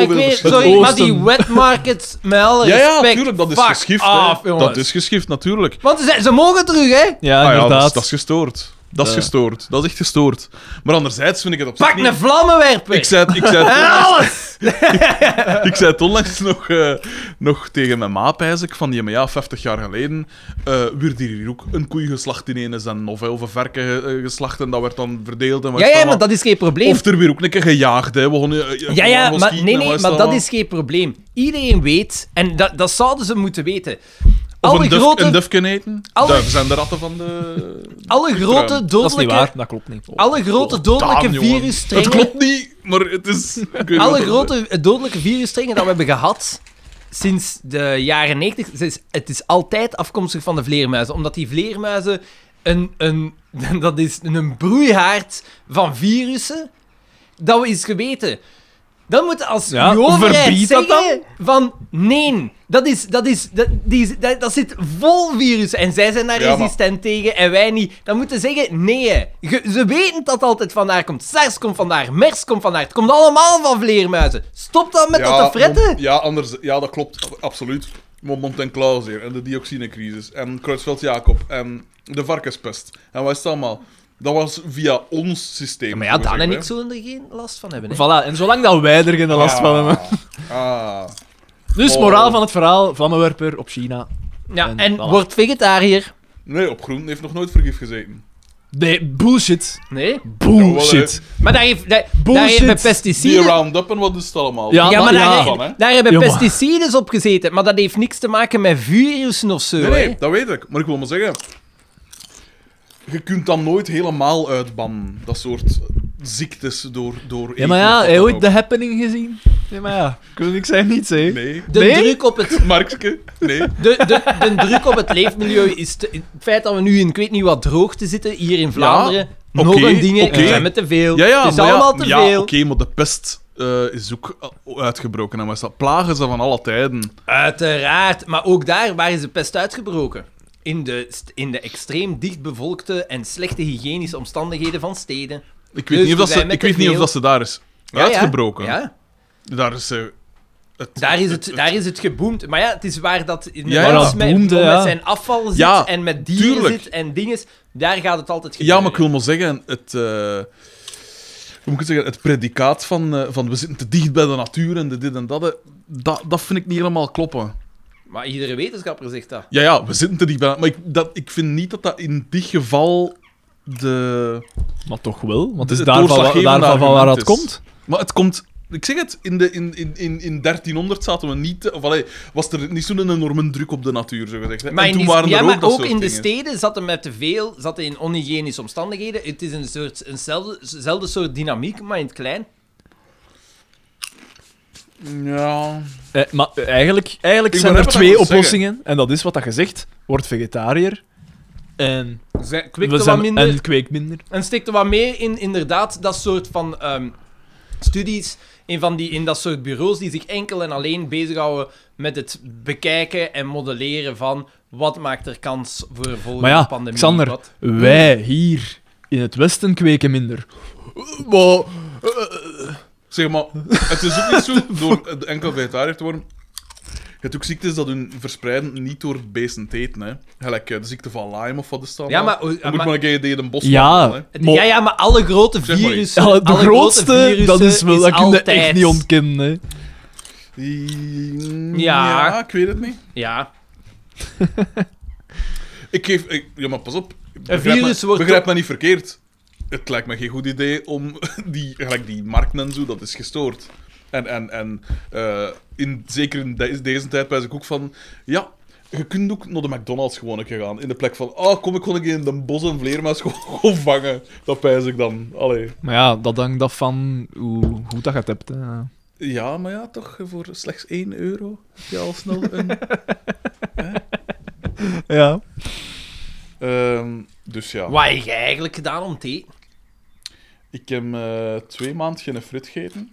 zoveel
weet,
verschillende-
sorry, maar
oosten.
die wet markets, met alle
Ja, ja,
respect,
natuurlijk, dat is
fuck
geschift. hè.
off,
dat
jongens.
is geschift, natuurlijk.
Want ze, ze mogen terug, hè?
Ja,
Ah ja,
inderdaad.
dat, is, dat is gestoord. Dat is
Ja.
gestoord. Dat is echt gestoord. Maar anderzijds vind ik het op zich
Pak
niet-
een vlammenwerper!
Ik zei, het- ik, zei het
en
onlangs,
alles!
ik zei het onlangs nog, eh, nog tegen mijn maap, eigenlijk, van die, maar ja, 50 jaar geleden eh werd hier ook een koei geslacht in ene zin, of, hè, of een verken eh, geslacht, en dat werd dan verdeeld. En wat
Ja,
is het
ja, maar
allemaal.
dat is geen probleem.
Of er weer ook een keer gejaagd, hè. We gaan, eh, eh, we
Ja,
gaan
ja,
gaan
maar,
schieten nou,
nee,
en wat
nee,
het
maar dat
allemaal.
is geen probleem. Iedereen weet, en dat, dat zouden ze moeten weten.
Of
Alle
een, duf,
grote,
een dufken eten.
Alle-
Duiven zijn de ratten van de...
alle grote
Dat is niet
dodelijke,
waar, dat klopt niet.
alle grote dodelijke
Daan, Oh, jongen. Het
virusstrengen...
klopt niet, maar het is... ik weet niet wat
Alle
het-
grote eh, dodelijke virusstrengen dat we hebben gehad sinds de jaren 90, het is, het is altijd afkomstig van de vleermuizen. Omdat die vleermuizen een, een, dat is een broeihaard van virussen. Dat is geweten. Dan moet als
Ja,
je overheid
verbied dat
zeggen van nee, dat, is, dat, is, dat, die is, dat, dat zit vol virus en zij zijn daar
Ja, maar-
resistent tegen en wij niet. Dan moeten ze zeggen nee. hè. Ge- ze weten dat altijd vandaar komt. SARS komt vandaar, MERS komt vandaar. Het komt allemaal van vleermuizen. Stop dan met dat te fretten.
Mont- ja, anders, ja, dat klopt, ab- absoluut. Maar Mont en Klaus hier, en de dioxinecrisis, en Kruisveld-Jacob, en de varkenspest, en wat is het allemaal? Dat was via ons systeem.
maar ja,
zullen we
Daan en ik
zeggen,
zullen er geen last van hebben. Hè.
Voilà, en zolang dat wij er geen
hè.
last van hebben.
Ah, ah.
Dus
Oh.
moraal van het verhaal, vlammenwerper op China.
Ja,
En
en,
voilà.
word vegetariër.
Nee, op groen heeft nog nooit vergif gezeten.
Nee, bullshit.
Nee.
Bullshit.
Maar daar heeft, daar, daar
Bullshit.
heeft bij
Die
pesticiden...
Roundup en wat is het allemaal?
Ja,
Ja, maar
maar
daar,
ja.
Van, hè?
daar hebben
Ja, maar-
pesticides op gezeten. Maar dat heeft niks te maken met virussen of zo.
Nee,
hè.
nee, dat weet ik. Maar ik wil maar zeggen... Je kunt dan nooit helemaal uitbannen, dat soort ziektes door... door
Ja, maar
eten
ja, heb
of wat
je
dan
ooit
ook.
The Happening gezien? Ja, maar ja, kun ik zeggen niets, hè.
Nee.
De,
Nee?
Druk op het,
Markske? Nee.
de, de, de druk op het leefmilieu is... Te, het feit dat we nu in ik weet niet wat droogte zitten, hier in Vlaanderen...
oké,
nog een ding,
oké.
we zijn met te veel.
Ja, ja,
het is
maar ja,
allemaal te
ja,
veel.
Oké, maar de pest eh, is ook eh, uitgebroken. En wat is dat? Plagen ze van alle tijden.
Uiteraard, maar ook daar waar is de pest uitgebroken? In de, st- in de extreem dichtbevolkte en slechte hygiënische omstandigheden van steden.
Ik
Dus
weet niet of,
we
dat ze,
zijn met
ik weet
te
niet of
veel.
dat ze daar is
Ja, ja.
uitgebroken.
Ja.
Daar is ze... het-
Daar is, het, daar is het geboomd. Maar ja, het is waar dat een
Ja, ja.
mens
Dat
met,
boemde,
met
ja.
zijn afval zit
Ja,
en met dieren
tuurlijk.
zit en dinges. Daar gaat het altijd gebeuren.
Ja, maar ik wil maar zeggen, het... eh, hoe moet ik het zeggen? Het predicaat van, eh, van we zitten te dicht bij de natuur en de dit en dat, eh, dat, dat vind ik niet helemaal kloppen.
Maar iedere wetenschapper zegt dat.
Ja, ja, we zitten te dicht bij... Maar ik, dat, ik vind niet dat dat in dit geval de...
Maar toch wel, want het is
Het
daarvan, wa-
doorslaggevende
daarvan van waar dat
argument is.
komt.
Maar het komt... Ik zeg het, in, de, in, in, in, in 1300 zaten we niet... Of allee, was er niet zo'n enorme druk op de natuur, zo gezegd. hè.
Maar
en
in
toen
die-
waren
ja,
er
maar
ook dat
ook
soort
in de
dingen.
steden zaten met te veel, zaten in onhygiënische omstandigheden. Het is een soort, eenzelfde, eenzelfde soort dynamiek, maar in het klein.
Ja...
Eh, maar eh, eigenlijk, eigenlijk
Ik
zijn er
begrijp wat
twee
je wilt
oplossingen. En dat is wat dat gezegd. Word vegetariër. En,
Ze-
we
Kwikte wat
zijn-
minder.
en kweek minder.
En stikte wat meer in inderdaad dat soort van ehm, studies. In, van die, in dat soort bureaus die zich enkel en alleen bezighouden met het bekijken en modelleren van wat maakt er kans voor een volgende
Maar ja,
pandemie.
Xander,
wat-
Wij hier in het Westen kweken minder. Maar,
Zeg maar, het is ook niet zo door de enkel vegetariër te worden. Je hebt ook ziektes dat hun verspreiden niet door beesten te eten. Hè. Gelijk eh, de ziekte van Lyme of wat is dat?
Ja,
allemaal?
maar- oh,
Dan moet
maar-
maar een keer tegen een bos
Ja.
wandelen, hè.
Het- ja, ja, maar alle grote
Zeg maar
virussen.
ja, de
alle
grootste,
grote virussen
dat is wel, dat kun je
altijd-
echt niet ontkennen. Hè.
I-
Ja.
ik weet het niet.
Ja,
Ik geef... ik- ja, maar pas op. Begrijp,
virus
me,
wordt
begrijp
ook-
me niet verkeerd. Het lijkt me geen goed idee om... Die, gelijk die markten en zo, dat is gestoord. En, en, en eh, in, zeker in de- deze tijd wijs ik ook van... Ja, je kunt ook naar de McDonald's gewoon een keer gaan. In de plek van... Oh, kom, ik kon ik in de bos een vleermuis gewoon gewoon vangen. Dat wijs ik dan. Allee.
Maar ja, dat hangt af van hoe goed dat je het hebt. Hè.
Ja, maar ja, toch eh, voor slechts 1 euro heb je al snel een...
Ja.
Ehm, dus ja.
wat heb jij eigenlijk gedaan om te eten?
Ik heb eh, twee maanden geen frit gegeten.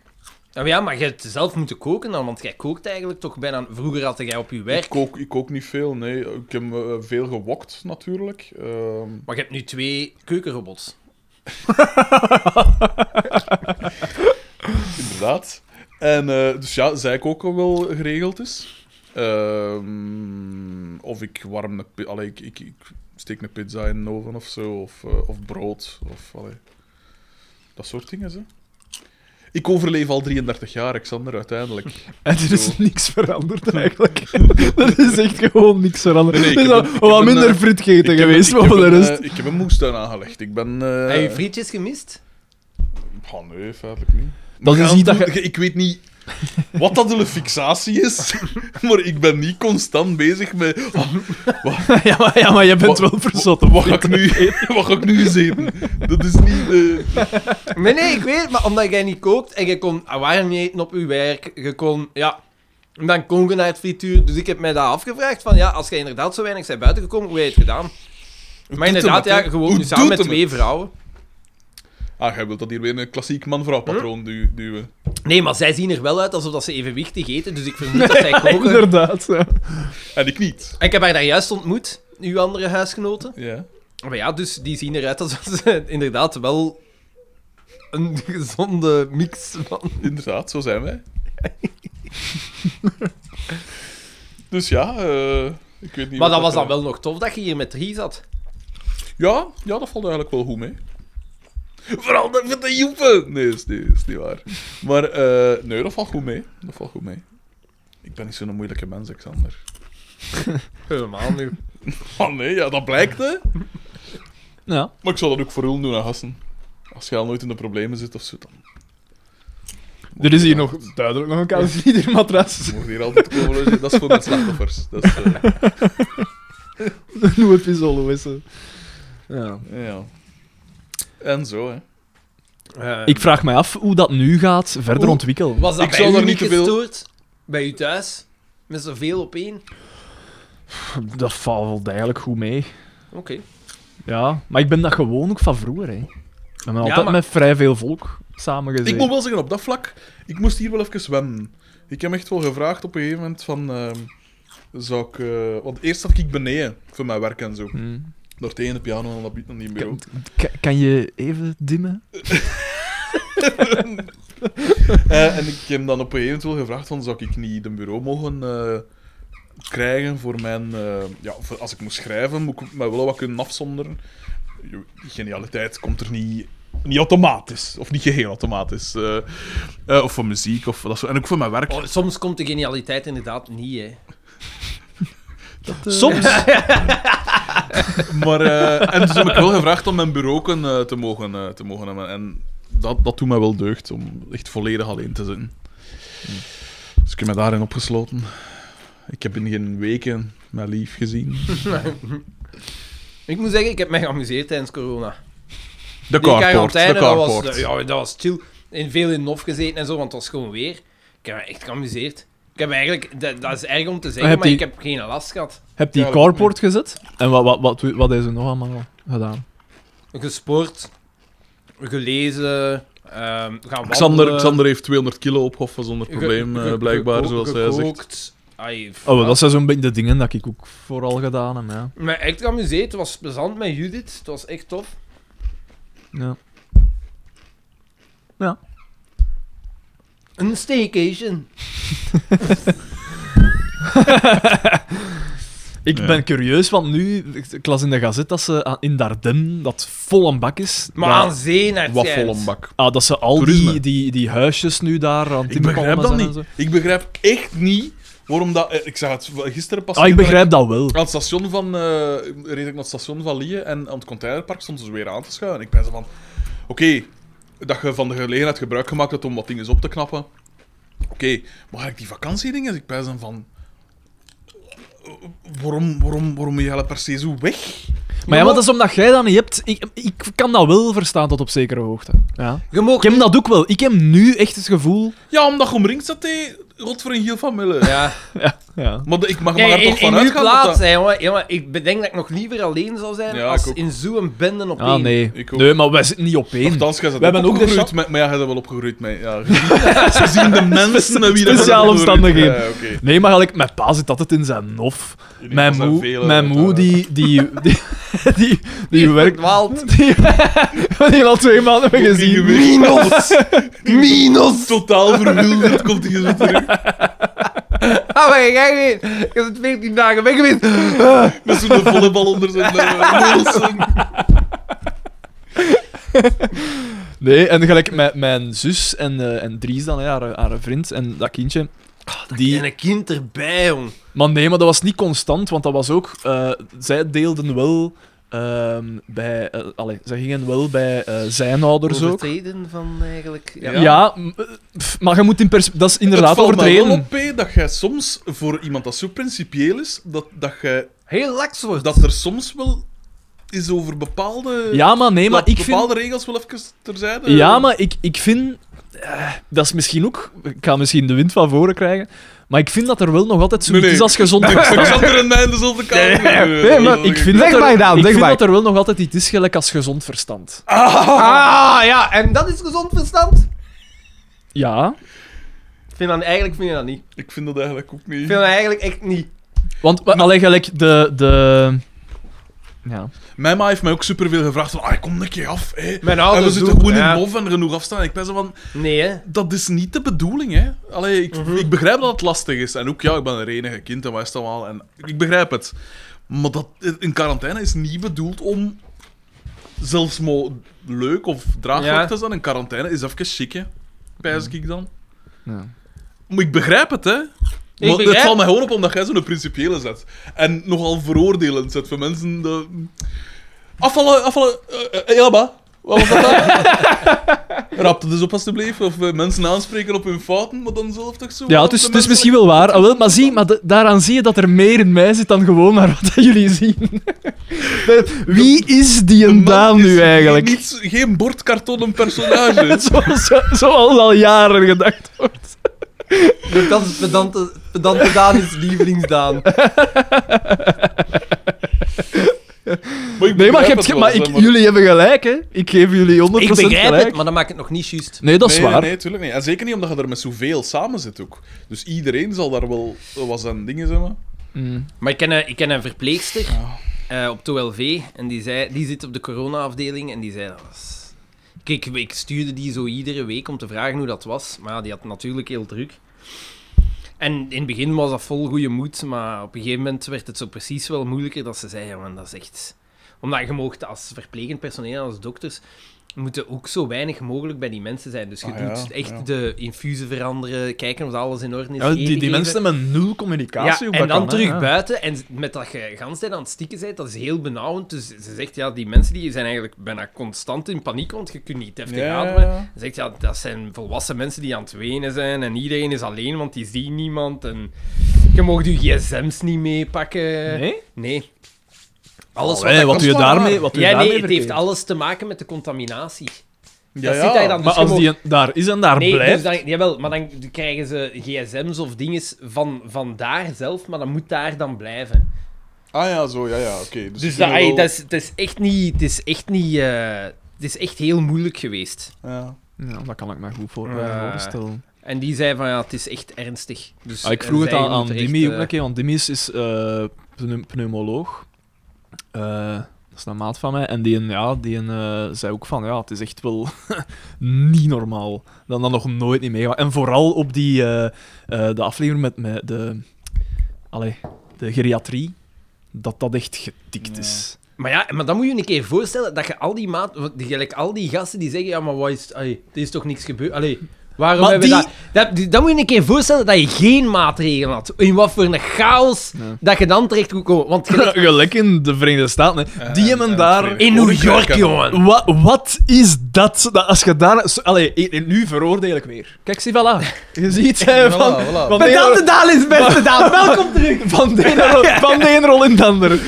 Nou ja, maar je hebt zelf moeten koken dan, want jij kookt eigenlijk toch bijna... Vroeger had jij op je
Ik
werk,
kook, ik kook niet veel, nee. Ik heb eh, veel gewokt, natuurlijk. Ehm,
maar je hebt nu twee keukenrobots.
inderdaad. En, eh, dus ja, zij koken wel geregeld is. Ehm, of ik warm een... pi- Allee, ik, ik, ik steek een pizza in de oven of zo. Of, eh, of brood. Of, allee. Dat soort dingen, hè. Ik overleef al 33 jaar, Alexander, uiteindelijk.
En er is
Zo.
niks veranderd eigenlijk. er is echt gewoon niks veranderd.
Nee, nee, ik
er is al
heb een- ik heb
wat
een,
minder
eh, Ik
frietgeten
heb-
geweest,
ik
maar
heb
voor de
een,
rest...
eh, ik heb een moestuin aangelegd. Ik ben... eh,
Heb je frietjes gemist?
Ah, nee, feitelijk niet.
Dat
Maar
is
ja,
niet dat
doe-
je-
Ik weet niet wat dat een fixatie is, maar ik ben niet constant bezig met... ah,
ja, maar, ja, maar je bent
Wa-
wel verzot.
wat, ga ik nu, wat ga ik nu eens eten? Dat is niet... eh,
Nee, nee, ik weet het, maar omdat jij niet kookt en je kon warm eten op je werk, je kon, ja, dan kon je naar het frituur. Dus ik heb mij daar afgevraagd van, ja, als jij inderdaad zo weinig bent buitengekomen, hoe heb je het gedaan? Maar
doet
inderdaad,
hem het,
ja,
hè?
gewoon
Hoe
nu samen
doet
met
hem
twee vrouwen.
Ah, jij wilt dat hier weer een klassiek man-vrouw patroon du- duwen.
Nee, maar zij zien er wel uit alsof dat ze evenwichtig eten, dus ik vermoed dat zij koken.
Inderdaad. Ja.
En ik niet.
Ik heb haar daar juist ontmoet, uw andere huisgenoten.
Ja.
Maar ja, dus die zien eruit alsof ze inderdaad wel een gezonde mix van...
Inderdaad, zo zijn wij. dus ja, eh, ik weet niet...
Maar
wat
dat was dan
eh,
wel nog tof dat je hier met drie zat.
Ja, ja, dat valt eigenlijk wel goed mee. Vooral de, met de joepen! Nee, is, nee, is niet waar. Maar eh, nee, dat valt goed mee. Dat valt goed mee. Ik ben niet zo'n moeilijke mens, Xander.
Helemaal nu.
Oh nee, ja, dat blijkt, hè.
Ja.
Maar ik zou dat ook voor hun doen aan gasten. Als je al nooit in de problemen zit of zo, dan
Er is hier nog duidelijk nog een kousenliedermatras.
mogen hier altijd komen. logeren. Dat is voor mijn slachtoffers. Dat is, eh,
Nieuwe pizzolo is ze. Ja.
ja. En zo, hè.
Ik vraag mij af hoe dat nu gaat verder
Hoe-
ontwikkelen.
Was dat
Ik
bij
zou
u
daar
niet
niet te veel-
gestoord? Bij u thuis? Met zoveel op één?
Dat valt eigenlijk goed mee.
Oké.
Ja, maar ik ben dat gewoon ook van vroeger. Hè. Ik ben altijd
maar-
met vrij veel volk samengezeten.
Ik moet wel zeggen, op dat vlak, ik moest hier wel even zwemmen. Ik heb hem echt wel gevraagd op een gegeven moment van... ehm, zou ik... eh, want eerst zat ik beneden voor mijn werk en zo.
Hmm.
Door tegen de piano en dat bi- aan die bureau.
Kan, kan- kan je even dimmen?
Eh, en ik heb hem dan op een gegeven moment wel gevraagd van... Zou ik niet een bureau mogen eh, krijgen voor mijn... eh, ja, voor als ik moest schrijven, moet ik mij wel wat kunnen afzonderen. Je- Die genialiteit komt er niet... Niet automatisch, of niet geheel automatisch. eh, eh, of voor muziek, of dat soort. En ook voor mijn werk.
Oh, soms komt de genialiteit inderdaad niet, hè.
Soms.
Maar, eh, en dus heb ik wel gevraagd om mijn bureau ook een, eh, te, mogen, eh, te mogen hebben. En dat, dat doet mij wel deugd, om echt volledig alleen te zitten.
Hmm.
Dus ik heb me daarin opgesloten. Ik heb in geen weken mijn lief gezien.
Ik moet zeggen, ik heb mij geamuseerd tijdens corona.
De
Die
carport, de
quarantaine, dat was,
carport.
eh, ja, dat was chill. In veel in Nof gezeten en zo, want het was gewoon weer. Ik heb me echt geamuseerd. Ik heb eigenlijk, dat, dat is erg om te zeggen,
heb
maar
die-
ik heb geen last gehad.
Heb die
Ja, dat ook
carport gezet? En wat, wat, wat, wat hebben ze nog allemaal gedaan?
Gesport, gelezen, ehm gaan
Xander,
wandelen,
Xander heeft 200 kilo opgehoffen zonder
ge-
probleem,
ge-
eh, blijkbaar,
geko-
zoals hij zegt.
gekookt. Ai,
Oh, wel, dat zijn zo'n beetje de dingen dat ik ook vooral gedaan heb. Ja.
Maar echt geamuseerd. Het was plezant met Judith. Het was echt tof.
Ja.
Een staycation.
Ik
Ja.
ben curieus, want nu, ik las in de gazet dat ze aan- in Dardenne, dat vol een bak is.
Maar
dat-
aan zee naar het
Wat
schijnt.
vol een bak.
Ah, dat ze al
Toerisme.
die, die, die huisjes nu daar aan
Ik begrijp
timmeren
dat
zijn en
niet.
zo. Ah,
Ik begrijp echt niet waarom dat... eh, Ik zag het gisteren pas...
Ah, ik
in de-
begrijp dat wel.
Aan het station van... eh, reed ik naar het station van Lieën en aan het containerpark stonden ze weer aan te schuiven. En ik ben zo van... Oké, dat je van de gelegenheid gebruik gemaakt hebt om wat dingen op te knappen. Oké, maar ik die vakantiedingen... Ik ben zo van... eh, Waarom, waarom, waarom ben je per se zo weg?
Maar ja, maar dat is omdat jij dat niet hebt. Ik, ik kan dat wel verstaan tot op zekere hoogte. Ja.
Je mag
Ik heb dat ook wel. Ik heb nu echt het gevoel...
Ja, omdat je omringd zat, hé. Rot voor een giel van Mille.
Ja.
Ja, ja.
Maar de- ik mag maar
Nee,
er
in,
toch
in
van
uw
uitgaan dat
plaats,
dat-
hè, jongen. Jongen, Ik bedenk dat ik nog liever alleen zou zijn
Ja, ik
als
ook.
in zo'n bende op
Ah,
één.
nee.
Ik ook.
Nee, maar wij zitten niet op één.
Nochtans, jij
We
bent ook
hebben ook de
opgegroeid met... Maar ja, jij bent wel opgegroeid met... Ja, ze zien de mensen met wie dat je
Speciale
opgegroeid bent.
omstandigheden.
Ja, oké.
Nee, maar gelijk, mijn pa zit altijd in zijn nof.
Jullie
Mijn
zijn
moe,
velen
mijn
uit,
moe
hè.
die, die, die, die, die werkt...
verdwaalt.
Die, die al twee maanden hebben gezien.
Minus! Minus! Totaal verwilderd komt hij zo terug.
Ah, maar je gaat niet. Je bent 14 dagen weg geweest.
Met zo'n volleybal onder zijn eh, polsen.
Nee, en gelijk mijn, mijn zus en, eh, en Dries dan, hè, haar, haar vriend en dat kindje.
En
die,
een kind erbij, jong.
maar nee, maar dat was niet constant, want dat was ook... eh, zij deelden wel ehm, bij... eh, allee, zij gingen wel bij eh, zijn ouders ook.
Overtreden van eigenlijk... Ja.
Ja, m- eh, pff, maar je moet in pers... Dat is inderdaad
Het valt mij wel
overtreden.
op, hè, dat jij soms, voor iemand dat zo principieel is, dat, dat, jij,
Heel laks wordt.
dat er soms wel is over bepaalde...
Ja, maar nee, maar
dat
ik vind...
Bepaalde regels wel even terzijde.
Ja, maar ik, ik vind... eh, dat is misschien ook... Ik ga misschien de wind van voren krijgen. Maar ik vind dat er wel nog altijd zoiets
Nee, nee.
is als gezond
Alexander en mij in dezelfde kamer.
Nee, maar ik vind,
Zeg
dat,
maar
er,
nou,
dan,
ik
zeg
vind
maar.
dat er wel nog altijd iets is gelijk als gezond verstand.
Ah, ja. En dat is gezond verstand?
Ja,
Ik Vind dat, eigenlijk vind je dat niet.
Ik vind dat eigenlijk ook
Ik
niet.
vind dat eigenlijk echt niet.
want wa- alleen gelijk de. de... Ja.
Mijn ma heeft mij ook superveel gevraagd van, ah, kom een keer af, hè.
Mijn
En
ouders
we zitten
doen-
gewoon
ja.
in bof en genoeg afstaan. Ik ben zo van,
Nee, hè.
dat is niet de bedoeling, hè. Allee, ik,
Mhm.
ik begrijp dat het lastig is. En ook, ja, ik ben een enige kind en wat is dat allemaal. En ik begrijp het. Maar dat, in quarantaine is niet bedoeld om zelfs maar leuk of draaglijk
Ja.
te zijn. In quarantaine is even chic, hè. Pijs ik dan.
ja.
Maar ik begrijp het, hè. Maar
begrijp-
Het valt mij gewoon op omdat jij zo'n principiële zet. En nogal veroordelend zet voor mensen. De... Afvallen, afvallen. eh, eh, Elba, wat was dat dan? Rap het dus op alsjeblieft. Of eh, mensen aanspreken op hun fouten, maar dan zelf toch zo.
Ja, het is,
de
het is
mensen-
misschien wel waar. Ah, wel, maar zie, maar da- daaraan zie je dat er meer in mij zit dan gewoon naar wat dat jullie zien. Wie is die
De
een
man
Daan
is
nu
geen-
eigenlijk?
Niet, geen bord kartonnen personage.
Zoals zo, zoals al jaren gedacht wordt.
Dat is pedante, pedante Daan is lievelingsdaan.
Maar ik
Nee, maar,
begrijp
je hebt
het
ge-
wel,
maar
zeg
ik, jullie hebben gelijk, hè. Ik geef jullie 100%
Ik begrijp
gelijk.
het, maar dat maakt het nog niet juist.
Nee, dat is
nee,
waar.
Nee, natuurlijk niet. En zeker niet omdat je er met zoveel samen zit ook. Dus iedereen zal daar wel eh, wat aan dingen zeggen.
Mm.
Maar ik ken een, ik ken een verpleegster
Ja.
eh, op het OLV en die, zei, die zit op de corona-afdeling en die zei dat was... Kijk, ik stuurde die zo iedere week om te vragen hoe dat was, maar ja, die had natuurlijk heel druk. En in het begin was dat vol goede moed, maar op een gegeven moment werd het zo precies wel moeilijker dat ze zei, ja, man, dat is echt... Omdat je moogt als verplegend personeel, als dokters, moeten ook zo weinig mogelijk bij die mensen zijn. Dus je
Ah, ja,
doet echt
ja.
de infusen veranderen, kijken of alles in orde is.
Ja, die,
eten
die
geven.
mensen hebben nul
Ja,
communicatie. hoe
en
dat
dan
kan, hè,
terug
ja.
buiten en z- met dat je gans tijd aan het stikken bent, dat is heel benauwend. Dus ze zegt, ja, die mensen die zijn eigenlijk bijna constant in paniek, want je kunt niet heftig ademen. Ze zegt, ja, dat zijn volwassen mensen die aan het wenen zijn en iedereen is alleen, want die zien niemand. En je mag je gsm's niet meepakken.
Nee?
Nee. Alles wat...
Allee,
dat
wat
kan,
doe je
is wel
daarmee?
waar.
Wat doe je
ja, nee,
daarmee
het heeft
verkeerd?
alles te maken met de contaminatie.
Ja,
zit hij dan.
Maar
Dus je
als die een- daar is en daar
Nee, dus
blijft...
dan, jawel, maar dan krijgen ze gsm's of dinges van, van daar zelf, maar dat moet daar dan blijven.
Ah ja, zo, ja, ja, oké.
Dus
die
dat, ey,
wel-
dat is, het is echt niet... Het is echt niet... eh, het is echt heel moeilijk geweest.
Ja.
Ja, dat kan ik me goed voor,
Ja.
voorstellen.
En die zei van, ja, het is echt ernstig. Dus,
Ah, ik
eh,
vroeg het
zij
aan, aan
moeten echt,
Dimi ook
eh,
een keer, want Dimi is, is eh, pneum- pneumoloog. Eh, dat is een maat van mij. En die, een- ja, die een, eh, zei ook van, ja, het is echt wel niet normaal. Dan dat nog nooit niet meegemaakt. En vooral op die, eh, eh, de aflevering met, met de, allee, de geriatrie, dat dat echt getikt is.
Maar ja, maar dan moet je een keer voorstellen dat je al die maat... want die- Gelijk al die gasten die zeggen, ja, maar wat is... Allee, er is toch niks gebeurd? Allee, waarom
Maar
hebben
die-
we dat... dat... die- Dan moet je een keer voorstellen dat je geen maatregelen had. In wat voor een chaos
Ja.
dat je dan terecht moet komen. Want gelijk-
Gelijk in de Verenigde Staten. hè.
En-
die hebben
en
daar...
Verenigd
in New
Koninkrijk
York,
en-
jongen.
Wat, wat is dat? Dat Als je daar... zo- Allee, i- i- nu veroordeel ik weer. Kijk, zie, voilà. Je ziet eh,
Voilà,
van...
voilà.
Van de,
Pedante
ene,
Daan is beste Daan. Welkom terug.
van, de ene rol, van de ene rol in de andere.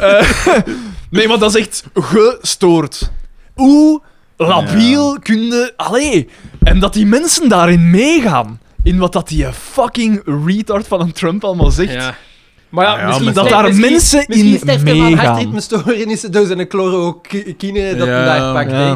Eh, nee, maar dat is echt gestoord. Hoe labiel kun je... Allee. En dat die mensen daarin meegaan. In wat dat die fucking retard van een Trump allemaal zegt.
Ja. Maar ja,
Ah ja,
misschien
maar
dat
sterft-
daar
misschien-
mensen
misschien
in
sterft hij
meegaan.
van hartritmestoornissen door zijn chloroquine dat
Ja,
hem daar pakt.
Ja.
hè.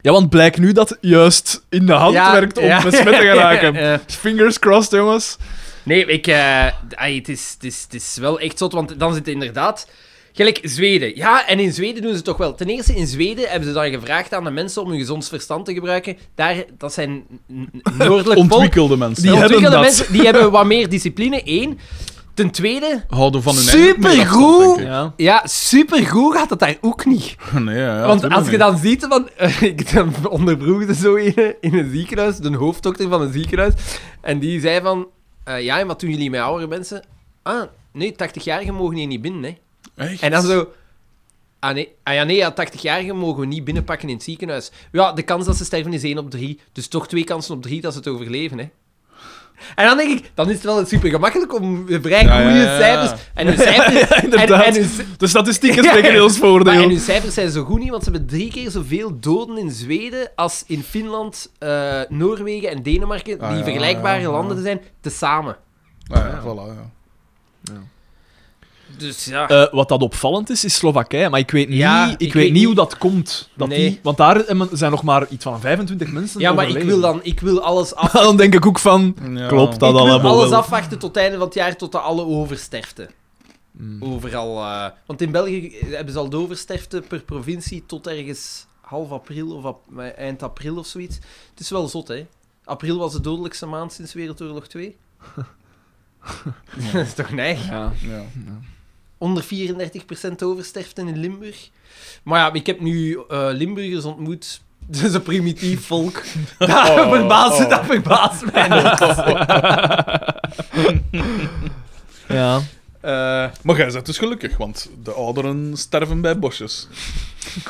Ja, want blijkt nu dat het juist in de hand
Ja,
werkt om
ja.
besmet te geraken.
Ja.
Fingers crossed, jongens.
Nee, ik, eh, ai, het, is, het, is, het is wel echt zot, want dan zit inderdaad... Gelijk Zweden. Ja, en in Zweden doen ze het toch wel. Ten eerste, in Zweden hebben ze dan gevraagd aan de mensen om hun gezond verstand te gebruiken. Daar, dat zijn n- n- noordelijk volk.
Ontwikkelde mensen.
Die
Die
hebben
ontwikkelde
dat.
mensen die hebben wat meer discipline, één. Ten tweede,
houden van hun
Supergoed!
eigen
Ja.
ja, supergoed gaat dat daar ook niet.
middag, Nee, ja, ja,
Want
tuurlijk
als je
niet.
dan ziet, van, eh, ik dan onderbroegde zo in, in een ziekenhuis, de hoofddokter van een ziekenhuis, en die zei van, eh, ja, en wat doen jullie met oudere mensen? Ah, nee, 80-jarigen mogen hier niet binnen, hè.
Echt?
En dan zo, ah, nee, ah ja, nee, ja, 80-jarigen mogen we niet binnenpakken in het ziekenhuis. Ja, de kans dat ze sterven is 1 op 3, dus toch twee kansen op 3 dat ze het overleven, hè. En dan denk ik, dan is het wel super gemakkelijk om vrij
Ja, ja,
goede
ja, ja.
cijfers. En hun cijfers.
inderdaad.
En, en hun,
De statistieken spreken in ons voordeel.
maar en hun cijfers zijn zo goed niet, want ze hebben drie keer zoveel doden in Zweden als in Finland, eh, Noorwegen en Denemarken,
Ah,
die
ja,
vergelijkbare
Ah ja, ja.
landen zijn, tezamen.
Ah, ja, voilà, ja.
Dus ja.
Eh, wat dat opvallend is, is Slowakije. Maar ik weet niet,
Ja,
ik weet niet hoe dat komt. Dat
Nee.
die, want daar hebben- zijn nog maar iets van 25 mensen
ja, maar ik
overleden.
wil, dan, ik wil alles af.
Dan denk ik ook van...
Ja.
Klopt dat
ik wil
allemaal
alles
wel.
afwachten tot het einde van het jaar, tot de alle oversterfte.
Hmm.
Overal. eh, want in België hebben ze al de oversterfte per provincie tot ergens half april of ap- eh, eind april of zoiets. Het is wel zot, hè? April was de dodelijkste maand sinds Wereldoorlog 2. Dat is toch neig?
Ja.
Ja.
onder 34% oversterften in Limburg. Maar ja, ik heb nu eh, Limburgers ontmoet. Dat is een primitief volk. Dat, verbaast,
oh.
dat verbaast mij niet.
Ja.
Eh,
Maar jij bent dus gelukkig, want de ouderen sterven bij bosjes.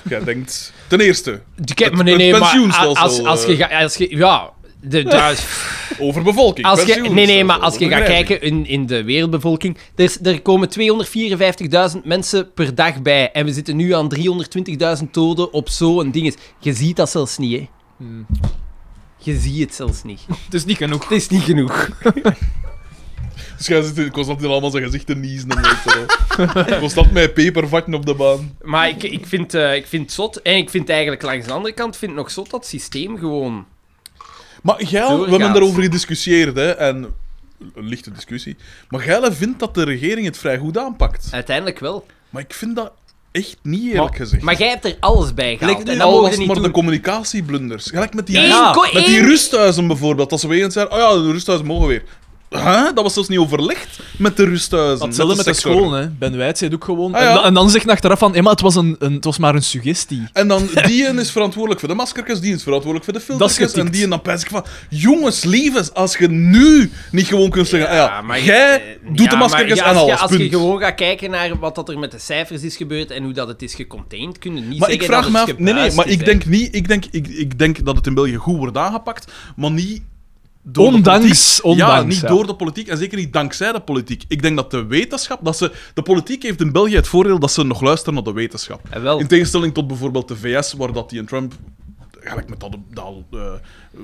jij denkt, ten eerste,
ik heb-
Het-
nee,
het
nee, maar a-
pensioenstelsel,
als, als je...
eh.
ga- Als je ja, de, de-
overbevolking.
als je,
pensioen,
nee, nee,
zelfs
maar als je gaat
overbedrijving.
kijken in, in de wereldbevolking, er, is- er komen 254.000 mensen per dag bij. En we zitten nu aan 320.000 doden op zo'n ding. Je ziet dat zelfs niet, hè. Je ziet het zelfs niet.
Het is niet genoeg.
Het is niet genoeg.
Dus jij zit constant in allemaal zijn gezichten niezen en weet je wel. Constant met pepervatten op de baan.
Maar ik, ik, vind, eh, ik vind het zot. En ik vind eigenlijk langs de andere kant vind ik nog zot dat systeem gewoon.
Maar jij, we
Doorgaans.
hebben daarover gediscussieerd, hè, en een lichte discussie. Maar jij vindt dat de regering het vrij goed aanpakt.
Uiteindelijk wel.
Maar ik vind dat echt niet eerlijk gezegd.
Maar jij hebt er alles bij
Gelijk
gehaald.
nu
En dat
dat
mogen we
was het
niet
maar de
doen.
communicatieblunders. Gelijk met die,
Eén
rust-
ko-
met die
één-
rusthuizen bijvoorbeeld. Dat ze weer eens zeiden, oh ja, de rusthuizen mogen weer. Huh? Dat was zelfs niet overlegd met de rusthuizen.
Hetzelfde met de
sector.
school, hè. Ben Wijd zei het ook gewoon.
Ah,
en,
ja.
dan, en dan zegt hij achteraf van... Ja, maar het was, een, een, het was maar een suggestie.
En dan, die een is verantwoordelijk voor de maskertjes, die is verantwoordelijk voor de filtertjes.
getikt.
En die en dan pijs ik van, jongens, liefes, als je nu niet gewoon kunt zeggen, ah ja, jij
eh,
doet de
ja,
maskertjes
maar
aan
als je-
alles,
Als je
punt.
gewoon gaat kijken naar wat dat er met de cijfers is gebeurd en hoe dat het is gecontained, kun je niet
Maar ik
zeggen dat
vraag me
het
af, nee, nee,
gebuist
maar
is,
ik
hè.
denk niet, ik denk, ik, ik denk dat het in België goed wordt aangepakt, maar niet door
Ondanks,
de politiek. ja,
ondanks,
niet
ja.
door de politiek en zeker niet dankzij de politiek. Ik denk dat de wetenschap, dat ze, de politiek heeft in België het voordeel dat ze nog luisteren naar de wetenschap.
Eh, wel.
In tegenstelling tot bijvoorbeeld de VS, waar dat die en Trump. Eigenlijk met dat, dat eh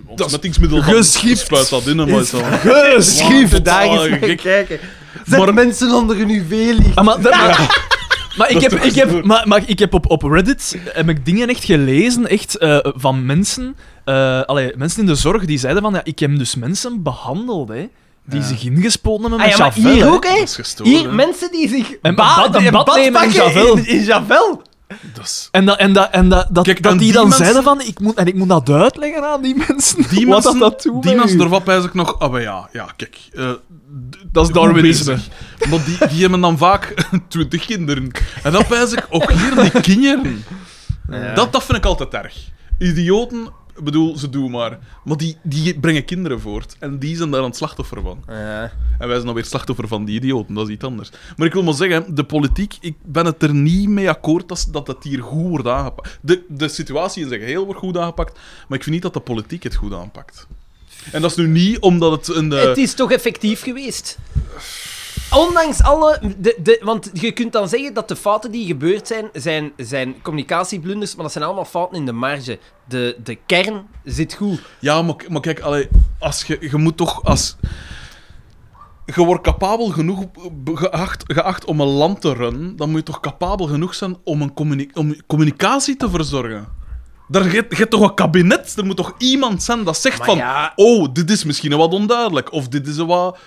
ontsmettingsmiddel van-
geschift.
spuit dat in, maar zo.
Geschift!
Wow,
Daar eens
oh,
naar
gek.
kijken. Zet
Maar-
mensen onder hun UV-licht.
Ah, maar, dat- maar, maar ik
Dat
heb,
is
ik heb,
door.
maar, maar ik heb op, op Reddit eh, heb ik dingen echt gelezen echt, eh, van mensen, eh, allee, mensen in de zorg die zeiden van ja, ik heb dus mensen behandeld hè, die
Ja.
zich ingespoten hebben
Ah
met
ja, maar
Javel.
hier
hè.
ook, hè.
Dat is gestoord.
Hier,
hè.
mensen die zich
een
ba-
bad- een
een
bad
bad
nemen in
pakken
Javel.
in- in Javel.
Dat is-
En, dat en, dat en dat dat,
Kijk,
dat
aan
die,
die
dan
mensen-
zeiden van ik moet, en ik moet dat uitleggen aan die mensen.
Die
wat
mensen,
dat, dat doet
die
met
mensen,
u.
daar wat pijs ik nog. Ah, maar ja, ja, kijk. eh, d-
Dat is
goed
Darwinisme.
bezig. Maar die, die hebben dan vaak twintig kinderen. En dan pijs ik, ook hier die kinderen. Dat, dat vind ik altijd erg. Idioten, ik bedoel, ze doen maar. Maar die, die brengen kinderen voort. En die zijn daar een slachtoffer van. En wij zijn dan weer slachtoffer van die idioten, dat is iets anders. Maar ik wil maar zeggen, de politiek, ik ben het er niet mee akkoord dat, dat het hier goed wordt aangepakt. De, de situatie in zijn geheel wordt goed aangepakt, maar ik vind niet dat de politiek het goed aanpakt. En dat is nu niet omdat het een... eh,
Het is toch effectief geweest? Ondanks alle... De, de, want je kunt dan zeggen dat de fouten die gebeurd zijn, zijn, zijn communicatieblunders, maar dat zijn allemaal fouten in de marge. De, de kern zit goed.
Ja, maar, k- maar kijk, allee, als je, je moet toch als... Je wordt capabel genoeg be- geacht, geacht om een land te runnen, dan moet je toch capabel genoeg zijn om, een communi- om communicatie te verzorgen. Daar je, je hebt toch een kabinet, er moet toch iemand zijn dat zegt
Maar
van...
ja.
Oh, dit is misschien wat onduidelijk, of dit is wat...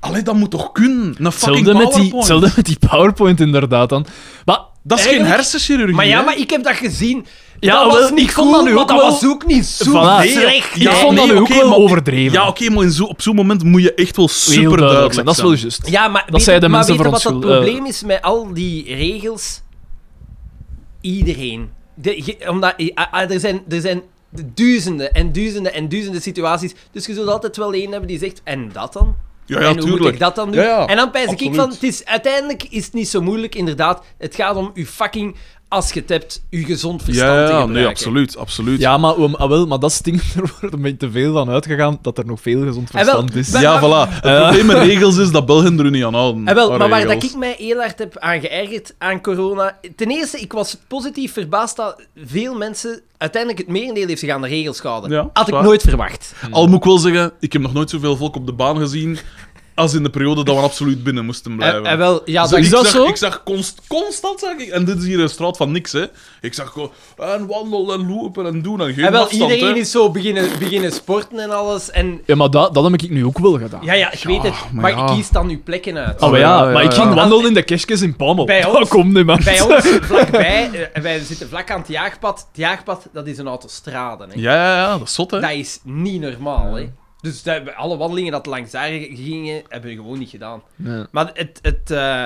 Allee, dat moet toch kunnen? Een fucking
Hetzelfde met,
PowerPoint.
die, hetzelfde met die PowerPoint inderdaad dan. Maar
Dat is geen
Eigenlijk-
hersenchirurgie,
Maar ja,
hè?
maar ik heb dat gezien.
Ja,
dat
wel,
was niet
ik vond
goed,
dat nu
maar
ook
dat
wel-
was ook niet zo
Voilà.
slecht.
Ik
hè.
vond dat nu ook
oké,
wel
maar-
overdreven.
Ja, oké, maar in zo, op zo'n moment moet je echt wel super duidelijk zijn.
Dat is wel juist.
Ja, maar
Dat
weet
zeiden
je- maar
mensen
weet je wat
voor
het
ons eh, schuld-
probleem is met al die regels? Iedereen. De, ge- omdat, eh, ah, ah, er, zijn, er zijn duizenden en duizenden en duizenden situaties. Dus je zult altijd wel één hebben die zegt, en dat dan?
Ja, ja,
en hoe moet
tuurlijk.
ik dat dan doen?
Ja, ja,
en dan pijs ik
absoluut.
van, het is, uiteindelijk is het niet zo moeilijk, inderdaad. Het gaat om je fucking, als je het hebt, je gezond verstand
Ja,
te
ja,
gebruiken.
nee, absoluut, absoluut.
Ja, maar, oom, ah, wel, maar dat stinkt. Er wordt een beetje te veel van uitgegaan dat er nog veel gezond
Ah, wel,
verstand is.
wel-
Ja,
Maar-
voilà. Het probleem met regels is dat Belgen er niet aan houden.
Ah, wel,
Aan
maar waar dat
Mm. regels.
ik mij heel hard heb aan geërgerd aan corona. Ten eerste, ik was positief verbaasd dat veel mensen uiteindelijk het merendeel heeft zich aan de regels gehouden.
Ja,
Had ik
zwaar.
nooit verwacht.
Al moet ik wel zeggen, ik heb nog nooit zoveel volk op de baan gezien als in de periode dat we absoluut binnen moesten blijven.
En, en Eh, wel, ja,
Dus
dat
ik
is dat
zag,
zo.
Ik zag const- constant, zag ik, en dit is hier een straat van niks, hè. Ik zag gewoon, en wandelen en lopen en doen en geen
En Ah, wel,
afstand,
iedereen
hè.
is zo beginnen, beginnen sporten en alles. En
Ja, maar dat, dat heb ik nu ook wel gedaan.
ja, ja, ik weet het.
maar
Maar,
ja.
ik kies dan uw plekken uit.
Oh, maar
Ja,
ja,
ja,
maar ik
ja.
ging wandelen in de kerstjes in Pammel.
Bij
dat
ons-
komt niet, man.
Bij ons, vlakbij, eh, wij zitten vlak aan het jaagpad. Het jaagpad, dat is een autostrade. Hè.
Ja, ja, ja, dat is zot, hè.
Dat is niet normaal, hè. Dus dat- alle wandelingen dat langs daar gingen, hebben we gewoon niet gedaan.
Ja.
Maar het... het eh,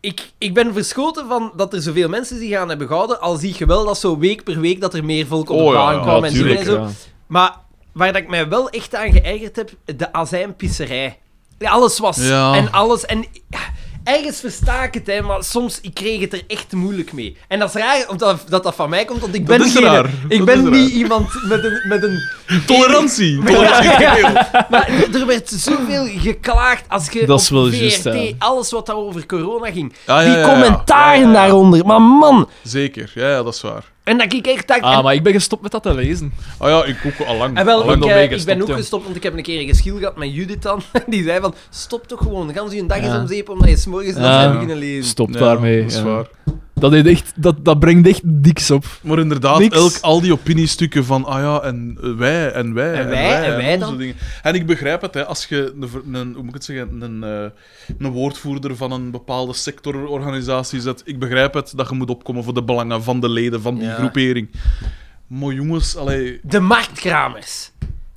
ik, ik ben verschoten van dat er zoveel mensen zich aan hebben gehouden, al zie je wel dat zo week per week dat er meer volk op de
Oh ja,
baan
ja,
kwam en zo
tuurlijk,
en zo. Maar waar dat ik mij wel echt aan geërgerd heb, de azijnpisserij. Ja, Alles was.
Ja.
En alles. En ja, ergens versta ik het, hè, maar soms ik kreeg het er echt moeilijk mee. En dat is raar omdat, dat dat van mij komt, want ik
Dat
ben,
is
geen,
raar.
Ik
Dat
ben
is raar.
niet iemand met een. Met een
Tolerantie.
ja,
Tolerantie.
ja, Maar er werd zoveel geklaagd als je
Dat is
op
wel
VRT,
juist, ja. Ah,
alles wat daar over corona ging.
Ja, ja,
die
ja, ja.
commentaren
Ja, ja, ja.
daaronder. Maar man,
Zeker, ja, ja, dat is waar.
en dat ik echt dacht... en-
Ah, maar ik ben gestopt met dat te lezen.
Ah ja, ik ook al lang.
En wel,
Lang
ik,
nog
eh,
mee
ik ben
gestopt,
ook
ja.
gestopt, want ik heb een keer een geschil gehad met Judith dan. Die zei van, stop toch gewoon, gaan ze een dag eens
Ja.
om zeep, omdat je s'morgens dat
Ja.
zijn beginnen lezen.
Stop daarmee.
Dat is
ja.
waar.
Dat, deed echt, dat, dat brengt echt diks op.
Maar inderdaad,
Niks.
elk, al die opiniestukken van, ah ja, en eh, wij, en wij,
En wij, en wij
onze
dan?
dingen. En ik begrijp het, hè, als je, een, ver- een, hoe moet ik het zeggen, een, eh, een woordvoerder van een bepaalde sectororganisatie zet, ik begrijp het, dat je moet opkomen voor de belangen van de leden van die
Ja.
groepering. Maar jongens, allee,
De marktkramers.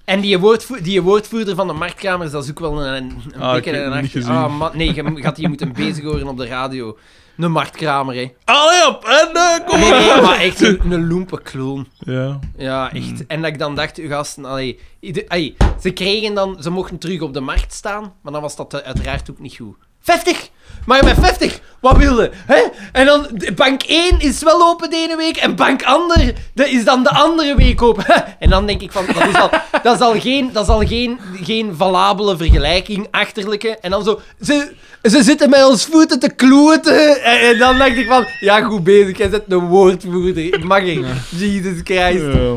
En die, woordvoer, die woordvoerder van de marktkramers, dat is ook wel een, een een
Ah, ik
pikker
heb
en
het
een
niet
achter-
gezien.
Ah, man, nee, je gaat hier moeten bezig horen op de radio. Een marktkramer, hè.
allee op, en eh, kom
Nee,
maar.
nee, maar echt een, een loempe kloon.
Ja.
Ja, echt. En dat ik dan dacht, uw gasten, allee, ieder- allee, ze kregen dan, ze mochten terug op de markt staan, maar dan was dat eh, uiteraard ook niet goed. 50! Maar met 50, wat wilde? Hè? En dan, de- bank 1 is wel open de ene week en bank ander dat is dan de andere week open. En dan denk ik van, dat is al, dat is al, geen, dat is al geen, geen valabele vergelijking, achterlijke. En dan zo, ze, ze zitten met ons voeten te kloeten. En, en dan dacht ik van, ja goed bezig, jij zet een woordvoerder. Mag ik? Jesus Christ.
Ja.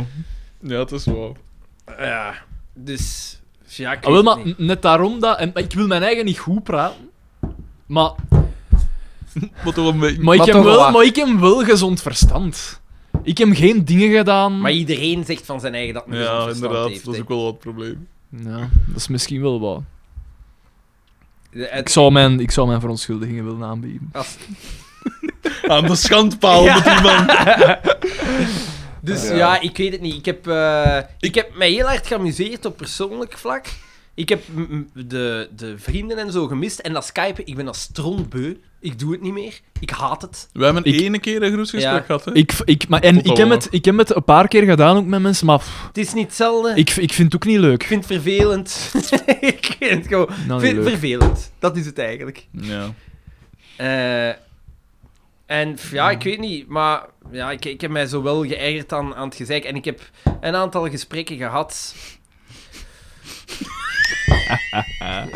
ja, het is wel.
Ja, dus. Ja, ik
Ah, wel,
weet
maar
het niet.
n- net daarom dat... En, maar ik wil mijn eigen niet goed praten. Maar,
Wat toch een beetje...
maar, ik,
Maar
heb
toch
wel,
wat.
maar ik heb wel gezond verstand. Ik heb geen dingen gedaan...
Maar iedereen zegt van zijn eigen dat hij
Ja,
verstand
inderdaad,
heeft.
dat is
hè.
ook wel wat probleem.
Ja, dat is misschien wel wat.
De-
Ik
het-
zou mijn, ik zou mijn verontschuldigingen willen aanbieden.
als-
Aan de schandpaal
Ja.
moet iemand...
dus
Ja.
ja. ik weet het niet. Ik heb, eh, ik heb mij heel hard geamuseerd op persoonlijk vlak. Ik heb m- m- de, de vrienden en zo gemist. En dat Skype, ik ben als strontbeu. Ik doe het niet meer. Ik haat het.
We hebben
Ik-
ene keer een groepsgesprek
Ja.
gehad, hè?
Ik, ik, maar, en
Tot
ik
dan
heb,
wel.
het, ik heb het een paar keer gedaan, ook met mensen, maar pff,
Het is niet hetzelfde. Ik
ik, ik vind het ook niet leuk.
vind het vervelend. ik vind het gewoon
Nou, niet
vind het
leuk.
vervelend. Dat is het eigenlijk.
Ja.
Eh, en f- ja, ik weet niet, maar ja, ik, ik heb mij zo wel geërgerd aan, aan het gezeik. En ik heb een aantal gesprekken gehad.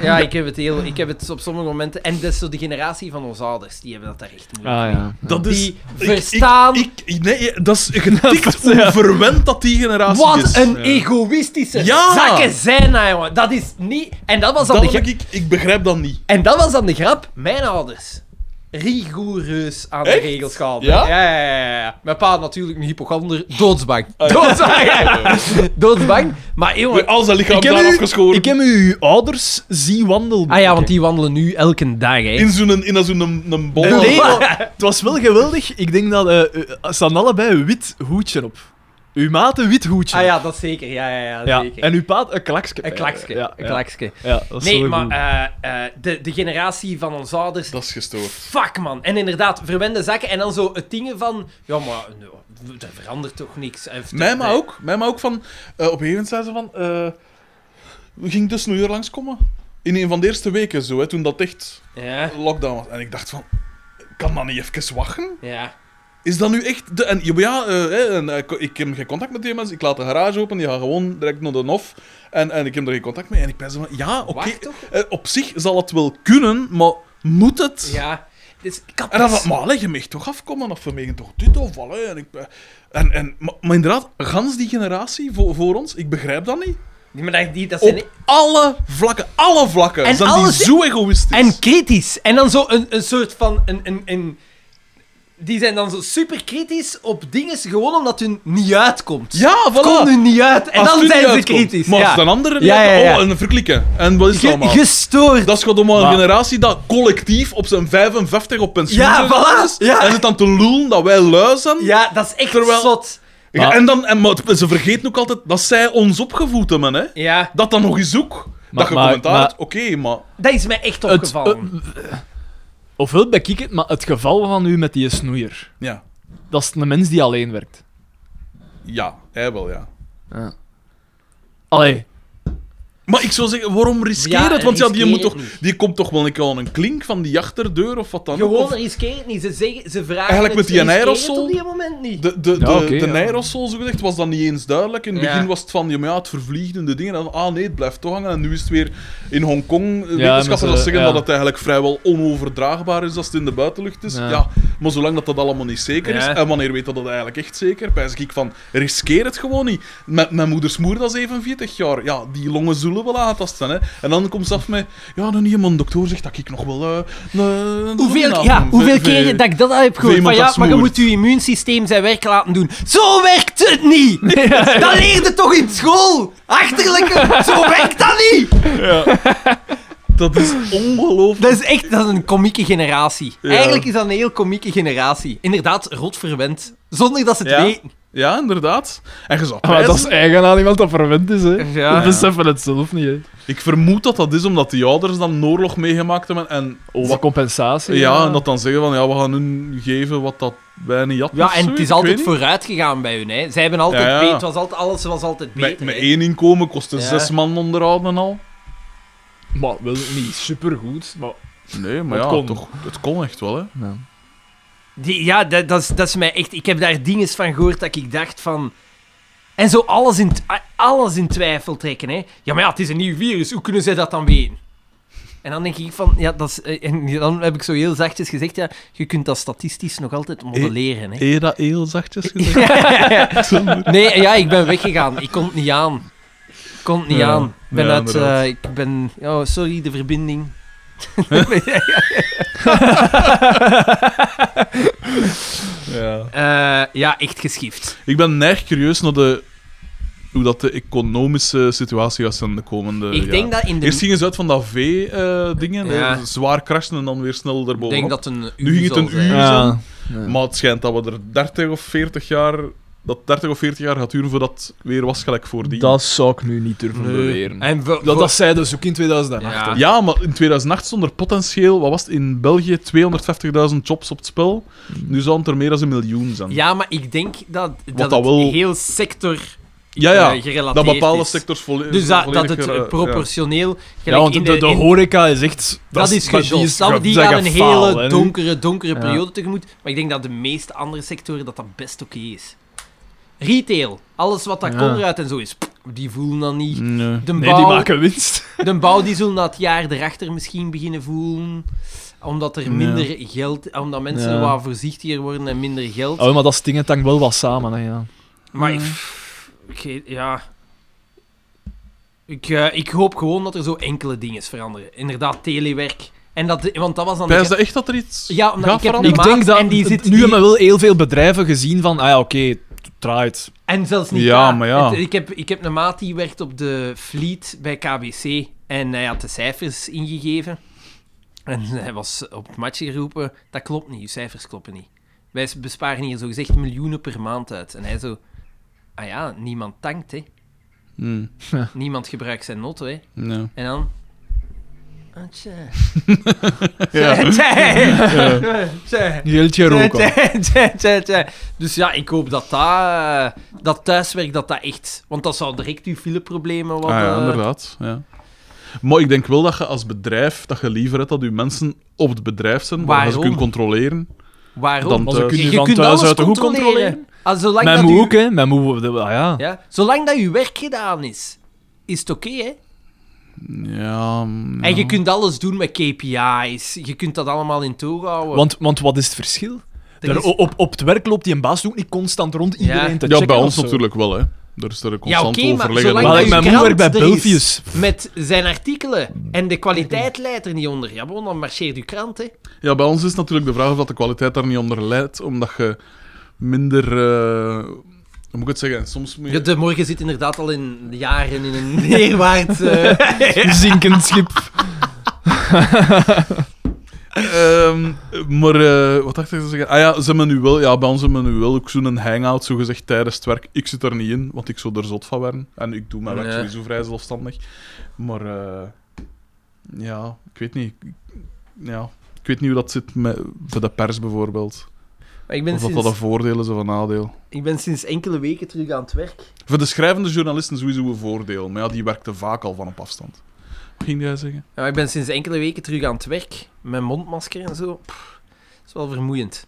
ja, ik heb, het heel, ik heb het op sommige momenten... En dat is zo de generatie van onze ouders, die hebben dat daar echt moeilijk
Ah ja.
Dat is...
Die verstaan...
dus Ik, ik- nee, dat is getikt hoe verwend dat die generatie
wat
is.
een
Ja.
egoïstische
dus, eh, Ja!
zakken zijn dat, jongen. Dat is niet... En dat was dan
Dat
de... ge-
heb ik, ik begrijp dat niet.
En dat was dan de grap. Mijn ouders. Rigoureus aan de
Echt?
regels gehouden.
Ja?
Ja, ja, ja, ja. Mijn pa had natuurlijk een hypochonder. Doodsbang.
Ah, ja.
Doodsbang. Doodsbang. Maar jongen...
Als dat lichaam
Ik heb,
daar
u,
afgeschoren.
ik heb uw ouders zien wandelen.
Ah ja, want die wandelen nu elke dag, hè.
In zo'n in zo'n een, een bol.
Nee,
Oh.
maar het was wel geweldig. Ik denk dat... eh, eh, ze hadden allebei een wit hoedje op. Uw maat een wit hoedje.
Ah
op.
ja, dat zeker. Ja, ja, ja,
Ja,
zeker.
En uw paat een klakske.
Een klakske.
Ja,
een
ja.
klakske.
Ja, dat is
Nee,
wel
maar
goed.
eh, eh, de, de generatie van onze ouders...
Dat is gestoord.
Fuck, man. En inderdaad, verwende zakken. En dan zo het dingen van... Ja, maar... nou, Er verandert toch niks. Hij heeft-
Mij maar ook. Mij maar ook van... eh, op een gegeven moment zei ze van... eh, we gingen dus een uur langskomen. In een van de eerste weken zo, hè, toen dat echt
Ja.
lockdown was. En ik dacht van... Kan dat niet even wachten?
Ja.
Is dat nu echt... De, en, ja, maar ja, eh, hè, en, eh, ko- ik heb geen contact met die mensen. Ik laat de garage open. Die gaan gewoon direct naar de hof. En, en ik heb er geen contact mee. En ik ben zo van... Ja, oké.
Wacht toch?
eh, op zich zal het wel kunnen, maar moet het?
Ja. Dus, kat
En dan van... Maar allee, je mag toch afkomen? Of we mogen toch dit of allee, en ik eh, en, en maar, maar inderdaad, gans die generatie voor, voor ons, ik begrijp dat niet.
Nee, maar dat, die, dat zijn...
Op alle vlakken, alle vlakken,
En
zijn
alles-
die zo egoïstisch.
En kritisch. En dan zo een, een soort van... Een, een, een... Die zijn dan zo super kritisch op dingen gewoon omdat hun niet uitkomt.
Ja, voilà.
Komt hun niet uit. En
Als
dan
het u
zijn
niet
ze
uitkomt,
kritisch.
Maar als
ja.
de anderen niet
Ja, ja,
uitkomt,
ja.
oh, en verklikken. En wat is dat
Ge-
allemaal?
gestoord.
Dat is gewoon allemaal een
Maar-
generatie dat collectief op zijn 55 op pensioen
Ja,
gegaan
voilà.
is.
Ja.
En zit dan te loelen dat wij lui zijn.
Ja, dat is echt
Terwijl-
zot.
Ja, En, dan, en maar het- ze vergeten ook altijd dat zij ons opgevoed hebben. Hè.
Ja,
Dat dan nog eens ook. dat je
maar-
commentaar
maar-
hebt, oké, maar...
dat is mij echt
Het,
opgevallen.
eh, ofwel ben ik het, maar het geval van u met die snoeier.
Ja.
Dat is een mens die alleen werkt.
Ja, hij wel, ja.
Allee,
Maar ik zou zeggen, waarom riskeer
Ja,
het? Want ja, die,
riskeer
moet
het
toch,
niet.
die komt toch wel een keer aan een klink van die achterdeur of wat dan ook.
Gewoon
Of
riskeer het niet. Ze, zeggen, ze vragen
eh, Eigenlijk
het,
met die
riskeer het
aerosol?
op die moment niet.
De, de, de,
Ja, oké,
de
ja.
Nairosol, zo gezegd, was dan niet eens duidelijk. In het
Ja.
begin was het van, ja, maar ja, het vervliegende ding. En dan, ah nee, het blijft toch hangen. En nu is het weer in Hongkong. eh,
met
Wetenschappers
z'n-
dat zeggen
ja.
dat het eigenlijk vrijwel onoverdraagbaar is als het in de buitenlucht is. Ja.
Ja.
maar zolang dat dat allemaal niet zeker
Ja.
is, en wanneer weet dat dat eigenlijk echt zeker, pijs ik van, riskeer het gewoon niet. Met mijn moeders moer, dat is 47 jaar. Ja, die longen zullen wel aangetast zijn. Hè. En dan komt ze af met, ja, nou niet, mijn dokter zegt dat ik nog wel... eh, een- een
Hoeveel, ja,
adem-
hoeveel
ve- ve-
keer dat ik dat al heb gehoord?
iemand
Van ja,
dat
maar je
smoort.
moet je immuunsysteem zijn werk laten doen. Zo werkt het niet! Dat leerde toch in school? Achterlijke, zo werkt dat niet!
Dat is ongelooflijk.
Dat is echt dat is een komieke generatie.
Ja.
Eigenlijk is dat een heel komieke generatie. Inderdaad, rot verwend. Zonder dat ze het
Ja.
weten.
Ja, inderdaad. En je zou
Ah,
maar dat is
pijzen-
eigen aan iemand dat verwend is, hè.
Ja.
Dat beseffen het zelf niet, hè.
Ik vermoed dat dat is omdat die ouders dan een oorlog meegemaakt hebben. En,
Oh, wat compensatie.
ja, en dat dan zeggen van, ja, we gaan hun geven wat dat wij niet hadden.
Ja,
of
en
zo,
het is
ik weet
altijd
niet.
vooruit gegaan bij hun. Hè. Zij hebben altijd
Ja, ja.
beter, het was altijd, alles was altijd
Met,
beter.
met
hè.
één inkomen kost het
Ja.
zes man onderhouden en al.
Maar wel niet supergoed, maar...
Nee, maar
Het
ja,
kon.
Toch, het kon echt wel, hè.
Die, ja, dat, dat, is, dat is mij echt... Ik heb daar dingen van gehoord dat ik dacht van... En zo alles in, t- a- alles in twijfel trekken, hè. Ja, maar ja, het is een nieuw virus. Hoe kunnen zij dat dan weten? En dan denk ik van... Ja, dat is, eh, en dan heb ik zo heel zachtjes gezegd... Ja, je kunt dat statistisch nog altijd
Eh,
modelleren, hè.
Eer dat heel zachtjes gezegd? Zonder-
Nee, ja, ik ben weggegaan. Ik kon het niet aan. Ik kon het niet
Ja,
aan. Ik ben
ja,
uit... eh,
inderdaad.
ik ben... Oh, sorry, de verbinding.
ja.
Eh, ja, echt geschift.
Ik ben neig curieus naar de, hoe dat de economische situatie gaat zijn de komende
ik denk dat in de...
Eh, Eerst gingen ze uit van dat V-dingen,
Ja.
zwaar crashen en dan weer snel
ik
erbovenop.
denk dat een uur
Nu ging het
zal
een
zijn.
uur
Ja.
Maar het schijnt dat we er 30 of 40 jaar. Dat 30 of 40 jaar gaat duren voordat het weer was gelijk voor die.
Dat zou ik nu niet durven
Nee.
beweren.
En voor-
Dat,
voor-
dat zei dus ook in 2008.
Ja.
hè.
Ja, maar in 2008 stond er potentieel, wat was het, in België 250.000 jobs op het spel. Nu zouden het er meer dan een miljoen zijn.
Ja, maar ik denk dat dat,
dat wel-
het heel sector
ja, ja,
eh, gerelateerd
dat bepaalde
is.
sectors volle-
Dus dat,
volledig...
dat het
eh,
eh, proportioneel...
Ja,
gelijk
want de,
in
de,
in-
horeca is echt...
dat is
maar
gejost.
ge-
Die, die
zijn
gaan een
gefaald, hè,
hele
nu.
donkere, donkere
Ja.
periode tegemoet. Maar ik denk dat de meeste andere sectoren dat dat best oké is. Retail. Alles wat dat
Ja.
Conrad en zo is. pff, Die voelen dat niet.
ja. Nee.
De
Nee,
bouw,
die maken winst.
de bouw die zullen dat jaar erachter misschien beginnen voelen. Omdat
Ja.
er minder geld... Omdat mensen
Ja.
wat voorzichtiger worden en minder geld.
Oh, maar dat stinkt dan wel wat samen, hè, ja.
Maar
Ja.
ik, ik weet- ja. Ik, eh, ik hoop gewoon dat er zo enkele dingen veranderen. Inderdaad, telewerk. En dat, want dat was dan.
Pijs dat echt dat er iets
Ja, omdat
gaat
ik heb
veranderen?
de
Ik
maat
denk dat...
en die zit-
nu
die-
hebben wel heel veel bedrijven gezien van... Ah ja, oké, het draait.
En zelfs niet.
Ja,
daar.
maar ja.
Het- ik, heb, ik heb een maat die werkt op de fleet bij KBC. En hij had de cijfers ingegeven. En hij was op het matje geroepen: dat klopt niet, uw cijfers kloppen niet. Wij besparen hier zogezegd miljoenen per maand uit. En hij zo: ah ja, niemand tankt, hè.
Hmm,
Niemand gebruikt zijn auto, hè.
ja.
En dan. Ah, tja.
Ja.
Tja. Tja.
Geeltje roken.
Tja, tja, tja, tja. Dus ja, ik hoop dat dat, eh, dat thuiswerk dat dat echt... Want dat zou direct uw fileproblemen wat...
Ah, ja,
eh,
inderdaad. Ja. Maar ik denk wel dat je als bedrijf, dat je liever hebt dat je mensen op het bedrijf zijn, waar je ze
Waarom?
kunt controleren.
Eh, waarom?
Dan
Maar ze
thuis.
kunnen
je
eh, van
kunt
thuis
alles
uit de hoek
controleren.
controleren.
Ah, zolang
Mijn
dat
moe
uw-
ook, hè. Mijn moe... de- ah, ja.
Ja, zolang dat uw werk gedaan is, is het oké, hè?
Ja, mm,
En
ja.
je kunt alles doen met KPI's. Je kunt dat allemaal in toog houden.
Want, want wat is het verschil?
Er
Daar-
is-
op, op het werk loopt die een baas ook niet constant rond iedereen te
Ja,
checken
bij
of
ons
zo.
natuurlijk wel, hè. Daar is er een
Ja,
constant
oké, maar
overleg.
zolang
Maar
dat
ik
uw
mijn
krant
moeder bij
er is.
Belfius.
Met zijn artikelen. En de kwaliteit leidt er niet onder. Ja, bon, dan marcheert uw krant, hè.
Ja, bij ons is natuurlijk de vraag of dat de kwaliteit daar niet onder leidt, omdat je minder... eh, hoe moet ik het zeggen? Soms moet je...
Ja, de morgen zit inderdaad al in jaren in een neerwaarts... eh,
Zinkend schip.
Ehm, maar eh, wat dacht ik te zeggen? Ah ja, ze hebben nu wel, ja, bij ons hebben we nu wel ook zo'n hangout, zo gezegd tijdens het werk. Ik zit er niet in, want ik zou er zot van worden. En ik doe mijn werk
Ja.
sowieso vrij zelfstandig. Maar eh, ja, ik weet niet. Ja, ik weet niet hoe dat zit met, bij de pers bijvoorbeeld.
Maar ik
Of
ben,
dat dat een
sinds,
voordeel is of een nadeel.
ik ben sinds enkele weken terug aan het werk.
Voor de schrijvende journalisten sowieso een voordeel, maar ja, die werkte vaak al van op afstand. Wat ging jij zeggen?
Ja, maar ik ben sinds enkele weken terug aan het werk. Mijn mondmasker en zo. Pff, dat is wel vermoeiend.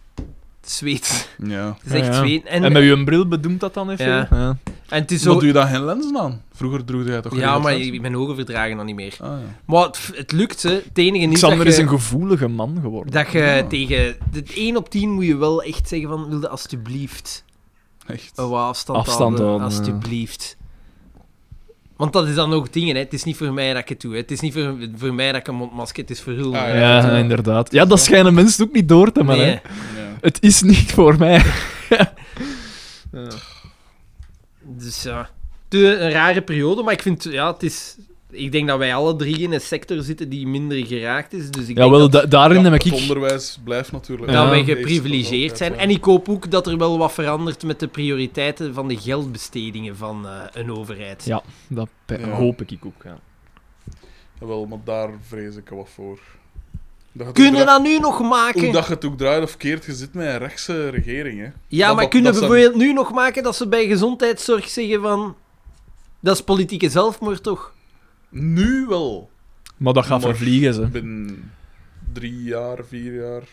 Het zweet.
Ja.
Het is echt
Ja, ja.
zweet. En,
En met uw bril bedoemt dat dan even?
Ja.
Ja.
en het is
Zo...
zo...
doe je daar geen lenzen aan? Vroeger droeg jij toch
Ja,
geen
maar
lenzen?
ik- mijn ogen verdragen dat niet meer.
Ah, ja.
Maar het, het lukt, hè. Het enige niet
Xander
dat
is
je-
een gevoelige man geworden.
Dat je
Ja.
tegen... Het 1 op 10 moet je wel echt zeggen van... Wilde alstublieft
Echt.
een wat afstand,
Afstand
houden.
houden, ja.
Alstublieft. Want dat is dan ook dingen, hè. Het is niet voor mij dat ik het doe, hè. Het is niet voor, voor mij dat ik een mondmasker... Het is voor hun.
Ah,
hè.
Ja,
ja, ja.
inderdaad. Ja, dat schijnen mensen ook niet door te hebben.
Nee.
hè. Het is niet voor mij. Ja.
Dus ja, de, een rare periode, maar ik vind, ja, het is... Ik denk dat wij alle drie in een sector zitten die minder geraakt is, dus ik denk
Jawel,
dat,
da- daarin
Ja,
heb
het
ik...
onderwijs blijft natuurlijk.
dat
Ja.
wij
Eerst
geprivilegeerd
dat
zijn.
altijd,
En ik hoop ook dat er wel wat verandert met de prioriteiten van de geldbestedingen van eh, een overheid.
Ja, dat pe-
Ja.
hoop ik ook. Ja.
ja. Wel, maar daar vrees ik wat voor. Dat je
Kunnen we
het ook
dat nu nog
draait- Hoe
maken?
dat je het ook draait of keert, je zit met een rechtse regering. Hè.
Ja,
dat-
maar
dat-
kunnen we
dat zijn-
bijvoorbeeld nu nog maken dat ze bij gezondheidszorg zeggen van... Dat is politieke zelfmoord, toch?
Nu wel.
Maar dat gaat
Maar-
vervliegen, ze.
Binnen drie jaar, vier jaar.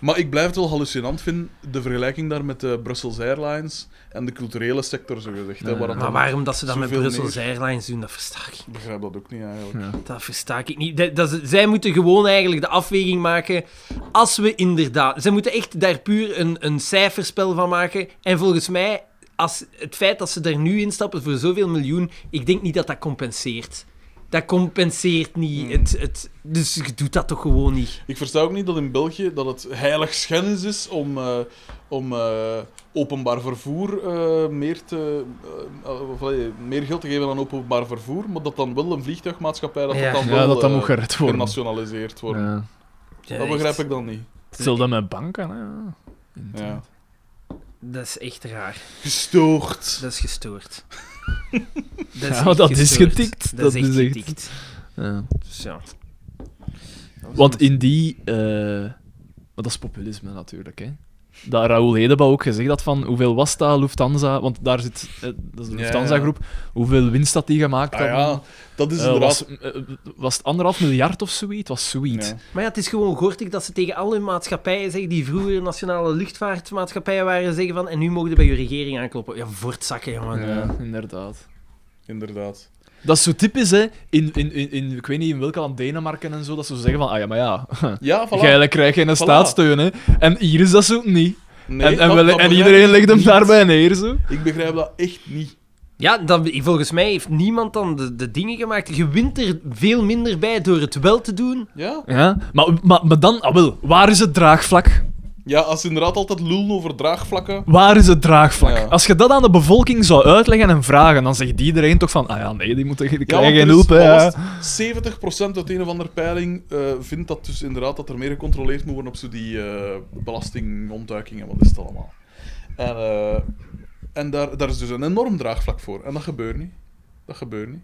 Maar ik blijf het wel hallucinant vinden, de vergelijking daar met de Brussels Airlines en de culturele sector, zogezegd. hè,
Ja.
waar dat
Maar
dan-
waarom dat ze dat met
Zoveel
Brussels Airlines doen, dat versta ik
Ik begrijp dat ook niet eigenlijk.
Ja.
Dat versta ik niet. Dat, dat, ze- zij moeten gewoon eigenlijk de afweging maken. Als we inderdaad. Zij moeten echt daar puur een, een cijferspel van maken. En volgens mij, als, het feit dat ze daar nu instappen voor zoveel miljoen. Ik denk niet dat dat compenseert. Dat compenseert niet.
Hmm.
Het, het, dus je doet dat toch gewoon niet.
Ik versta ook niet dat in België dat het heilig schennis is om, eh, om eh, openbaar vervoer eh, meer, te, eh, eh, of, eh, meer geld te geven aan openbaar vervoer, maar dat dan wel een vliegtuigmaatschappij dat
Ja.
dat dan wel
Ja, dat dat
eh,
moet gered worden.
genationaliseerd wordt.
Ja.
Ja,
dat
echt.
begrijp ik dan niet.
Hetzelfde met banken, hè. ja.
Ja.
Dat is echt raar.
Gestoord.
Dat is gestoord. dat is,
Ja,
echt
dat is getikt.
Dat,
Dat
is echt
is echt-
getikt.
Ja.
Dus ja.
Want in die... eh, Maar dat is populisme natuurlijk, hè. Dat Raoul Hedeba ook gezegd had van hoeveel was dat Lufthansa... Want daar zit... eh, dat is de
Ja,
Lufthansa-groep. Hoeveel winst dat die gemaakt
Ah
had.
ja, Dus dat is
Eh, was,
inderdaad...
eh, was het anderhalf miljard of zoiets? Was zoiets.
Ja.
Maar ja, het is gewoon gortig dat ze tegen alle maatschappijen zeggen, die vroeger nationale luchtvaartmaatschappijen waren, zeggen van en nu mogen we bij je regering aankloppen. Ja, voortzakken, jongen.
Ja.
ja eh, inderdaad.
Inderdaad.
Dat is zo typisch, hè. In, in, in, in- ik weet niet in welk land, Denemarken en zo, dat ze zeggen van, ah ja, maar ja,
Ja, voilà.
geilen krijg je een staatssteun, hè. En hier is dat zo niet.
Nee,
en en,
dat-
wel-
dat
en
begrijp
iedereen
ik
legt hem
niet.
daarbij neer, zo.
Ik begrijp dat echt niet.
Ja, dan, volgens mij heeft niemand dan de, de dingen gemaakt. Je wint er veel minder bij door het wel te doen.
Ja?
Ja, maar, maar, maar dan, ah wel, waar is het draagvlak?
Ja, als ze inderdaad altijd lullen over draagvlakken...
Waar is het draagvlak?
Ja.
Als je dat aan de bevolking zou uitleggen en vragen, dan zegt iedereen toch van, ah ja, nee, die moeten die
Ja, want
krijgen geen
er is-
hulp, hè.
wat
ja.
was het? 70% uit een of andere peiling eh, vindt dat dus inderdaad dat er meer gecontroleerd moet worden op zo die eh belastingontduiking en wat is het allemaal. En, eh, en daar, daar is dus een enorm draagvlak voor. En dat gebeurt niet. Dat gebeurt niet.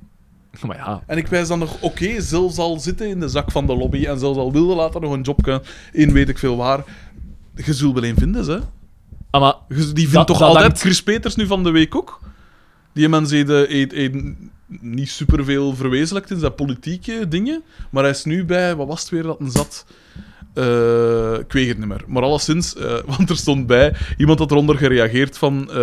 Maar ja,
En ik wijs dan nog, oké, zelfs al zitten in de zak van de lobby en zelfs al wilde later nog een jobje in weet ik veel waar, je zult wel een vinden, ze.
ah, maar
Je- Die vindt
Dat-
toch
dat
altijd
hangt-
Chris Peters nu van de week ook? Die mens heeft, eh, heeft- heeft niet superveel verwezenlijkt in zijn politieke dingen. Maar hij is nu bij, wat was het weer dat een zat? Eh, ik weet het niet meer. Maar alleszins, eh, want er stond bij, iemand had eronder gereageerd van... eh,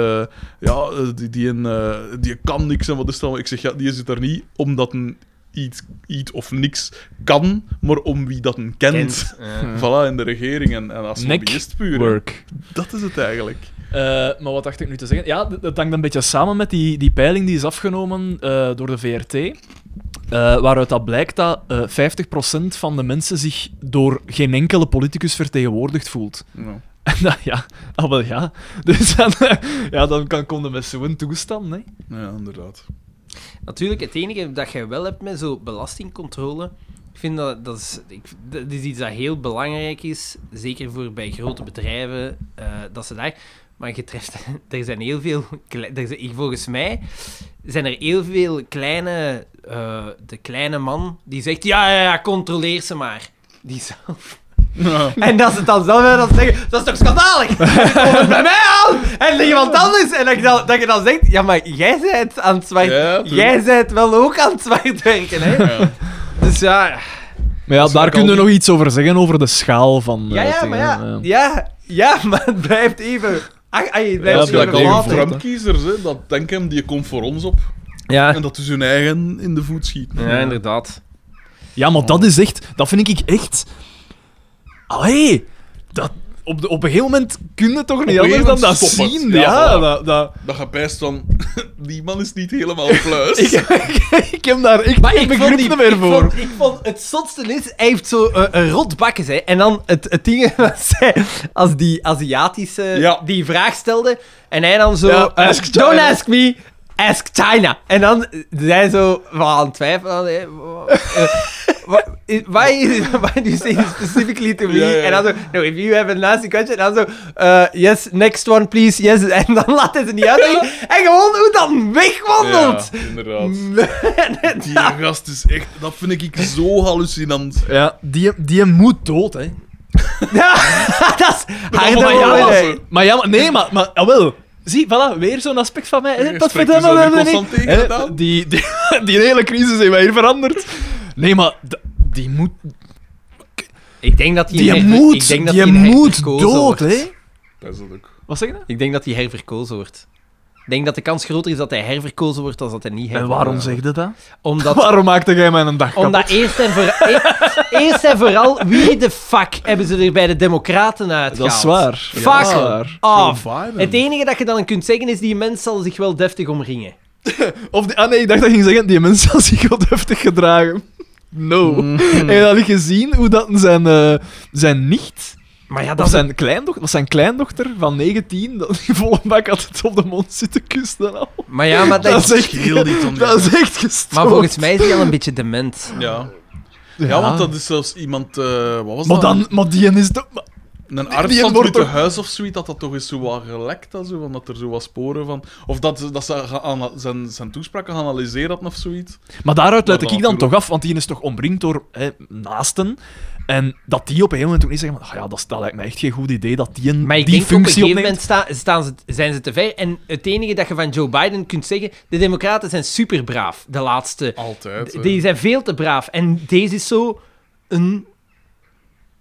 ja, eh, die, die, een, eh, die kan niks en wat is dat? allemaal? Ik zeg, ja, die zit er niet omdat een iets, iets of niks kan, maar om wie dat een kent.
Kent, eh.
Voilà, in de regering en, en als
Neck
lobbyist puur.
Work.
Dat is het eigenlijk.
Eh, maar wat dacht ik nu te zeggen? Ja, d- dat hangt een beetje samen met die, die peiling die is afgenomen eh, door de VRT. eh, waaruit dat blijkt dat eh 50% van de mensen zich door geen enkele politicus vertegenwoordigd voelt.
Ja.
En dat, ja, ah, wel ja. Dus dan, ja, dan kan, kon je met zo'n toestand, hè.
Ja, inderdaad.
Natuurlijk, het enige dat jij wel hebt met zo'n belastingcontrole, ik vind dat, dat, is, ik, dat is iets dat heel belangrijk is, zeker voor bij grote bedrijven, eh, dat ze daar... Maar je treft, er zijn heel veel... kle- Er zijn, volgens mij zijn er heel veel kleine... eh, de kleine man die zegt, ja, ja, ja, controleer ze maar. Die zelf.
Ja.
En dat ze het dan zelf hebben, dat ze zeggen, dat is toch schandalig? Dat komt het bij mij aan! En iemand anders. En dat je dan, dat je dan zegt, ja, maar jij bent aan het zwart...
Ja, tuurlijk.
jij bent wel ook aan het zwart werken, hè?
Ja.
Dus ja...
Maar ja,
Dus
daar
dat
kun je
al die-
nog iets over zeggen, over de schaal van...
Ja,
eh,
ja,
tegen-
maar ja. Ja, ja maar het blijft even... Ach, ach, het
Ja,
Dat
blijft
is
dat
even
gelijk
blijft
al
even
water.
die
vlak.
Trump-kiezers, hè, dat denken, die komt voor ons op.
Ja.
En dat is hun eigen in de voet schieten.
ja, inderdaad.
Ja, maar dat is echt... Dat vind ik echt... Allee! Dat, op, de, op een gegeven moment kun je toch niet
een
anders
gegeven
dan dat
moment stopt het.
zien. Ja,
Ja, voilà.
dat, dat-
Dat gepijst van, die man is niet helemaal pluis.
ik, ik heb daar echt
Maar
geen
ik
begrip
vond, die,
niet meer
ik,
voor.
vond, ik vond het zotste is, hij heeft zo eh, een rot bakken, hè. En dan het, het ding was hij, als die Aziatische
Ja.
die vraag stelde, en hij dan zo,
Ja,
eh,
ask China.
don't ask me, ask China. En dan zij zo van aan het twijfelen, hè. Eh, wha- i- Why, is- why do you say this specifically to me?
Ja, ja.
En dan zo, no, if you have a nasty question, en dan zo, eh, yes, next one please, yes. En dan laat hij ze niet uit. En gewoon hoe dan wegwandelt.
Ja, inderdaad.
En
Die gast is echt... Dat vind ik zo hallucinant.
Ja, die, die moet dood, hè.
Ja, dat is harde
allemaal
woorden.
jaloers,
hè.
hè.
Maar ja, maar, nee, maar, maar jawel. Zie, voilà, weer zo'n aspect van mij.
Je
hè.
spreekt
Potverdomme,
dus alweer
we hebben
constant
niet-
tegen
hè,
gedaan.
die, die, die hele crisis heeft mij hier veranderd. Nee, maar d- die moet,
Ik denk dat hij
die
herver-
moet,
ik denk dat
die
hij een
moet
herverkozen wordt.
dood, hè?
Pijselijk.
Wat zeg je?
Ik denk dat hij herverkozen wordt. Ik denk dat de kans groter is dat hij herverkozen wordt dan dat hij niet
En
herverkozen
waarom
wordt.
zeg je dat?
Omdat,
Waarom maakte jij mij een dag kapot?
omdat eerst, en voor, e- eerst en vooral, wie de fuck hebben ze er bij de democraten uit
Dat is waar.
Fuck
Dat is waar.
off.
Joe Biden.
Het enige dat je dan kunt zeggen is, die mens zal zich wel deftig omringen.
Of die- ah nee, ik dacht dat je ging zeggen, die mensen had zich wel deftig gedragen. No.
Mhm.
Heb je dat niet gezien, hoe dat zijn, eh, zijn nicht,
Maar ja,
of
dat
zijn, kleindochter, of zijn kleindochter van 19, dat die volle bak had het op de mond zitten kussen en al.
Maar ja, maar, dat,
Dat is echt,
heel niet om die-
dat is echt gestoord.
maar volgens mij is hij al een beetje dement.
Ja. Ja, want dat is zelfs iemand... eh, wat was
Maar,
dat?
dan, maar die is toch... maar-
Een arts
die
van
wordt
het Witte
toch-
Huis of zoiets, dat dat toch eens zo wat gelekt had, zo, van dat er zo wat sporen van... Of dat, ze- dat ze gaan ana- zijn, zijn toespraken geanalyseerd hadden of zoiets.
Maar daaruit luid
Maar
ik
dan
ik dan toch
natuurlijk.
af, want die is toch omringd door hè, naasten. En dat die op een gegeven moment ook niet zeggen, van, "Ah ja, dat, is- dat lijkt me echt geen goed idee, dat die, een,
Maar ik
die
denk op een
functie
gegeven
opneemt.
moment sta- staan ze, zijn ze te ver. En het enige dat je van Joe Biden kunt zeggen... De democraten zijn superbraaf, de laatste.
Altijd.
D-
hè.
Die zijn veel te braaf. En deze is zo een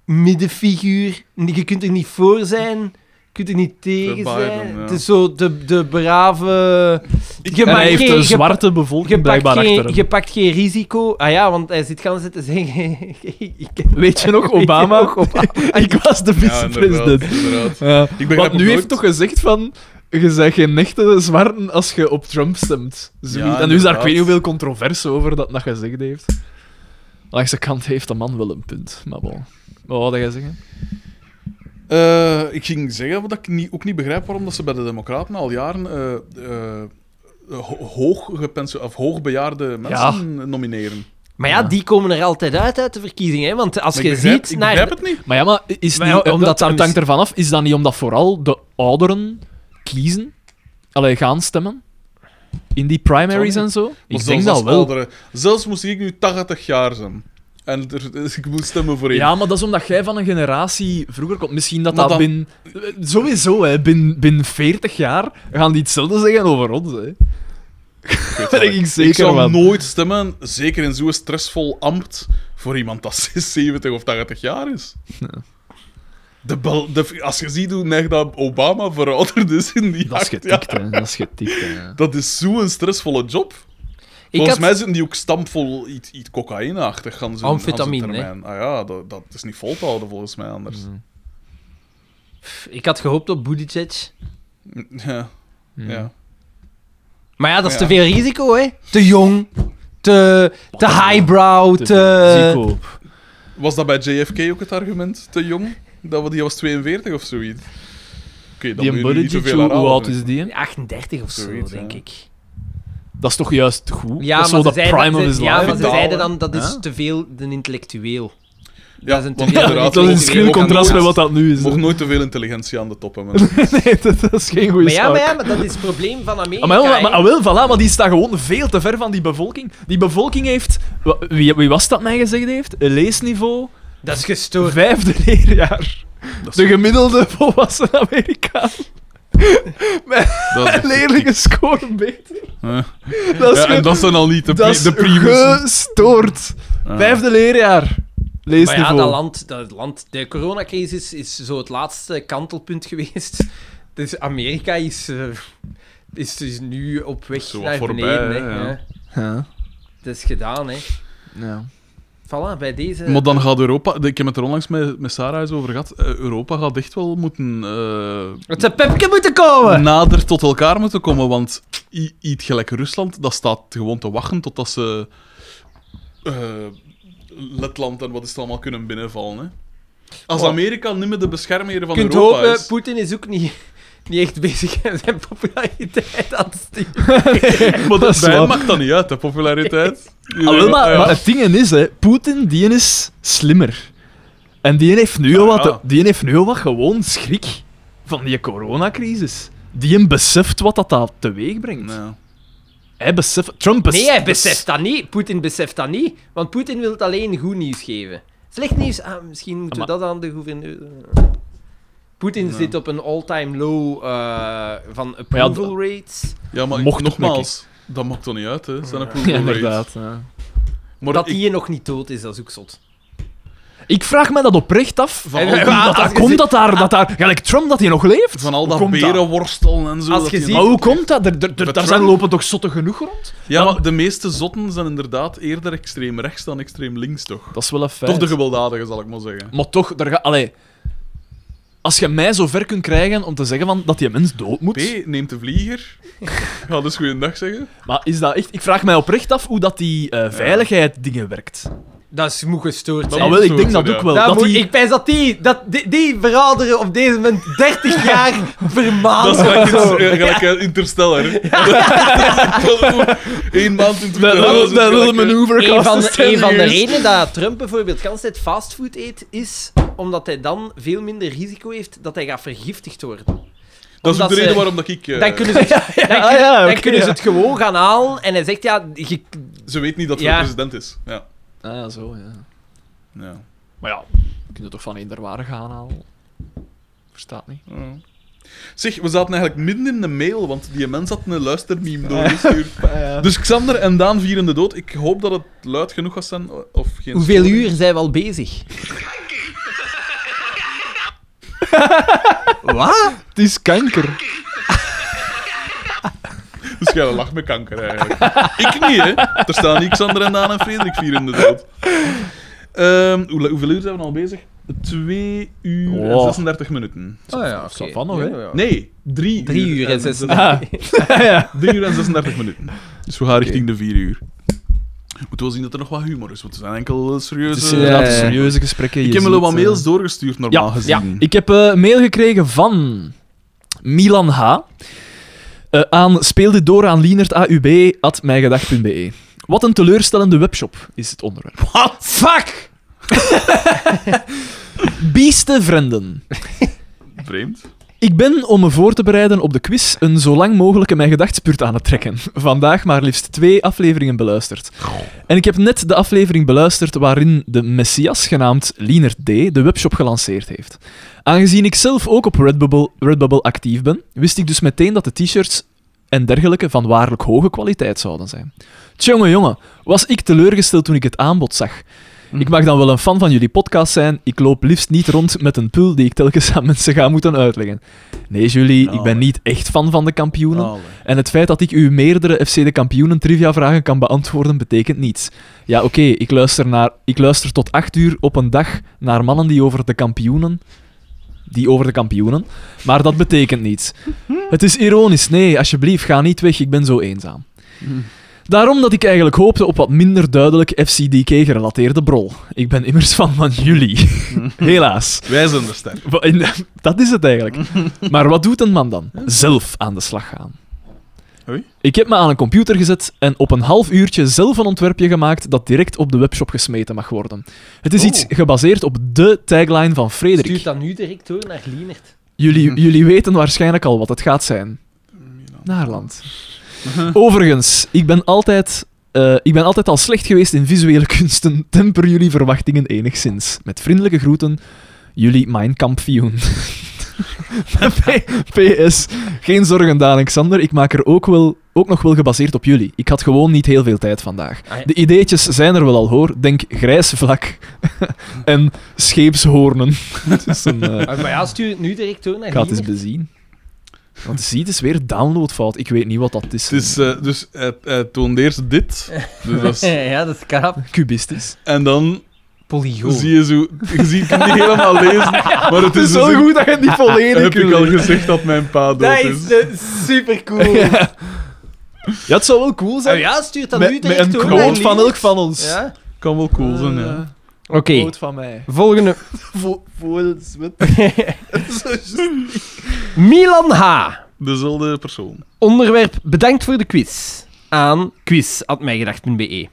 middenfiguur. Je kunt er niet voor zijn... Je kunt er niet tegen
Biden,
zijn.
ja.
Het is zo de, de brave... Je
En
maakt
hij heeft
geen-
de
je-
zwarte bevolking
je pakt,
blijkbaar
geen,
achter hem.
je pakt geen risico. Ah ja, want hij zit gaan zitten zeggen... ik-
Weet je nog, Obama?
nog,
ik was de
Ja, inderdaad.
vicepresident.
inderdaad.
Ja,
Ik
Want
begrijp
Eh, nu
ook
heeft
nooit-
toch gezegd van... Je bent geen echte zwarten als je op Trump stemt. Zoiets. en nu is daar ik
inderdaad.
weet niet hoeveel controverse over dat dat gezegd heeft. Langs de kant heeft de man wel een punt, maar bon. Wat wilde jij zeggen?
Eh, ik ging zeggen dat ik niet, ook niet begrijp waarom dat ze bij de Democraten al jaren eh, eh, ho- hoog gepenso- of hoogbejaarde mensen nomineren.
Maar ja, die komen er altijd uit uit de verkiezingen. hè, Want als
Maar
je
ik begrijp,
ziet
ik
naar...
begrijp het niet.
Maar ja, maar is
Maar
niet,
ja,
eh,
omdat
dat,
dat
het hangt ervan af. Is dat niet omdat vooral de ouderen kiezen? Allee, gaan stemmen? In die primaries
Sorry.
en zo?
Maar
Ik
zelfs
denk dat
als
wel.
oudere- zelfs moest ik nu 80 jaar zijn. En er- dus ik moet stemmen voor één.
Ja, maar dat is omdat jij van een generatie vroeger komt. Misschien dat
Maar
dat
dan-
binnen... eh, Sowieso, hè. Binnen, binnen 40 jaar gaan die hetzelfde zeggen over ons, hè.
weet
Daar
wel.
denk ik zeker
ik zou
van.
nooit stemmen, zeker in zo'n stressvol ambt, voor iemand dat 70 of 80 jaar is. De bel- de, als je ziet hoe neig dat Obama verouderd is in die
Dat is
acht
getikt,
jaar.
hè. Dat is getikt, hè.
Dat is zo'n stressvolle job.
Ik
Volgens
had...
mij zitten die ook stampvol iets, iets cocaïneachtig gaan ze
Amfetamine,
Ah ja, dat, dat is niet vol te houden volgens mij anders.
Pff, Ik had gehoopt op Buttigieg.
Mm.
Ja, ja.
Maar ja, dat is
Ja.
te veel risico, hè. Te jong, te, te highbrow, te...
Zico.
Was dat bij JFK ook het argument, te jong? Dat we, die was 42 of zoiets. Oké, dan
Die
moet je nu niet
Buttigieg,
zoveel
hoe hoe
herhalen,
oud
vind
is die? hè?
38 of zo,
Zoiets,
denk
ja.
ik.
Dat is toch juist goed?
Ja,
dat is
maar
zo
ze
de
zeiden,
prime of
ze-
his
ja,
life.
maar ze
Taal,
zeiden
hè?
dan dat is
Ja.
te veel de intellectueel.
ik. Ja,
dat is een
want
te- Ja,
inderdaad,
dat is een
mogen-
schril
mogen
contrast met
nooit-
wat dat nu is. hè.
Mocht nooit te veel intelligentie aan de top hebben.
Nee, dat, dat is geen goede
Maar ja,
zaak.
maar ja, maar dat is het probleem van Amerika.
Ah, maar, ja, maar,
hè.
maar, ah, wel, voilà, maar die staat gewoon veel te ver van die bevolking. Die bevolking heeft... wa- Wie, wie was dat mij gezegd heeft? Een leesniveau,
dat is gestoord.
vijfde leerjaar.
Dat is-
De gemiddelde volwassen Amerikaan.
Dat is-
Leerlingen scoren beter.
Ja.
Dat is,
Ja, en
ge-
dat zijn al niet de,
dat
pri-
is
de primussen.
gestoord.
Ja.
Vijfde leerjaar.
Maar ja,
Leesniveau.
dat land, dat land, de coronacrisis is zo het laatste kantelpunt geweest. Dus Amerika is, eh, is dus nu op weg
Zo wat
naar
voorbij,
beneden.
hè,
hè.
ja.
Ja.
Ja.
Het is gedaan, hè.
Ja.
Voilà, bij deze...
Maar dan gaat Europa... Ik heb het er onlangs met, met Sarah eens over gehad. Eh, Europa gaat echt wel moeten... eh,
Het zou Pepke moeten
Oh,
komen!
nader tot elkaar moeten komen. Want i- iets gelijk Rusland, dat staat gewoon te wachten totdat ze eh, Letland en wat is het allemaal kunnen binnenvallen. Hè? Als
Oh.
Amerika niet meer de beschermheer
Je
van
kunt
Europa
hopen,
is...
Poetin is ook niet, niet echt bezig met zijn populariteit aan het stijgen.
Maar
Dat
dat
is
bij hem
waar.
maakt dat niet uit, de populariteit.
Ah, wel, maar,
Ja, ja.
maar het ding is, hè, Poetin die is slimmer. En die heeft, nu al
Ah,
wat,
ja.
die heeft nu al wat gewoon schrik van die coronacrisis. Die hem beseft wat dat, dat teweeg brengt.
Ja.
Hij beseft... Trump bes-
Nee, hij
bes-
beseft dat niet. Poetin beseft dat niet. Want Poetin wil het alleen goed nieuws geven. Slecht nieuws? Ah, misschien moeten we dat aan de gouverneur... Poetin zit op een all-time low eh, van
ja,
approval rates.
Ja, maar ik-
Mocht het
nogmaals, dat maakt toch niet uit, hè? Zijn approval
Ja,
rates.
inderdaad. ja.
Maar
dat
ik-
hij nog niet dood is, dat is ook zot.
Ik vraag me dat oprecht af.
Van
Hoe
al-
komt dat, dat,
als je
komt
zit-
dat daar... Dat daar gelijk Trump, dat hij nog leeft?
van al
Hoe
dat
komt
berenworstel en zo.
Als
dat
je
die-
ziet-
Maar hoe komt dat? Er, er- er-
Met
daar
Trump?
zijn lopen toch zotten genoeg rond?
Ja, maar de meeste zotten zijn inderdaad eerder extreem rechts dan extreem links, toch?
Dat is wel een feit.
Toch de gewelddadigen, zal ik maar zeggen.
Maar toch, daar ga, allee, als je mij zo ver kunt krijgen om te zeggen van, dat die mens dood moet.
P, neemt de vlieger. Ga dus goeiedag zeggen.
Maar is dat echt... Ik vraag mij oprecht af hoe dat die eh, veiligheid dingen werkt.
Dat is moet gestoord
Maar
zijn.
Nou, wel, ik
zo
denk
is
dat
het,
ook
ja.
wel.
Dat
Dat
moet-
die,
Ik pijs dat die, dat, die, die verouderen op deze moment 30 jaar vermaanden.
Dat is gelijk, iets, eh, gelijk eh, Interstellar. Eén maand in
dat- dat- dat little
eh,
maneuver
Een van, de,
costs
een van de
10 years.
redenen dat Trump bijvoorbeeld de hele tijd fastfood eet, is omdat hij dan veel minder risico heeft dat hij gaat vergiftigd worden.
Dat is ook
Omdat
de
ze-
reden waarom dat ik... eh,
Dan kunnen ze het, dan
Ah,
kunnen-
ja,
dan
oké,
kunnen ze
ja.
het gewoon gaan halen en hij zegt, ja, je-
Ze weet niet dat hij
Ja.
president is. Ja.
Ah, zo, ja.
ja.
Maar ja, we kunnen toch van eender waarde gaan halen? Verstaat niet.
Ja. Zeg, we zaten eigenlijk midden in de mail, want die mens had een luistermeme doorgestuurd. Dus Xander en Daan vieren de dood. Ik hoop dat het luid genoeg was zijn. Of geen
hoeveel
storing.
uur zijn we al bezig? Wat?
Het is kanker.
Dus jij lacht met kanker eigenlijk. ik niet, hè? Er staan niet Xander en Daan en Frederik vieren de dood. Ehm, hoe, hoeveel uur zijn we al bezig? 2 uur en
Wow.
36 minuten.
Oh ja, oké.
Zal van nog, hè?
Ja, ja.
Nee, 3
Drie uur en zes...
Ah. ja.
3 uur en 36 minuten. Dus we gaan richting de 4 uur. Moeten wel zien dat er nog wat humor is, want er zijn enkel eh,
Het is
serieuze.
Dus inderdaad
Ja, ja, ja.
serieuze gesprekken.
Ik
je
heb wel
ziet,
wat
eh,
mails doorgestuurd, normaal
Ja,
gezien.
ja. ik heb eh, mail gekregen van Milan H. Eh, aan speelde door aan lienertaub.mijgedag.be. E. Wat een teleurstellende webshop is het onderwerp.
What? Fuck!
Bieste vrienden.
Vreemd.
Ik ben, om me voor te bereiden op de quiz, een zo lang mogelijke mijn gedachtspuurt aan het trekken. Vandaag maar liefst twee afleveringen beluisterd. En ik heb net de aflevering beluisterd waarin de Messias, genaamd Lienert D., de webshop gelanceerd heeft. Aangezien ik zelf ook op Redbubble, Redbubble actief ben, wist ik dus meteen dat de t-shirts en dergelijke van waarlijk hoge kwaliteit zouden zijn. Tjonge jonge, was ik teleurgesteld toen ik het aanbod zag. Mm. Ik mag dan wel een fan van jullie podcast zijn. Ik loop liefst niet rond met een pul die ik telkens aan mensen ga moeten uitleggen. Nee, Julie, ik ben
Oh.
niet echt fan van de kampioenen. En het feit dat ik u meerdere FC de Kampioenen trivia-vragen kan beantwoorden, betekent niets. Ja, oké, ik luister naar, ik luister tot acht uur op een dag naar mannen die over de kampioenen... Die over de kampioenen. Maar dat betekent niets. Het is ironisch. Nee, alsjeblieft, ga niet weg. Ik ben zo eenzaam. Daarom dat ik eigenlijk hoopte op wat minder duidelijk FCDK-gerelateerde brol. Ik ben immers fan van jullie. Helaas.
Wij zijn de sterk.
Wa- in- Dat is het eigenlijk. Maar wat doet een man dan? Zelf aan de slag gaan.
Oei.
Ik heb me aan een computer gezet en op een half uurtje zelf een ontwerpje gemaakt dat direct op de webshop gesmeten mag worden. Het is iets
Oeh.
gebaseerd op de tagline van
Stuur
Frederik.
dat nu direct door naar Lienert.
Jullie,
Mhm.
jullie weten waarschijnlijk al wat het gaat zijn. Naarland. Overigens, ik ben altijd... eh, ik ben altijd al slecht geweest in visuele kunsten. Temper jullie verwachtingen enigszins. Met vriendelijke groeten, jullie mijn kampioen. P- PS, geen zorgen Daan en Xander. Ik maak er ook, wel, ook nog wel gebaseerd op jullie. Ik had gewoon niet heel veel tijd vandaag.
Ah, ja.
De ideetjes zijn er wel al hoor. Denk grijs vlak en scheepshoornen. Het is een, eh,
Ah, Maar, maar ja, stuur het nu direct door naar
ik ga het eens
Lienert.
bezien. Want zie, het is weer downloadfout. Ik weet niet wat dat is.
Het is, eh, dus hij hij toonde eerst dit. Dus dat is-
ja, dat is kaap.
Cubistisch.
en dan
Polygoon.
zie je zo... Je ziet, ik kan het niet helemaal lezen, maar het
Het is
is
zo
dus-
goed dat je het niet volledig
Heb ik al
kunt
gezegd dat mijn pa dood
Dat
dus?
is?
is super cool.
Ja. ja, het zou wel cool zijn.
ja, stuur dat nu
met, met
direct
een
door naar
quote van
Lienert.
elk van ons.
Ja?
Kan wel cool zijn, ja.
Oké,
Oké. Eh, Quote van mij.
volgende.
Voor,
Milan H.
Dezelfde persoon.
Onderwerp bedankt voor de quiz. Aan quiz.mijgedacht.be E.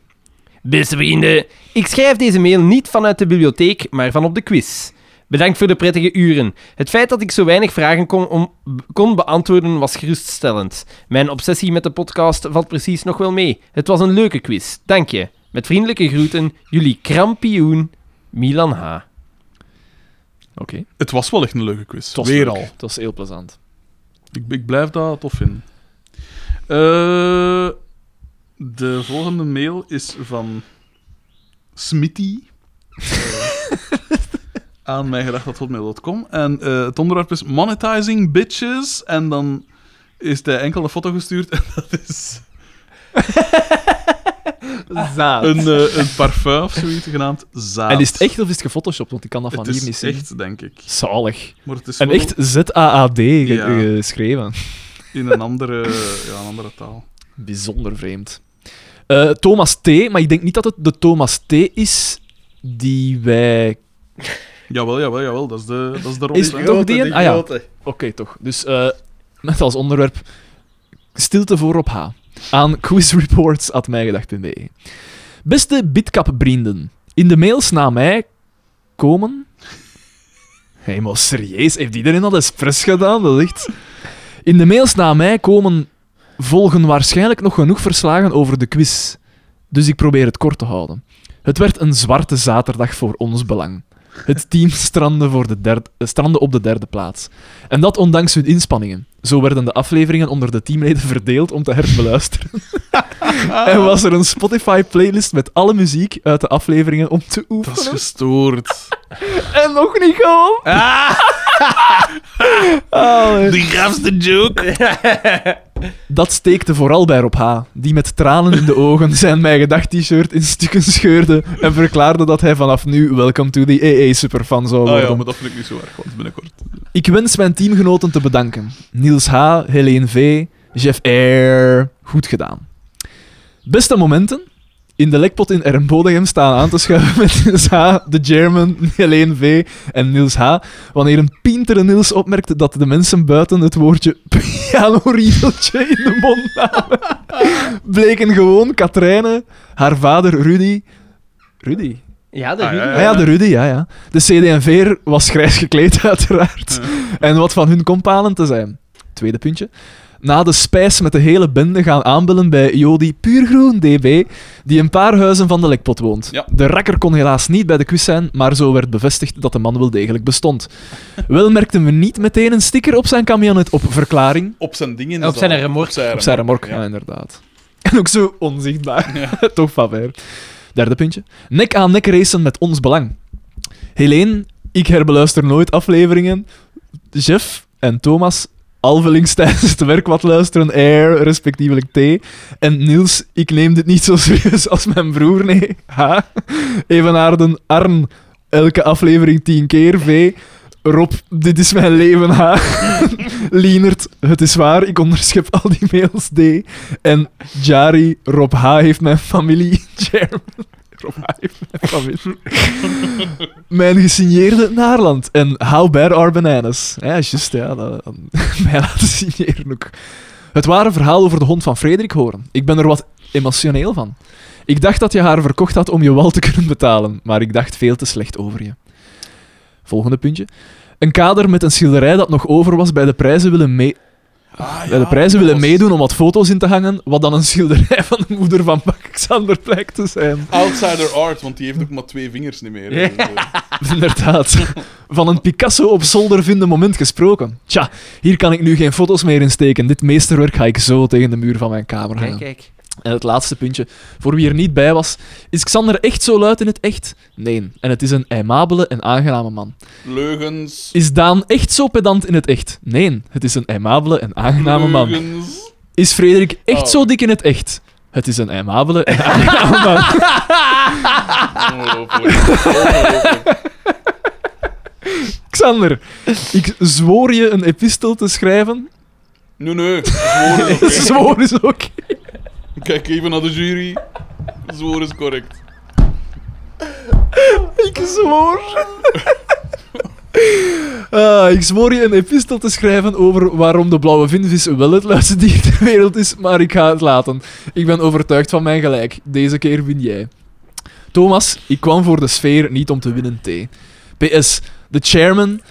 Beste vrienden, ik schrijf deze mail niet vanuit de bibliotheek, maar van op de quiz. Bedankt voor de prettige uren. Het feit dat ik zo weinig vragen kon, om, kon beantwoorden was geruststellend. Mijn obsessie met de podcast valt precies nog wel mee. Het was een leuke quiz. Dank je. Met vriendelijke groeten, jullie krampioen Milan H.
Oké.
Het was wel echt een leuke quiz.
Het was
Weer
leuk.
al.
Het was heel plezant.
Ik, ik blijf dat tof vinden. Eh, de volgende mail is van Smitty. Eh, aan mij En eh, het onderwerp is monetizing bitches. En dan is hij enkel een foto gestuurd. En dat is
Zaad.
een, eh, een parfum of zoiets genaamd zaad.
Ah. En is het echt of is het gefotoshopt? Want ik kan dat van
Het
hier niet
is
zien.
echt, denk ik.
Zalig.
Maar het is
En
wel
echt Z-A-A-D ge-
Ja.
geschreven.
in een andere, ja, een andere taal.
Bijzonder vreemd. Eh, Thomas T., maar ik denk niet dat het de Thomas T is die wij...
Jawel, jawel, jawel. Dat is de, dat is de rol.
Is
hè.
het toch die? een? Ah ja, oké toch. Dus eh, met als onderwerp stilte voor op H. Aan quizreports.mijgedacht.be E. Beste Bitcap-vrienden, in de mails na mij komen... Hé, maar serieus, heeft iedereen al expres gedaan? Dat is echt... In de mails na mij komen volgen waarschijnlijk nog genoeg verslagen over de quiz. Dus ik probeer het kort te houden. Het werd een zwarte zaterdag voor ons belang. Het team strandde, voor de derde, eh, strandde op de derde plaats. En dat ondanks hun inspanningen. Zo werden de afleveringen onder de teamleden verdeeld om te herbeluisteren. en was er een Spotify-playlist met alle muziek uit de afleveringen om te
Dat is
oefenen.
gestoord.
En nog niet gewoon.
De grafste joke.
Dat steekte vooral bij Rob H., die met tranen in de ogen zijn mijn gedacht t-shirt in stukken scheurde en verklaarde dat hij vanaf nu Welcome to the AA superfan zou
Oh
worden.
ja, maar dat vind ik niet zo erg, want binnenkort.
Ik wens mijn teamgenoten te bedanken. Niels H., Helene V., Jeff Air. Goed gedaan. Beste momenten. In de lekpot in Ermbodegem staan aan te schuiven met Niels H., de German, Helene V. en Niels H. Wanneer een pintere Niels opmerkte dat de mensen buiten het woordje pianoriedeltje in de mond namen, bleken gewoon Katrijne, haar vader Rudy... Rudy?
Ja, de
Ah, ja,
Rudy.
Ah ja, de Rudy, ja, ja. De CD&V'er was grijs gekleed, uiteraard. En wat van hun kompanen te zijn. Tweede puntje. Na de spijs met de hele bende gaan aanbellen bij Jody Puurgroen DB, die een paar huizen van de lekpot woont.
Ja.
De rakker kon helaas niet bij de quiz zijn, maar zo werd bevestigd dat de man wel degelijk bestond. Wel merkten we niet meteen een sticker op zijn camionet op verklaring.
Op zijn dingen.
Op
is
zijn
dat-
remork.
Op zijn
Op zijn remork, ja.
ja.
inderdaad. En ook zo onzichtbaar. Toch van ver. Derde puntje. Nek aan nek racen met ons belang. Helene, ik herbeluister nooit afleveringen. Jeff en Thomas, alvelings tijdens het werk wat luisteren. Air, respectievelijk T. En Niels, ik neem dit niet zo serieus als mijn broer, nee. H. Evenaarden, Arn, elke aflevering tien keer. V. Rob, dit is mijn leven, H. Lienert, het is waar, ik onderschep al die mails, D. En Jari, Rob H. heeft mijn familie. Jerm, Rob H. heeft mijn familie. mijn gesigneerde Naarland. En how bad are bananas? Ja, juist, ja. dat- dat- mij laten signeren ook. Het ware verhaal over de hond van Frederik horen. Ik ben er wat emotioneel van. Ik dacht dat je haar verkocht had om je wal te kunnen betalen, maar ik dacht veel te slecht over je. Volgende puntje. Een kader met een schilderij dat nog over was bij de prijzen willen mee...
Ah,
bij de prijzen willen meedoen om wat foto's in te hangen, wat dan een schilderij van de moeder van Alexander blijkt te zijn.
Outsider art, want die heeft ook maar twee vingers niet meer. hè.
Inderdaad. Van een Picasso op zolder vinden moment gesproken. Tja, hier kan ik nu geen foto's meer in steken. Dit meesterwerk ga ik zo tegen de muur van mijn kamer
Kijk,
hangen.
kijk.
En het laatste puntje, voor wie er niet bij was. Is Xander echt zo luid in het echt? Nee. En het is een aimabele en aangename man.
Leugens.
Is Daan echt zo pedant in het echt? Nee. Het is een aimabele en aangename man.
Leugens.
Is Frederik echt
Oh.
zo dik in het echt? Het is een aimabele en aangename man.
Ongelooflijk. Ongelooflijk.
Xander, ik zwoer je een epistel te schrijven.
Nee, nee. Zworen is oké.
Zwoer is ook.
Kijk even naar de jury. Zworen is correct.
Ik zwoer. Ah, ik zwoer je een epistel te schrijven over waarom de blauwe vinvis wel het luidste dier ter wereld is, maar ik ga het laten. Ik ben overtuigd van mijn gelijk. Deze keer win jij. Thomas, ik kwam voor de sfeer, niet om te winnen, T. PS, de chairman,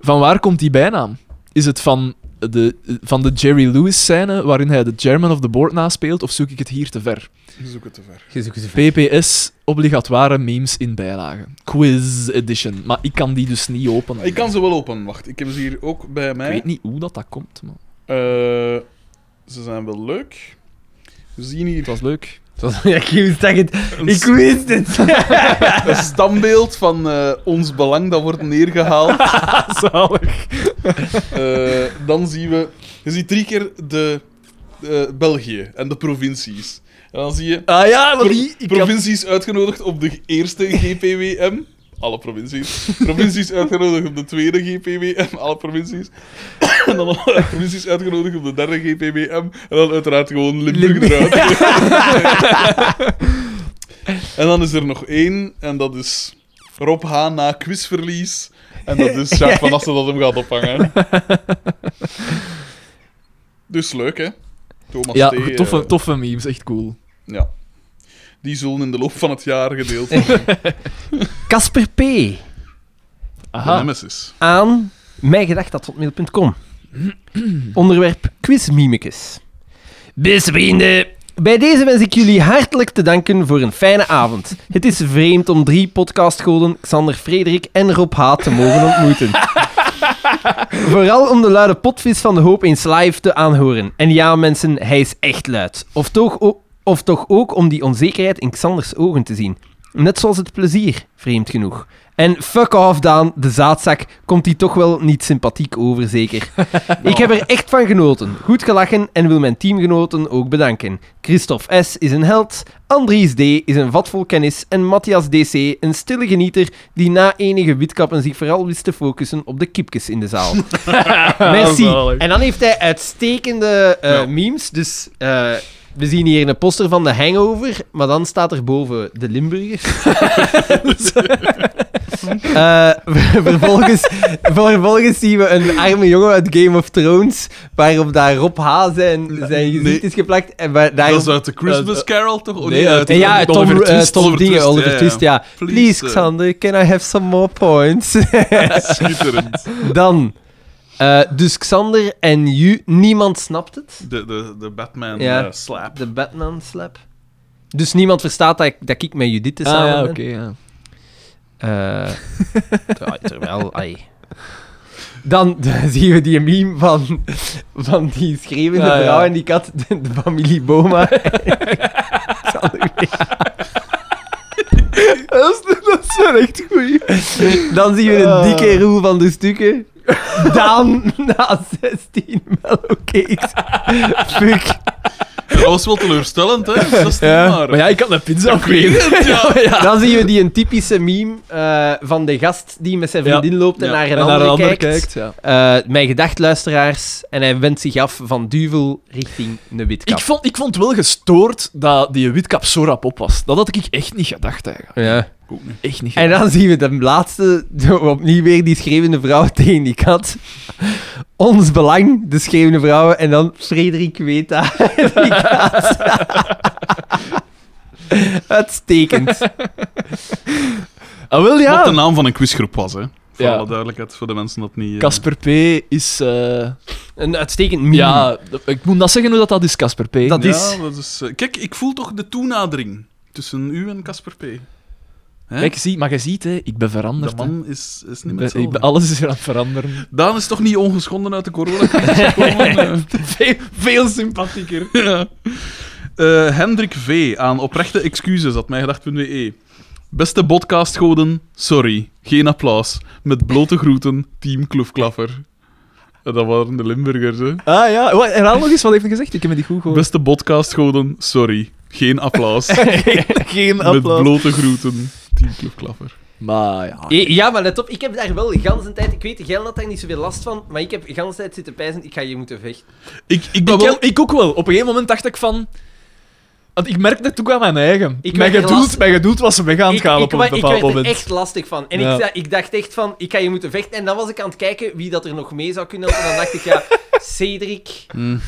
van waar komt die bijnaam? Is het van de, van de Jerry Lewis-scène waarin hij de chairman of the board naspeelt, of zoek ik het hier te ver?
Je zoekt het te ver.
Je zoekt ze ver.
PPS, obligatoire memes in bijlagen. Quiz edition. Maar ik kan die dus niet openen.
Ik kan ze wel open. Wacht, ik heb ze hier ook bij
Ik
mij.
weet niet hoe dat, dat komt, maar
Eh, ze zijn wel leuk. We zien
het
hier
was leuk.
Ja, ik wist dat je het-
een,
Ik wist het.
een standbeeld van eh, ons belang dat wordt neergehaald.
Zalig.
Eh, dan zien we... Je ziet drie keer de, eh, België en de provincies. En dan zie je
Ah ja, maar
Pro-
die... Ik had-
provincies uitgenodigd op de eerste GPWM. Alle provincies. Provincies uitgenodigd op de tweede GPWM. Alle provincies. En dan alle provincies uitgenodigd op de derde GPWM. En dan uiteraard gewoon Limburg eruit. en dan is er nog één. En dat is Rob H. na quizverlies. En dat is Jacques van Assen dat hem gaat ophangen. Dus leuk, hè? Thomas T,
Ja,
eh,
toffe, toffe memes. Echt cool.
ja. Die zullen in de loop van het jaar gedeeld worden.
Casper P.
De
Aha.
Nemesis.
aan mijngedacht.hotmail.com. Onderwerp quizmimicus. Beste vrienden, bij deze wens ik jullie hartelijk te danken voor een fijne avond. Het is vreemd om drie podcastgoden, Xander Frederik en Rob H. te mogen ontmoeten. Vooral om de luide potvis van de hoop eens live te aanhoren. En ja, mensen, hij is echt luid. Of toch, o- of toch ook om die onzekerheid in Xanders ogen te zien. Net zoals het plezier, vreemd genoeg. En fuck off, Daan, de zaadzak, komt hij toch wel niet sympathiek over, zeker. Ik heb er echt van genoten. Goed gelachen en wil mijn teamgenoten ook bedanken. Christophe S. is een held, Andries D. is een vat vol kennis en Matthias DC een stille genieter die na enige witkappen zich vooral wist te focussen op de kipjes in de zaal. Merci.
Zalig.
En dan heeft hij uitstekende eh,
Ja.
memes, dus... eh, we zien hier een poster van de Hangover, maar dan staat er boven de Limburgers. Eh, ver- vervolgens, vervolgens zien we een arme jongen uit Game of Thrones, waarop daar Rob H. zijn, zijn gezicht
Nee.
is geplakt. En waar, daar...
Dat is uit de Christmas
eh,
Carol, toch? Oh,
nee,
nee, uit
uit-
Eh, ja,
Oliver
Tom, eh,
Twist,
Tom
Oliver
Dingen,
Twist,
Oliver
ja, ja.
Twist, ja.
Please,
Please,
eh.
Xander, can I have some more points?
schitterend.
Dan, eh, dus Xander en Ju, niemand snapt het.
De, de, de Batman
Ja.
eh, slap.
De Batman slap. Dus niemand verstaat dat ik, dat ik met Judith te
Ah
samen
ja, oké,
ben.
ja.
Eh, ja, terwijl, ai. Dan zien we die meme van, van die schreeuwende
Ja, ja.
vrouw en die kat, de, de familie Boma. Ik zal het niet. echt goed. Dan zien we een dikke roe van de stukken. Daan na 16 mellowcakes. Fuck.
Dat was wel teleurstellend, hè? Dat is
Ja.
niet waar.
Maar ja, ik had een pizza opgeven.
weet het, ja.
Dan zien we die een typische meme eh, van de gast die met zijn
Ja.
vriendin loopt en
Ja.
naar een
En naar
ander
een ander
kijkt.
kijkt, ja.
Eh, mijn gedachtluisteraars. En hij wendt zich af van Duvel richting een witkap.
Ik vond, ik vond wel gestoord dat die witkap zo rap op was. Dat had ik echt niet gedacht, eigenlijk.
Ja.
Ook niet.
Echt niet
En dan zien we de laatste, zo opnieuw weer die schreeuwende vrouw tegen die kat. Ons belang, de schreeuwende vrouwen. En dan Frederik Weta, die kat. Uitstekend.
Ah, wel ja.
Wat de naam van een quizgroep was, hè? Voor
Ja.
alle duidelijkheid, voor de mensen dat niet... eh,
Casper P. is... eh,
Een uitstekend meme.
Ja, d- ik moet dat zeggen hoe dat, dat is, Casper P.
Mm. Dat-
ja,
is-
dat is... eh, Kijk, ik voel toch de toenadering tussen u en Casper P. Hè?
Kijk, zie, maar je ziet, hè, ik ben
De
veranderd. hè.
man is, is niet
Ik
meer
ben- ik ben,
hetzelfde.
alles is weer aan het veranderen.
Daan is toch niet ongeschonden uit de coronacrisis gekomen? eh?
veel, veel sympathieker.
Ja. Eh, Hendrik V. aan oprechte excuses, had mijgedacht.be. Beste podcastgoden, sorry. Geen applaus. Met blote groeten, team Kloefklaffer. Eh, Dat waren de Limburgers, hè.
Ah ja, Wat, herhaal nog eens, wat heeft hij gezegd? Ik heb me niet goed gehoord.
Beste podcastgoden, sorry. Geen applaus.
Geen
Met blote groeten, team Kloefklaffer.
Maar ja,
Ja, Eh, ja, maar let op, ik heb daar wel de ganse tijd... Ik weet, Gel had daar niet zoveel last van, maar ik heb de ganse tijd zitten pijzen, ik ga hier moeten vechten.
Ik, ik ben
Ik,
wel...
heb- ik ook wel. Op een gegeven moment dacht ik van... Want ik merkte het ook aan mijn eigen.
Ik
mijn,
werd er
gedoeld,
last-
mijn gedoeld was weg aan het gaan op
wa-
een bepaald
ik werd
moment.
er echt lastig van. En
Ja.
ik, da- ik dacht echt van, ik ga je moeten vechten. En dan was ik aan het kijken wie dat er nog mee zou kunnen. En dan dacht ik, ja, Cedric
Hmm.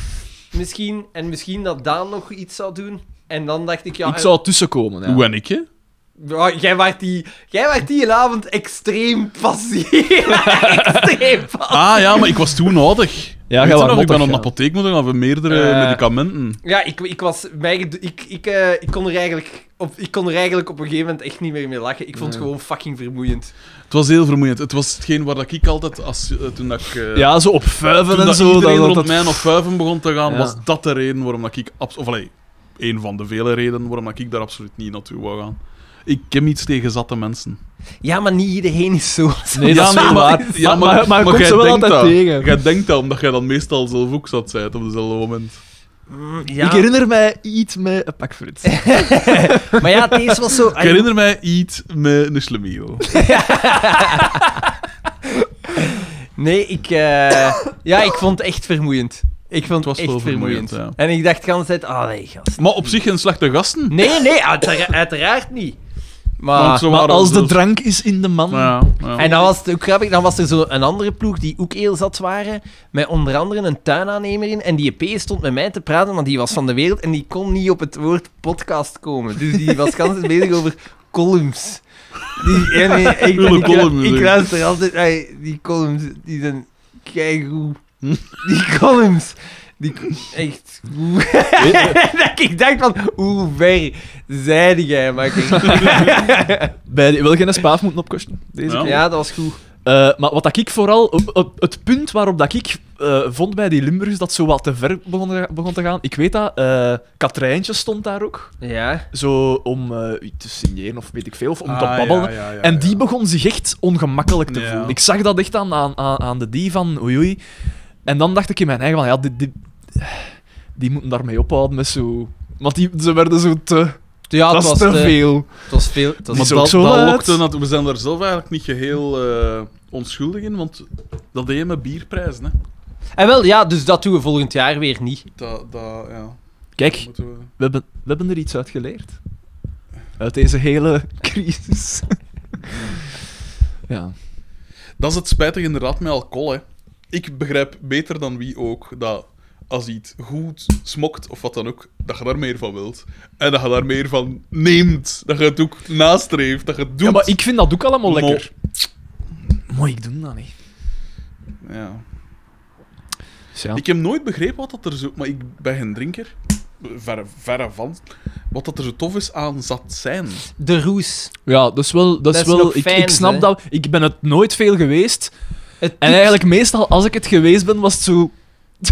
misschien. En misschien dat Daan nog iets zou doen. En dan dacht ik, ja...
ik zou tussenkomen. Ja.
Hoe en ik, hè?
eh, ja, jij, waart die, jij waart die avond extreem passief. extreem passief.
Ah ja, maar ik was toen nodig.
Ja,
Weet
jij
je
was
nog? Ik ben
mottig,
op de
ja.
apotheek moeten gaan voor meerdere
Eh.
medicamenten.
Ja, ik, ik was... Mij, gedo- ik, ik, eh, ik, kon er eigenlijk op, ik kon er eigenlijk op een gegeven moment echt niet meer mee lachen. Ik vond het
Nee.
gewoon fucking vermoeiend.
Het was heel vermoeiend. Het was hetgeen waar dat ik altijd, als, eh, toen dat ik... eh,
Ja, zo op vuiven
Toen
en
dat
zo.
iedereen
dat-
rond
dat-
mij nog vuiven begon te gaan,
Ja.
was dat de reden waarom dat ik... abs- Of allee, een van de vele redenen waarom dat ik daar absoluut niet naartoe wou gaan. Ik ken iets tegen zatte mensen.
Ja, maar niet iedereen is zo.
Nee, dat is
nee,
wel
maar-
waar.
ja,
maar,
maar-
maar, maar,
maar
je komt
jij
ze wel
denkt
altijd
dat.
tegen.
Jij denkt dat, omdat jij dan meestal zelf ook zat bent op dezelfde moment.
Ah,
Mm, ja.
Ik herinner mij iets met een pak fruit.
Maar ja, deze was zo...
Ik herinner mij iets met een slemiel.
Nee, ik... eh, ja, ik vond het echt vermoeiend. Ik vond
Het was
het echt
wel vermoeiend,
vermoeiend. En ik dacht de hele tijd, ah nee, gast.
Maar op zich geen slechte gasten.
Nee, nee, uitera- uiteraard niet.
Want
Maar...
zo
Maar
waren
als de
zelfs-
drank is in de man...
Ja, ja.
En dan was het ook grappig, dan was er zo een andere ploeg die ook heel zat waren, met onder andere een tuinaannemer in, en die EP stond met mij te praten, want die was van de wereld, en die kon niet op het woord podcast komen. Dus die was de hele tijd bezig over columns. Die, en, ik, ik,
Ulle
ik-
columns,
ik
hè.
luister altijd, ey, die columns, die zijn keigoed. Die columns. Die echt goed. dat ik dacht van, hoe ver zijde jij, maar ik-
Bij die, wil geen spaaf moeten opkosten. Deze
Ja.
keer.
Ja, dat was goed.
Eh, maar wat dat ik vooral... op- op het punt waarop dat ik eh, vond bij die Limburgers dat zo wat te ver begon, begon te gaan... Ik weet dat. eh Katrijntje stond daar ook.
Ja.
Zo om eh, iets te signeren of weet ik veel. Of om te
Ah, ja,
babbelen.
ja, ja,
en die
ja.
begon zich echt ongemakkelijk te
Ja.
voelen. Ik zag dat echt aan, aan, aan aan de die van oei oei. En dan dacht ik in mijn eigen van, ja, die, die, die moeten daarmee ophouden met zo... Want die, ze werden zo te...
Ja,
dat
het
was
was
te
de-
veel.
Het was veel. Het was
Die
Maar
is
dat,
ook zo
dat
luid.
lokte nat- we zijn daar zelf eigenlijk niet geheel eh, onschuldig in, want dat deed je met bierprijzen. Hè.
En wel, ja, dus dat doen we volgend jaar weer niet.
Dat, dat, ja,
Kijk,
moeten we...
we hebben, we hebben er iets uit geleerd. Uit deze hele crisis. ja.
dat is het spijtige inderdaad met alcohol. Hè. Ik begrijp beter dan wie ook dat als iets goed smokt of wat dan ook, dat je daar meer van wilt. En dat je daar meer van neemt. Dat je het ook nastreeft, dat je het doet.
ja, maar ik vind dat ook allemaal
Maar-
lekker. Mooi, ik doe dat niet.
Ja.
Dus ja.
Ik heb nooit begrepen wat dat er zo... Maar ik ben geen drinker. Verre, verre van. Wat dat er zo tof is aan zat zijn.
De roes.
ja, dat is wel... Dat is
Dat is
wel
nog
ik,
fijn,
ik snap
hè?
dat... Ik ben het nooit veel geweest.
Het
En eigenlijk meestal, als ik het geweest ben, was het zo...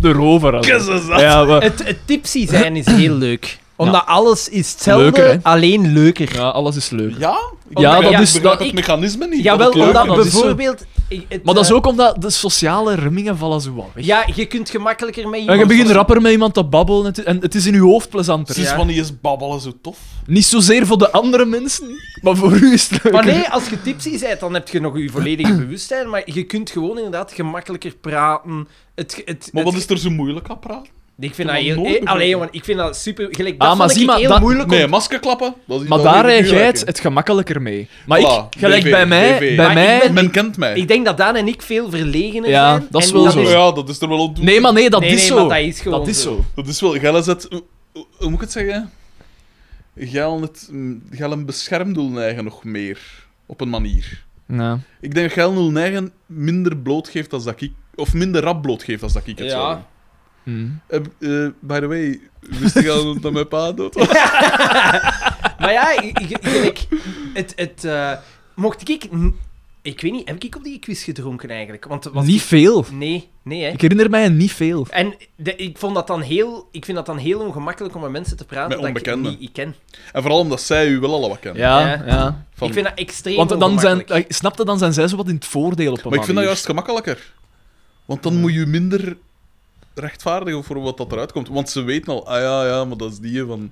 de rover. als het-
Kussen zat.
Ja, maar-
Het, het tipsy zijn is heel leuk. Omdat alles is hetzelfde,
Leuker, hè?
alleen leuker.
Ja, alles is leuk.
Ja?
Ja,
Ik
dat is...
begrijp
Dat,
het mechanisme niet.
Jawel,
dat het leuk
omdat
is.
dat is zo.
bijvoorbeeld... ik- het,
maar dat is
eh,
ook omdat de sociale remmingen vallen zo wat weg.
Ja, je kunt gemakkelijker met
En
iemand...
je begint rapper met iemand te babbelen en het- en het is in je hoofd plezanter.
Precies,
Ja.
wanneer is babbelen zo tof?
Niet zozeer voor de andere mensen, maar voor u is het leuk.
Maar nee, als je tipsy bent, dan heb je nog je volledige bewustzijn, maar je kunt gewoon inderdaad gemakkelijker praten. Het, het, het-
Maar wat is er zo moeilijk aan praten?
Ik vind dat
Ik heb
heel...
dat nooit
eh, Allee,
begrepen.
jongen, ik vind dat super... Gelijk,
Ah,
dat
maar
vond
zie
ik
maar,
heel
dat-
moeilijk om-
Nee, maskerklappen. Dat is
Maar
dat
daar
weet ik
heb
nu
jij het,
eigenlijk.
het gemakkelijker mee. Maar ik,
Voilà,
gelijk
BV,
bij mij,
BV.
bij
Maar
mij...
ik ben-
Men kent mij.
Ik denk dat Daan en ik veel verlegener
Ja,
zijn.
dat is
en
wel
dat
zo.
is, Ah, ja, dat is er wel ontdoen.
Nee, maar nee, dat
Nee,
is
nee,
zo.
maar dat is gewoon
Dat
zo.
is zo.
Dat is wel... Gelle zet... Hoe, hoe- hoe moet ik het zeggen? Gelle, het, mm, Gelle beschermt Doelneigen nog meer. Op een manier.
Ja.
Ik denk dat Gelle 09 minder bloot geeft dan dat ik... Of minder rap bloot geeft dan dat ik het
Ja.
zou doen.
Hmm.
Eh, eh, by the way, wist je al dat mijn pa dood was?
Maar ja, ik- ik- gelijk, het, het, eh, mocht ik... n- Ik weet niet, heb ik op die quiz gedronken eigenlijk? Want, het was-
Niet veel.
Nee, nee, hè.
Ik herinner mij niet veel.
En de- ik, vond dat dan heel, ik vind dat dan heel ongemakkelijk om met mensen te praten
Met
dat ik
onbekenden.
niet ik ken.
En vooral omdat zij u wel alle wat kennen.
Ja,
Ja.
ja.
Van-
Ik vind dat extreem
Want dan zijn,
ongemakkelijk.
eh, snapte, dan zijn zij zo wat in het voordeel op een
Maar ik vind dat
manier.
juist gemakkelijker. Want dan moet je minder rechtvaardigen voor wat dat eruit komt. Want ze weten al, ah ja, ja, maar dat is die van...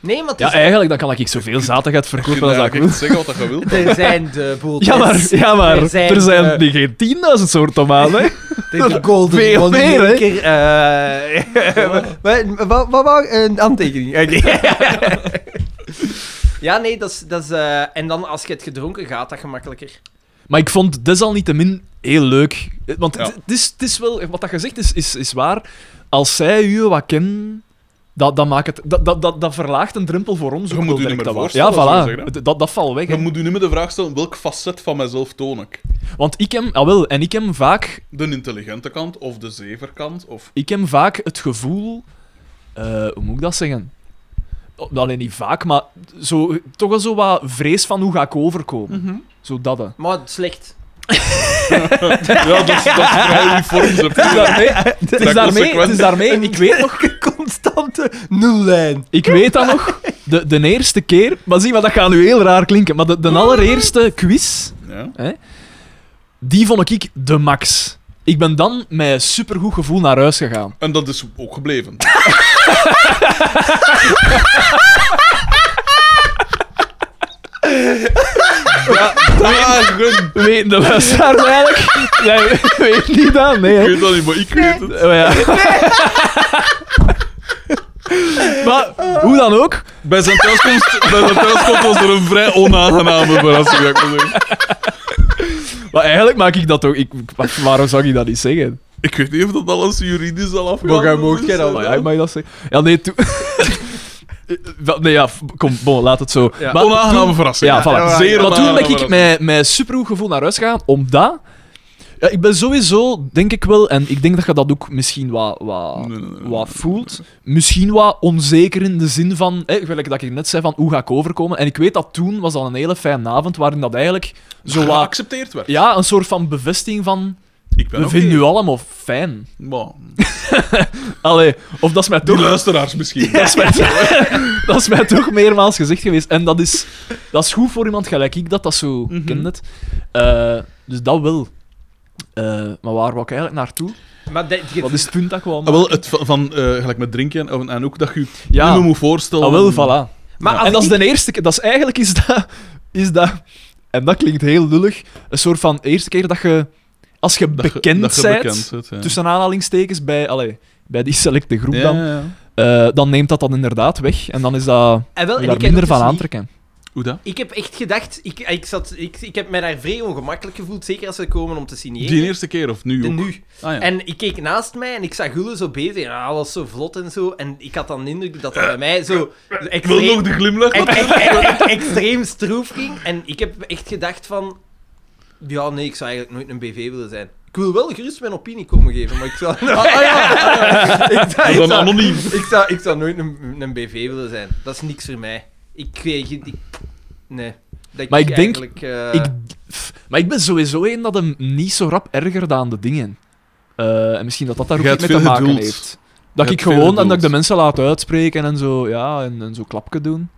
Nee, want
Ja, eigenlijk, dan kan ik zoveel zatigheid
Je
verkopen
kunt
als dat ik
eigenlijk
wil.
echt zeggen wat dat je wilt.
er zijn de boeltjes.
Ja, maar, ja, maar
Er
er
zijn,
zijn,
eh,
die geen 10.000 soort tomaten, hè.
De golden
Veel meer, hè?
Maker, eh, wat, wat, eh, Een aantekening. ja, nee, dat is... Dat is eh, en dan als je het gedronken gaat, dat gemakkelijker.
Maar ik vond desalniettemin heel leuk. Eh, Want het-
Ja.
het, is, het is wel... Wat dat gezegd is, is, is waar. Als zij u wat kennen... Dat, dat, maakt het, dat, dat, dat, dat verlaagt een drempel voor ons.
Je
ook
moet
wel
u niet
direct,
meer
dat waar.
voorstellen, zou
Ja,
je
voilà.
zeggen, hè?
Het- Dat, dat valt weg. hè.
Je moet u niet meer de vraag stellen, welk facet van mijzelf toon ik?
Want ik hem... Ah, wel. En ik hem vaak
De intelligente kant, of de zeverkant, of...
ik heb vaak het gevoel. eh, hoe moet ik dat zeggen? Oh, Alleen niet vaak, maar zo, toch wel zo wat vrees van hoe ga ik overkomen. Zo dat. hè.
Maar slecht.
Ja, dat is, dat is vrij uniform, ze
Het is
voelen.
daarmee, het is
Dat
daarmee,
consequent.
het is daarmee ik, weet nog,
Constante nullijn.
ik weet dat nog, de, de eerste keer, maar zie, maar dat gaat nu heel raar klinken, maar de, de allereerste quiz,
Ja.
die vond ik de max. Ik ben dan met een supergoed gevoel naar huis gegaan.
En dat is ook gebleven. Dagen!
Weet de luisteraars eigenlijk? Nee, weet niet aan, nee.
Ik
hè.
weet dat niet, maar ik weet het.
Oh ja. maar hoe dan ook,
Bij zijn thuiskomst, bij zijn thuiskomst was er een vrij onaangename verrassing, zou ik maar zeggen.
maar eigenlijk maak ik dat toch. Ik, waarom zou ik dat niet zeggen?
Ik weet niet of dat alles juridisch al afgegaan is, eh,
Ja, mag je dat zeggen? Ja, nee, toen. Wel, nee, ja, f- kom, bon, laat het zo.
Ja.
Maar
Onaangename
toen-
verrassing.
Ja, voilà.
Zeer
Maar toen
onaangename
ben ik
verrassing.
met, met supergoed gevoel naar huis gegaan, omdat... Ja, ik ben sowieso, denk ik wel, en ik denk dat je dat ook misschien wat, wat,
Nee, nee, nee, nee,
wat voelt, misschien wat onzeker in de zin van, hè, gelijk dat ik net zei, van hoe ga ik overkomen? En ik weet dat toen was dat een hele fijne avond, waarin dat eigenlijk zo wat...
Geaccepteerd werd.
Ja, een soort van bevestiging van,
Ik ben
we
oké.
vinden u allemaal fijn.
Maar,
Allee, of dat is mij
de
toch...
luisteraars misschien.
Dat is, mij, dat is mij toch meermaals gezegd geweest. En dat is, dat is goed voor iemand gelijk ik dat dat zo
Mhm.
kent. Het. Eh, dus dat wel. Eh, maar waar wou ik eigenlijk naartoe?
Maar dat- je-
Wat is het punt dat ik wou
Ah,
maken?
wel, het va- van, eh, gelijk met drinken en, en ook dat je je
Ja.
niet meer moet voorstellen.
Ah, wel, voilà.
maar
Ja.
als
en dat is
ik-
de eerste keer... Dat is eigenlijk is dat, is dat... En dat klinkt heel lullig. Een soort van eerste keer dat je... Als je
Dat je-
bekend
dat je
bent,
bekend bent, ja.
tussen aanhalingstekens, bij, allee, bij die selecte groep
Ja,
dan,
ja, ja.
eh, dan neemt dat dan inderdaad weg. En dan is dat...
en wel, en
je
ik
daar
heb
minder
dat dus
van
niet.
aantrekken.
Hoe dat?
Ik heb echt gedacht, ik, eh, ik, zat, ik, ik heb mij daar vrij ongemakkelijk gevoeld, zeker als ze komen om te signeren.
Die eerste keer of nu?
De
ook?
nu.
Ah, ja.
En ik keek naast mij en ik zag Gulle zo bezig. En alles zo vlot en zo. En ik had dan de indruk dat dat bij mij zo
Ik wil nog
extreem,
de glimlach.
e- e- e- extreem stroef ging. En ik heb echt gedacht van... Ja, nee, ik zou eigenlijk nooit een BV willen zijn. Ik wil wel gerust mijn opinie komen geven, maar ik zou... ik, zou,
Maar
ik,
dan
zou,
anoniem.
ik, zou, ik zou nooit een, een BV willen zijn. Dat is niks voor mij. Ik weet... Ik, ik- nee. Dat
Maar ik denk-
eigenlijk, eh,
Ik, pff, maar ik ben sowieso een dat hem niet zo rap ergerde aan de dingen. Eh, en misschien dat dat daar ook
Jij
iets mee
hebt
te
veel
maken
geduld.
heeft. Dat
Je
ik
hebt vele
gewoon en dat ik
doels.
de mensen laat uitspreken en zo, ja, en, en zo klapje doen.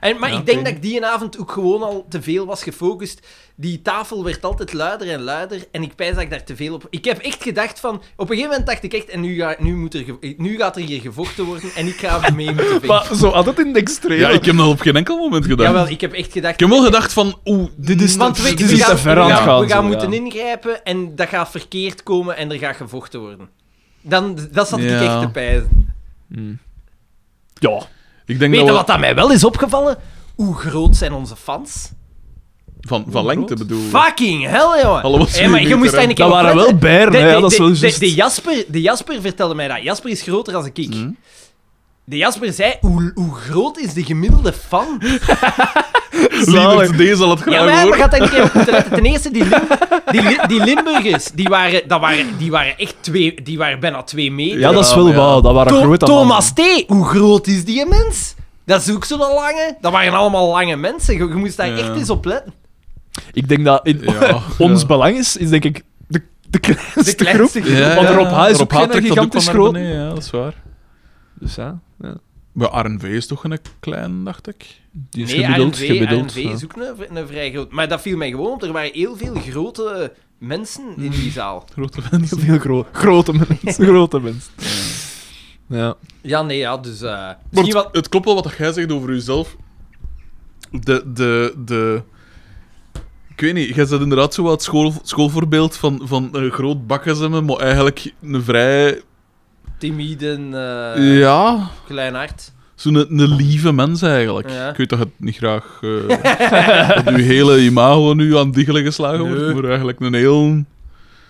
En, maar
Ja,
ik denk
oké.
dat ik die avond ook gewoon al te veel was gefocust. Die tafel werd altijd luider en luider. En ik pijs dat ik daar te veel op... Ik heb echt gedacht van... Op een gegeven moment dacht ik echt... En nu, ga, nu, moet er, ge- eh, nu gaat er hier gevochten worden. En ik ga mee moeten vechten.
Maar zo altijd in de extreme.
Ja, ik heb dat op geen enkel moment gedaan.
Jawel, ik heb echt gedacht...
Ik heb wel gedacht van, oeh, dit is...
Want
dit
dit
is-
te ver aan
we
het gaan,
We
zo,
gaan
ja.
moeten ingrijpen en dat gaat verkeerd komen en er gaat gevochten worden. Dan, dat zat ik
Ja.
echt te pijzen.
Hm. Ja.
Ik denk
Weet
dat
je
we...
wat dat mij wel is opgevallen? Hoe groot zijn onze fans?
Van, van lengte bedoel ik.
Fucking hell, jongen.
Hallo, wat
Hé, maar je
meter,
moest
hè?
eigenlijk
Dat waren wel beren,
De,
hè,
de-
dat is wel
de-
juist.
de- de Jasper, de Jasper vertelde mij dat. Jasper is groter dan ik.
Hm?
Mm.
De Jasper zei, hoe, hoe groot is de gemiddelde fan?
Lieverd, deze zal het graag
Ja, maar we
horen.
gaan dat een keer op moeten letten. Ten eerste, die, Lim- die, Li- die Limburgers, die waren, dat waren, die waren echt twee, die waren bijna twee meter.
ja, dat is wel
Ja, maar ja.
wauw. Dat waren
To-
grote
Thomas T, hoe groot is die mens? Dat is ook zo'n lange. Dat waren allemaal lange mensen. Je, je moest daar
Ja.
echt eens op letten.
mannen. Ik denk dat in-
Ja,
ons
ja.
belang is, is denk ik de, de kleinste,
De kleinste
groep.
groep.
Ja,
Want
ja,
Rob H. is ook
Rob
geen
trekt dat
gigantisch
van naar
groot.
beneden, Ja, dat is waar.
Dus ja, ja.
Maar RNV is toch een klein, dacht ik?
die is
nee,
gemiddeld.
ANV,
gemiddeld
ANV is ook een, v- een vrij groot. Maar dat viel mij gewoon op. Er waren heel veel grote eh, mensen
Mm.
in die zaal.
Grote mensen.
Heel veel gro- grote mensen. grote mensen. Ja.
Ja, nee, ja, dus... eh
Maar
misschien
het-
wat...
het klopt wel wat jij zegt over jezelf. De, de, de... Ik weet niet, jij zet inderdaad zo wat school, schoolvoorbeeld van, van eh, groot bakkenzemmen, maar eigenlijk een vrij...
Timiden, eh
ja,
klein hart.
zo'n een lieve mens eigenlijk.
Ja.
Ik weet dat je het niet graag... eh, dat je hele imago nu aan diggelen geslagen wordt,
Nee.
maar eigenlijk een heel...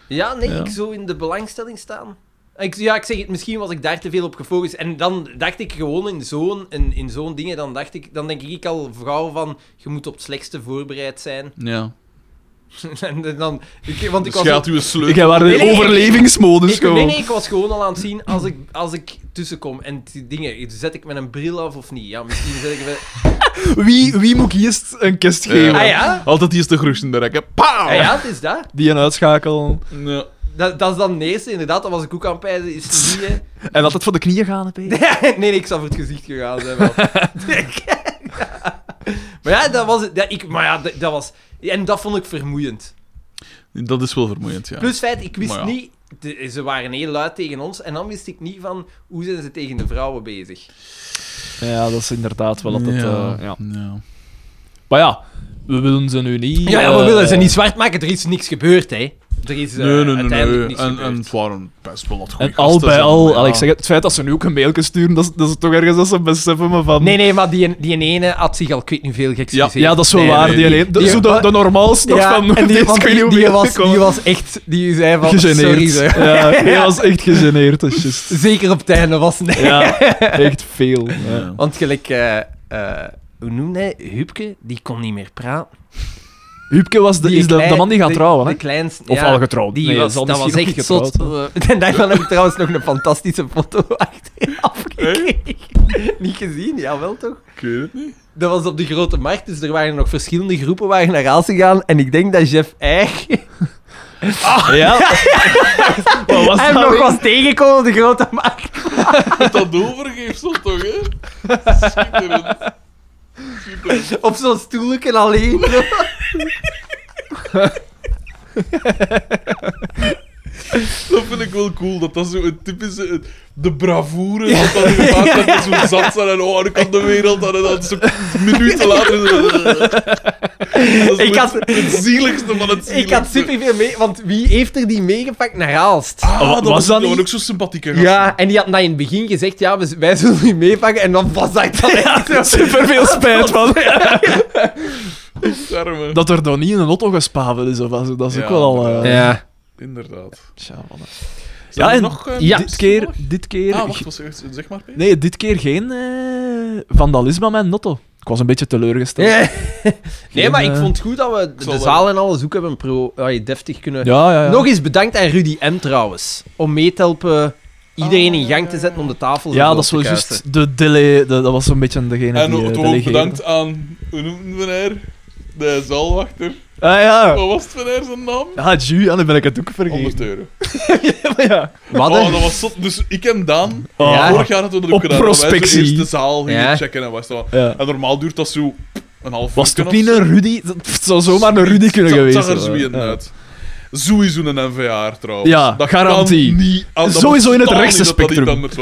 Ja, nee,
Ja.
ik zou in de belangstelling staan. Ik, ja, ik zeg het, misschien was ik daar te veel op gefocust. En dan dacht ik gewoon in zo'n in, in zo'n dingen, dan, dacht ik, dan denk ik al vrouw van, je moet op het slechtste voorbereid zijn.
Ja.
en dan, ik, want ik
Dus
was...
je
al-
had uw sleutel.
Ik waren
Nee,
in
nee, ik-
overlevingsmodus
Dus
ik, nee,
gewoon.
nee, ik was gewoon al aan het zien als ik, als ik tussenkom. En die dingen, zet ik met een bril af of niet? Ja, misschien zet ik met...
Wie, wie moet ik eerst een kist
Ja.
geven?
Ah ja?
Altijd die is de groes in de rekken. Pauw!
Ah ja, het is dat.
Die een uitschakelen.
Ja.
Dat, dat is dan de eerste, inderdaad. Dat was ik ook aan het pijzen. Is het niet, hè?
En altijd voor de knieën gaan, hè, Peter.
Nee, nee, ik zou voor het gezicht gegaan zijn. Wel. maar ja, dat was... het. Ja, ik, maar ja, dat, dat was... En dat vond ik vermoeiend.
Dat is wel vermoeiend, ja.
Plus feit, ik wist
Maar ja.
niet... de- ze waren heel luid tegen ons. En dan wist ik niet van... Hoe zijn ze tegen de vrouwen bezig?
Ja, dat is inderdaad wel altijd...
ja.
eh, ja.
ja.
Maar ja, we willen ze nu niet...
Ja, ja we
eh,
willen ze niet zwart maken. Er is niks gebeurd, hè. Er is eh,
Nee, nee, nee.
uiteindelijk
nee.
niks
En,
gebeurd.
en het waren best wel wat goede
En al
gasten,
bij
zeg
al,
maar,
al,
ja.
ik zeg het, het feit dat ze nu ook een mailje sturen, dat is, dat is toch ergens dat ze beseffen me van...
Nee, nee, maar die, die ene had zich al ik weet niet veel geëxcuseerd.
Ja, dat is wel
Nee,
waar. die
nee, die-
alleen, de,
die-
zo de, de normaalste nog
Ja,
van...
en die,
deze
want
kun je
die,
niet
die
meer
was,
komen.
die was echt... Die zei van...
Gegeneerd.
Sorry, ze.
Ja, die was echt gegeneerd, dat is juist.
Zeker op het einde was het.
Ja, echt veel. Ja.
Ja.
Want gelijk, eh, eh, hoe noemde hij? Hupke, die kon niet meer praten.
Huubke was de,
Die
is de, de
klei-
man die gaat
de-
trouwen, hè?
De kleinste,
Of
ja.
al getrouwd.
Die
Nee,
was,
ze had
dat was
misschien nog
echt
niet
zot.
getrouwd.
Eh, En daarvan heb ik trouwens nog een fantastische foto achteraf gekregen. Niet gezien, jawel toch?
Ik weet het niet.
Dat was op de Grote Markt, dus er waren nog verschillende groepen waar naar Aas gegaan. En ik denk dat Jeff Eich
Ja. Wat was
hem
dat
nog
weer?
was tegengekomen op de Grote Markt.
Met dat overgeefsel toch, hè? Schitterend. Schitterend.
Op zo'n stoelje alleen.
Dat vind ik wel cool, dat dat zo een typische... De bravoure, dat dat gemaakt dat dat zo zat zijn en oh, ik kan de wereld aan en dan zo minuten later... Dat is
Ik had-
het zieligste van het
ik
zieligste.
had superveel mee, want wie heeft er die meegepakt naar Aalst?
Ah,
Wat
dat
was
was,
dat
dat
niet?
ook zo sympathieke gasten.
Ja, en die had dat in het begin gezegd, ja, we- wij zullen die meepakken. En dan was dat dan echt zo.
Super veel spijt van.
Arme.
Dat er dan niet in een auto gespaven is, of wat, dat is
Ja,
ook wel al. eh,
Ja.
Inderdaad.
tja, mannen.
Zijn er
en
nog, eh,
ja,
dit
tips
keer,
toevallig?
dit keer.
Ah, wacht, was er echt- zeg maar. Peter.
nee, dit keer geen eh, vandalisme aan mijn auto. Ik was een beetje teleurgesteld.
Ja. Nee, maar
Geen,
ik
eh,
vond het goed dat we de-
zal
de
wel-
zaal en alles ook hebben pro, allee, deftig kunnen...
Ja, ja, ja.
Nog eens bedankt aan Rudy M. trouwens, om mee te helpen iedereen
Ah,
in
ja,
gang
ja,
te
ja.
zetten om de tafel
ja,
ervoor
dat is
te
wel
kuisen.
juist de delay. de- dat was zo'n beetje degene
En
die. eh,
ook
delegeerde.
bedankt aan, hoe noemden we haar? De zaalwachter.
Ah ja.
Wat was het van haar zijn naam?
Ah, Ju, ja, dan ben ik het ook
100
vergeten.
euro.
ja.
Wat
Oh,
een-
dat was zot. Dus ik en Daan,
Oh.
Ja.
vorig jaar hadden we dat
Op
ook gedaan. dat wij zo
prospectie.
eerst de zaal gingen
Ja.
checken en was dat.
Ja.
En normaal duurt dat zo een half
Was het
uur
ook
of
niet
zo.
een Rudy? Dat het zou zomaar een Rudy kunnen
Het
geweest
zag er zo
zijn.
in uit. Sowieso een NVA trouwens.
Ja, garantie.
kan niet aan- dat
Sowieso in het
bestaat
rechtse
niet dat dat iets
spectrum.
anders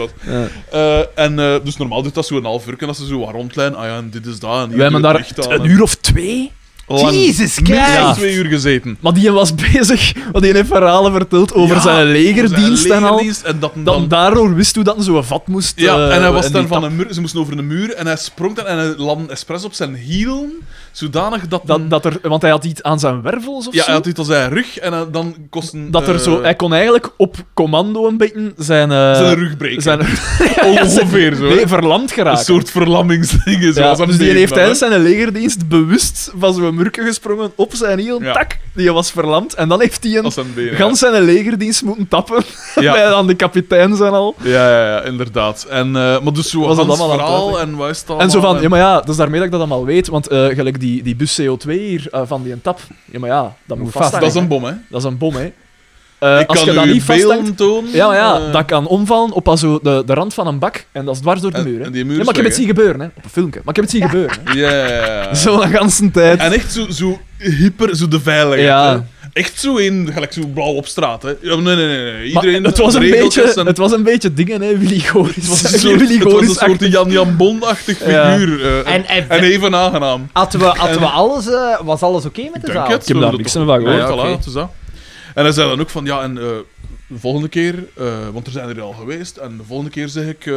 was.
Ja.
Eh, en, eh, dus normaal duurt dat zo een half uur en als ze zo wat rondlijn. Ah ja, en dit is dat. En hier
We hebben
doe je
daar
het licht aan,
een
en-
uur of twee.
Lang.
Jesus
Minstens
Christ.
twee uur gezeten.
Maar die was bezig, want die heeft verhalen verteld over
Ja,
zijn
Over
legerdienst
zijn
en al.
legerdienst en dat hem
Dan,
dan
daardoor wist hoe dat hij zo een vat moest.
Ja,
eh,
en hij was
die
dan van
tap-
een muur, ze moesten over een muur en hij sprong dan en hij landde expres op zijn hielen, zodanig dat...
dat, dat er, want hij had iets aan zijn wervels of
ja,
zo.
hij had iets als zijn rug en hij- dan kost een...
dat er
eh,
zo, hij kon eigenlijk op commando een beetje zijn. eh,
zijn rug breken.
zijn-
Ongeveer zo. hè.
nee, verlamd
een
geraakt.
soort verlammingsding is
Ja,
dat.
dus die heeft tijdens zijn legerdienst bewust van zo'n murken gesprongen op zijn hiel.
Ja.
Tak! Die was verlamd. En dan heeft hij een
Als zijn benen.
gans zijn legerdienst moeten tappen.
Ja.
Bij aan de kapitein zijn al.
Ja, ja, ja, inderdaad. En, eh, maar dus zo
Was dat
Hans
allemaal aan het
verhaal
uitleggen?
en wat is het
En zo
allemaal eh,
van, ja maar ja, dat is daarmee dat ik dat allemaal weet, want eh, gelijk die, die bus CO2 hier eh, van die tap, ja maar ja, dat moet
Moet vast-
vasthangen.
Dat is een bom, hè.
dat is een bom, hè. Eh,
ik
als
kan
je dat
u
niet vasthangt...
beelden tonen.
Ja, maar ja,
eh,
dat kan omvallen op al zo de, de rand van een bak en dat is dwars door de
en-
muur, hè.
en die muur
ja,
is
maar ik heb het
weg,
zien gebeuren, hè. Op een filmpje. Maar ik heb het zien gebeuren, hè.
Ja, ja, ja.
Zo de ganse tijd.
En echt zo, zo hyper, zo de veiligheid.
Ja.
hè. Echt zo in, gelijk zo blauw op straat. Hè. Ja, nee, nee, nee. nee.
Maar
Iedereen
het, was een
regeltjes
beetje,
en-
het was een beetje dingen, hè, Willy Goris.
het was een soort,
Willy
het was een
Goris
soort Jan Jan Bond-achtig
Ja.
figuur. eh, en,
En, en,
en even aangenaam.
hadden we, hadden we alles, eh, was alles oké met de
Denk
zaal?
het.
Ik heb
Zo,
daar
dat
niks
toch-
meer van
Ja,
gehoord.
ja, voilà,
oké.
het is dat. En hij zei dan ook van, ja, en eh, de volgende keer, eh, want er zijn er al geweest, en de volgende keer zeg ik, eh,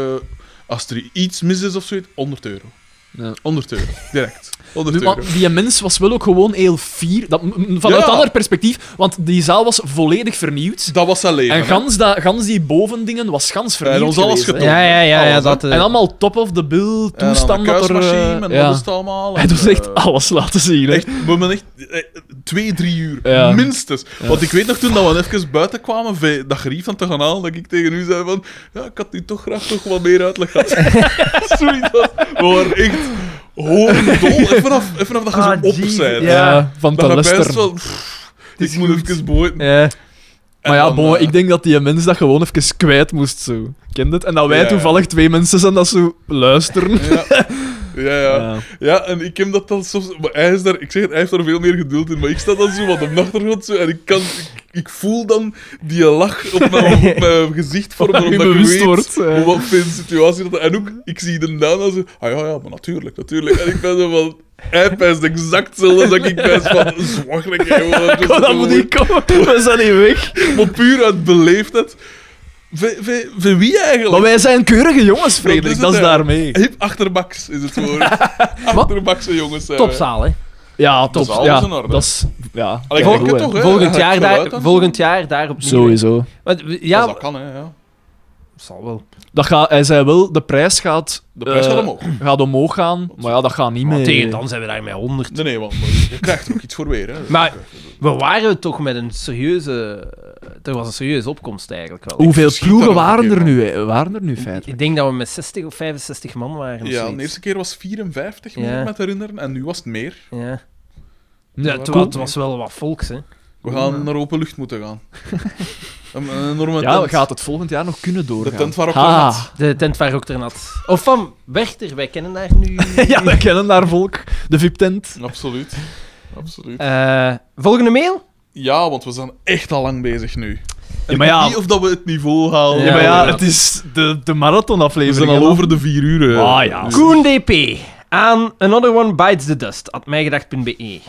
als er iets mis is of zoiets, 100 euro.
Ja.
100 euro, direct. 100
Nu,
euro.
maar die mens was wel ook gewoon heel fier. Dat, m- m- vanuit
Ja.
een ander perspectief, want die zaal was volledig vernieuwd.
Dat was zijn leven.
En
hè.
gans, dat, gans die bovendingen was gans
Hij had
vernieuwd.
ons alles
geweest, hè.
getoond.
Ja, ja, ja, ja,
Alles,
dat... eh,
En allemaal top-of-the-bill
En dan de
toestand. dat er,
kuismachine,
eh,
en
ja.
dat is het allemaal.
Hij
en,
doet echt
eh,
alles laten zien. Hè.
Echt, we hebben echt eh, twee, drie uur.
Ja.
Minstens. Want ik weet nog toen dat we even buiten kwamen, ve- dat gerief aan te gaan halen, dat ik tegen u zei van... Ja, ik had nu toch graag toch wat meer uitleg gehad. Zoiets was... We waren echt hoorndol. Even vanaf, even vanaf dat je
Ah,
zo op
jeez,
bent.
ja.
van
Dat
te
je best
luisteren.
wel... pff, ik moet even boeien.
Ja.
En
Maar ja,
dan,
bon,
eh,
ik denk dat die mens dat gewoon even kwijt moest. Zo. Kent het? En dat wij
Ja.
toevallig twee mensen zijn dat zo luisteren.
Ja. Ja, ja.
Ja.
Ja, en ik heb dat dan soms... Maar hij is daar... Ik zeg het, hij heeft daar veel meer geduld in. Maar ik sta dan zo wat op de achtergrond zo, en ik kan... Ik, ik voel dan die lach op mijn, op mijn gezicht vormen,
Omdat je
omdat ik
bewust
weet
wordt, eh. ja.
hoe wat voor een situatie dat... En ook, ik zie de naam als... Ah ja, ja, maar natuurlijk, natuurlijk. En ik ben zo van... Hij pijst exact hetzelfde als dat ik pijst van... Zwaggerig, hè, gewoon.
Kom, dat moet niet komen. We zijn niet weg.
Maar puur uit beleefdheid... Van- van- Van wie eigenlijk?
Maar wij zijn keurige jongens,
Dat
Frederik.
is
Dat is
het, hè.
daarmee.
Hip achterbaks is het woord. Achterbakse jongens eh. zijn wij.
Topzaal, hè?
Ja, top.
is alles
ja,
in orde.
Dat is... Ja.
Allee,
kijk,
ik
goed,
denk het
hè.
toch, hè?
Volgend
Hij
jaar,
gaat
daar,
geluid aan
volgend jaar daar opnieuw.
Sowieso.
Want, we-
Ja,
ja,
dat kan, hè. Ja.
zal wel.
Dat gaat, hij zei wel, de prijs gaat...
De prijs gaat
eh,
omhoog.
gaat omhoog gaan, maar ja, dat gaat niet
Maar
meer.
tegen dan zijn we daar met 100.
Nee, nee, want je krijgt er ook iets voor weer. Hè.
Maar we waren toch met een serieuze... eh, Er was een serieuze opkomst eigenlijk wel.
Hoeveel
verschiet
ploegen
daar nog een
waren
keer
er, nu, hè? waren er nu feitelijk?
Ik denk dat we met 60 of 65 man waren. of
Ja,
zoiets.
de eerste keer was 54, moet
Ja.
ik me herinneren. En nu was het meer.
Ja.
Hm?
Ja,
Cool.
het, wa- het was wel wat volks, hè.
We gaan naar open lucht moeten gaan. een, een enorme
Ja,
tent.
gaat het volgend jaar nog kunnen doorgaan?
De tent waarop we
Ha.
gaan.
De tent waar ook nat. Of van Werchter, wij kennen daar nu...
Ja, we kennen daar volk. De VIP-tent.
Absoluut. Absoluut.
Eh, volgende mail?
Ja, want we zijn echt al lang bezig nu. En ik
maar
weet
ja.
niet of dat we het niveau halen.
Ja,
Ja,
maar ja,
ja.
het is de, de
We
marathonaflevering.
zijn al
hè,
over de vier uur. eh.
Ah, ja.
Dus-
Koen DP aan Another One Bites the Dust, at mijgedacht.be. E.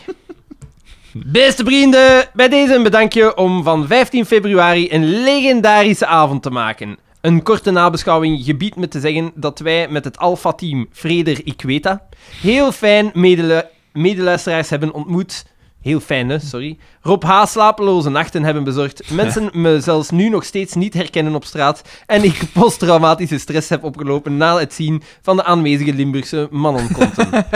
Beste vrienden, bij deze een bedankje om van 15 februari een legendarische avond te maken. Een korte nabeschouwing gebiedt me te zeggen dat wij met het Alpha-team Freder Iqueta heel fijn medelu- medeluisteraars hebben ontmoet. Heel fijn, hè, sorry. Rob H. slapeloze nachten hebben bezorgd. Mensen me zelfs nu nog steeds niet herkennen op straat. En ik posttraumatische stress heb opgelopen na het zien van de aanwezige Limburgse mannenkonten.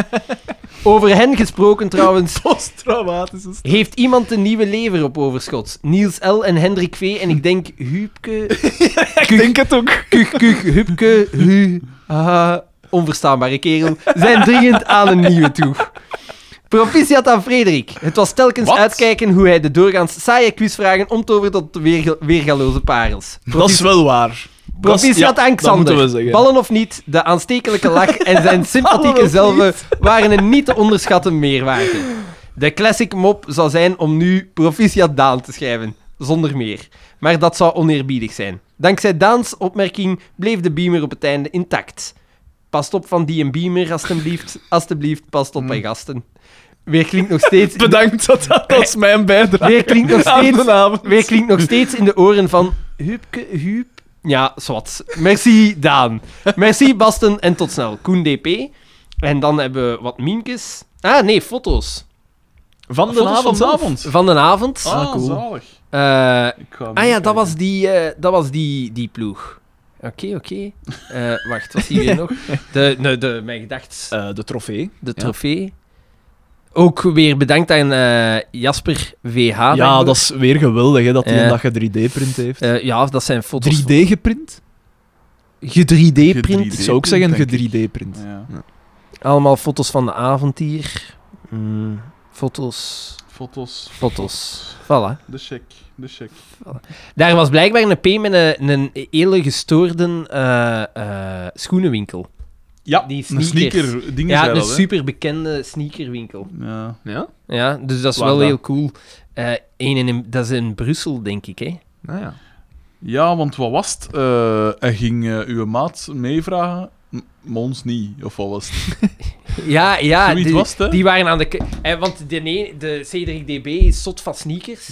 Over hen gesproken trouwens,
hè. Posttraumatische st-
heeft iemand een nieuwe lever op overschot? Niels L. en Hendrik V. En ik denk Huubke...
Ik denk het ook.
Kuch, kuch, Huubke, hu... ah, onverstaanbare kerel. Zijn dringend aan een nieuwe toe. Proficiat aan Frederik. Het was telkens
Wat?
uitkijken hoe hij de doorgaans saaie quizvragen omtoverde tot weerga- weergaloze parels.
Dat is wel waar. Dat is-
Proficiat
ja,
aan
dat moeten we
Xander.
zeggen.
Ballen of niet, de aanstekelijke lach en zijn sympathieke
Ballen of
zelven waren een niet te onderschatten meerwaarde. De classic mop zou zijn om nu proficiat Daan te schrijven, zonder meer. Maar dat zou oneerbiedig zijn. Dankzij Daans opmerking bleef de beamer op het einde intact. Past op van die een beamer, alstublieft. Alstublieft, past op bij gasten. Weer klinkt nog steeds...
Hmm. Bedankt, dat, dat was mijn bijdrage.
Weer klinkt nog
aan
steeds...
de avond.
Weer klinkt nog steeds in de oren van Huubke, Huub. Ja, zwart. Merci, Daan. Merci, Basten. En tot snel. Koen DP. En dan hebben we wat minkes. Ah, nee, foto's.
Van de
Foto's
avond
van de
zelf. Oh.
avond.
Van de avond.
Ah,
cool.
zalig.
Eh,
Ik ga
ah ja,
meekijken.
dat was die, eh, dat was die, die ploeg. Oké, oké. Eh, wacht, wat zie je nog? De, nee, de, mijn gedacht,
Eh, de trofee.
de
ja.
trofee. Ook weer bedankt aan eh, Jasper VH. Ah, denk
ja,
ik.
dat is weer geweldig, hè, dat hij
Ja.
een dag een 3D-print heeft.
Eh, ja, dat zijn foto's.
3D geprint?
Je 3D-print.
Ik zou ook zeggen, ge
Denk ik.
3D-print.
Ja,
Allemaal foto's van de avond hier. Mm, foto's,
foto's.
foto's. Voilà.
De check, de check.
Daar was blijkbaar een P met een, een hele gestoorde eh, eh, schoenenwinkel.
Ja,
Die
een
sneakers.
sneaker dingen
Ja,
zijn
een
dat, hè.
superbekende sneakerwinkel.
Ja.
Ja?
Ja, dus dat is
Waar
wel
dan?
heel cool. Eh, één in- in, dat is in Brussel, denk ik. Hè?
Nou ja.
ja, want wat was het? Eh, hij ging eh, uw maat meevragen, M- maar ons niet, of wat was het?
Ja, ja
Zoiets
die,
was het, hè?
die waren aan de. k- Eh, want de, ne- de Cedric DB is zot van sneakers.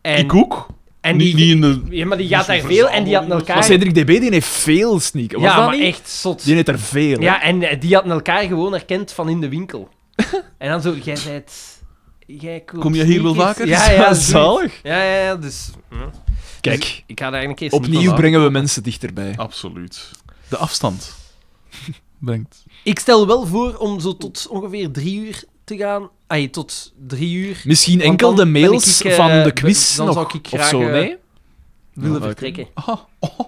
En,
ik ook.
en
niet,
die,
niet in de...
ja, maar die gaat daar
Moest
veel en die hadden
verzamelen.
elkaar.
Maar Cedric DB die heeft veel sneakers. Was
ja,
dat
maar
niet?
echt zot.
Die heeft er veel. hè.
Ja, en eh, die hadden elkaar gewoon herkend van in de winkel. en dan zo, jij zijt... Jij koopt
Kom je hier wel
sneakers?
vaker?
Ja, ja, zoiets.
zalig.
ja, ja, ja, dus... ja. Dus
Kijk,
ik ga daar eigenlijk eens...
opnieuw brengen we mensen
Oh.
dichterbij.
Absoluut. De afstand brengt.
Ik stel wel voor om zo tot ongeveer drie uur te gaan. Ai, tot drie uur.
Misschien
Want
enkel
dan
de
ben
mails
ik, eh,
van de
ben-
quiz
dan
nog,
zou ik
of
graag,
zo,
eh,
nee?
Willen
Ja, leuk.
vertrekken.
Ah, oh,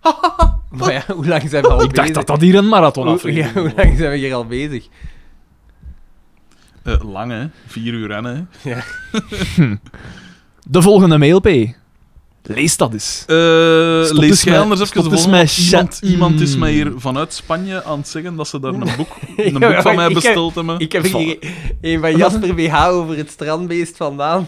ah,
Maar ja, hoe lang zijn we al
Oh, Ik dacht
bezig?
dat dat hier een marathon
Hoe, ja,
aflevering
hoe lang zijn we hier al bezig?
eh, lang, hè. Vier uur rennen, hè.
De volgende mail, P. Lees dat eens.
Eh,
Stop
lees
eens
jij
met-
anders even
stop
de
eens
volgende?
met
Iemand,
chat.
iemand is mij hier
Mm.
vanuit Spanje aan het zeggen dat ze daar een boek, een
Ja,
boek van
maar
mij
ik heb-
besteld hebben.
Ik heb hier
Voilà.
een van Jasper BH over het strandbeest vandaan.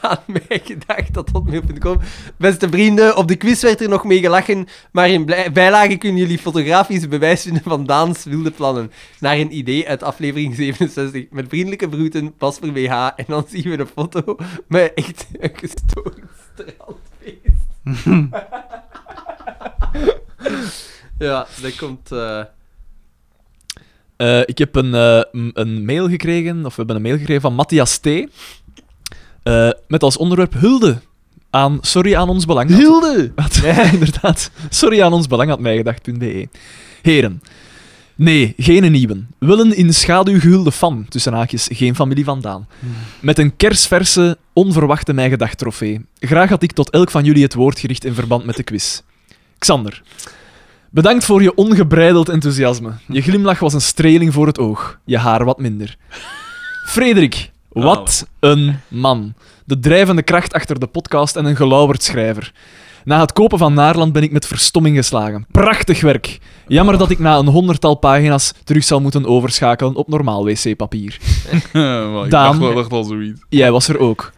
Aan mij gedacht dat hotmail.com. Beste vrienden, op de quiz werd er nog mee gelachen, maar in blij- bijlage kunnen jullie fotografisch bewijs vinden van Daans wilde plannen. Naar een idee uit aflevering 67. Met vriendelijke groeten, Jasper BH. En dan zien we de foto met echt een gestoord strandbeest. ja, dat komt... eh,
Eh, ik heb een, eh, m- een mail gekregen, of we hebben een mail gekregen van Matthias T. Eh, met als onderwerp hulde aan Sorry aan ons belang. Hulde! inderdaad. Sorry aan ons belang had mijgedacht.be. E. Heren. Nee, geen nieuwen. Willen in schaduw gehulde fan, tussen haakjes, geen familie vandaan. Met een kersverse, onverwachte mijgedacht trofee. Graag had ik tot elk van jullie het woord gericht in verband met de quiz. Xander. Bedankt voor je ongebreideld enthousiasme. Je glimlach was een streling voor het oog, je haar wat minder. Frederik, wat een man. De drijvende kracht achter de podcast en een gelauwerd schrijver. Na het kopen van Naarland ben ik met verstomming geslagen. Prachtig werk. Jammer dat ik na een honderdtal pagina's terug zal moeten overschakelen op normaal wc-papier.
Eh, Wel, Oh, ik
Daan.
dacht wel echt al zoiets.
Jij was er ook.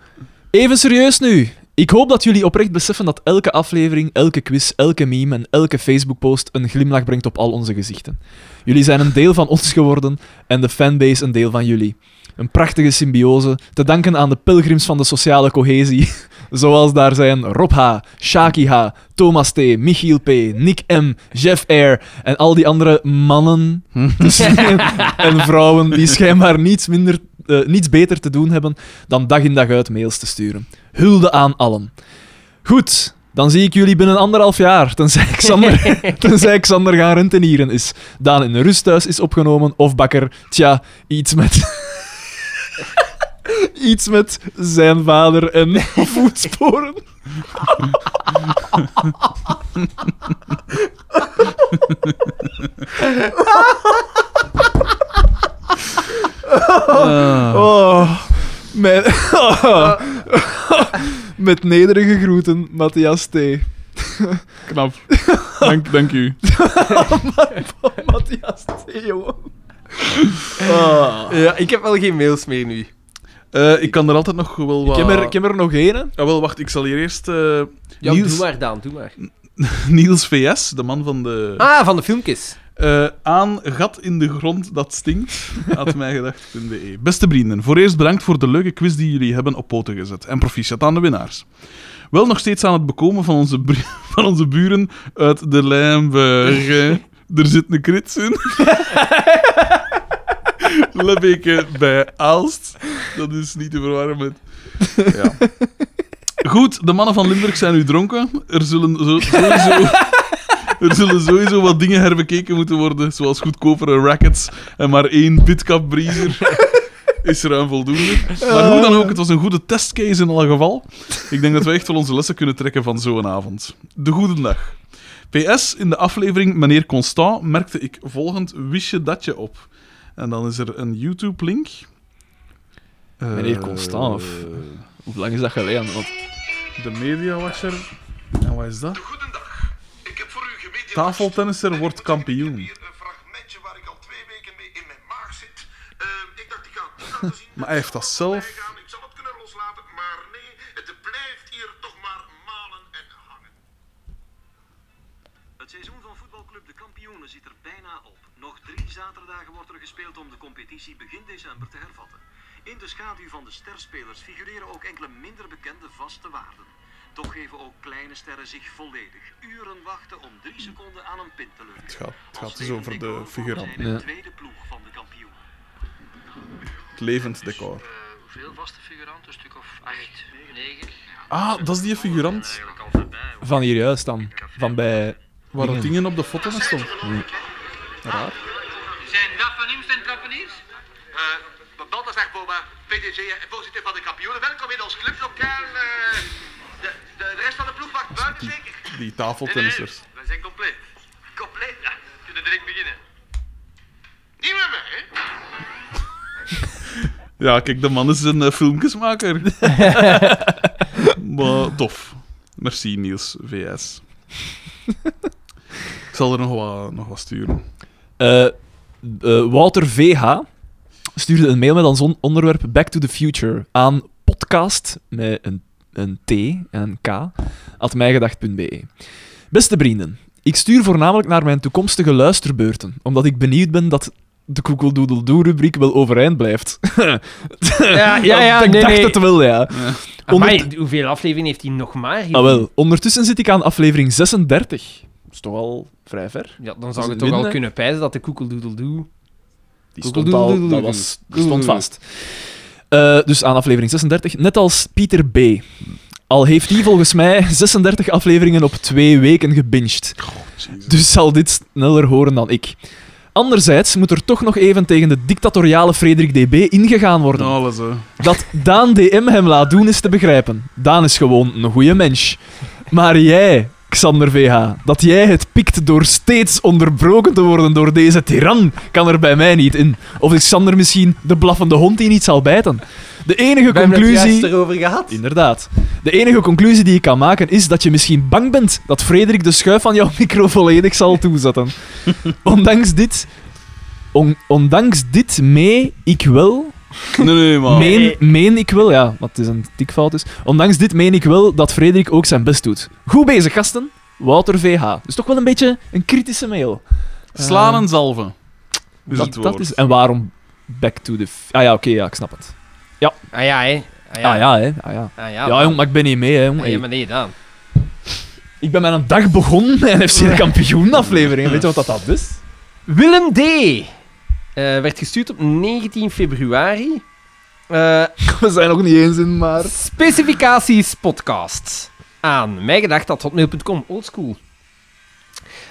Even serieus nu. Ik hoop dat jullie oprecht beseffen dat elke aflevering, elke quiz, elke meme en elke Facebook-post een glimlach brengt op al onze gezichten. Jullie zijn een deel van ons geworden en de fanbase een deel van jullie. Een prachtige symbiose, te danken aan de pelgrims van de sociale cohesie, zoals daar zijn Rob H., Shaki H., Thomas T., Michiel P., Nick M., Jeff R. en al die andere mannen en vrouwen die schijnbaar niets, minder, eh, niets beter te doen hebben dan dag in dag uit mails te sturen. Hulde aan allen. Goed, dan zie ik jullie binnen anderhalf jaar, tenzij Xander, tenzij Xander gaan rentenieren is. Daan in een rusthuis is opgenomen, of Bakker, tja, iets met... Iets met zijn vader en voetsporen.
Ah.
Oh, mijn... Met nederige groeten, Matthias T.
Eh, Knap. Dank, dank u.
Matthias T, jongen. Ah.
Ja, ik heb wel geen mails meer nu.
Eh, ik kan er altijd nog wel
Ik,
wat...
heb er, ik heb er nog één. hè.
Ah, wel, wacht. Ik zal hier eerst... eh,
Ja,
Niels,
doe maar, Daan, doe maar.
Niels VS, de man van de...
Ah, van de filmpjes.
Eh, aan gat in de grond dat stinkt, had mijgedacht.be. E. Beste vrienden, voor eerst bedankt voor de leuke quiz die jullie hebben op poten gezet. En proficiat aan de winnaars. Wel nog steeds aan het bekomen van onze, bru- van onze buren uit de Lijnbergen. Er zit een krits in. Lebbeke bij Aalst. Dat is niet te verwarren met... Ja. Goed, de mannen van Limburg zijn nu dronken. Er zullen zo, sowieso... Er zullen sowieso wat dingen herbekeken moeten worden, zoals goedkopere rackets en maar één bitcap breezer. Is ruim voldoende. Maar hoe dan ook, het was een goede testcase in alle geval. Ik denk dat wij echt wel onze lessen kunnen trekken van zo'n avond. De goede dag. PS, in de aflevering Meneer Constant merkte ik volgend wisje datje op. En dan is er een YouTube-link. Eh,
Meneer Constant, of- Hoe lang is dat geleden? Want
De Media Watcher. En wat is dat?
Goedendag. Ik heb voor u gemediamarkt-
Tafeltennisser wordt kampioen.
Hier Een fragmentje waar ik al twee weken mee in mijn maag zit. Ehm, ik dacht, ik ga het niet laten zien.
Maar hij heeft dat zelf.
Ik zal het voorbij gaan, Ik zal het kunnen loslaten, maar nee, het blijft hier toch maar malen en hangen.
Het seizoen van voetbalclub De Kampioenen zit er bijna op. Nog drie zaterdagen wordt er gespeeld om de competitie begin december te hervatten. In de schaduw van de sterspelers figureren ook enkele minder bekende vaste waarden. Toch geven ook kleine sterren zich volledig. Uren wachten om drie seconden aan een pin te lukken.
Het gaat, het gaat dus over de figuranten.
De
Ja.
tweede ploeg van de kampioenen.
Het levend decor.
hoeveel vaste figuranten? Een stuk of acht, negen?
Ah, dat is die figurant
al voorbij.
Van hier juist dan. Van bij...
waar dat dingen op de foto met stond.
Zijn dat van en trappeniers? Uh, Baltasar Boma, PDG en eh, voorzitter van de kampioenen. Welkom in ons clublokaal. eh. de, de rest van de ploeg wacht buiten zeker?
Die tafeltennissers.
Wij zijn compleet. Compleet? Ja, we kunnen direct beginnen. Niet met mij, hè?
Ja, kijk, de man is een eh, filmpjesmaker. maar tof. Merci, Niels VS. Ik zal er nog wat, nog wat sturen.
Eh, eh, Wouter VH stuurde een mail met als on- onderwerp Back to the Future aan podcast met een, een T en een K at mijgedacht.be. E. Beste vrienden, ik stuur voornamelijk naar mijn toekomstige luisterbeurten, omdat ik benieuwd ben dat de koekeldoedeldoe-rubriek wel overeind blijft.
Ja, ja, ja,
ik
nee,
dacht
nee.
het wel, ja. Ondert-
Amai, hoeveel afleveringen heeft hij nog maar?
Ah, wel. Ondertussen zit ik aan aflevering 36. Dat is toch al vrij ver.
Ja, dan
Dat is
zou je
een
toch
win,
al
hè?
kunnen pijzen dat de koekeldoedeldoe...
Die stond al, dat was, die stond vast. Eh, dus aan aflevering 36, net als Pieter B. Al heeft hij volgens mij 36 afleveringen op twee weken gebinged. Dus zal dit sneller horen dan ik. Anderzijds moet er toch nog even tegen de dictatoriale Frederik DB ingegaan worden.
Alles, hè.
Dat Daan DM hem laat doen is te begrijpen. Daan is gewoon een goede mens. Maar jij, Xander VH, dat jij het pikt door steeds onderbroken te worden door deze tiran, kan er bij mij niet in. Of is Xander misschien de blaffende hond die niet zal bijten? De enige
We hebben het juist
conclusie.
erover gehad.
Inderdaad. De enige conclusie die ik kan maken is dat je misschien bang bent dat Frederik de schuif van jouw micro volledig zal toezetten. Ondanks dit. on- ondanks dit mee, ik wel
Nee, nee, maar...
Nee.
Meen, meen ik wel, ja, wat is een tikfout is. Ondanks dit meen ik wel dat Frederik ook zijn best doet. Goed bezig, gasten. Wouter VH. Dus toch wel een beetje een kritische mail.
Slaan en zalven. Is
dat,
het
dat
woord.
is, en waarom back to the... f- Ah ja, oké, ja, ik snap het.
Ah ja, hè. Ah
Ah ja, hè. Ah, ja.
Ah,
Ja, jong, maar ik ben niet mee, hè. Jong.
Ah, ja,
Hey,
maar nee, Daan.
Ik ben met een dag begonnen met een FC de kampioen aflevering. Weet je wat dat, dat is?
Willem D. eh, werd gestuurd op 19 februari. Eh,
We zijn nog niet eens in, maar...
specificaties podcast. Aan mijgedacht.hotmail.com. Oldschool.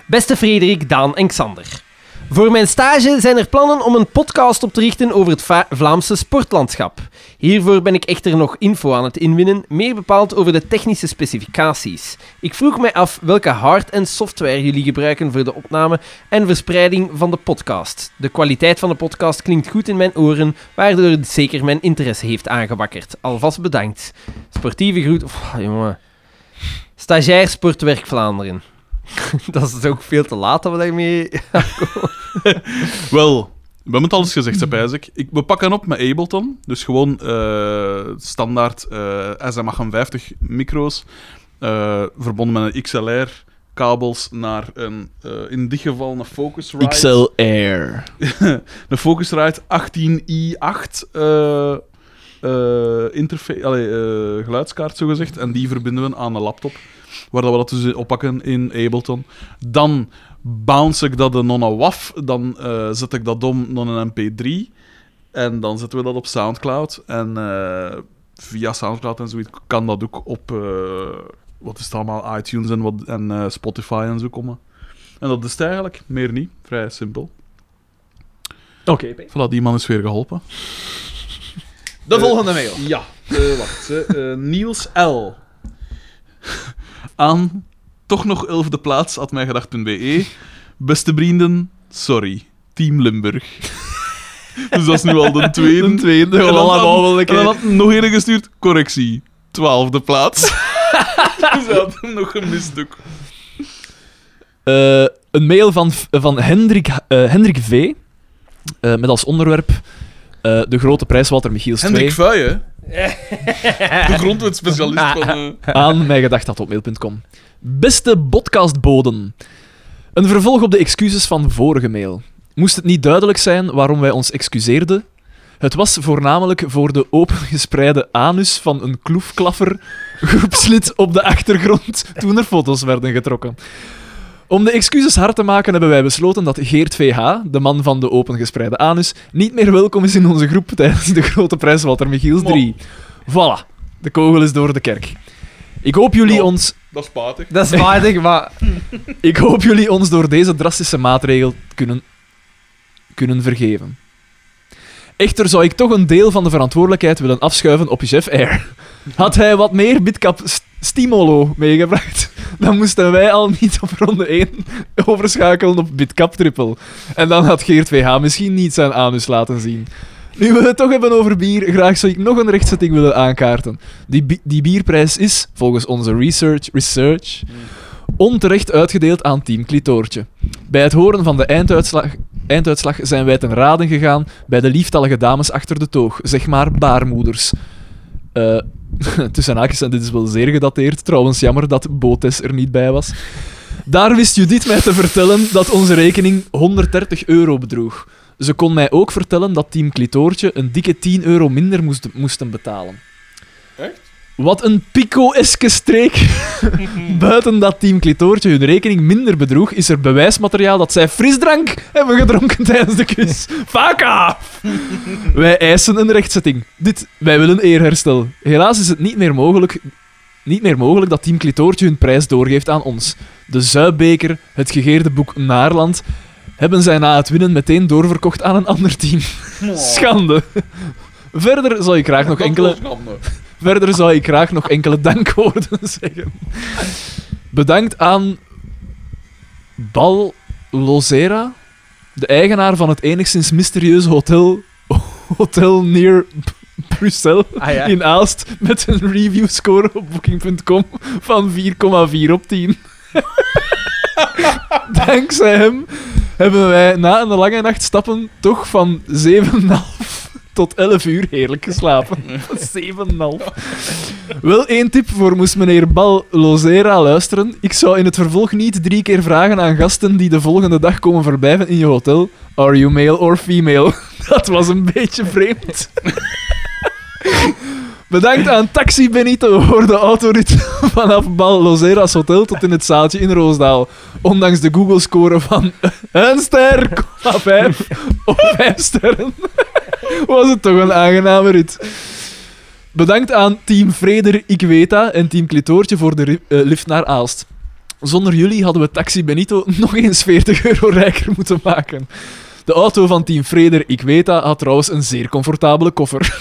Beste Frederik, Daan en Xander. Voor mijn stage zijn er plannen om een podcast op te richten over het Va- Vlaamse sportlandschap. Hiervoor ben ik echter nog info aan het inwinnen, meer bepaald over de technische specificaties. Ik vroeg mij af welke hard- en software jullie gebruiken voor de opname en verspreiding van de podcast. De kwaliteit van de podcast klinkt goed in mijn oren, waardoor het zeker mijn interesse heeft aangewakkerd. Alvast bedankt. Sportieve groet... Oh, jongen. Stagiair Sportwerk Vlaanderen. Dat is dus ook veel te laat dat we daarmee
Wel, we hebben het alles gezegd, heb Isaac. Ik, we pakken op met Ableton. Dus gewoon eh, standaard eh, SM58 micro's. eh, verbonden met een XLR. Kabels naar een, eh, in dit geval een Focusrite.
Air.
Een Focusrite 18i8 eh eh, interface, allee, eh, geluidskaart, zogezegd. En die verbinden we aan een laptop, waar dat we dat dus oppakken in Ableton. Dan bounce ik dat naar een WAF, dan eh, zet ik dat om naar een MP3. En dan zetten we dat op Soundcloud. En eh, via Soundcloud en zoiets kan dat ook op... eh, wat is het allemaal? iTunes en, wat, en eh, Spotify en zo komen. En dat is het eigenlijk. Meer niet. Vrij simpel.
Oké,
Voilà, die man is weer geholpen.
De
Eh,
volgende mail.
Ja, eh, wacht. eh, eh, Niels L. Aan toch nog elfde plaats, at mijgedacht.be. E. Beste vrienden, sorry. Team Limburg. dus dat is nu al de tweede.
De tweede,
En dan
allemaal
had-
wel een keer.
En dan had nog een gestuurd, correctie. Twaalfde plaats. dus hij had hem nog gemist ook.
Eh, een mail van, van Hendrik, eh, Hendrik V. eh, met als onderwerp eh, de grote prijs Walter Michiels 2
Hendrik Vuijen. De grondwetspecialist van... eh,
aan mijgedacht.mail.com. Beste podcastboden. Een vervolg op de excuses van vorige mail. Moest het niet duidelijk zijn waarom wij ons excuseerden? Het was voornamelijk voor de opengespreide anus van een kloefklaffer groepslid op de achtergrond toen er foto's werden getrokken. Om de excuses hard te maken hebben wij besloten dat Geert VH, de man van de opengespreide anus, niet meer welkom is in onze groep tijdens de grote prijs Walter Michiels 3. Voilà, de kogel is door de kerk. Ik hoop jullie
Nou.
ons
Dat is patig.
Dat is waardig, maar...
ik hoop jullie ons door deze drastische maatregel kunnen, kunnen vergeven. Echter zou ik toch een deel van de verantwoordelijkheid willen afschuiven op Jeff Air. Had hij wat meer Bitcap st- Stimolo meegebracht, dan moesten wij al niet op ronde 1 overschakelen op Bitcap Triple. En dan had Geert VH misschien niet zijn anus laten zien. Nu we het toch hebben over bier, graag zou ik nog een rechtzetting willen aankaarten. Die, bi- die bierprijs is, volgens onze research, research onterecht uitgedeeld aan Team Klitoortje. Bij het horen van de einduitslag, einduitslag zijn wij ten raden gegaan bij de lieftallige dames achter de toog, zeg maar baarmoeders. Eh, tussen haakjes, en dit is wel zeer gedateerd, trouwens jammer dat Botes er niet bij was. Daar wist Judith mij te vertellen dat onze rekening 130 euro bedroeg. Ze kon mij ook vertellen dat Team Klitoortje een dikke 10 euro minder moest, moesten betalen.
Echt?
Wat een pico-eske streek! Buiten dat team Klitoortje hun rekening minder bedroeg, is er bewijsmateriaal dat zij frisdrank hebben gedronken tijdens de kus. Fuck off! wij eisen een rechtzetting. Dit, wij willen eerherstel. Helaas is het niet meer mogelijk, niet meer mogelijk dat team Klitoortje hun prijs doorgeeft aan ons. De Zuidbeker, het gegeerde boek Naarland, hebben zij na het winnen meteen doorverkocht aan een ander team. Schande. Verder zou ik graag nog enkele... Verder zou ik graag nog enkele dankwoorden zeggen. Bedankt aan Bal Lozera, de eigenaar van het enigszins mysterieuze hotel, hotel Near B- Bruxelles
Ah ja.
in Aalst met een reviewscore op booking.com van 4,4 op 10. Dankzij hem hebben wij na een lange nacht stappen toch van 7,5 tot 11 uur heerlijk geslapen. 7,5. Wel één tip voor moest meneer Bal Lozera luisteren. Ik zou in het vervolg niet drie keer vragen aan gasten die de volgende dag komen verblijven in je hotel. Are you male or female? Dat was een beetje vreemd. Bedankt aan Taxi Benito voor de autorit vanaf Bal Lozera's hotel tot in het zaaltje in Roosdaal. Ondanks de Google-score van een ster, komma vijf op vijf sterren, was het toch een aangename rit. Bedankt aan team Vreder Ikweta en team Klitoortje voor de ri- eh, lift naar Aalst. Zonder jullie hadden we Taxi Benito nog eens 40 euro rijker moeten maken. De auto van team Freder, ik weet dat, had trouwens een zeer comfortabele koffer.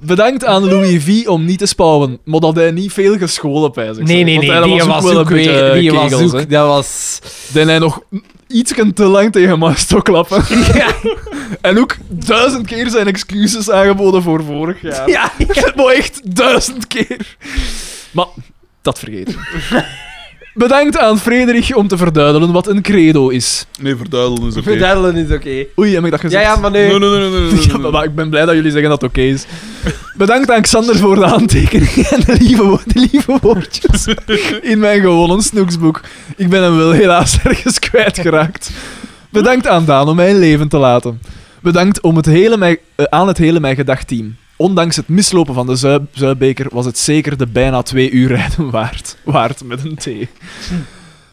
Bedankt aan Louis V om niet te spouwen, maar dat hij niet veel gescholen bij zich.
Nee, nee, nee. Die was ook
eh,
weer. Die was ook. Dat was.
Dan hij nog iets te lang tegen Maestro klappen. En ook duizend keer zijn excuses aangeboden voor vorig jaar.
Ja,
Maar echt duizend keer. Maar dat vergeten. Bedankt aan Frederik om te verduidelijken wat een credo is.
Nee, verduidelen is oké.
verduidelen is oké.
Oei, heb ik dat gezegd?
Ja, ja, maar
Nee,
nu.
nee, nee, nee, nee,
Ja,
nee, nee.
maar, maar ik ben blij dat jullie zeggen dat het oké is. Bedankt aan Xander voor de aantekeningen en de lieve, wo- de lieve woordjes in mijn gewonnen snoeksboek. Ik ben hem wel helaas ergens kwijtgeraakt. Bedankt aan Daan om mij in leven te laten. Bedankt om het hele mij, eh, aan het hele mijn gedacht team. Ondanks het mislopen van de Zuib Zuibeker was het zeker de bijna twee uur rijden waard. Waard met een T.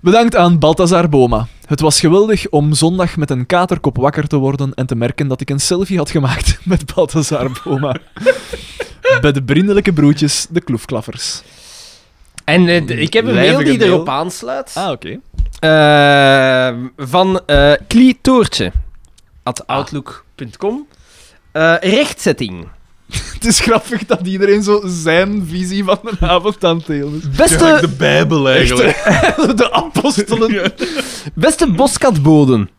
Bedankt aan Balthazar Boma. Het was geweldig om zondag met een katerkop wakker te worden en te merken dat ik een selfie had gemaakt met Balthazar Boma. Bij de vriendelijke broertjes, de kloefklaffers.
En eh, d- ik heb een mail
Lijvige
die
mail.
erop aansluit.
Ah, oké.
Eh, van eh Klietoortje. At outlook.com. Eh, rechtzetting.
Het is grappig dat iedereen zo zijn visie van de avond aan het delen is.
Gelijk
Beste,
de Bijbel eigenlijk.
De apostelen.
Ja.
beste boskatboden.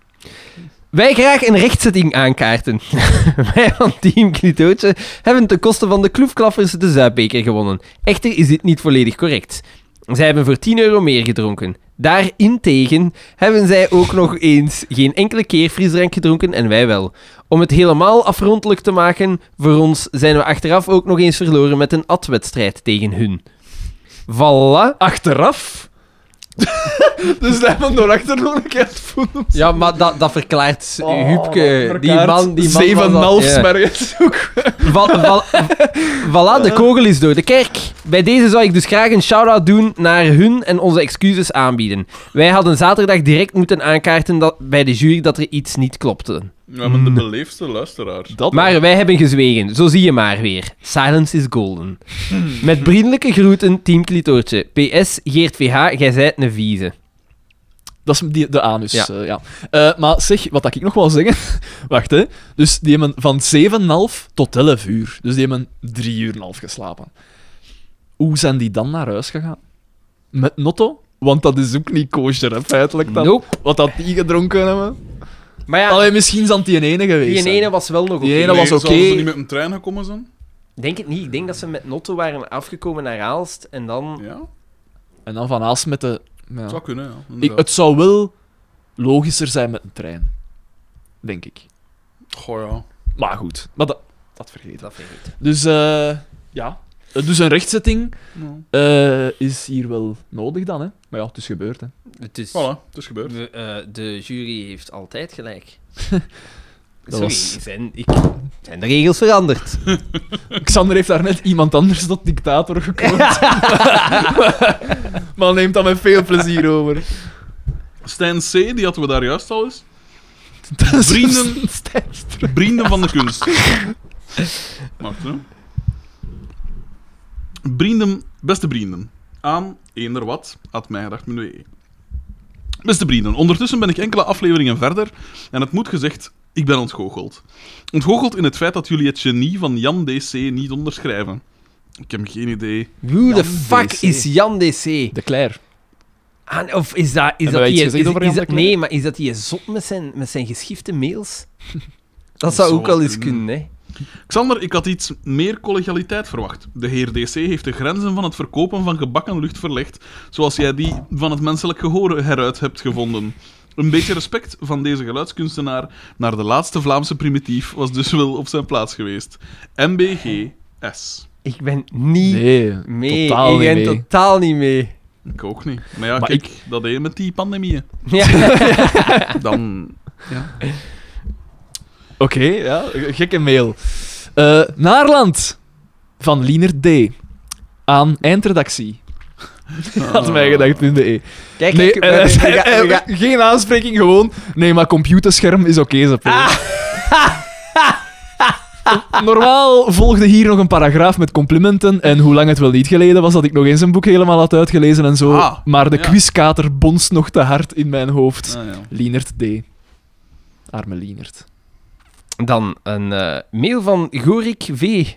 Wij graag een rechtzetting aankaarten. Wij van Team Klitootje hebben ten koste van de kloefklaffers de Zuidbeker gewonnen. Echter is dit niet volledig correct. Zij hebben voor 10 euro meer gedronken. Daarentegen hebben zij ook nog eens geen enkele keer frisdrank gedronken en wij wel. Om het helemaal afrondelijk te maken, voor ons zijn we achteraf ook nog eens verloren met een atwedstrijd tegen hun. Voilà.
Achteraf. dus daar van door achterloonlijkheid voelen.
Ja, maar dat, dat verklaart
Oh,
Huubke. Die man, die man
Zeven
was al-
half
ja.
ook.
Val- val- Voilà,
Eh.
de kogel is door de kerk. Bij deze zou ik dus graag een shout-out doen naar hun en onze excuses aanbieden. Wij hadden zaterdag direct moeten aankaarten dat, bij de jury dat er iets niet klopte.
Ja, maar
Hmm.
de beleefdste luisteraar.
Dat
Maar wij hebben gezwegen, zo zie je maar weer. Silence is golden. Met vriendelijke groeten, Team Klitoortje. PS, Geert VH, jij zijt een vieze.
Dat is die, de anus,
Ja.
ja. ja. Eh, maar zeg, wat dat ik nog wel zeggen... Wacht, hè. Dus die hebben van 7,5 tot 11 uur. Dus die hebben 3 uur en een half geslapen. Hoe zijn die dan naar huis gegaan? Met Notto? Want dat is ook niet kosher, hè, feitelijk dan.
Nope.
Wat dat die gedronken hebben.
Maar ja,
Allee, misschien zijn die ene geweest.
die
zijn.
ene was wel nog oké.
Die ene Dat was oké.
Zouden ze niet met een trein gekomen zijn?
denk het niet. Ik denk dat ze met Notto waren afgekomen naar Aalst en dan...
Ja,
En dan van Aals met de... ja.
zou kunnen, ja.
Ik,
inderdaad.
het zou wel logischer zijn met een trein. Denk ik.
Goh, ja.
Maar goed. Maar dat, dat vergeet ik.
Dat vind ik niet.
Dus eh, ja. Eh, Dus een rechtzetting
Ja.
eh, is hier wel nodig dan, hè? Maar ja, het is gebeurd, hè?
Het is...
Voilà, Ah, het is gebeurd.
We, eh, de jury heeft altijd gelijk. Sorry,
was-
zijn, ik, zijn de regels veranderd?
Xander heeft daar net iemand anders tot dictator gekozen. maar neemt dat met veel plezier over.
Stijn C., die hadden we daar juist al eens.
Dat is
Vrienden.
een sterfster.
Vrienden van de kunst. Wacht, hè. Vrienden, beste vrienden. Aan eender wat, at mijgedacht.be. Beste vrienden, ondertussen ben ik enkele afleveringen verder en het moet gezegd, ik ben ontgoocheld. Ontgoocheld in het feit dat jullie het genie van Jan DC niet onderschrijven. Ik heb geen idee.
Who the
Jan
fuck
DC.
is Jan DC?
De Claire.
Ah, of is dat... Is
Hebben
dat
wij iets
die, is,
gezegd over
is
Jan
dat,
de Cler?
nee, maar is dat die zot met zijn, met zijn geschifte mails? Dat zou
zou
ook wel eens
kunnen.
mm.
kunnen, hè?
Xander, ik had iets meer collegialiteit verwacht. De heer DC heeft de grenzen van het verkopen van gebakken lucht verlegd, zoals jij die van het menselijk gehoor heruit hebt gevonden. Een beetje respect van deze geluidskunstenaar naar de laatste Vlaamse primitief was dus wel op zijn plaats geweest. MBGS.
Ik ben niet
Nee,
mee.
totaal
ik
niet
ben
mee.
totaal niet mee.
Ik ook niet. Maar ja,
Maar
kijk, dat deed je met die pandemieën.
Ja.
Dan... Ja.
Oké, ja, gekke mail. Eh, Naarland van Liener D. Aan eindredactie. Had mij gedacht in de E.
Kijk,
Nee,
kijk,
eh,
we- we- we- we-
eh,
we-
eh, geen
Ah.
aanspreking, gewoon. Nee, maar computerscherm is oké, ze Normaal volgde hier nog een paragraaf met complimenten en hoe lang het wel niet geleden was dat ik nog eens een boek helemaal had uitgelezen en zo.
Ah,
maar de
ja.
quizkater bonst nog te hard in mijn hoofd.
Ah, ja.
Lienert D. Arme Lienert.
Dan een eh, mail van Gorik V.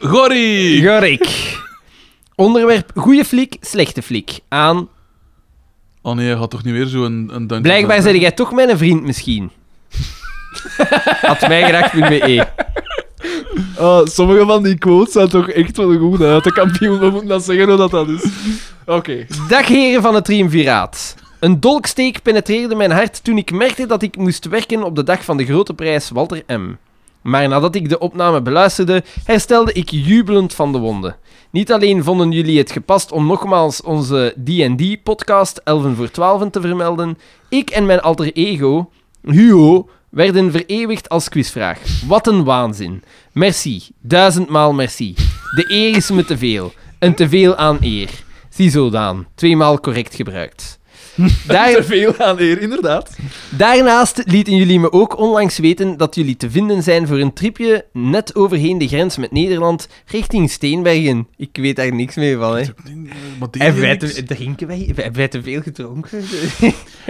Gorrie!
Gorik. Onderwerp goede flik, slechte flik. Aan.
Oh nee, hij had toch niet weer zo'n een, een Dungeons
Blijkbaar
and
zei jij toch mijn vriend misschien. Had mij graag .be.
Ah, sommige van die quotes zijn toch echt wel goed uit. De kampioen, we moeten dat zeggen hoe dat, dat is. Oké.
Eh, Dag heren van het Triumviraat. Een dolksteek penetreerde mijn hart toen ik merkte dat ik moest werken op de dag van de grote prijs Walter M. Maar nadat ik de opname beluisterde, herstelde ik jubelend van de wonden. Niet alleen vonden jullie het gepast om nogmaals onze D&D-podcast Elven voor 12 te vermelden, ik en mijn alter ego, Hugo, werden vereeuwigd als quizvraag. Wat een waanzin. Merci. Duizendmaal merci. De eer is me te veel. Een teveel aan eer. Ziezo Daan, tweemaal correct gebruikt.
Te
Daar,
veel aan eer, inderdaad.
daarnaast lieten jullie me ook onlangs weten dat jullie te vinden zijn voor een tripje net overheen de grens met Nederland richting Steenbergen. Ik weet daar niks meer van, hè.
Dragons. Maar die
Hebben wij,
niks.
te, drinken wij, hebben wij te veel gedronken?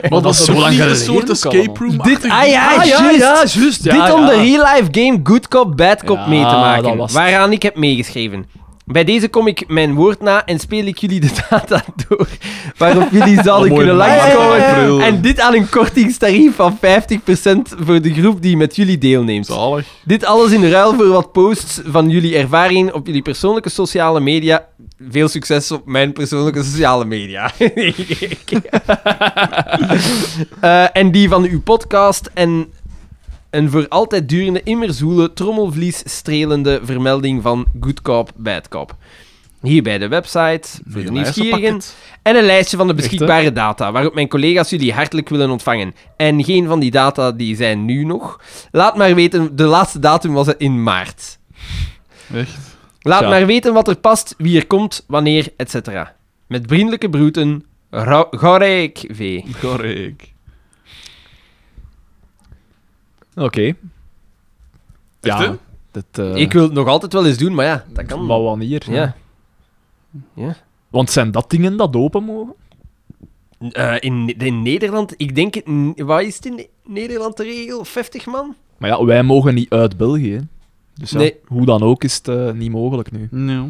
Maar dat
dat
is
is
toch
zo lang
niet een
geleden
soort
ook
escape
allemaal.
room.
Dit, ah ja,
Ah, ja,
juist.
ja, juist. Ja,
Dit om
ja.
de real-life game Good Cop, Bad Cop
Ja,
mee te
dat
maken,
was het.
waaraan ik heb meegeschreven. Bij deze kom ik mijn woord na en speel ik jullie de data door waarop jullie zouden
mooi
kunnen
gemaakt.
langskomen.
Ja, ja, ja.
En dit aan een kortingstarief van 50% voor de groep die met jullie deelneemt.
Zalig.
Dit alles in ruil voor wat posts van jullie ervaring op jullie persoonlijke sociale media. Veel succes op mijn persoonlijke sociale media. Eh, en die van uw podcast en een voor altijd durende, immer zoele, trommelvlies strelende vermelding van Good Cop, Bad Cop. Hier bij de website, voor de nieuwsgierigen. En een lijstje van de
Echt, hè?
beschikbare data, waarop mijn collega's jullie hartelijk willen ontvangen. En geen van die data die zijn nu nog. Laat maar weten, de laatste datum was in maart.
Echt.
Laat
Ja.
maar weten wat er past, wie er komt, wanneer, etc. Met vriendelijke broeten, Rau- Gaurijk V.
Gorrie.
Oké.
hè?
Ja. Dat, eh,
Ik wil het nog altijd wel eens doen, maar ja, dat kan.
Maar wanneer?
Ja.
Want zijn dat dingen dat open mogen?
Eh, in, in Nederland, ik denk, het n- wat is het in Ne- Nederland de regel? 50 man?
Maar ja, wij mogen niet uit België. hè. Dus ja,
Nee.
hoe dan ook is het eh, niet mogelijk nu.
Nee.
Eh.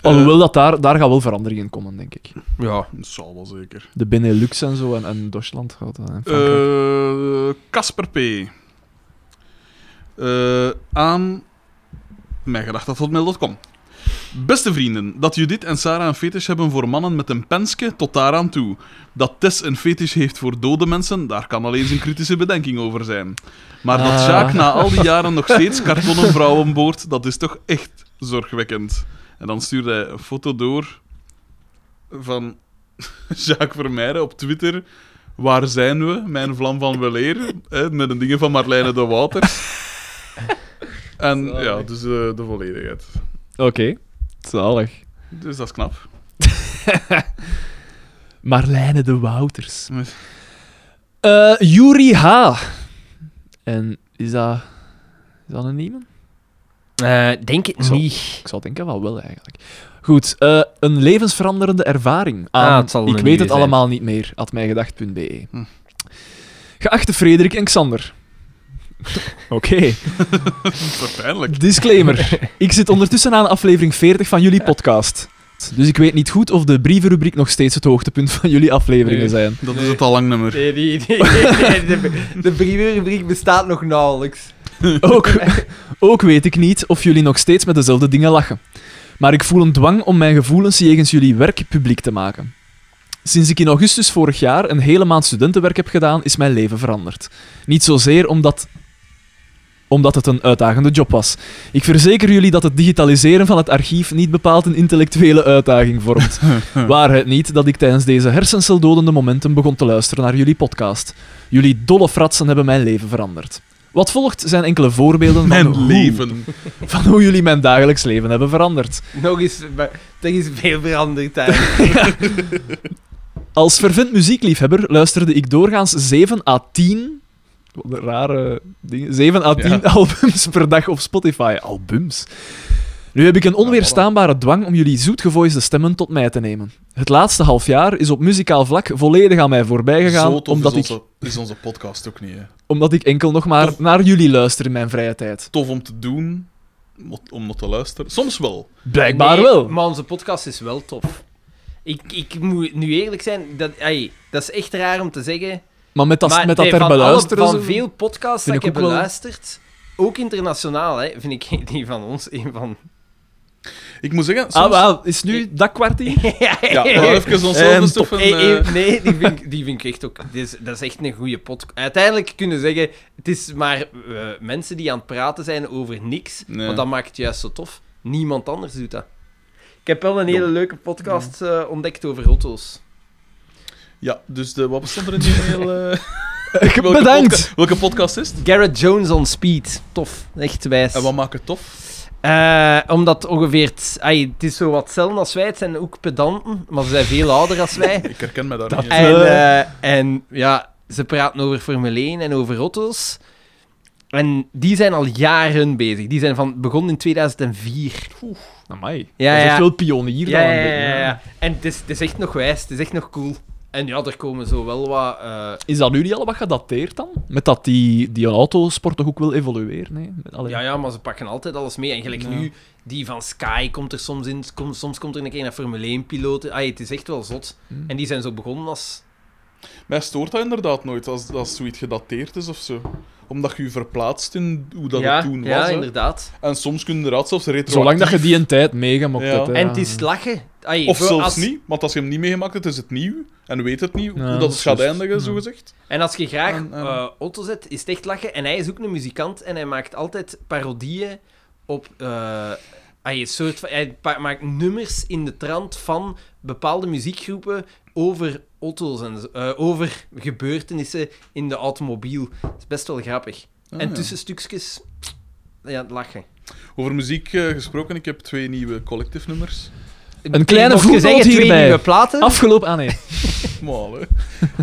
Alhoewel, dat daar, daar gaat wel verandering in komen, denk ik.
Ja.
Dat zal wel zeker.
De Benelux en zo en, en Duitsland gaat dat. en Frankrijk.
Eh, Casper P. Eh, aan mijn gedacht dat hotmail.com. Beste vrienden, dat Judith en Sarah een fetish hebben voor mannen met een penske tot daaraan toe. Dat Tess een fetish heeft voor dode mensen, daar kan alleen zijn kritische bedenking over zijn. Maar dat
Ah.
Sjaak na al die jaren nog steeds kartonnen vrouwen boort, dat is toch echt zorgwekkend. En dan stuurde hij een foto door van Jacques Vermeijden op Twitter. Waar zijn we? Mijn vlam van weleer. hè, met een dingen van Marlijne de Waters. En ja, dus eh, de volledigheid.
Eh.
Oké, zalig.
Dus dat is knap.
Marlijne de Wouters. Eh Yuri H. En is dat, is dat een iemand?
Eh, denk het
Zo.
niet.
Ik zou denken van wel eigenlijk. Goed, eh, een levensveranderende ervaring. Aan,
Ah, het zal
ik
een
weet het
nieuwe zijn.
allemaal niet meer. At mijgedacht.be.
Hm.
E. Geachte Frederik en Xander. Oké.
Verpijnlijk.
Disclaimer. Ik zit ondertussen aan aflevering 40 van jullie podcast. Dus ik weet niet goed of de brievenrubriek nog steeds het hoogtepunt van jullie afleveringen
Nee.
zijn.
Dat is het al lang nummer.
Nee, die, die- de, de brievenrubriek bestaat nog nauwelijks.
Ook, ook weet ik niet of jullie nog steeds met dezelfde dingen lachen. Maar ik voel een dwang om mijn gevoelens jegens jullie werk publiek te maken. Sinds ik in augustus vorig jaar een hele maand studentenwerk heb gedaan, is mijn leven veranderd. Niet zozeer omdat, omdat het een uitdagende job was. Ik verzeker jullie dat het digitaliseren van het archief niet bepaald een intellectuele uitdaging vormt. Waar het niet dat ik tijdens deze hersenceldodende momenten begon te luisteren naar jullie podcast. Jullie dolle fratsen hebben mijn leven veranderd. Wat volgt zijn enkele voorbeelden van
Mijn
hoe-
leven.
van hoe jullie mijn dagelijks leven hebben veranderd.
Nog eens, maar er is veel veranderd eigenlijk.
Als vervent muziekliefhebber luisterde ik doorgaans 7 à 10 Wat een Rare dingen. 7 à 10
Ja.
albums per dag op Spotify. Albums. Nu heb ik een onweerstaanbare dwang om jullie zoetgevoiste stemmen tot mij te nemen. Het laatste half jaar is op muzikaal vlak volledig aan mij voorbij
Zo
gegaan,
tof
omdat
is,
ik,
onze, is onze podcast ook niet. Hè.
omdat ik enkel nog maar
Tof.
naar jullie luister in mijn vrije tijd.
Tof om te doen, mo- om nog te luisteren. Soms wel.
Blijkbaar
Nee,
wel.
Maar onze podcast is wel tof. Ik, ik moet nu eerlijk zijn, dat, ai, dat is echt raar om te zeggen.
Maar met dat,
maar
met dat
nee,
ter
van, alle-
beluisteren...
van
zo-
veel podcasts
vind
die ik
ik
heb
ook wel-
beluisterd, ook internationaal, hè, vind ik die van ons een van...
Ik moet zeggen, soms...
Ah, wel, is nu dat kwartier?
Ja, we gaan even onszelf
En
eens
top.
even...
Eh, eh,
eh,
nee, die vind, ik- die vind ik echt ook. dit is- dat is echt een goede podcast. Uiteindelijk kunnen we zeggen: het is maar eh, mensen die aan het praten zijn over niks.
Nee.
Want dat maakt het juist zo tof. Niemand anders doet dat. Ik heb wel een hele leuke podcast eh, ontdekt over auto's.
Ja, dus de, wat bestond er in die heel... eh, welke
Bedankt!
podca- welke podcast is het?
Garrett Jones on Speed. Tof. Echt wijs.
En wat maakt het tof?
Eh, omdat ongeveer. het- ai, het is zo wat hetzelfde als wij. Het zijn ook pedanten. Maar ze zijn veel ouder als wij.
Ik herken mij daar niet in.
En,
Eh.
eh, en ja, ze praten over Formule 1 en over auto's. En die zijn al jaren bezig. Die zijn van begonnen in 2004.
Amai.
Ja,
dat is echt
ja.
wel pionier
Ja,
dan
ja,
een
ja,
beetje,
ja,
hè.
ja. En het is, het is echt nog wijs, het is echt nog cool. En ja, er komen zo wel wat. eh,
Is dat nu niet al wat gedateerd dan? Met dat die, die autosport toch ook wil evolueren? Hè? Met- allee.
ja, ja, maar ze pakken altijd alles mee. En gelijk nu, die van Sky komt er soms in. Kom, soms komt er een keer een Formule 1-piloot. Het is echt wel zot. En die zijn zo begonnen als.
Mij stoort dat inderdaad nooit, als, als zoiets gedateerd is of zo. Omdat je je verplaatst in hoe dat
ja,
het toen was.
ja,
hè.
inderdaad.
en soms kun je inderdaad zelfs retroactief...
Zolang dat je die een tijd meegemokt
Ja.
hebt. hè,
En
ja.
het is lachen. Ai,
Of
voor
zelfs
als-
niet, want als je hem niet meegemaakt hebt, is het nieuw. En weet het niet hoe
Ja,
dat
dat
het
is
gaat
juist.
eindigen,
Ja.
zogezegd.
En als je graag
En, en-
eh, Otto zet, is het echt lachen. En hij is ook een muzikant en hij maakt altijd parodieën op. eh, hij, is soort van, hij pa- maakt nummers in de trant van bepaalde muziekgroepen over auto's en zo- eh, over gebeurtenissen in de automobiel. Dat is best wel grappig. en
Ah, ja.
tussenstukjes, ja, het lachen.
Over muziek eh, gesproken, ik heb twee nieuwe collective nummers.
Een kleine
Mocht je
voetnoot
zeggen,
hierbij.
Twee nieuwe platen.
Afgelopen... Ah, nee.
Maal, hè.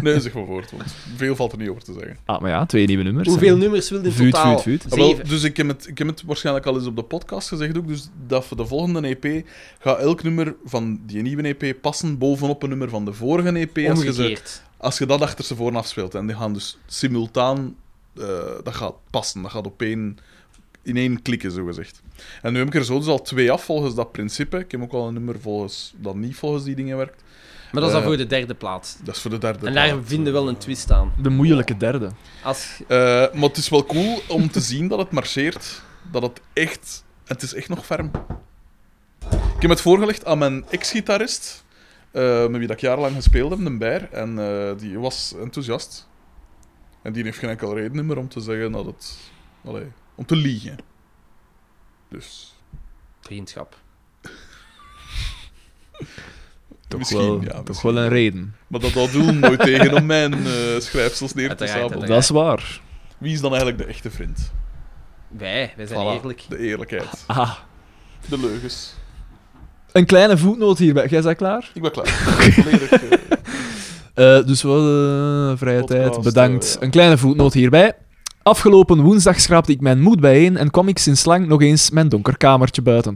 Nee, zeg maar voort, want veel valt er niet over te zeggen.
Ah, maar ja, twee nieuwe nummers.
Hoeveel
hè.
nummers wilde in
Vuut,
totaal?
vuut, vuut.
Ah, wel,
Zeven.
dus ik heb, het, ik heb het waarschijnlijk al eens op de podcast gezegd ook, dus dat voor de volgende EP gaat elk nummer van die nieuwe EP passen bovenop een nummer van de vorige EP. Als je, ze,
Omgekeerd.
als je dat achter ze voor afspeelt. En die gaan dus simultaan, eh, dat gaat passen, dat gaat op één, in één klikken, zogezegd. En nu heb ik er zo dus al twee af volgens dat principe. Ik heb ook al een nummer volgens, dat niet volgens die dingen werkt.
Maar dat is dan
Eh,
voor de derde plaat.
Dat is voor de derde.
En daar
plaat.
vinden we wel een twist aan.
De moeilijke derde.
Als,
Eh, maar het is wel cool om te zien dat het marcheert. Dat het echt... Het is echt nog ferm. Ik heb het voorgelegd aan mijn ex-gitarist, eh, met wie dat ik jarenlang gespeeld heb, een Beir. En eh, die was enthousiast. En die heeft geen enkel reden meer om te zeggen dat het... Allee, om te liegen. Dus...
vriendschap.
Toch
misschien,
wel,
ja.
toch
misschien.
wel een reden.
Maar dat houdt Doel nooit tegen om mijn eh, schrijfsels neer te
Uiteraard,
sabelen.
uiteraard.
Oh, Dat is waar.
Wie is dan eigenlijk de echte vriend?
Wij, wij zijn
Voilà,
eerlijk.
De eerlijkheid.
Ah,
De leugens.
een kleine voetnoot hierbij. Jij bent klaar?
Ik ben klaar. Volledig, eh,
Eh, dus wel eh, vrije
Podcast,
tijd, bedankt.
eh, ja.
Een kleine voetnoot hierbij. Afgelopen woensdag schraapte ik mijn moed bijeen en kwam ik sinds lang nog eens mijn donker kamertje buiten.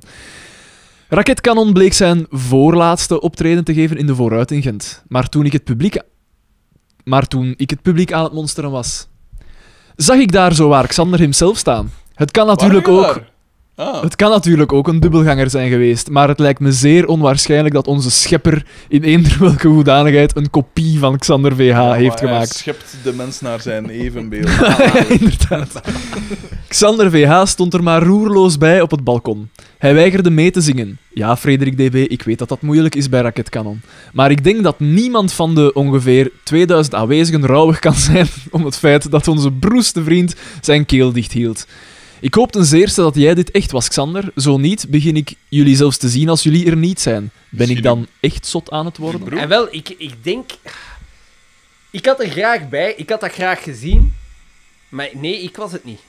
Raketkanon bleek zijn voorlaatste optreden te geven in de vooruit in Gent. Maar toen ik het publiek, maar toen ik het publiek aan het monsteren was, zag ik daar zowaar Xander hemzelf staan. Het kan natuurlijk
Waren
ook
jullie daar? Ah.
het kan natuurlijk ook een dubbelganger zijn geweest, maar het lijkt me zeer onwaarschijnlijk dat onze schepper in eender welke hoedanigheid een kopie van Xander VH
Ja, maar
heeft
hij
gemaakt.
schept de mens naar zijn evenbeeld.
Inderdaad. Xander VH stond er maar roerloos bij op het balkon. Hij weigerde mee te zingen. Ja, Frederik DB, ik weet dat dat moeilijk is bij Raket Cannon. Maar ik denk dat niemand van de ongeveer 2000 aanwezigen rouwig kan zijn om het feit dat onze broeste vriend zijn keel dicht hield. Ik hoop ten zeerste dat jij dit echt was, Xander. Zo niet, begin ik jullie zelfs te zien als jullie er niet zijn. Ben ik
Misschien-
dan echt zot aan het worden?
Broer.
En wel, ik, ik denk... Ik had er graag bij, ik had dat graag gezien. Maar nee, ik was het niet.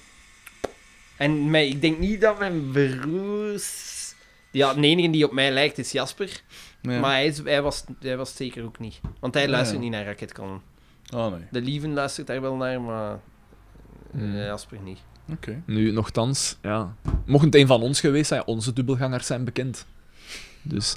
En mij, ik denk niet dat mijn broers... Ja, de enige die op mij lijkt is Jasper.
Nee.
Maar hij, is, hij, was, hij was het zeker ook niet. Want hij
Ja,
luistert
ja.
niet naar Rocket Cannon.
Ah, nee.
De Lieven luistert daar wel naar, maar...
Hmm.
Eh, Jasper niet.
Nu, nochtans, ja. Mocht het een van ons geweest zijn, onze dubbelgangers zijn bekend. Dus.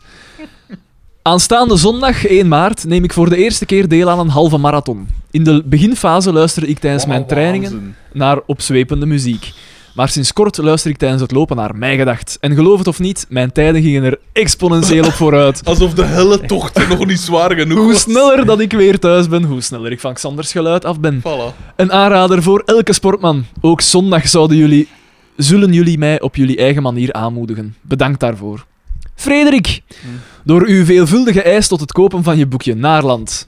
Aanstaande zondag 1 maart neem ik voor de eerste keer deel aan een halve marathon. In de beginfase luister ik tijdens mijn trainingen naar opzwepende muziek. Maar sinds kort luister ik tijdens het lopen naar mijn gedacht. En geloof het of niet, mijn tijden gingen er exponentieel op vooruit.
Alsof de helle tocht nog niet zwaar genoeg
Hoe
was.
sneller dat ik weer thuis ben, hoe sneller ik van Xanders geluid af ben.
Voilà.
Een aanrader voor elke sportman. Ook zondag zouden jullie, zullen jullie mij op jullie eigen manier aanmoedigen. Bedankt daarvoor. Frederik,
Hm.
door uw veelvuldige eis tot het kopen van je boekje Naarland,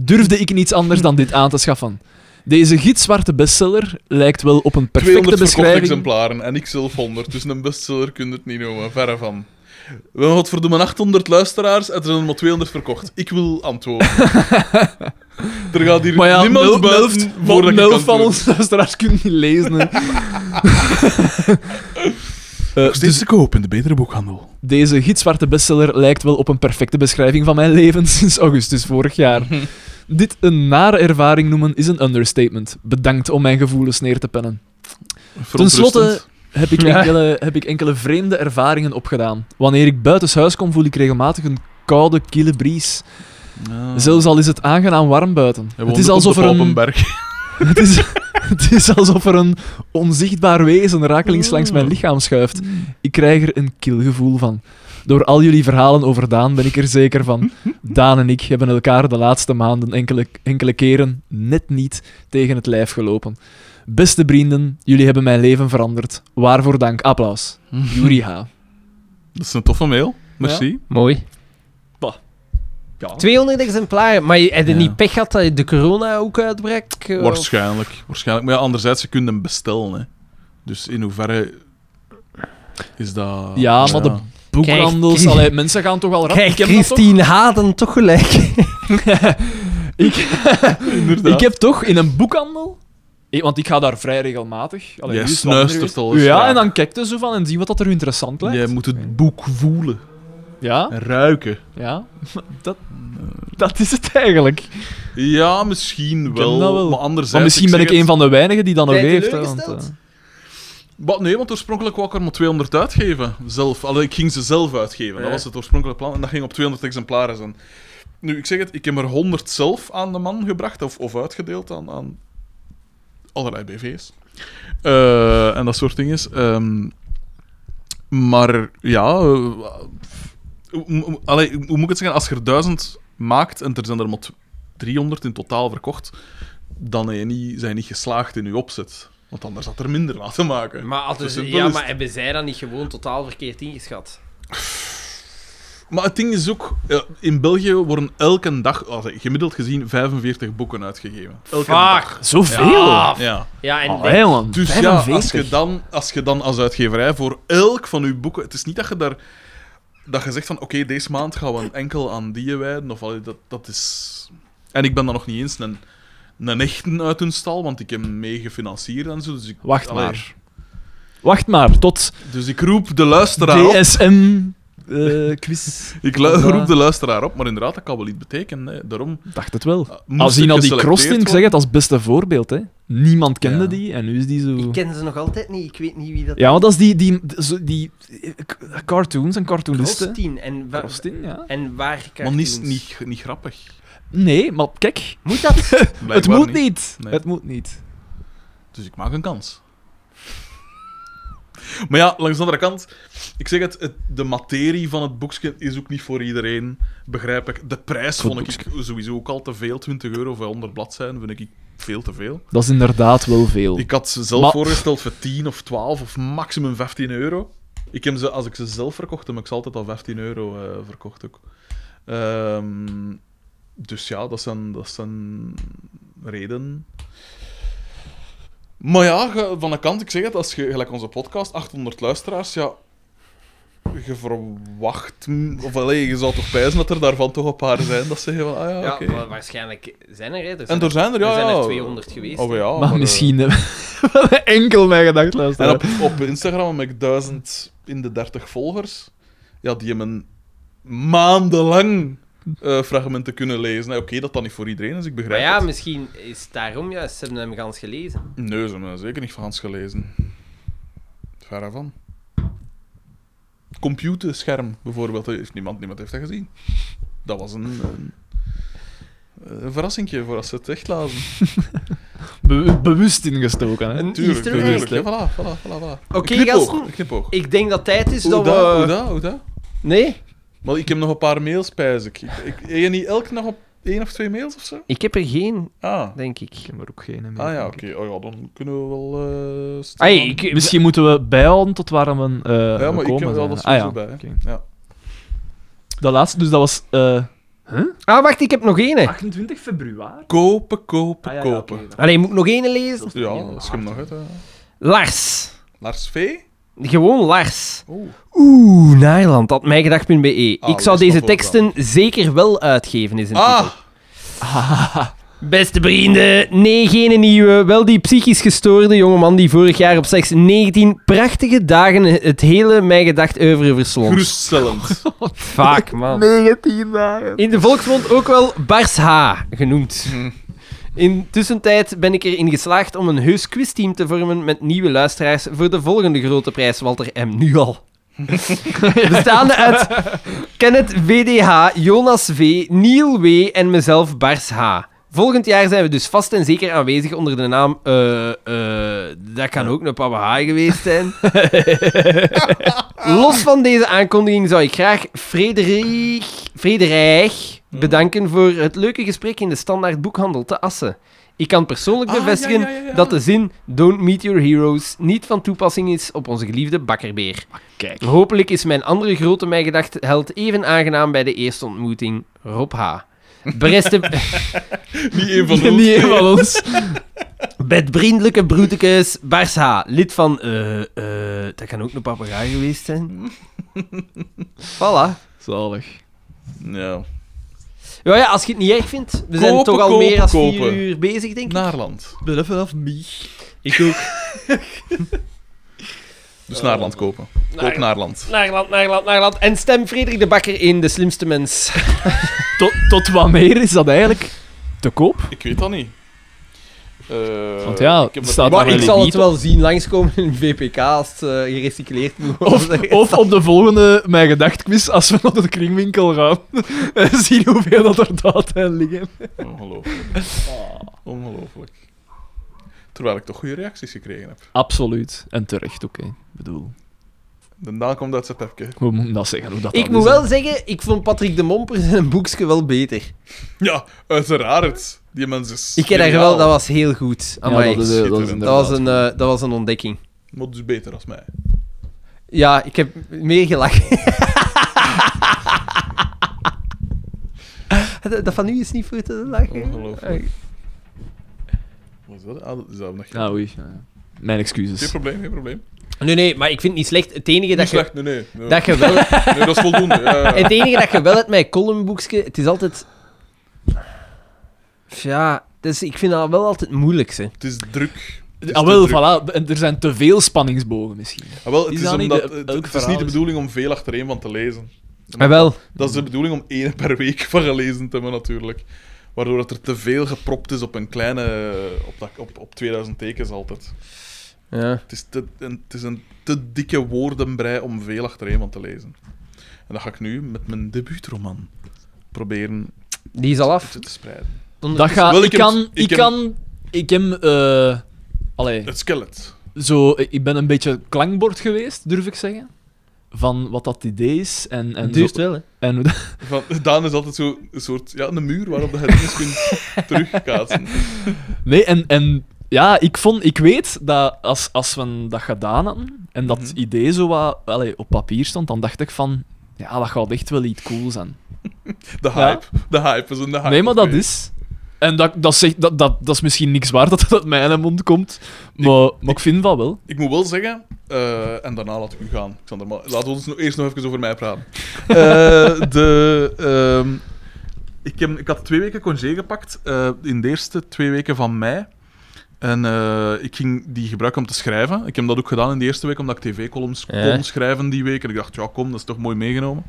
durfde ik niets anders dan dit aan te schaffen. Deze gitzwarte bestseller lijkt wel op een
200
perfecte
verkochte
beschrijving.
exemplaren en ik zelf 100. Dus een bestseller kun je het niet noemen, verre van. We hebben godverdomme 800 luisteraars en er zijn er maar 200 verkocht. Ik wil antwoorden. er gaat hier
Maar ja,
niemand
Nel-
buiten
Nelft-
voordat ik
Nelft
het
van
antwoord.
ons luisteraars kunt niet lezen. hè. Eh,
Nog steeds te koop in de betere boekhandel.
Deze gitzwarte bestseller lijkt wel op een perfecte beschrijving van mijn leven sinds augustus vorig jaar. Dit een nare ervaring noemen is een understatement. Bedankt om mijn gevoelens neer te pennen. Ten slotte heb ik, enkele, heb ik enkele vreemde ervaringen opgedaan. Wanneer ik buitenshuis kom, voel ik regelmatig een koude, kille bries. Zelfs al is het aangenaam warm buiten. Het is, alsof er een,
berg.
het, is, het is alsof er een onzichtbaar wezen rakelings langs mijn lichaam schuift. Ik krijg er een kil gevoel van. Door al jullie verhalen over Daan ben ik er zeker van. Daan en ik hebben elkaar de laatste maanden enkele, enkele keren net niet tegen het lijf gelopen. Beste vrienden, jullie hebben mijn leven veranderd. Waarvoor dank. Applaus. Juri H.
Dat is een toffe mail. Merci.
Mooi.
Bah. Ja.
200 exemplaren. Maar je had je
Ja.
niet pech gehad dat je de corona ook uitbrak? Eh,
Waarschijnlijk. Waarschijnlijk. Maar ja, anderzijds, ze kunnen hem bestellen. Hè. Dus in hoeverre is dat...
Ja, maar de boekhandels...
Krijg-
allee, mensen gaan toch al rap...
Krijgt
ik heb dat toch?
Christine Haden toch gelijk?
Inderdaad.
Ik heb toch in een boekhandel... Eh, Want ik ga daar vrij regelmatig. Allee,
Jij
nu is het wat minder
snuistert
geweest.
al eens
Ja,
graag.
en dan kijkt er zo van en zien wat dat er interessant lijkt.
Jij moet het boek voelen.
Ja,
en Ruiken.
ja. Dat, dat is het eigenlijk.
Ja, misschien wel.
heb dat wel.
Maar
Maar
anderzijds...
misschien ben ik
zeg
een van de weinigen die dat nog
Ben je
heeft. hè,
teleurgesteld?
want, eh,
Wat, nee, want oorspronkelijk wou ik er maar 200 uitgeven. Zelf. Allee, ik ging ze zelf uitgeven.
Ja.
Dat was het oorspronkelijke plan. En dat ging op 200 exemplaren zijn. Nu, ik zeg het, ik heb er 100 zelf aan de man gebracht. Of, of uitgedeeld aan, aan allerlei BV's. Eh, en dat soort dingen. Ehm, maar ja... eh, hoe- hoe- allee, hoe moet ik het zeggen? Als je er 1000 maakt en er zijn er maar 300 in totaal verkocht, dan zijn je niet, zijn je niet geslaagd in je opzet. Want anders had er minder laten maken.
Maar, hadden
Zo
ze-
simpel
ja,
is
maar
het.
hebben zij dat niet gewoon totaal verkeerd ingeschat?
Maar het ding is ook, eh, in België worden elke dag, als ik gemiddeld gezien, 45 boeken uitgegeven. Elke dag.
eh, Zoveel!
Ja.
Ja.
Ah, Ja, en
Allee, man.
Dus ja, als
45.
je, dan, als je dan als uitgeverij voor elk van je boeken... Het is niet dat je daar... Dat je zegt van, oké, deze maand gaan we enkel aan die wijden. Of, allee, dat, dat is... En ik ben dan nog niet eens een, een echte uit hun stal, want ik heb hem mee gefinancierd en zo. Dus ik,
Wacht
allee,
maar. Wacht maar, tot
Dus ik roep de luisteraar op.
eh, DSM-quiz.
Ik lu- roep de luisteraar op, maar inderdaad, dat kan wel iets betekenen. Hè. Daarom
Dacht het wel.
eh, moest
Als zien
het
al die
geselecteerd
crosstint, ik
worden.
zeg het als beste voorbeeld. Hè. Niemand kende
Ja.
die en nu is die zo.
Ik ken ze nog altijd niet. Ik weet niet wie dat
Ja, want dat is die, die, zo- die, eh, k- cartoons en cartoonisten.
Christine. En, wa-
Crosstint, ja.
en waar
Maar niet,
cartoons?
niet, niet grappig.
Nee, maar kijk,
Moet dat?
het
Blijkbaar
moet niet.
Nee.
Het moet niet.
Dus ik maak een kans. Maar ja, langs de andere kant, ik zeg het, het- de materie van het boekje is ook niet voor iedereen, begrijp ik. De prijs
Goed
vond ik sowieso ook al te veel, 20 euro voor 100 bladzijden vind ik veel te veel.
Dat is inderdaad wel veel.
Ik had ze zelf
Maar-
voorgesteld voor 10 of 12 of maximum 15 euro. Ik heb ze, als ik ze zelf verkocht, heb ik ze altijd al 15 euro eh, verkocht ook. Ehm, dus ja, dat zijn, dat zijn redenen. Maar ja, ge- van de kant, ik zeg het, als je, gelijk onze podcast, 800 luisteraars, ja... Je verwacht... m- Of allee, je zou toch pijzen dat er daarvan toch een paar zijn dat zeggen van, ah ja,
Ja,
oké.
maar waarschijnlijk zijn er. Hè. Er
En er zijn er, ja,
er zijn
ja.
er 200 geweest.
Oh, ja,
maar
eh,
misschien hebben we enkel mijn gedacht
En
luisteren.
op, op Instagram heb ik duizend in de dertig volgers. Ja, die hebben maandenlang eh, fragmenten kunnen lezen. Nou, Oké, dat dan niet voor iedereen is,
Maar
ik begrijp
ja,
het.
misschien is het daarom juist. Ze hebben hem gans gelezen.
Nee, ze hebben dat zeker niet van Hans gelezen. Verre van. Computerscherm bijvoorbeeld, eh, heeft niemand, niemand heeft dat gezien. Dat was een, een, een verrassingje voor als ze het echt lazen.
Be- bewust ingestoken, hè?
Een
Tuurlijk,
Easter egg.
tuurlijk. Ja, voilà, voilà, voilà. voilà.
Oké,
Een knipoog,
gasten.
een knipoog.
Ik denk dat tijd is
Hoe
dat
dat, hoe
we...
dat, hoe dat?
Nee?
Maar ik heb nog een paar mails, pijs ik. ik, ik heb je niet elk nog op één of twee mails of zo?
Ik heb er geen,
Ah,
denk ik.
Ik heb er ook geen meer.
ah ja,
denk
oké.
ik.
Oh ja, dan kunnen we wel... eh, stil-
Ai, ik,
Misschien moeten we bijhouden tot waar we eh
ja, maar ik
komen
heb wel
zijn.
dat
ah,
sowieso
ja.
bij. hè.
Oké.
Ja.
Dat laatste, dus dat was eh,
Ah, wacht, ik heb nog één. hè.
28 februari.
Kopen, kopen,
Ah, ja, ja,
kopen.
oké, dat-
Allee, moet ik nog één lezen?
Ja, dat schim nog uit. hè.
Lars.
Lars V.
Gewoon Lars.
Oeh.
Oh.
Oeh, Nederland, dat mijgedacht.be.
Ah,
E. ik zou
lees
deze
dat ook
teksten zeker wel uitgeven, is een titel.
Ah,
Beste vrienden, nee, geen nieuwe. Wel die psychisch gestoorde jongeman die vorig jaar op slechts 19 prachtige dagen het hele Mijn Gedacht oeuvre verslond.
geruststellend.
Vaak, man. 19 dagen. In de volksmond ook wel Bars H genoemd. In tussentijd ben ik erin geslaagd om een heus quizteam te vormen met nieuwe luisteraars voor de volgende grote prijs, Walter M. Nu al. Bestaande uit Kenneth VDH, Jonas V, Neil W. en mezelf Bars H. Volgend jaar zijn we dus vast en zeker aanwezig onder de naam... eh, eh, dat kan ook een Papa H geweest zijn. Los van deze aankondiging zou ik graag Frederik, Frederik bedanken voor het leuke gesprek in de standaard boekhandel te Assen. Ik kan persoonlijk
Ah, ja,
bevestigen
ja, ja, ja.
dat de zin Don't meet your heroes niet van toepassing is op onze geliefde bakkerbeer.
Ah,
Kijk.
Hopelijk is mijn andere grote mij gedacht held even aangenaam bij de eerste ontmoeting, Rob H. Beste,
Niet één van ons.
Niet van ons.
Met vriendelijke broedekes, Bars H, lid van... eh, eh, dat kan ook een papegaai geweest zijn. voilà.
Zalig.
Ja.
Ja, ja, als je het niet erg vindt. We zijn
Kopen,
toch al
kopen,
meer dan vier
kopen.
uur bezig, denk ik.
Naarland.
Ben even af, mich.
ik ook.
Dus Naarland kopen. Koop Naarland.
Naarland, Naarland, Naarland. En stem Frederik de Bakker in De Slimste Mens.
Tot, tot wanneer is dat eigenlijk te koop?
Ik weet dat niet. Eh,
Want ja,
ik heb
het
er-
staat
Maar
wel
ik
in
zal
de
het wel zien langskomen in VPK als het eh, gerecycleerd moet worden.
Of, of op de volgende Mijn Gedacht quiz, als we naar de kringwinkel gaan, en zien hoeveel dat er daad en liggen.
Ongelooflijk. Ongelooflijk. Terwijl ik toch goede reacties gekregen heb.
Absoluut. En terecht, oké. Ik bedoel,
De naam komt uit zijn pepje.
we moeten dat zeggen hoe dat
Ik
dan
moet
is, hè.
wel zeggen, ik vond Patrick de Momper zijn boekje wel beter.
Ja, uiteraard. Die mens is.
Ik heb daar
geniaal.
wel... Dat was heel goed. Amai.
Ja, dat, is, eh, dat, is
Schitterend.
dat, was
inderdaad-
een, eh, dat was een ontdekking.
Maar dus beter als mij.
Ja, ik heb meer gelachen. dat, dat van u is niet voor te lachen.
Ongelooflijk. Wat is dat? Ah, dat is dat nog
Ah, oei. ja, ja. Mijn
Geen
excuses.
probleem, geen probleem.
Nee, nee, maar ik vind het niet slecht. Het enige,
Niet
dat je,
slecht, nee, nee. Nee,
dat je wel,
Nee, dat is voldoende. Ja, ja, ja.
het enige dat je wel uit mijn columnboekje... Het is altijd... Ja, dus ik vind dat wel altijd moeilijk, hè.
Het is druk. Het is
Ah,
te
wel,
druk.
voilà. En Er zijn te veel spanningsbogen misschien.
Ah, wel, het
Is
is,
dat niet
omdat,
de-
het,
elk
het is
verhaal
niet
is- Ah,
de bedoeling om veel achtereen van te lezen.
Maar wel,
Dat is de bedoeling om één per week van gelezen te hebben, natuurlijk. Waardoor dat er te veel gepropt is op een kleine... eh, Op, dat, op, op 2000 tekens altijd.
ja.
Het is, te, een, het is een te dikke woordenbrei om veel achtereen van te lezen. En dat ga ik nu met mijn debuutroman proberen
die is al af.
te, te spreiden.
Dat
dus
ga,
Wel,
ik,
ik heb-
kan,
ik
ik
heb-
kan, ik heb, eh, allee,
Het skelet.
zo, ik ben een beetje klankbord geweest, durf ik zeggen, van wat dat idee is en, en, zo,
wel, hè.
en hoe dat-
Van, Daan is altijd zo een soort... Ja, een muur waarop de herinneringen kunt terugkaatsen.
nee, en, en ja, ik vond, ik weet dat als, als we dat gedaan hadden en dat
Mhm.
idee zo wat, allee, op papier stond, dan dacht ik van, ja, dat gaat echt wel iets cool zijn.
De hype. De hype is een de hype.
nee, maar dat
Oké.
is. En dat, dat, zegt, dat, dat, dat is misschien niks waard dat dat uit mijn mond komt, maar ik, maar ik vind dat wel.
Ik moet wel zeggen, eh, en daarna laat ik u gaan, Xander, maar laten we ons nog eerst nog even over mij praten. Eh, de, ehm, ik, heb, ik had twee weken congé gepakt, eh, in de eerste twee weken van mei. En eh, ik ging die gebruiken om te schrijven. Ik heb dat ook gedaan in de eerste week, omdat ik tv-columns
Ja.
kon schrijven die week. En ik dacht, ja kom, dat is toch mooi meegenomen.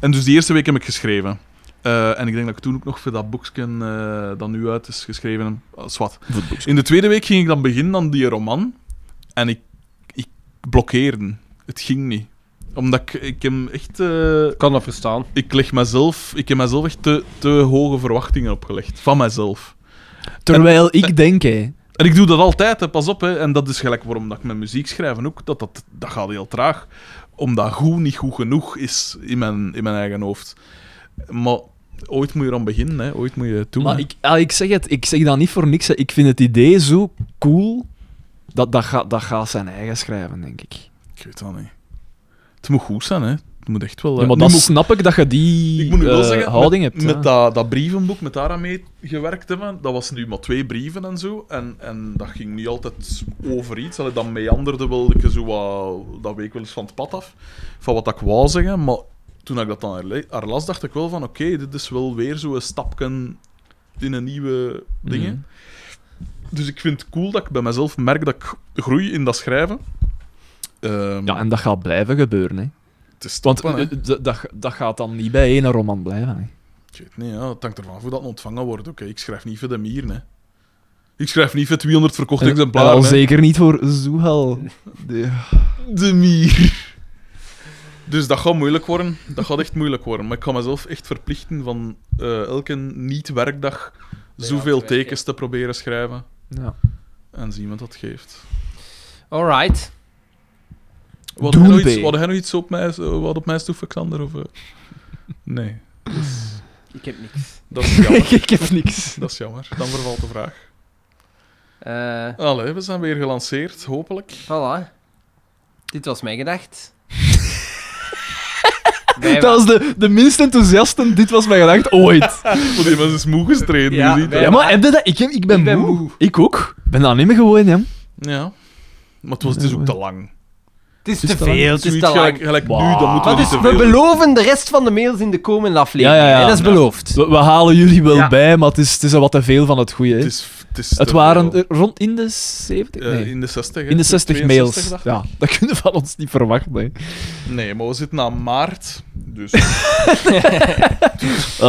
En dus die eerste week heb ik geschreven. Eh, en ik denk dat ik toen ook nog voor dat boekje eh dat nu uit is geschreven. eh, Zwat. In de tweede week ging ik dan beginnen aan die roman. En ik, ik blokkeerde. Het ging niet. Omdat ik, ik hem echt... eh,
kan dat verstaan.
ik, leg mezelf, ik heb mezelf echt te, te hoge verwachtingen opgelegd. Van mezelf.
Terwijl ik denk, hè.
En ik doe dat altijd, hè, pas op. Hè. En dat is gelijk waarom dat ik met muziek schrijven ook. Dat, dat, dat gaat heel traag. Omdat goed niet goed genoeg is in mijn, in mijn eigen hoofd. Maar ooit moet je eraan beginnen, hè. ooit moet je het doen.
Maar
hè.
ik, ah, ik zeg het, ik zeg dat niet voor niks. hè. Ik vind het idee zo cool, dat, dat, gaat dat gaat zijn eigen schrijven, denk ik.
Ik weet dat niet. Het moet goed zijn, hè. Het moet echt wel...
Ja,
eh,
maar
nu
dan
moet ik-
snap ik dat je die
ik moet nu wel
eh,
zeggen,
houding
met,
hebt.
met
ja.
dat, dat brievenboek, met daar aan mee gewerkt hebben, dat was nu maar twee brieven en zo. En, en dat ging niet altijd over iets. Allee, dat meanderde wel ik zo wat, dat week wel eens van het pad af, van wat ik wou zeggen. Maar toen ik dat dan herle- herlas, dacht ik wel van, oké, dit is wel weer zo'n stapje in een nieuwe dingen.
Mhm.
Dus ik vind het cool dat ik bij mezelf merk dat ik groei in dat schrijven. Ehm,
Ja, en dat gaat blijven gebeuren, hè.
het is
Want
toppen, hè.
eh, d- dat, dat gaat dan niet bij één roman blijven, hè.
Ik weet het niet, ja. Het hangt ervan af hoe dat ontvangen wordt. Oké, ik schrijf niet voor de mier, hè. Ik schrijf niet voor 200 verkochte
En- en al
exemplaren. hè.
zeker niet voor Zuhal. De-
De mier. Dus dat gaat moeilijk worden. Dat gaat echt moeilijk worden. Maar ik ga mezelf echt verplichten van eh, elke niet-werkdag zoveel
werken.
tekens te proberen schrijven.
Ja.
En zien wat dat geeft.
Alright.
Wat
Doen
had nog iets,
wij.
wat had jij nog iets op mij, eh, wat op mij stoef, Xander? Of, eh? Nee.
Ik heb niks.
Dat is jammer.
ik heb niks.
dat is jammer. Dan vervalt de vraag.
Eh
Allee, we zijn weer gelanceerd, hopelijk.
voilà. Dit was mijn gedacht. Wij
Dat was de, de minst enthousiaste, dit was mijn gedacht ooit.
Want die mensen is moe gestreden,
Ja,
je ziet
wij-
dat.
Ja, maar heb je dat? Ik, heb- ik ben,
Ik ben
moe.
moe.
Ik ook. Ik ben dat niet meer gewoon, hè.
Ja. Maar het, was, het is ook te lang.
Het is
is
te
te lang.
veel, het is
Zoiets
te
gelijk,
lang.
gelijk nu,
Bah.
dan moeten we
Maar
niet
dus, we
te veel...
beloven de rest van de mails in de komende aflevering.
Ja, ja, ja.
hè, Dat is
Ja.
beloofd.
We, we halen jullie wel bij, maar het is, het is al wat te veel van het goede, hè.
het
Het,
is, het, is te
waren
veel.
er rond in de 70?
Eh,
Nee.
in de 60. hè.
in de 60 mails.
62 dacht
Ja, dat kunnen we van ons niet verwachten, hè.
ik. Nee, maar we zitten aan maart. Dus. en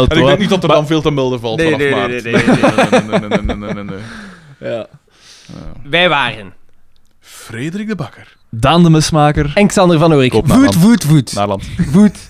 ik denk niet dat er dan veel te melden valt
Nee,
vanaf
nee, nee,
maart.
nee, nee,
nee, nee, nee, nee, nee, nee, nee.
Ja.
Wij waren.
Frederik de Bakker.
Daan de Mesmaker.
En Xander van Oorik.
Koop
Voet,
naar
voet, voet.
Naarland.
Voet.